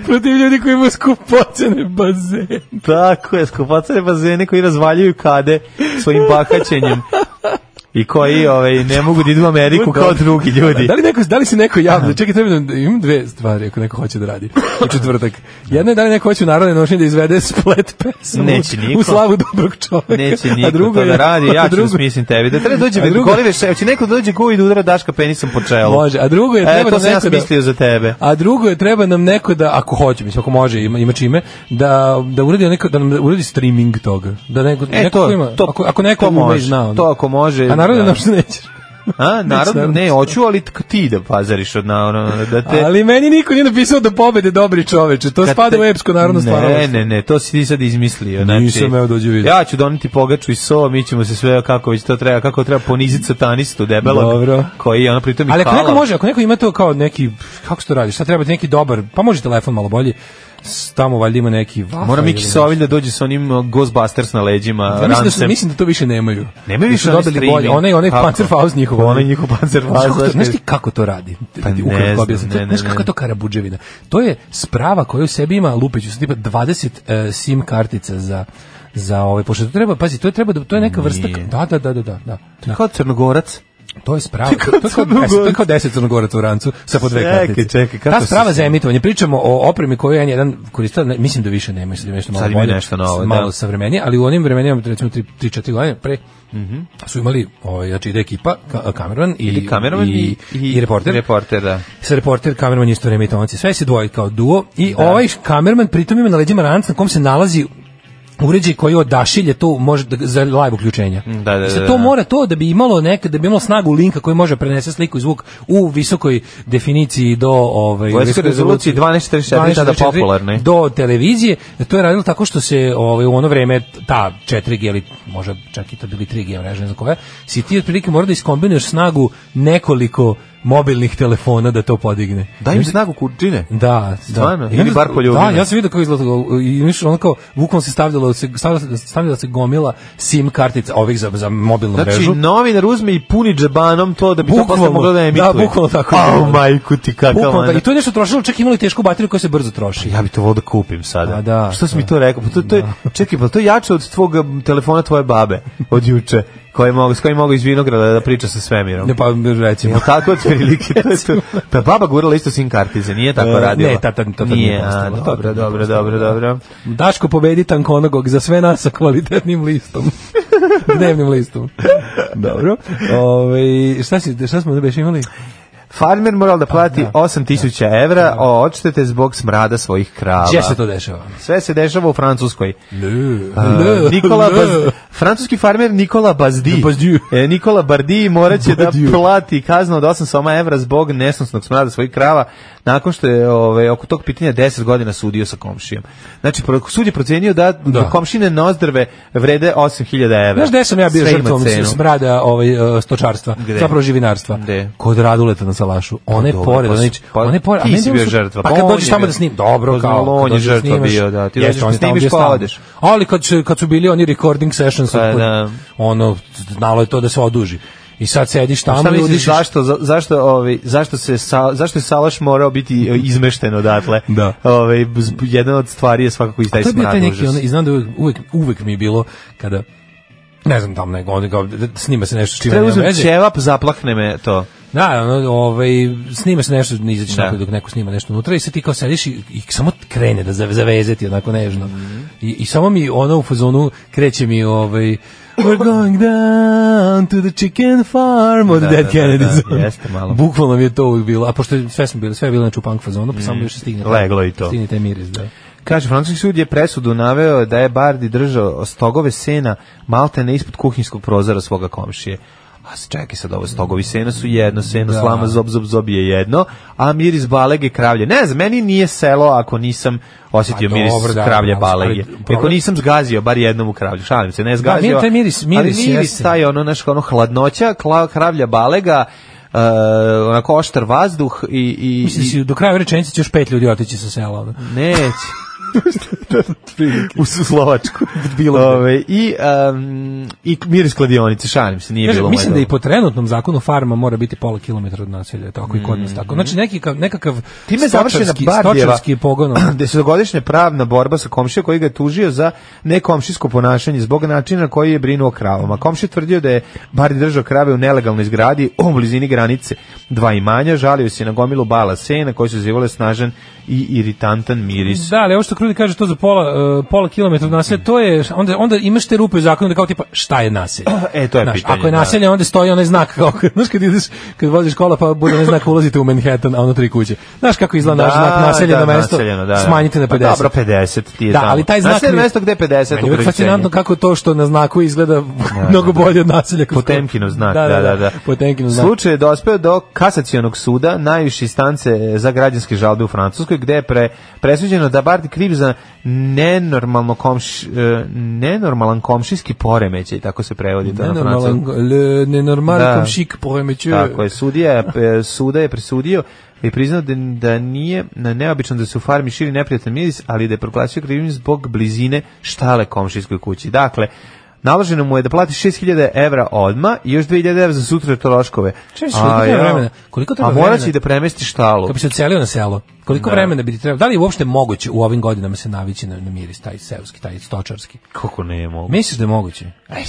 [SPEAKER 5] Protiv ljudi koji imaju skupocene bazene.
[SPEAKER 6] Tako je, skupacane bazene koji razvaljuju kade svojim bakaćenjem i koji ovaj, ne mogu da idu u Ameriku kao drugi ljudi.
[SPEAKER 5] Da li, neko, da li se neko javlja? Čekaj, treba da imam dve stvari ako neko hoće da radi u četvrtak. Jedna je da li neko hoće u narodne nošnje da izvede splet pesmu
[SPEAKER 6] Neće
[SPEAKER 5] u-
[SPEAKER 6] niko.
[SPEAKER 5] u slavu dobrog čoveka.
[SPEAKER 6] Neće
[SPEAKER 5] A
[SPEAKER 6] niko
[SPEAKER 5] drugo
[SPEAKER 6] to da
[SPEAKER 5] je-
[SPEAKER 6] radi,
[SPEAKER 5] a
[SPEAKER 6] ja ću
[SPEAKER 5] drugo-
[SPEAKER 6] da smislim tebi. Da treba dođe,
[SPEAKER 5] A drugo-
[SPEAKER 6] golive šef, će neko da dođe guvi i da udara Daška penisom po čelu.
[SPEAKER 5] Može, a drugo je
[SPEAKER 6] E,
[SPEAKER 5] treba
[SPEAKER 6] to
[SPEAKER 5] da
[SPEAKER 6] sam ja
[SPEAKER 5] neko da-
[SPEAKER 6] smislio za tebe.
[SPEAKER 5] A drugo je treba nam neko da ako hoće, mislim ako može, ima, ima čime da da uradi neko da nam uradi streaming toga. Da neko
[SPEAKER 6] E,
[SPEAKER 5] neko
[SPEAKER 6] to-
[SPEAKER 5] ko ima,
[SPEAKER 6] to-
[SPEAKER 5] ako ako neko
[SPEAKER 6] to
[SPEAKER 5] ume i
[SPEAKER 6] može,
[SPEAKER 5] zna. ono.
[SPEAKER 6] to ako može,
[SPEAKER 5] A naravno
[SPEAKER 6] da.
[SPEAKER 5] da. što neće.
[SPEAKER 6] A, naravno,
[SPEAKER 5] naravno.
[SPEAKER 6] ne, hoću, ali tk- ti da pazariš od na, ono, da te...
[SPEAKER 5] Ali meni niko nije napisao da pobede dobri čoveče. To
[SPEAKER 6] Kad
[SPEAKER 5] spada
[SPEAKER 6] te-
[SPEAKER 5] u epsko narodno stvaralaštvo.
[SPEAKER 6] Ne, ne, ne, to si ti sad izmislio. Znači,
[SPEAKER 5] Nisam, evo, dođi vidi.
[SPEAKER 6] Ja ću doniti pogaču i so, mi ćemo se sve kako već to treba, kako treba poniziti satanistu debelog.
[SPEAKER 5] Dobro.
[SPEAKER 6] Koji je ono pritom i
[SPEAKER 5] Ali ako
[SPEAKER 6] hvala.
[SPEAKER 5] neko može, ako neko ima to kao neki, kako se to radi, šta treba ti neki dobar, pa može telefon malo bolji, s- tamo valjda ima neki vafa.
[SPEAKER 6] Mora Miki
[SPEAKER 5] ili-
[SPEAKER 6] Sovilj da dođe sa onim uh, Ghostbusters na leđima,
[SPEAKER 5] Ja mislim, da su,
[SPEAKER 6] rancem.
[SPEAKER 5] mislim da to više nemaju.
[SPEAKER 6] Nemaju više
[SPEAKER 5] Da su
[SPEAKER 6] oni
[SPEAKER 5] dobili
[SPEAKER 6] streaming.
[SPEAKER 5] bolje. Onaj, onaj
[SPEAKER 6] Kako? Pa
[SPEAKER 5] Panzerfaust njihov.
[SPEAKER 6] Onaj njihov Panzerfaust,
[SPEAKER 5] Znaš kako to-
[SPEAKER 6] znaš
[SPEAKER 5] Znaš
[SPEAKER 6] kad-
[SPEAKER 5] ti kako to radi?
[SPEAKER 6] Pa ne
[SPEAKER 5] Ukratko
[SPEAKER 6] znam,
[SPEAKER 5] objasnim.
[SPEAKER 6] ne, ne,
[SPEAKER 5] Znaš kako
[SPEAKER 6] ne.
[SPEAKER 5] je to karabuđevina? To je sprava koja u sebi ima lupeću, su tipa 20 e, sim kartica za za ovaj pošto to treba pazi to je treba da to je neka vrsta
[SPEAKER 6] Nije.
[SPEAKER 5] da da da da da da
[SPEAKER 6] Kao Crnogorac.
[SPEAKER 5] To je sprava. To je kao
[SPEAKER 6] Crnogorac.
[SPEAKER 5] deset, to je kao deset crnogorac u rancu sa po dve
[SPEAKER 6] Čekaj,
[SPEAKER 5] kartice.
[SPEAKER 6] čekaj, kako
[SPEAKER 5] Ta
[SPEAKER 6] se
[SPEAKER 5] sprava
[SPEAKER 6] sve-
[SPEAKER 5] za emitovanje. Pričamo o opremi koju je N1 koristila, ne, mislim da više nema, sad ima nešto malo
[SPEAKER 6] Sad ima
[SPEAKER 5] bolje,
[SPEAKER 6] nešto novo,
[SPEAKER 5] malo
[SPEAKER 6] da.
[SPEAKER 5] savremenije, ali u onim vremenima, recimo 3-4 godine pre, su imali, ovaj, znači ide ekipa, ka, kameraman i,
[SPEAKER 6] Mhm. Ili kameraman
[SPEAKER 5] i, i, reporter.
[SPEAKER 6] Reporter, da.
[SPEAKER 5] Sa reporter, kameraman, isto vreme i tonci. Sve se dvoje kao duo i ovaj kamerman pritom ima na leđima ranac na kom se nalazi uređaj koji odašilje to može da, za live uključenja.
[SPEAKER 6] Mm, Da, da, da,
[SPEAKER 5] I sad
[SPEAKER 6] da.
[SPEAKER 5] to mora to da bi imalo neka da bi imalo snagu linka koji može prenese sliku i zvuk u visokoj definiciji do ovaj
[SPEAKER 6] U
[SPEAKER 5] visoke
[SPEAKER 6] velikoj rezoluciji 1244, tada
[SPEAKER 5] 1244
[SPEAKER 6] popularne.
[SPEAKER 5] do televizije. To je radilo tako što se ovaj u ono vreme ta 4G ili možda čak i to bili 3G mreže, ne znam koje, si ti otprilike mora da iskombinuješ snagu nekoliko mobilnih telefona da to podigne.
[SPEAKER 6] Daj im snagu kurčine.
[SPEAKER 5] Da,
[SPEAKER 6] Stvarno?
[SPEAKER 5] da. I
[SPEAKER 6] Ili
[SPEAKER 5] onda-
[SPEAKER 6] bar poljubljene?
[SPEAKER 5] Da, ja sam vidio kako izgleda to. i vidiš ono kao bukvalno se stavljalo se stavljala, stavljala se gomila SIM kartica ovih za za mobilnu
[SPEAKER 6] Znači,
[SPEAKER 5] mrežu.
[SPEAKER 6] novinar uzme i puni džabanom to da bi to posle
[SPEAKER 5] Bukvalno,
[SPEAKER 6] moglo da
[SPEAKER 5] da,
[SPEAKER 6] emituje.
[SPEAKER 5] bukvalno tako.
[SPEAKER 6] Au, majku ti kakav.
[SPEAKER 5] Bukvalno, da,
[SPEAKER 6] ono. Pa
[SPEAKER 5] I to je nešto trošilo, čak imali tešku bateriju koja se brzo troši.
[SPEAKER 6] Ja bi to volio da kupim sada.
[SPEAKER 5] A da,
[SPEAKER 6] Što si mi
[SPEAKER 5] da.
[SPEAKER 6] to rekao? Pa to, to je, čekaj, pa to je jače od tvog m, telefona tvoje babe od juče, koje mogu, s kojim mogu iz Vinograda da priča sa svemirom.
[SPEAKER 5] Ne pa recimo.
[SPEAKER 6] Jel tako od prilike? To je to. Pa baba gurala isto sim kartice, nije tako
[SPEAKER 5] E,
[SPEAKER 6] radila?
[SPEAKER 5] ne, tad- tad- tad nije
[SPEAKER 6] nije. a,
[SPEAKER 5] postalo, tad
[SPEAKER 6] dobro,
[SPEAKER 5] nije
[SPEAKER 6] dobro,
[SPEAKER 5] postalo,
[SPEAKER 6] dobro,
[SPEAKER 5] da.
[SPEAKER 6] dobro.
[SPEAKER 5] Daško pobedi Tankonogog za sve nas sa kvalitetnim listom. Dnevnim listom. Dobro. Ove, šta, si, šta smo da beš imali?
[SPEAKER 6] Farmer moral da plati 8000 evra o odštete zbog smrada svojih krava.
[SPEAKER 5] Gdje se to dešava?
[SPEAKER 6] Sve se dešava u Francuskoj.
[SPEAKER 5] Le,
[SPEAKER 6] Uh, Nikola
[SPEAKER 5] le.
[SPEAKER 6] Baz, francuski farmer Nikola Bazdi.
[SPEAKER 5] Bazdi.
[SPEAKER 6] E, Nikola Bardi moraće da
[SPEAKER 5] Bardieu.
[SPEAKER 6] plati kaznu od 8 soma evra zbog nesnosnog smrada svojih krava nakon što je ove, oko tog pitanja 10 godina sudio sa komšijom. Znači, pro- sud je procenio da,
[SPEAKER 5] Da.
[SPEAKER 6] komšine nozdrve vrede 8000 evra.
[SPEAKER 5] Znaš gde sam ja bio
[SPEAKER 6] Sve ima
[SPEAKER 5] žrtvom
[SPEAKER 6] cenu.
[SPEAKER 5] smrada ovaj, e, stočarstva,
[SPEAKER 6] Gde?
[SPEAKER 5] zapravo živinarstva?
[SPEAKER 6] Gde?
[SPEAKER 5] Kod Raduleta na Salašu. One
[SPEAKER 6] dobro,
[SPEAKER 5] pored,
[SPEAKER 6] pa
[SPEAKER 5] one,
[SPEAKER 6] si- pa
[SPEAKER 5] one pored. a
[SPEAKER 6] ti
[SPEAKER 5] meni
[SPEAKER 6] si
[SPEAKER 5] je
[SPEAKER 6] bio
[SPEAKER 5] bilo-
[SPEAKER 6] žrtva, pa
[SPEAKER 5] Pa kad
[SPEAKER 6] on
[SPEAKER 5] dođeš
[SPEAKER 6] je
[SPEAKER 5] tamo
[SPEAKER 6] bio-
[SPEAKER 5] da snim, dobro,
[SPEAKER 6] Pa
[SPEAKER 5] kao.
[SPEAKER 6] znam, on
[SPEAKER 5] kad
[SPEAKER 6] je
[SPEAKER 5] dođeš da
[SPEAKER 6] žrtva
[SPEAKER 5] snimaš,
[SPEAKER 6] bio, da, ti
[SPEAKER 5] jeste,
[SPEAKER 6] dođeš da
[SPEAKER 5] on je tamo
[SPEAKER 6] snimiš,
[SPEAKER 5] bio
[SPEAKER 6] pa
[SPEAKER 5] stalno.
[SPEAKER 6] odeš.
[SPEAKER 5] Ali kad, su- kad su bili oni recording sessions,
[SPEAKER 6] Pa
[SPEAKER 5] od-
[SPEAKER 6] da.
[SPEAKER 5] ono, znalo je to da se oduži. I sad sediš
[SPEAKER 6] A
[SPEAKER 5] tamo
[SPEAKER 6] Pa Šta
[SPEAKER 5] i
[SPEAKER 6] misliš
[SPEAKER 5] udišiš.
[SPEAKER 6] zašto za- zašto ovaj zašto se sa, zašto je salaš morao biti e, izmešten odatle?
[SPEAKER 5] Da.
[SPEAKER 6] Ovaj z- jedna od stvari je svakako i taj
[SPEAKER 5] to je bio
[SPEAKER 6] smrad.
[SPEAKER 5] taj neki,
[SPEAKER 6] užas.
[SPEAKER 5] ono, i znam da uvek, uvek, uvek mi je bilo kada ne znam tamo nego, onda kao, snima se nešto s čime
[SPEAKER 6] Treba
[SPEAKER 5] nema
[SPEAKER 6] uzmem
[SPEAKER 5] veze.
[SPEAKER 6] ćevap, zaplakne me to.
[SPEAKER 5] Da, ono, ovaj, snima se nešto, ne izađeš
[SPEAKER 6] Da.
[SPEAKER 5] napolje dok neko snima nešto unutra i sad ti kao sediš i, i samo krene da zave- zavezeti onako nežno.
[SPEAKER 6] Mhm.
[SPEAKER 5] I, I samo mi ono u fazonu kreće mi ovaj We're going down to the chicken farm od
[SPEAKER 6] Da,
[SPEAKER 5] Dead
[SPEAKER 6] da, da,
[SPEAKER 5] Kennedys.
[SPEAKER 6] da, jeste malo.
[SPEAKER 5] Bukvalno mi je to uvijek bilo. A pošto je- sve smo bili, sve je bilo znači u punk fazonu, pa samo još stigne. taj-
[SPEAKER 6] Mhm. Leglo i to.
[SPEAKER 5] Stigne taj miris, da.
[SPEAKER 6] Kaže, francuski sud je presudu naveo da je Bardi držao stogove sena maltene ispod kuhinskog prozora svoga komšije. A s- čekaj sad, ovo stogovi sena su jedno, seno
[SPEAKER 5] Da.
[SPEAKER 6] slama zob zob zob je jedno, a miris balege kravlje. Ne znam, meni nije selo ako nisam osjetio
[SPEAKER 5] Pa
[SPEAKER 6] miris
[SPEAKER 5] dobro, da,
[SPEAKER 6] kravlje
[SPEAKER 5] ali-
[SPEAKER 6] balege.
[SPEAKER 5] ali
[SPEAKER 6] I Ako
[SPEAKER 5] problem-
[SPEAKER 6] nisam zgazio, bar jednom u kravlju, šalim se, ne zgazio.
[SPEAKER 5] mir- taj miris- miris
[SPEAKER 6] ali miris
[SPEAKER 5] jeste.
[SPEAKER 6] taj ono, znaš, ono hladnoća, kla- kravlja balega, Uh, onako oštar vazduh i, i,
[SPEAKER 5] Mislim da
[SPEAKER 6] i
[SPEAKER 5] si do kraja ove rečenice će još pet ljudi otići sa sela. Ono.
[SPEAKER 6] Neće. u Slovačku.
[SPEAKER 5] Bilo gde.
[SPEAKER 6] Ove, i, um, I miris kladionice, šalim se, nije
[SPEAKER 5] Kaže,
[SPEAKER 6] bilo
[SPEAKER 5] mislim
[SPEAKER 6] moje
[SPEAKER 5] da i po
[SPEAKER 6] dobro.
[SPEAKER 5] trenutnom zakonu farma mora biti pola kilometra od naselja, tako i kod nas tako. Znači neki ka- nekakav
[SPEAKER 6] Mhm. Time je završena
[SPEAKER 5] stočarski,
[SPEAKER 6] Bardijeva,
[SPEAKER 5] stočarski pogon. ono.
[SPEAKER 6] gde se dogodišnja pravna borba sa komšijom koji ga je tužio za nekomšijsko ponašanje zbog načina na koji je brinuo o kravama. Komšija tvrdio da je Bardi držao krave u nelegalnoj zgradi u blizini granice dva imanja, žalio se na gomilu bala sena koji su zivale snažan i iritantan miris.
[SPEAKER 5] Da, ali ovo što Krudi kaže to za pola, uh, pola kilometra od naselja, to je, onda, onda imaš te rupe u zakonu da kao tipa šta je naselje?
[SPEAKER 6] E, to je
[SPEAKER 5] Znaš,
[SPEAKER 6] pitanje,
[SPEAKER 5] Ako je
[SPEAKER 6] da.
[SPEAKER 5] naselje, onda stoji onaj znak, kao, znaš kad ideš, kad voziš kola pa bude onaj znak ulazite u Manhattan, a ono tri kuće. Znaš kako izgleda naš znak naseljeno
[SPEAKER 6] da,
[SPEAKER 5] mesto,
[SPEAKER 6] naseljeno, da, da.
[SPEAKER 5] smanjite na
[SPEAKER 6] Pa
[SPEAKER 5] 50.
[SPEAKER 6] dobro, 50 ti je
[SPEAKER 5] Da,
[SPEAKER 6] tamo.
[SPEAKER 5] ali taj znak
[SPEAKER 6] Naseljeno
[SPEAKER 5] mi-
[SPEAKER 6] mesto gde je 50
[SPEAKER 5] Meni je uvek
[SPEAKER 6] ograničenje.
[SPEAKER 5] fascinantno kako to što na znaku izgleda mnogo bolje od naselja. kod-
[SPEAKER 6] Potemkinov znak, da, da, da.
[SPEAKER 5] Potemkinov znak.
[SPEAKER 6] Slučaj je dospeo do kasacionog suda, najviše instance za građanske žalbe u Francuskoj, gde je pre, presuđeno da Bardi kriv za nenormalno komš, e, nenormalan komšijski poremećaj, tako se prevodi to na
[SPEAKER 5] Nenormalan,
[SPEAKER 6] francuskom.
[SPEAKER 5] le, nenormalan
[SPEAKER 6] Da.
[SPEAKER 5] da. komšik poremećuje.
[SPEAKER 6] Tako je, sudija je, e, suda je presudio i priznao da, da nije na neobično da se u farmi širi neprijatan miris, ali da je proglasio krivim zbog blizine štale komšijskoj kući. Dakle, naloženo mu je da plati 6000 evra odma i još 2000 evra za sutra troškove.
[SPEAKER 5] Čekaj, koliko treba
[SPEAKER 6] ja,
[SPEAKER 5] vremena? Koliko treba
[SPEAKER 6] a morat će
[SPEAKER 5] vremena?
[SPEAKER 6] i da premesti štalu.
[SPEAKER 5] Kad bi se odselio na selo, koliko vremena bi ti trebalo? Da li je uopšte moguće u ovim godinama se navići na, na miris, taj seoski, taj stočarski?
[SPEAKER 6] Kako ne mogu?
[SPEAKER 5] Misliš da je moguće?
[SPEAKER 6] Ej,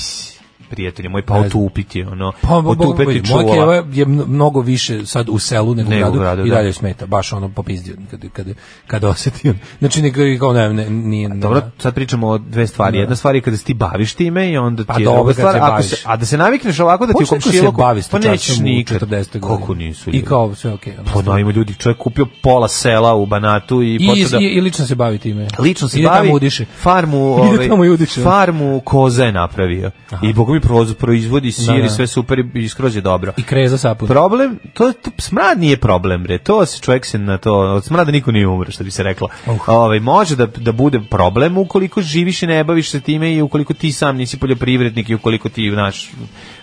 [SPEAKER 6] prijatelje moj, pa
[SPEAKER 5] Ne znam.
[SPEAKER 6] otupiti, ono,
[SPEAKER 5] Pa, bo- bo-
[SPEAKER 6] otupiti
[SPEAKER 5] vidi, moja
[SPEAKER 6] čuvala.
[SPEAKER 5] keva je mno- mnogo više sad u selu nego,
[SPEAKER 6] Nego
[SPEAKER 5] u
[SPEAKER 6] u
[SPEAKER 5] gradu,
[SPEAKER 6] gradu,
[SPEAKER 5] i
[SPEAKER 6] da.
[SPEAKER 5] dalje joj smeta. Baš ono popizdio kada, kada, kada osjeti. on. Znači, nego je kao ne, ne, nije...
[SPEAKER 6] Dobro, sad pričamo o dve stvari. Jedna stvar je kada se ti baviš time i onda ti
[SPEAKER 5] Pa
[SPEAKER 6] je
[SPEAKER 5] dobro
[SPEAKER 6] druga
[SPEAKER 5] kad
[SPEAKER 6] stvar.
[SPEAKER 5] se
[SPEAKER 6] Ako
[SPEAKER 5] baviš.
[SPEAKER 6] se, a da se navikneš ovako da ti u
[SPEAKER 5] Počne neko se
[SPEAKER 6] komšiluku...
[SPEAKER 5] bavi
[SPEAKER 6] pa nećeš
[SPEAKER 5] stočarstvom u
[SPEAKER 6] nikad.
[SPEAKER 5] 40. godini.
[SPEAKER 6] Kako nisu
[SPEAKER 5] I
[SPEAKER 6] ljudi?
[SPEAKER 5] kao sve okej. ono.
[SPEAKER 6] Pa da, ima ljudi, čovjek kupio pola sela u Banatu i,
[SPEAKER 5] I,
[SPEAKER 6] počeo da...
[SPEAKER 5] i, I lično se bavi time.
[SPEAKER 6] lično se
[SPEAKER 5] Ide
[SPEAKER 6] bavi
[SPEAKER 5] tamo udiše.
[SPEAKER 6] farmu
[SPEAKER 5] Ide
[SPEAKER 6] ovaj
[SPEAKER 5] tamo i udiše.
[SPEAKER 6] farmu koze je napravio i bogu mi proz- proizvodi sir
[SPEAKER 5] da.
[SPEAKER 6] i sve super i- i skroz je dobro
[SPEAKER 5] I kreza sapun.
[SPEAKER 6] problem to, to smrad nije problem bre to se čovjek se na to od smrada niko nije umre što bi se reklo ovaj može da da bude problem ukoliko živiš i ne baviš se time i ukoliko ti sam nisi poljoprivrednik i ukoliko ti naš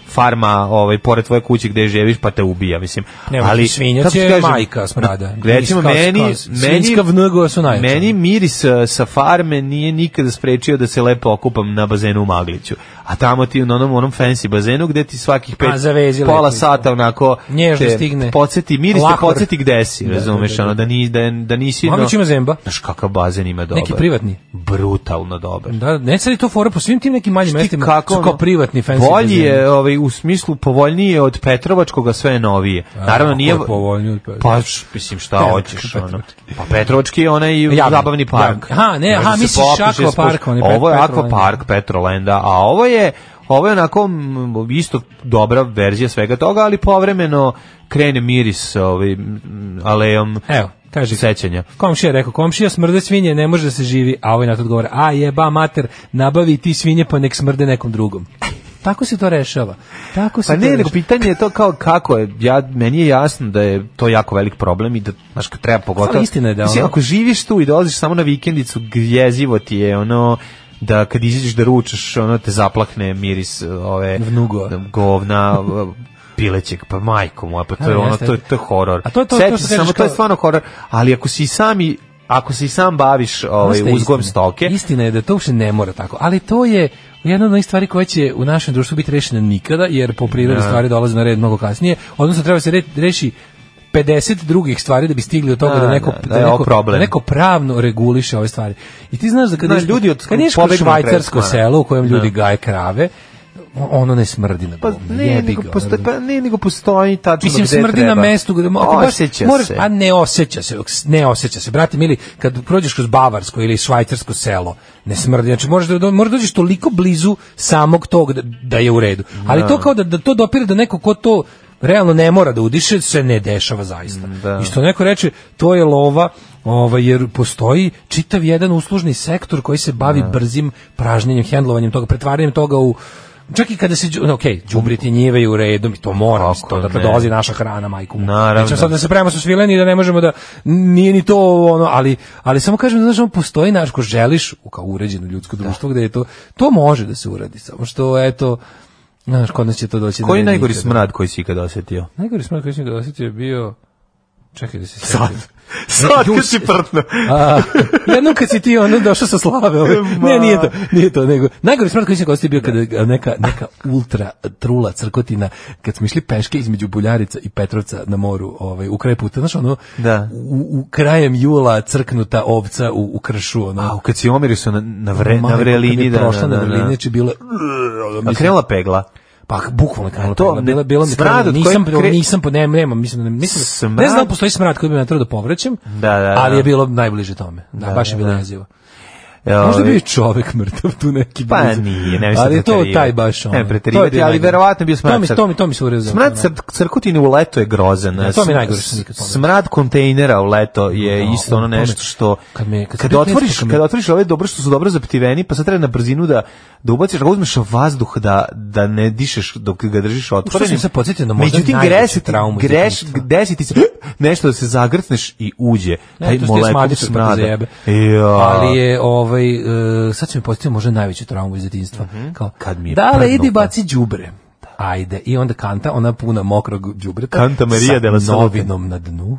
[SPEAKER 6] farma ovaj pored tvoje kuće gde živiš pa te ubija mislim
[SPEAKER 5] Ne, ali svinjac
[SPEAKER 6] kako ti
[SPEAKER 5] je
[SPEAKER 6] kažem,
[SPEAKER 5] majka smrada.
[SPEAKER 6] recimo
[SPEAKER 5] Kao-
[SPEAKER 6] meni
[SPEAKER 5] kao svinjska
[SPEAKER 6] meni
[SPEAKER 5] vnugo su najjače.
[SPEAKER 6] meni miris e, sa farme nije nikada sprečio da se lepo okupam na bazenu u Magliću. A tamo ti na onom, onom fancy bazenu gde ti svakih pet,
[SPEAKER 5] A, zavezi
[SPEAKER 6] pola
[SPEAKER 5] lepo.
[SPEAKER 6] sata onako
[SPEAKER 5] Nježno
[SPEAKER 6] te
[SPEAKER 5] stigne.
[SPEAKER 6] Podsjeti, miris te
[SPEAKER 5] Lahor.
[SPEAKER 6] podsjeti gde si, razumeš,
[SPEAKER 5] da, da.
[SPEAKER 6] ono, da, ni, da, da nisi...
[SPEAKER 5] Maglić
[SPEAKER 6] no-
[SPEAKER 5] ima zemba.
[SPEAKER 6] Znaš kakav bazen ima dobar.
[SPEAKER 5] Neki privatni.
[SPEAKER 6] Brutalno dobar.
[SPEAKER 5] Da, ne sad je to fora po svim tim nekim manjim
[SPEAKER 6] Znaš ti
[SPEAKER 5] mestima.
[SPEAKER 6] kako,
[SPEAKER 5] su kao
[SPEAKER 6] ono,
[SPEAKER 5] privatni fancy.
[SPEAKER 6] Bolji
[SPEAKER 5] bazeni.
[SPEAKER 6] je, ovaj, u smislu povoljniji je od Petrovačkog, a sve je novije. Naravno,
[SPEAKER 5] A,
[SPEAKER 6] nije...
[SPEAKER 5] ko je povoljniji od Petrovačkog?
[SPEAKER 6] Pa, š- mislim, šta
[SPEAKER 5] Petrovački,
[SPEAKER 6] hoćeš, ono.
[SPEAKER 5] Petrovački.
[SPEAKER 6] Pa Petrovački je onaj
[SPEAKER 5] Javni,
[SPEAKER 6] zabavni park.
[SPEAKER 5] javni. Aha, ne,
[SPEAKER 6] Možda
[SPEAKER 5] aha,
[SPEAKER 6] se
[SPEAKER 5] misliš
[SPEAKER 6] popiš,
[SPEAKER 5] Aqua park,
[SPEAKER 6] ispuš-
[SPEAKER 5] on je
[SPEAKER 6] Ovo je
[SPEAKER 5] Pet-
[SPEAKER 6] Aqua
[SPEAKER 5] Petrolenda.
[SPEAKER 6] park Petrolenda, a ovo je ovo je onako mm, isto dobra verzija svega toga, ali povremeno krene miris ovaj, mm, alejom
[SPEAKER 5] Evo, kaže.
[SPEAKER 6] sećanja.
[SPEAKER 5] Komšija je rekao, komšija smrde svinje, ne može da se živi, a ovaj na to odgovara, a jeba mater, nabavi ti svinje pa nek smrde nekom drugom. Tako se to rešava. Tako se
[SPEAKER 6] Pa
[SPEAKER 5] to
[SPEAKER 6] ne, nego
[SPEAKER 5] rešava.
[SPEAKER 6] pitanje je to kao kako je, ja, meni je jasno da je to jako velik problem i da, znaš, kad treba pogotovo...
[SPEAKER 5] Ali istina je da
[SPEAKER 6] Mislim,
[SPEAKER 5] ono-
[SPEAKER 6] ako živiš tu i dolaziš samo na vikendicu, gvjezivo ti je ono da kad izađeš da ručaš, ono te zaplakne miris ove...
[SPEAKER 5] Vnugo.
[SPEAKER 6] Govna, pilećeg, pa majko moja, pa to je
[SPEAKER 5] Ali
[SPEAKER 6] ono,
[SPEAKER 5] jeste,
[SPEAKER 6] to je,
[SPEAKER 5] jeste.
[SPEAKER 6] to je horor.
[SPEAKER 5] A to je to- to što
[SPEAKER 6] Sjeti se
[SPEAKER 5] kažeš
[SPEAKER 6] samo, to je
[SPEAKER 5] kao-
[SPEAKER 6] stvarno horor, ali ako si sami ako se i sam baviš ovaj,
[SPEAKER 5] Dosta je
[SPEAKER 6] uzgojem
[SPEAKER 5] istine.
[SPEAKER 6] stoke,
[SPEAKER 5] Istina je da to uopšte ne mora tako, ali to je jedna od onih stvari koja će u našem društvu biti rešena nikada, jer po prirodi
[SPEAKER 6] Da.
[SPEAKER 5] stvari dolaze na red mnogo kasnije, odnosno treba se re, reši 50 drugih stvari da bi stigli do toga
[SPEAKER 6] Da,
[SPEAKER 5] da, neko,
[SPEAKER 6] da, da je ovo
[SPEAKER 5] neko,
[SPEAKER 6] problem.
[SPEAKER 5] da neko pravno reguliše ove stvari. I ti znaš da kad
[SPEAKER 6] Znaš,
[SPEAKER 5] ideš po-
[SPEAKER 6] ljudi od-
[SPEAKER 5] kad ideš po
[SPEAKER 6] pobegnu na kraju
[SPEAKER 5] švajcarsko
[SPEAKER 6] stvari.
[SPEAKER 5] selo u kojem ljudi
[SPEAKER 6] Da.
[SPEAKER 5] gaje krave, ono ne smrdi na
[SPEAKER 6] Pa
[SPEAKER 5] govno.
[SPEAKER 6] ne,
[SPEAKER 5] jebi
[SPEAKER 6] nego
[SPEAKER 5] ga, ono,
[SPEAKER 6] postoji, pa ne, nego postoji tačno
[SPEAKER 5] Mislim,
[SPEAKER 6] gde
[SPEAKER 5] smrdi
[SPEAKER 6] treba.
[SPEAKER 5] na mestu gde mo- ako baš
[SPEAKER 6] Osjeća
[SPEAKER 5] moraš-
[SPEAKER 6] se.
[SPEAKER 5] A ne osjeća se, ne osjeća se. Brate, mili, kad prođeš kroz Bavarsko ili švajcarsko selo, ne smrdi. Znači, možeš da, do- možeš da dođeš toliko blizu samog tog da, da je u redu. Ali to kao da, da to dopire da neko ko to realno ne mora da udiše, se ne dešava zaista.
[SPEAKER 6] da.
[SPEAKER 5] I što neko reče, to je lova, ovaj, jer postoji čitav jedan uslužni sektor koji se bavi brzim pražnjenjem, hendlovanjem toga, pretvaranjem toga u Čak i kada se, đu- no, okej, đubriti njive i u redu, to mora, mislim, to,
[SPEAKER 6] Kako
[SPEAKER 5] dakle,
[SPEAKER 6] ne.
[SPEAKER 5] dolazi naša hrana, majku mu.
[SPEAKER 6] Naravno.
[SPEAKER 5] Nećemo sad da se pravimo sa svileni i da ne možemo da, nije ni to ono, ali, ali samo kažem, znaš, ono postoji naš, ko želiš, u kao uređeno ljudsko društvo, gde je to, to može da se uradi, samo što, eto, znaš, kod nas će to doći. na
[SPEAKER 6] Koji je
[SPEAKER 5] red
[SPEAKER 6] najgori
[SPEAKER 5] nikada.
[SPEAKER 6] smrad koji si ikad osetio?
[SPEAKER 5] Najgori smrad koji sam ga osetio je bio... Čekaj da se sjetim.
[SPEAKER 6] Sad. Sad kad si prtno.
[SPEAKER 5] A, jednom kad si ti ono došao sa slave. Ovaj. Ne, nije to, nije to. Nego, najgori smrad koji sam ga osetio je bio kada neka, neka ultra trula crkotina, kad smo išli peške između Buljarica i Petrovca na moru ovaj, u kraj puta. Znaš ono,
[SPEAKER 6] Da.
[SPEAKER 5] u, u krajem jula crknuta ovca u, u kršu. Ono,
[SPEAKER 6] A, kad si omirio se na, na, vre, na
[SPEAKER 5] Majko, kad
[SPEAKER 6] vrelini.
[SPEAKER 5] je
[SPEAKER 6] Da,
[SPEAKER 5] prošla
[SPEAKER 6] da, da,
[SPEAKER 5] na vrelini,
[SPEAKER 6] da.
[SPEAKER 5] znači bilo je-
[SPEAKER 6] A krenula pegla.
[SPEAKER 5] Pa bukvalno je krenulo.
[SPEAKER 6] to
[SPEAKER 5] To,
[SPEAKER 6] ne-
[SPEAKER 5] bilo bilo mi
[SPEAKER 6] smrad
[SPEAKER 5] krenulo,
[SPEAKER 6] od
[SPEAKER 5] nisam
[SPEAKER 6] kojeg kre-
[SPEAKER 5] nisam po ne, nemam, mislim da ne, mislim da- ne
[SPEAKER 6] Smrad-
[SPEAKER 5] znam da postoji smrad koji bi me natrao da povraćam.
[SPEAKER 6] Da, da, da.
[SPEAKER 5] Ali je bilo najbliže tome. Da, baš je bilo
[SPEAKER 6] da.
[SPEAKER 5] jezivo.
[SPEAKER 6] Ja,
[SPEAKER 5] Možda je bio
[SPEAKER 6] ovaj,
[SPEAKER 5] i čovek mrtav tu neki
[SPEAKER 6] Pa
[SPEAKER 5] blizu.
[SPEAKER 6] nije, ne mislim
[SPEAKER 5] Ali je to
[SPEAKER 6] preterivati.
[SPEAKER 5] taj baš ono.
[SPEAKER 6] Ne, preterivati,
[SPEAKER 5] To je taj
[SPEAKER 6] ali
[SPEAKER 5] najgori.
[SPEAKER 6] verovatno je bio smrad
[SPEAKER 5] To mi,
[SPEAKER 6] crk-
[SPEAKER 5] to mi, to mi se urezao.
[SPEAKER 6] Smrad
[SPEAKER 5] Ono.
[SPEAKER 6] cr- crkutine u leto je grozan.
[SPEAKER 5] Da, to mi je
[SPEAKER 6] Sm-
[SPEAKER 5] najgore što sam ikad pomenuo.
[SPEAKER 6] Smrad kontejnera u leto je
[SPEAKER 5] Da,
[SPEAKER 6] isto ono
[SPEAKER 5] u tome-
[SPEAKER 6] nešto što
[SPEAKER 5] kad me- kad sam
[SPEAKER 6] kad
[SPEAKER 5] bio
[SPEAKER 6] otvoriš,
[SPEAKER 5] klinac, kad me-
[SPEAKER 6] kad otvoriš ove dobro što su dobro zaptiveni, pa sad treba na brzinu da da ubaciš, da uzmeš vazduh da da ne dišeš dok ga držiš otvorenim.
[SPEAKER 5] Što sam se podsjetio na možda
[SPEAKER 6] Međutim,
[SPEAKER 5] najveću
[SPEAKER 6] gresi ti-
[SPEAKER 5] traumu iz
[SPEAKER 6] greš,
[SPEAKER 5] detinjstva.
[SPEAKER 6] desi ti se nešto da se zagrtneš i uđe.
[SPEAKER 5] Ne,
[SPEAKER 6] Taj
[SPEAKER 5] to su ti
[SPEAKER 6] molekul
[SPEAKER 5] smradice, pa te
[SPEAKER 6] smrada.
[SPEAKER 5] zajebe.
[SPEAKER 6] Ja.
[SPEAKER 5] Ali je ovaj e, sad se mi postavio možda najveću traumu iz detinjstva. Kao
[SPEAKER 6] Mhm. Kad mi je
[SPEAKER 5] da
[SPEAKER 6] prdnuto."
[SPEAKER 5] ali idi baci đubre. Ajde, i onda kanta, ona puna mokrog đubreta.
[SPEAKER 6] Kanta Maria
[SPEAKER 5] sa
[SPEAKER 6] della Salute.
[SPEAKER 5] novinom na dnu.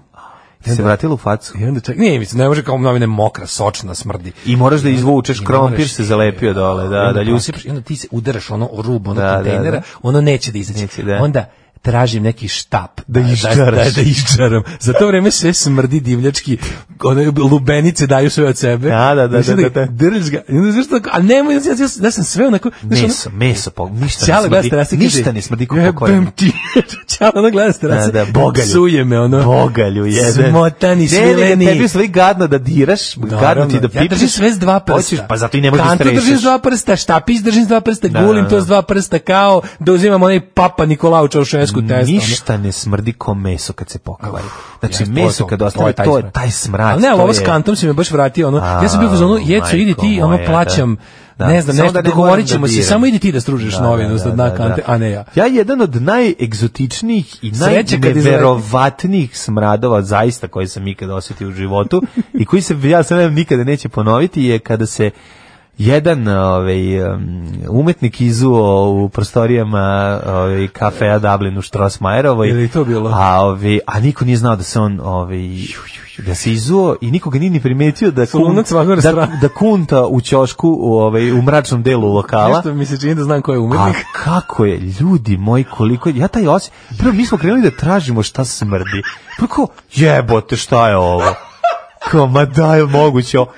[SPEAKER 6] Ti se vratila u facu.
[SPEAKER 5] I onda čak, nije, mislim, ne može kao novine mokra, sočna, smrdi.
[SPEAKER 6] I moraš da izvučeš,
[SPEAKER 5] I
[SPEAKER 6] krompir
[SPEAKER 5] moraš-
[SPEAKER 6] se zalepio dole,
[SPEAKER 5] I
[SPEAKER 6] da,
[SPEAKER 5] onda
[SPEAKER 6] da ljuski.
[SPEAKER 5] prosipaš I onda ti se udaraš ono o rubu, ono
[SPEAKER 6] Da, da,
[SPEAKER 5] kontejnera,
[SPEAKER 6] da.
[SPEAKER 5] ono neće da izađe.
[SPEAKER 6] Neće, da.
[SPEAKER 5] Onda tražim neki štap da, da,
[SPEAKER 6] iščaraš.
[SPEAKER 5] da, da iščaram. Za to vreme sve smrdi divljački, one lubenice daju sve od sebe.
[SPEAKER 6] Da, da, da,
[SPEAKER 5] Znaš,
[SPEAKER 6] da,
[SPEAKER 5] onda
[SPEAKER 6] da, da.
[SPEAKER 5] Držiš ga, i onda znaš tako, a nemoj, ja, ja, ja sam sve onako... znaš, ono-
[SPEAKER 6] Meso, meso, pa ništa
[SPEAKER 5] Ćala
[SPEAKER 6] ne
[SPEAKER 5] gleda s terase
[SPEAKER 6] smrdi.
[SPEAKER 5] i kaže,
[SPEAKER 6] Ništa ne smrdi kao
[SPEAKER 5] Jebem
[SPEAKER 6] pokoren.
[SPEAKER 5] ti. Ćala ono gleda s terase.
[SPEAKER 6] Da, da, bogalju.
[SPEAKER 5] Psuje me ono.
[SPEAKER 6] Bogalju jedan.
[SPEAKER 5] Smotani, svileni.
[SPEAKER 6] Ne, tebi sve gadno da diraš, gadno ti da
[SPEAKER 5] Ja držim
[SPEAKER 6] pipneš.
[SPEAKER 5] sve s dva prsta.
[SPEAKER 6] Hoćeš, pa zato i ne možeš da
[SPEAKER 5] Kantu držim
[SPEAKER 6] strešeš.
[SPEAKER 5] s dva prsta, štapić držim s dva prsta,
[SPEAKER 6] Da,
[SPEAKER 5] gulim
[SPEAKER 6] da,
[SPEAKER 5] to
[SPEAKER 6] da.
[SPEAKER 5] s dva prsta kao da uzimam onaj papa Nikolao Čaušesku test. ono.
[SPEAKER 6] Ništa ne smrdi kao meso kad se pokvari. Znači,
[SPEAKER 5] Jeste, to je
[SPEAKER 6] meso
[SPEAKER 5] to,
[SPEAKER 6] kad
[SPEAKER 5] to je
[SPEAKER 6] ostane,
[SPEAKER 5] taj
[SPEAKER 6] to je
[SPEAKER 5] smrad.
[SPEAKER 6] taj smrad.
[SPEAKER 5] Ali ne, ali
[SPEAKER 6] to
[SPEAKER 5] ovo
[SPEAKER 6] je-
[SPEAKER 5] s kantom si me baš vratio, ono, ja sam bio u fazonu,
[SPEAKER 6] A,
[SPEAKER 5] jeco, idi ti,
[SPEAKER 6] majko
[SPEAKER 5] ono,
[SPEAKER 6] moja,
[SPEAKER 5] plaćam,
[SPEAKER 6] da.
[SPEAKER 5] ne znam,
[SPEAKER 6] Samo
[SPEAKER 5] nešto,
[SPEAKER 6] da ne moram
[SPEAKER 5] dogovorit ćemo
[SPEAKER 6] da
[SPEAKER 5] se,
[SPEAKER 6] diram.
[SPEAKER 5] samo idi ti da stružiš novinu sa dna kante, a ne ja.
[SPEAKER 6] Ja jedan od najegzotičnijih i
[SPEAKER 5] Sreće kad izleti.
[SPEAKER 6] najneverovatnijih smradova zaista koje sam ikada osetio u životu i koji se ja se nadam nikada neće ponoviti je kada se jedan ovaj, um, umetnik izuo u prostorijama ovaj, kafea Dublin u Strossmayerovoj.
[SPEAKER 5] Je li to bilo?
[SPEAKER 6] A, ovaj, a niko nije znao da se on ovaj, da se izuo i nikoga nije ni primetio da,
[SPEAKER 5] Slunac Vagor
[SPEAKER 6] da,
[SPEAKER 5] Stra-
[SPEAKER 6] da kunta u ćošku u, ovaj, u mračnom delu lokala.
[SPEAKER 5] Nešto mi se čini da znam ko je
[SPEAKER 6] A
[SPEAKER 5] umetnik.
[SPEAKER 6] kako je, ljudi moji, koliko je, ja taj osje, prvo mi smo krenuli da tražimo šta smrdi, prvo kao, jebote, šta je ovo? Kao, ma daj, moguće, ovo.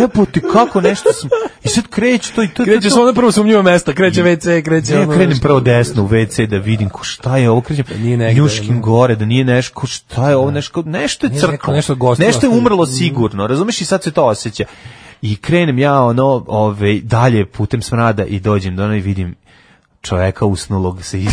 [SPEAKER 6] jebote, kako nešto sm... I sad kreće to i to, to,
[SPEAKER 5] Kreće
[SPEAKER 6] to.
[SPEAKER 5] se ono prvo sumnjivo mesta, kreće WC, kreće
[SPEAKER 6] Ja
[SPEAKER 5] ono,
[SPEAKER 6] krenem
[SPEAKER 5] znaš.
[SPEAKER 6] prvo desno u WC da vidim ko šta je ovo, krećem
[SPEAKER 5] nije negde,
[SPEAKER 6] njuškim
[SPEAKER 5] ono.
[SPEAKER 6] gore, da nije nešto, ko šta je ovo, nešto, nešto je
[SPEAKER 5] Nije neko,
[SPEAKER 6] crklo,
[SPEAKER 5] nešto Mm. gosti
[SPEAKER 6] nešto je
[SPEAKER 5] ostavili.
[SPEAKER 6] umrlo sigurno, razumeš i sad se to osjeća. I krenem ja ono, ove, dalje putem smrada i dođem do ono i vidim čoveka usnulog se iz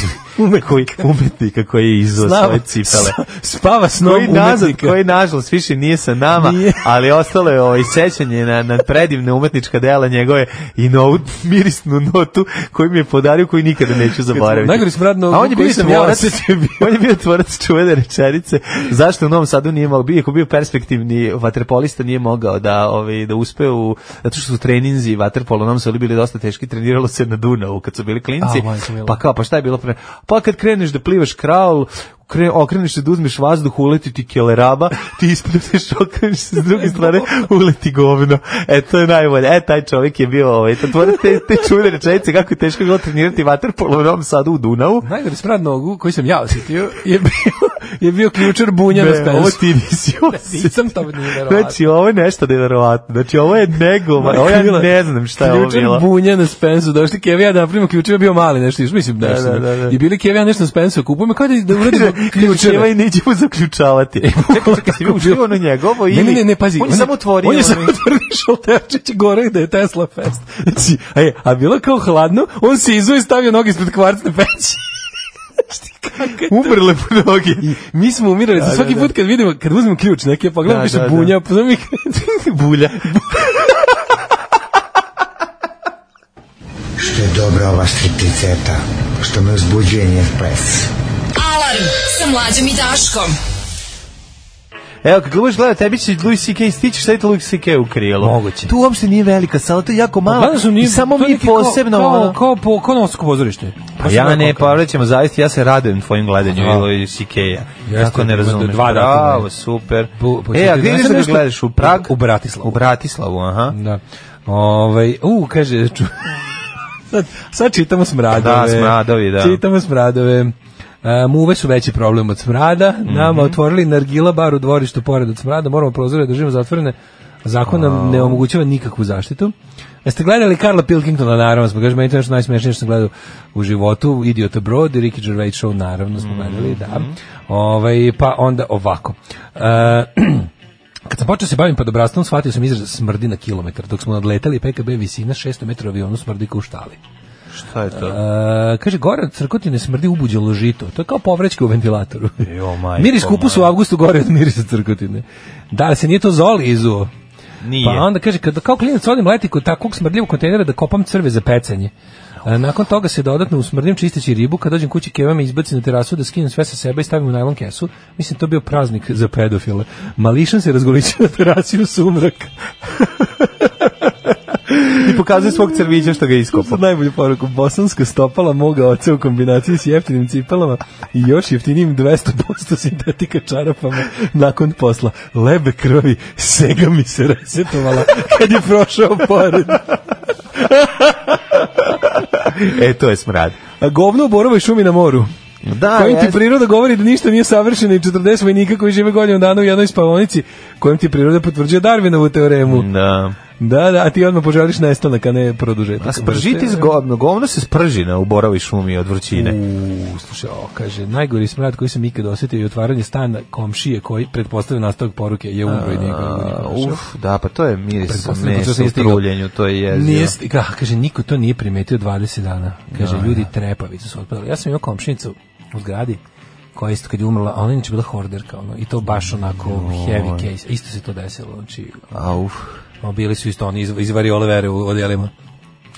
[SPEAKER 6] koji umetnika koji je izvao
[SPEAKER 5] Slava-
[SPEAKER 6] svoje cipele.
[SPEAKER 5] Spava s
[SPEAKER 6] Koji nazad,
[SPEAKER 5] umetnika.
[SPEAKER 6] koji nažalost više nije sa nama,
[SPEAKER 5] Nije.
[SPEAKER 6] ali ostalo je ovaj sećanje na, na predivne umetnička dela njegove i novu mirisnu notu koju mi je podario koju nikada neću zaboraviti.
[SPEAKER 5] Najgori smrad na-
[SPEAKER 6] A on je
[SPEAKER 5] koji
[SPEAKER 6] bio
[SPEAKER 5] sam ja
[SPEAKER 6] tvorac,
[SPEAKER 5] osetio bio.
[SPEAKER 6] on je bio tvorac čuvene rečenice. Zašto u Novom Sadu nije mogao, iako je bio perspektivni vaterpolista nije mogao da ovaj da uspe u zato što su treninzi vaterpolo u Novom Sadu bili dosta teški, treniralo se na Dunavu kad su bili klinci.
[SPEAKER 5] A, majko mila.
[SPEAKER 6] pa kao pa šta je bilo pre? Pa kad kreneš da plivaš kraul kre, okreneš se da uzmeš vazduh, uleti ti keleraba, ti ispljuteš, okreneš se s druge strane, uleti govno. E, to je najbolje. E, taj čovjek je bio, ovaj, to tvore te, te čuvene rečenice kako je teško bilo trenirati vaterpolo u Novom Sadu u Dunavu.
[SPEAKER 5] Najgore smrad nogu koju sam ja osjetio je bio, je bio ključar bunja na
[SPEAKER 6] Ne,
[SPEAKER 5] spensu.
[SPEAKER 6] ovo ti nisi osjetio.
[SPEAKER 5] Nisam to nije verovatno.
[SPEAKER 6] Znači, ovo je nešto nevjerovatno. Znači, ovo je negovan. Ovo ja ne znam šta je ovo bilo.
[SPEAKER 5] Ključar bunja na Spensu, došli Kevi ja da napravimo ključeve, bio mali nešto, još mislim nešto.
[SPEAKER 6] da, da, da.
[SPEAKER 5] I bili Kevi ja nešto na Spensu, kupujemo kao da, da uradimo ključeve.
[SPEAKER 6] ključeva i nećemo zaključavati. Čekaj, čekaj, si bio uživo ono njegovo ili...
[SPEAKER 5] Ne, ne, ne, ne, pazi.
[SPEAKER 6] On je samo ovaj. otvorio.
[SPEAKER 5] On je samo
[SPEAKER 6] onaj-
[SPEAKER 5] otvorio šalterčić gore da je Tesla fest. Znači, a, je, a bilo kao hladno, on se izuo i stavio noge ispred kvarcne peći.
[SPEAKER 6] Umrle po noge.
[SPEAKER 5] Mi smo umirali,
[SPEAKER 6] Da, da,
[SPEAKER 5] svaki
[SPEAKER 6] da.
[SPEAKER 5] put kad vidimo, kad uzmemo ključ, neki ja pogledam,
[SPEAKER 6] Da,
[SPEAKER 5] piše
[SPEAKER 6] da, da.
[SPEAKER 5] bunja, pa pozove mi
[SPEAKER 6] Bulja.
[SPEAKER 12] Što je dobra ova stripticeta, što me uzbuđuje njen ples.
[SPEAKER 4] Alarm sa mlađom i Daškom.
[SPEAKER 6] Evo, kako budeš gledao, tebi će Louis C.K. stići, stavite Louis C.K. u krilo. Moguće. Tu uopšte nije velika sala, to je jako mala. I samo mi posebno...
[SPEAKER 5] Kao,
[SPEAKER 6] ono-
[SPEAKER 5] kao, kao, po, kao novsko pozorište.
[SPEAKER 6] Pa ja ne, pa ćemo zaista, ja se radujem tvojim gledanju
[SPEAKER 5] Aha.
[SPEAKER 6] Louis C.K.-a.
[SPEAKER 5] Jeste,
[SPEAKER 6] Kako ne
[SPEAKER 5] ima
[SPEAKER 6] razumeš?
[SPEAKER 5] dva datuma.
[SPEAKER 6] Bravo, super.
[SPEAKER 5] Bu- bu-
[SPEAKER 6] e, a gdje
[SPEAKER 5] znaš
[SPEAKER 6] ideš
[SPEAKER 5] nešto? Pa
[SPEAKER 6] da ga gledaš? U Prag?
[SPEAKER 5] U Bratislavu. Mm,
[SPEAKER 6] U Bratislavu, aha.
[SPEAKER 5] Da. Ovaj, u, kaže, ču... sad, sad čitamo smradove.
[SPEAKER 6] Da, smradovi, da.
[SPEAKER 5] Čitamo smradove. E, muve su veći problem od smrada.
[SPEAKER 6] Mhm.
[SPEAKER 5] Nama otvorili nargila bar u dvorištu pored od smrada. Moramo prozore da držimo zatvorene. Zakon nam ne omogućava nikakvu zaštitu. Jeste gledali Karla Pilkingtona, naravno smo, kaže, meni to je nešto najsmešnije što sam gledao u životu, Idiot Abroad i Ricky Gervais Show, naravno smo gledali, da.
[SPEAKER 6] Mhm.
[SPEAKER 5] Ovaj, pa onda ovako. E, Kad sam počeo se bavim padobratstvom, shvatio sam izraz smrdi na kilometar. Dok smo nadletali PKB visina 600 metara u avionu smrdi kao u štali.
[SPEAKER 6] Šta je to?
[SPEAKER 5] E, kaže, gore od crkotine smrdi ubuđalo žito. To je kao povrećka u ventilatoru.
[SPEAKER 6] Jo, majko
[SPEAKER 5] Miris kupus u
[SPEAKER 6] moja.
[SPEAKER 5] avgustu gore od mirisa crkotine. Da, se nije to zoli izuo.
[SPEAKER 6] Nije.
[SPEAKER 5] Pa onda kaže, kada kao klinac odim leti kod takvog smrdljivog kontejnera da kopam crve za pecanje. E, Nakon toga se dodatno usmrdim čisteći ribu, kad dođem kući keva me izbaci na terasu da skinem sve sa sebe i stavim u najlon kesu. Mislim, to je bio praznik za pedofile. Mališan se razgoličio na terasi u sumrak.
[SPEAKER 6] I pokazuje svog crvića što ga je iskopao.
[SPEAKER 5] Sad najbolju poruku, bosanska stopala moga oca u kombinaciji s jeftinim cipelama i još jeftinim 200% sintetika čarapama nakon posla. Lebe krvi, sega mi se resetovala kad je prošao pored.
[SPEAKER 6] E, to je smrad.
[SPEAKER 5] A govno u borovoj šumi na moru.
[SPEAKER 6] Da,
[SPEAKER 5] kojim ti
[SPEAKER 6] jeste.
[SPEAKER 5] priroda govori da ništa nije savršeno i 40 vojnika koji žive godinu dana u jednoj spavonici, kojim ti priroda potvrđuje Darwinovu teoremu.
[SPEAKER 6] Da.
[SPEAKER 5] Da, da, a ti odmah poželiš nestanak, a ne produžetak.
[SPEAKER 6] A spržiti zgodno, govno se sprži na uboravi šumi od vrućine.
[SPEAKER 5] U, slušaj, o, kaže, najgori smrad koji sam ikad osetio je otvaranje stana komšije koji pretpostavlja nastavak poruke je umro i niko nije
[SPEAKER 6] A,
[SPEAKER 5] prošao.
[SPEAKER 6] Uf, da, pa to je miris
[SPEAKER 5] Pretpostavljam, pošto
[SPEAKER 6] mesa
[SPEAKER 5] sam
[SPEAKER 6] u
[SPEAKER 5] stigao.
[SPEAKER 6] truljenju, to je jezio.
[SPEAKER 5] Nije sti- ka, kaže, niko to nije primetio 20 dana. Kaže, ljudi trepavicu su otpadali. Ja sam imao komšinicu u zgradi koja je isto kad je umrla, a ona je inače bila horderka, ono, i to baš onako heavy case. Isto se to desilo, znači,
[SPEAKER 6] A, uf.
[SPEAKER 5] ono, bili su isto oni iz, iz variole vere u odjelima.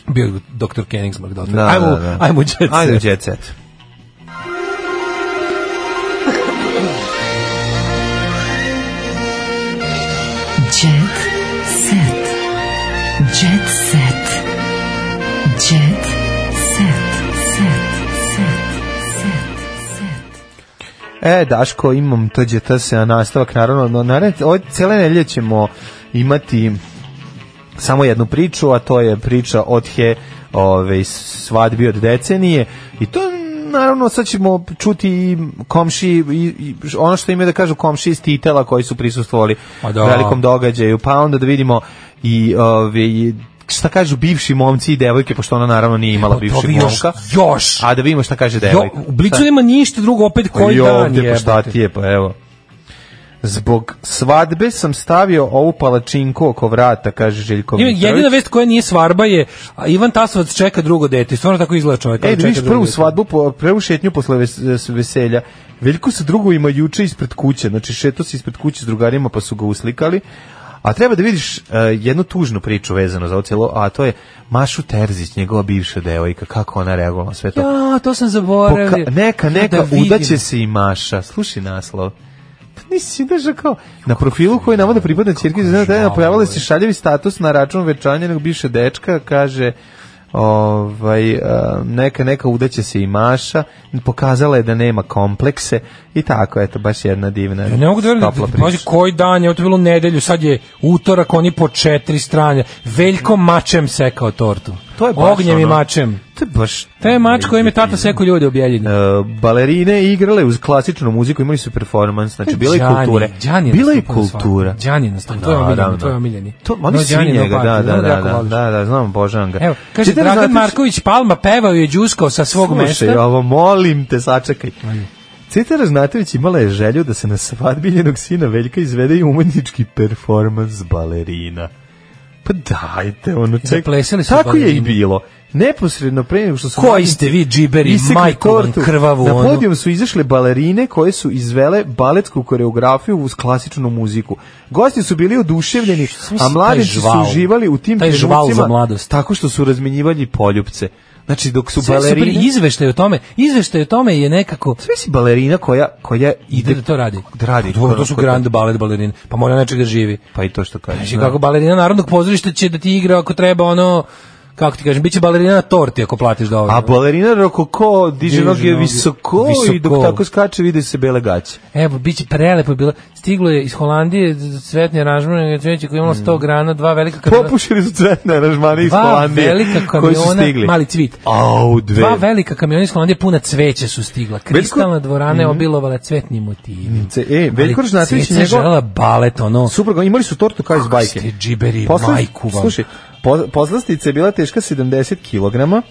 [SPEAKER 5] Bio je doktor Koenigsmark, doktor.
[SPEAKER 6] Da,
[SPEAKER 5] ajmo,
[SPEAKER 6] da, da.
[SPEAKER 5] ajmo, u jet set.
[SPEAKER 6] Ajde u jet set.
[SPEAKER 9] Jet set. Jet set. Jet set. Set. Set. Set.
[SPEAKER 6] E, Daško, imam to džeta se na nastavak, naravno, no, naravno, ove cele nelje ćemo imati samo jednu priču, a to je priča od he ove, svadbi od decenije i to naravno sad ćemo čuti i komši i, i ono što imaju da kažu komši iz Titela koji su prisustvovali
[SPEAKER 5] Pa da.
[SPEAKER 6] velikom događaju, pa onda da vidimo i ove, i šta kažu bivši momci i devojke, pošto ona naravno nije imala
[SPEAKER 5] Pa to
[SPEAKER 6] bivšeg
[SPEAKER 5] bi još-
[SPEAKER 6] momka.
[SPEAKER 5] još.
[SPEAKER 6] A da vidimo šta kaže
[SPEAKER 5] Jo,
[SPEAKER 6] devojka.
[SPEAKER 5] u Blicu
[SPEAKER 6] Šta-
[SPEAKER 5] nema ništa drugo, opet koji
[SPEAKER 6] i
[SPEAKER 5] dan
[SPEAKER 6] ovdje, pa šta
[SPEAKER 5] jebote.
[SPEAKER 6] ti je, pa evo. Zbog svadbe sam stavio ovu palačinku oko vrata, kaže Željko
[SPEAKER 5] Ima jedina
[SPEAKER 6] Mitrović.
[SPEAKER 5] vest koja nije svarba je a Ivan Tasovac čeka drugo dete. Stvarno tako izgleda čovjek.
[SPEAKER 6] Ej,
[SPEAKER 5] ali
[SPEAKER 6] da
[SPEAKER 5] čeka
[SPEAKER 6] E, vidiš
[SPEAKER 5] drugo
[SPEAKER 6] prvu
[SPEAKER 5] dete.
[SPEAKER 6] svadbu, po- prvu šetnju posle ves- s- veselja. Veljko se drugo ima juče ispred kuće, znači šeto se ispred kuće s drugarima pa su ga uslikali. A treba da vidiš e, jednu tužnu priču vezano za ovo cijelo, a to je Mašu Terzić, njegova bivša devojka, kako ona reagovala na sve to.
[SPEAKER 5] Ja, to sam zaboravio.
[SPEAKER 6] Poka- neka,
[SPEAKER 5] Ja
[SPEAKER 6] neka,
[SPEAKER 5] da vidim.
[SPEAKER 6] udaće se i Maša. Slušaj naslov. Pa nisi daža kao, na profilu koji navode pripada crkvi, znači da je pojavila se šaljevi status na račun večanja nego bivše dečka, kaže ovaj, um, neka, neka udaće se i Maša, pokazala je da nema komplekse i tako, eto, baš jedna divna
[SPEAKER 5] Ja ne mogu da verujem,
[SPEAKER 6] topla
[SPEAKER 5] da- pazi,
[SPEAKER 6] priča.
[SPEAKER 5] koji dan je, ovo je bilo nedelju, sad je utorak, oni po četiri strane. Veljko mačem sekao tortu.
[SPEAKER 6] To je baš
[SPEAKER 5] Ognjem i
[SPEAKER 6] ono-
[SPEAKER 5] mačem.
[SPEAKER 6] To je baš...
[SPEAKER 5] To je mač kojim je tata sekao ljude objeljeni.
[SPEAKER 6] Uh, balerine igrale uz klasičnu muziku, imali su performans, znači bila je kulture. bila je kultura.
[SPEAKER 5] Đani nas to je omiljeni,
[SPEAKER 6] Naravno.
[SPEAKER 5] to je omiljeni.
[SPEAKER 6] To, oni
[SPEAKER 5] No,
[SPEAKER 6] svi
[SPEAKER 5] Đani, no
[SPEAKER 6] njega, da,
[SPEAKER 5] party,
[SPEAKER 6] da, da,
[SPEAKER 5] ono jako
[SPEAKER 6] da,
[SPEAKER 5] voliš.
[SPEAKER 6] da, da, znam, obožavam ga.
[SPEAKER 5] Evo, kaže
[SPEAKER 6] Čitam,
[SPEAKER 5] Dragan
[SPEAKER 6] znate,
[SPEAKER 5] Marković Palma pevao je đuskao sa svog mesta.
[SPEAKER 6] Slušaj, ovo, molim te, sačekaj. Cita Ražnatović imala je želju da se na svadbi njenog sina Veljka izvede i umetnički performans balerina. Pa dajte, ono,
[SPEAKER 5] da
[SPEAKER 6] ček,
[SPEAKER 5] plesali su
[SPEAKER 6] tako je i
[SPEAKER 5] balerine.
[SPEAKER 6] bilo. Neposredno pre nego što su...
[SPEAKER 5] Koji ste vi džiberi,
[SPEAKER 6] isekli
[SPEAKER 5] majku vam
[SPEAKER 6] tortu,
[SPEAKER 5] krvavu,
[SPEAKER 6] Na
[SPEAKER 5] ono.
[SPEAKER 6] podijum su izašle balerine koje su izvele baletsku koreografiju uz klasičnu muziku. Gosti su bili oduševljeni, a
[SPEAKER 5] taj
[SPEAKER 6] mladići su
[SPEAKER 5] žval?
[SPEAKER 6] uživali u tim
[SPEAKER 5] Taj žval za
[SPEAKER 6] trenucima
[SPEAKER 5] mladost.
[SPEAKER 6] tako što su razmenjivali poljupce. Znači, dok su
[SPEAKER 5] Sve super
[SPEAKER 6] balerine...
[SPEAKER 5] izveštaj o tome, izveštaj o tome je nekako
[SPEAKER 6] Sve si balerina koja, koja ide...
[SPEAKER 5] ide da to radi.
[SPEAKER 6] Da radi.
[SPEAKER 5] To, to su grand balet balerine. Pa mora nečeg da živi.
[SPEAKER 6] Pa i to što kažeš.
[SPEAKER 5] Znači,
[SPEAKER 6] da.
[SPEAKER 5] kako balerina narodnog pozorišta će da ti igra ako treba ono, kako ti kažem, bit će balerina na torti ako platiš da
[SPEAKER 6] A balerina rokoko diže
[SPEAKER 5] Diže
[SPEAKER 6] noge
[SPEAKER 5] noge.
[SPEAKER 6] visoko, i dok
[SPEAKER 5] Visoko.
[SPEAKER 6] tako skače vide se bele gaće.
[SPEAKER 5] Evo, bit će prelepo je bilo. Stiglo je iz Holandije cvetni aranžman cveće koje je imalo 100 grana, dva velika kamiona.
[SPEAKER 6] Popušili su cvetne aranžmane Mm. iz
[SPEAKER 5] Dva
[SPEAKER 6] Holandije
[SPEAKER 5] velika
[SPEAKER 6] koji su
[SPEAKER 5] kamiona,
[SPEAKER 6] stigli.
[SPEAKER 5] mali cvit.
[SPEAKER 6] Au, dve.
[SPEAKER 5] Dva velika kamiona iz Holandije puna cveće su stigla. Kristalna dvorana je
[SPEAKER 6] Mhm.
[SPEAKER 5] obilovala cvetni motivi.
[SPEAKER 6] Ce- E, Veljko
[SPEAKER 5] Ali
[SPEAKER 6] Ražnatović i
[SPEAKER 5] cveće je
[SPEAKER 6] njegov...
[SPEAKER 5] želela balet, ono.
[SPEAKER 6] Super, imali su tortu kao iz bajke.
[SPEAKER 5] ste džiberi,
[SPEAKER 6] Posla-
[SPEAKER 5] majku vam.
[SPEAKER 6] Slušaj, po- pozlastica je bila teška 70 kg.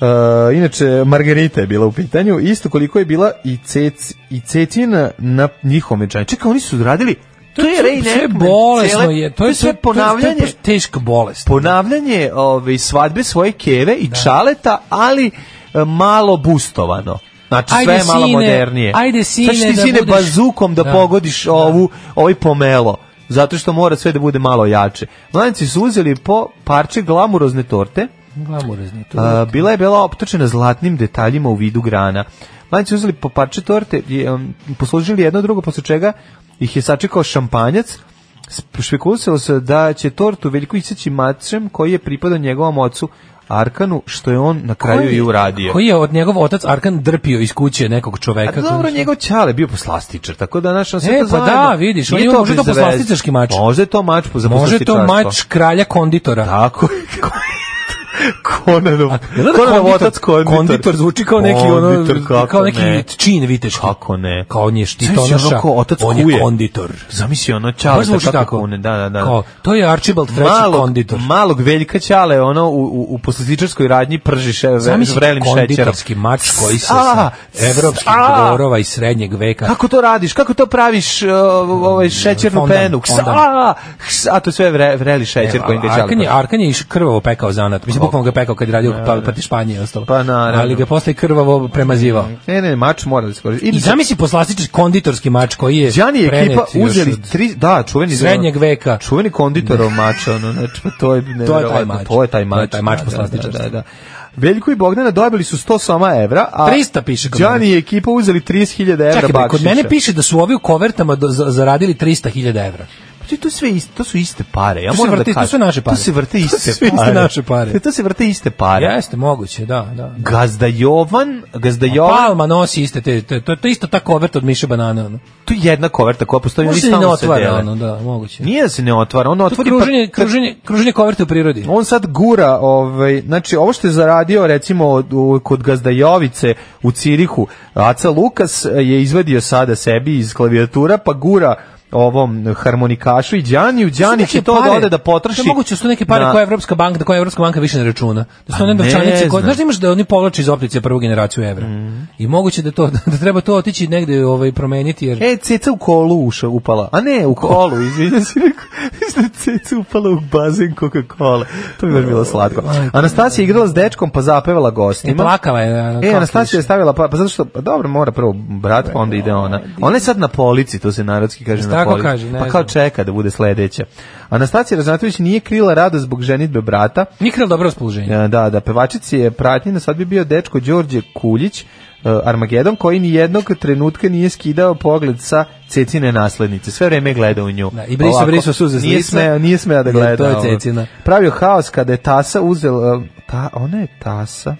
[SPEAKER 6] Uh, inače, Margarita je bila u pitanju, isto koliko je bila i, cec, i cetina na njihovom venčanju. Čekaj, oni su radili To je
[SPEAKER 5] sve-
[SPEAKER 6] Ray
[SPEAKER 5] sve
[SPEAKER 6] Nepman,
[SPEAKER 5] bolesno
[SPEAKER 6] cele-
[SPEAKER 5] je. To
[SPEAKER 6] to
[SPEAKER 5] je
[SPEAKER 6] je sve
[SPEAKER 5] to je- to je
[SPEAKER 6] ponavljanje.
[SPEAKER 5] baš teška bolest.
[SPEAKER 6] ponavljanje ove, svadbe svoje keve i čaleta, ali e, malo bustovano. Znači sve
[SPEAKER 5] Ajde,
[SPEAKER 6] je malo
[SPEAKER 5] sine,
[SPEAKER 6] modernije.
[SPEAKER 5] ajde, sine,
[SPEAKER 6] Sad ćeš ti
[SPEAKER 5] da
[SPEAKER 6] sine
[SPEAKER 5] budeš-
[SPEAKER 6] bazukom da,
[SPEAKER 5] Da.
[SPEAKER 6] pogodiš ovu, ovaj pomelo. Zato što mora sve da bude malo jače. Mladenci su uzeli po parče glamurozne torte.
[SPEAKER 5] Glamurozni tu.
[SPEAKER 6] A, bila je bila optočena zlatnim detaljima u vidu grana. Mladenci su uzeli po parče torte, je, um, poslužili jedno drugo, posle čega ih je sačekao šampanjac. Sp- Špekulisalo se da će tortu veliko iseći mačem koji je pripadao njegovom ocu Arkanu, što je on na kraju
[SPEAKER 5] Koji-
[SPEAKER 6] i uradio.
[SPEAKER 5] Koji je od njegov otac Arkan drpio iz kuće nekog
[SPEAKER 6] A
[SPEAKER 5] čoveka. Znači,
[SPEAKER 6] dobro,
[SPEAKER 5] koji-
[SPEAKER 6] njegov ćale je bio poslastičar, tako da naš on sve
[SPEAKER 5] E,
[SPEAKER 6] to
[SPEAKER 5] pa
[SPEAKER 6] zajedno.
[SPEAKER 5] da, vidiš, on
[SPEAKER 6] Nije
[SPEAKER 5] ima možda to
[SPEAKER 6] bez veze.
[SPEAKER 5] poslastičarski mač.
[SPEAKER 6] Možda je to mač po- za
[SPEAKER 5] Može to
[SPEAKER 6] poslastičarstvo.
[SPEAKER 5] mač kralja konditora.
[SPEAKER 6] Tako je. Konanov,
[SPEAKER 5] Jel da
[SPEAKER 6] Konanov otac konditor.
[SPEAKER 5] konditor zvuči kao neki ono
[SPEAKER 6] Konditor, kako
[SPEAKER 5] kao neki
[SPEAKER 6] ne.
[SPEAKER 5] čin viteški.
[SPEAKER 6] Kako ne?
[SPEAKER 5] Kao on je
[SPEAKER 6] Znaš, ono
[SPEAKER 5] štitonoša.
[SPEAKER 6] kao otac
[SPEAKER 5] on
[SPEAKER 6] kuje.
[SPEAKER 5] je konditor.
[SPEAKER 6] Zamisli ono
[SPEAKER 5] Baš
[SPEAKER 6] čale
[SPEAKER 5] zvuči
[SPEAKER 6] sa
[SPEAKER 5] tako.
[SPEAKER 6] tako kune, da, da, da.
[SPEAKER 5] Kao, to je Archibald III konditor.
[SPEAKER 6] Malog veljka čale, ono, u, u, u poslastičarskoj radnji prži še, ve,
[SPEAKER 5] Zamisli
[SPEAKER 6] vrelim šećerom.
[SPEAKER 5] konditorski mač koji se
[SPEAKER 6] A,
[SPEAKER 5] sa evropskih
[SPEAKER 6] a.
[SPEAKER 5] dvorova iz srednjeg veka
[SPEAKER 6] Kako to radiš? Kako to praviš uh,
[SPEAKER 5] Mm,
[SPEAKER 6] ovaj šećernu
[SPEAKER 5] Fondant,
[SPEAKER 6] penu? Hsa,
[SPEAKER 5] fondant.
[SPEAKER 6] hsa, a to je sve vre, vreli šećer
[SPEAKER 5] Evo,
[SPEAKER 6] koji ga
[SPEAKER 5] a Arkan je,
[SPEAKER 6] čale.
[SPEAKER 5] Arkan je iš krvavo pekao zanat. Mislim, bukvalno ga je pekao kad je radio pa, pa Španije i ostalo.
[SPEAKER 6] Pa naravno. Mhm.
[SPEAKER 5] Ali ga je posle krvavo premazivao.
[SPEAKER 6] Ne, ne, mač mora da se koristi.
[SPEAKER 5] I zamisli poslastičar konditorski mač koji je
[SPEAKER 6] Đani i
[SPEAKER 5] prenet
[SPEAKER 6] ekipa
[SPEAKER 5] još
[SPEAKER 6] uzeli
[SPEAKER 5] od-
[SPEAKER 6] tri, da, čuveni
[SPEAKER 5] srednjeg veka.
[SPEAKER 6] Čuveni konditorov mač, ono, znači, pa to je neverovatno.
[SPEAKER 5] mač.
[SPEAKER 6] To je taj mač.
[SPEAKER 5] To je taj mač
[SPEAKER 6] da,
[SPEAKER 5] poslastičar.
[SPEAKER 6] Da, da, da. Veljko i Bogdana dobili su 100 soma evra, a
[SPEAKER 5] 300 piše kod
[SPEAKER 6] Đani
[SPEAKER 5] mene.
[SPEAKER 6] i ekipa uzeli 30.000 evra
[SPEAKER 5] Čekaj, bre, kod
[SPEAKER 6] bakšiša.
[SPEAKER 5] mene piše da su ovi u kovertama do, za- zaradili 300.000 evra.
[SPEAKER 6] Pa ti to sve isto, to su iste pare. Ja
[SPEAKER 5] To se
[SPEAKER 6] moram
[SPEAKER 5] vrti-
[SPEAKER 6] da
[SPEAKER 5] to
[SPEAKER 6] kažem.
[SPEAKER 5] su naše pare.
[SPEAKER 6] To se vrte
[SPEAKER 5] To
[SPEAKER 6] iste
[SPEAKER 5] su iste
[SPEAKER 6] pare.
[SPEAKER 5] naše pare.
[SPEAKER 6] To se vrte iste pare.
[SPEAKER 5] Jeste, moguće, da, da.
[SPEAKER 6] Gazda Jovan, Gazda Jovan,
[SPEAKER 5] Palma nosi iste te, te to, to je isto ta koverta od Miše Banana. Ono.
[SPEAKER 6] to je jedna koverta koja postoji, oni
[SPEAKER 5] Možda se ni ne
[SPEAKER 6] stalno se
[SPEAKER 5] otvara,
[SPEAKER 6] dele.
[SPEAKER 5] ono, da, moguće.
[SPEAKER 6] Nije da se ne otvara, on
[SPEAKER 5] To
[SPEAKER 6] otvori pa-
[SPEAKER 5] kruženje, kruženje, kruženje koverte u prirodi.
[SPEAKER 6] On sad gura, ovaj, znači ovo što je zaradio recimo od- u- kod Gazdajovice u Cirihu, Aca Lukas eh, je izvadio sada sebi iz klavijatura pa gura ovom harmonikašu i Đaniju, Đani će
[SPEAKER 5] neke
[SPEAKER 6] to da
[SPEAKER 5] pare.
[SPEAKER 6] ode da potroši.
[SPEAKER 5] To je moguće da su neke pare
[SPEAKER 6] na-
[SPEAKER 5] koje Evropska banka, da koje Evropska banka više ne računa. Da su
[SPEAKER 6] Pa
[SPEAKER 5] one
[SPEAKER 6] ne
[SPEAKER 5] novčanice koje,
[SPEAKER 6] znam. Mhm.
[SPEAKER 5] znaš da imaš da oni povlače iz optice prvu generaciju evra. I moguće da to da treba to otići negde ovaj promeniti jer
[SPEAKER 6] E, ceca u kolu uša upala. A ne, u kolu, izvinjam se. rekao, Mislim da je ceca upala u bazen Coca-Cola. To bi baš bilo slatko. Anastasija je igrala s dečkom pa zapevala gostima.
[SPEAKER 5] I plakala je, a,
[SPEAKER 6] E,
[SPEAKER 5] kao
[SPEAKER 6] Anastasija je
[SPEAKER 5] kliše.
[SPEAKER 6] stavila, pa, pa zato što, pa dobro, mora prvo brat, pa onda ide ona. Ona je sad na polici, to se narodski kaže
[SPEAKER 5] Tako
[SPEAKER 6] voli.
[SPEAKER 5] kaže, ne
[SPEAKER 6] pa kao
[SPEAKER 5] znam.
[SPEAKER 6] čeka da bude sledeća. Anastasija Ražnatović nije krila radost zbog ženitbe brata.
[SPEAKER 5] Nije krila dobro raspoloženje.
[SPEAKER 6] E, Da, da, pevačici je pratnjena, sad bi bio dečko Đorđe Kuljić, e, Armagedon, koji ni jednog trenutka nije skidao pogled sa cecine naslednice. Sve vreme je gledao u nju.
[SPEAKER 5] Da, i brisao-
[SPEAKER 6] Ovako,
[SPEAKER 5] brisao suze s
[SPEAKER 6] Nije
[SPEAKER 5] lica.
[SPEAKER 6] smeo, nije smeo da
[SPEAKER 5] Jer
[SPEAKER 6] gleda.
[SPEAKER 5] to je
[SPEAKER 6] ovo.
[SPEAKER 5] Cecina.
[SPEAKER 6] Pravio haos kada je Tasa uzela... e, Ta, ona je Tasa.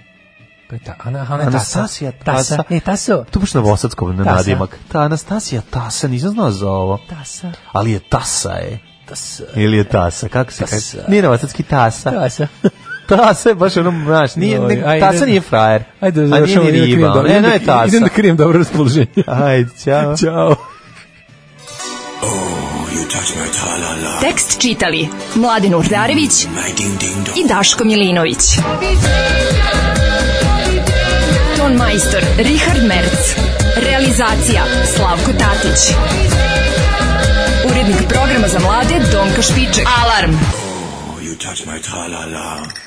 [SPEAKER 5] Pa je ta, Ana, Ana,
[SPEAKER 6] Anastasija Tasa.
[SPEAKER 5] E, Taso.
[SPEAKER 6] Tu baš na Vosadskom na
[SPEAKER 5] Tasa.
[SPEAKER 6] nadimak. Ta Anastasija Tasa, nisam znao za ovo.
[SPEAKER 5] Tasa.
[SPEAKER 6] Ali je Tasa, je.
[SPEAKER 5] Tasa.
[SPEAKER 6] Ili je Tasa, kako se
[SPEAKER 5] Tasa.
[SPEAKER 6] kaže? Nije na Vosatski Tasa.
[SPEAKER 5] Tasa.
[SPEAKER 6] Tasa je baš ono, znaš, nije,
[SPEAKER 5] Joj,
[SPEAKER 6] ne,
[SPEAKER 5] ajde.
[SPEAKER 6] tasa nije frajer.
[SPEAKER 5] Ajde,
[SPEAKER 6] A
[SPEAKER 5] završamo,
[SPEAKER 6] nije
[SPEAKER 5] idem da
[SPEAKER 6] ni
[SPEAKER 5] krijem
[SPEAKER 6] riba.
[SPEAKER 5] dobro-
[SPEAKER 6] E,
[SPEAKER 5] idem
[SPEAKER 6] no
[SPEAKER 5] da-
[SPEAKER 6] je tasa.
[SPEAKER 5] Idem da krijem dobro raspoloženje.
[SPEAKER 6] Ajde, ćao.
[SPEAKER 5] Ćao.
[SPEAKER 4] Tekst čitali Mladin Urdarević i Daško Milinović. Ton majstor Richard Merc. Realizacija Slavko Tatić. Urednik programa za mlade Donka Špiček. Alarm!
[SPEAKER 7] You touch my tra-la-la.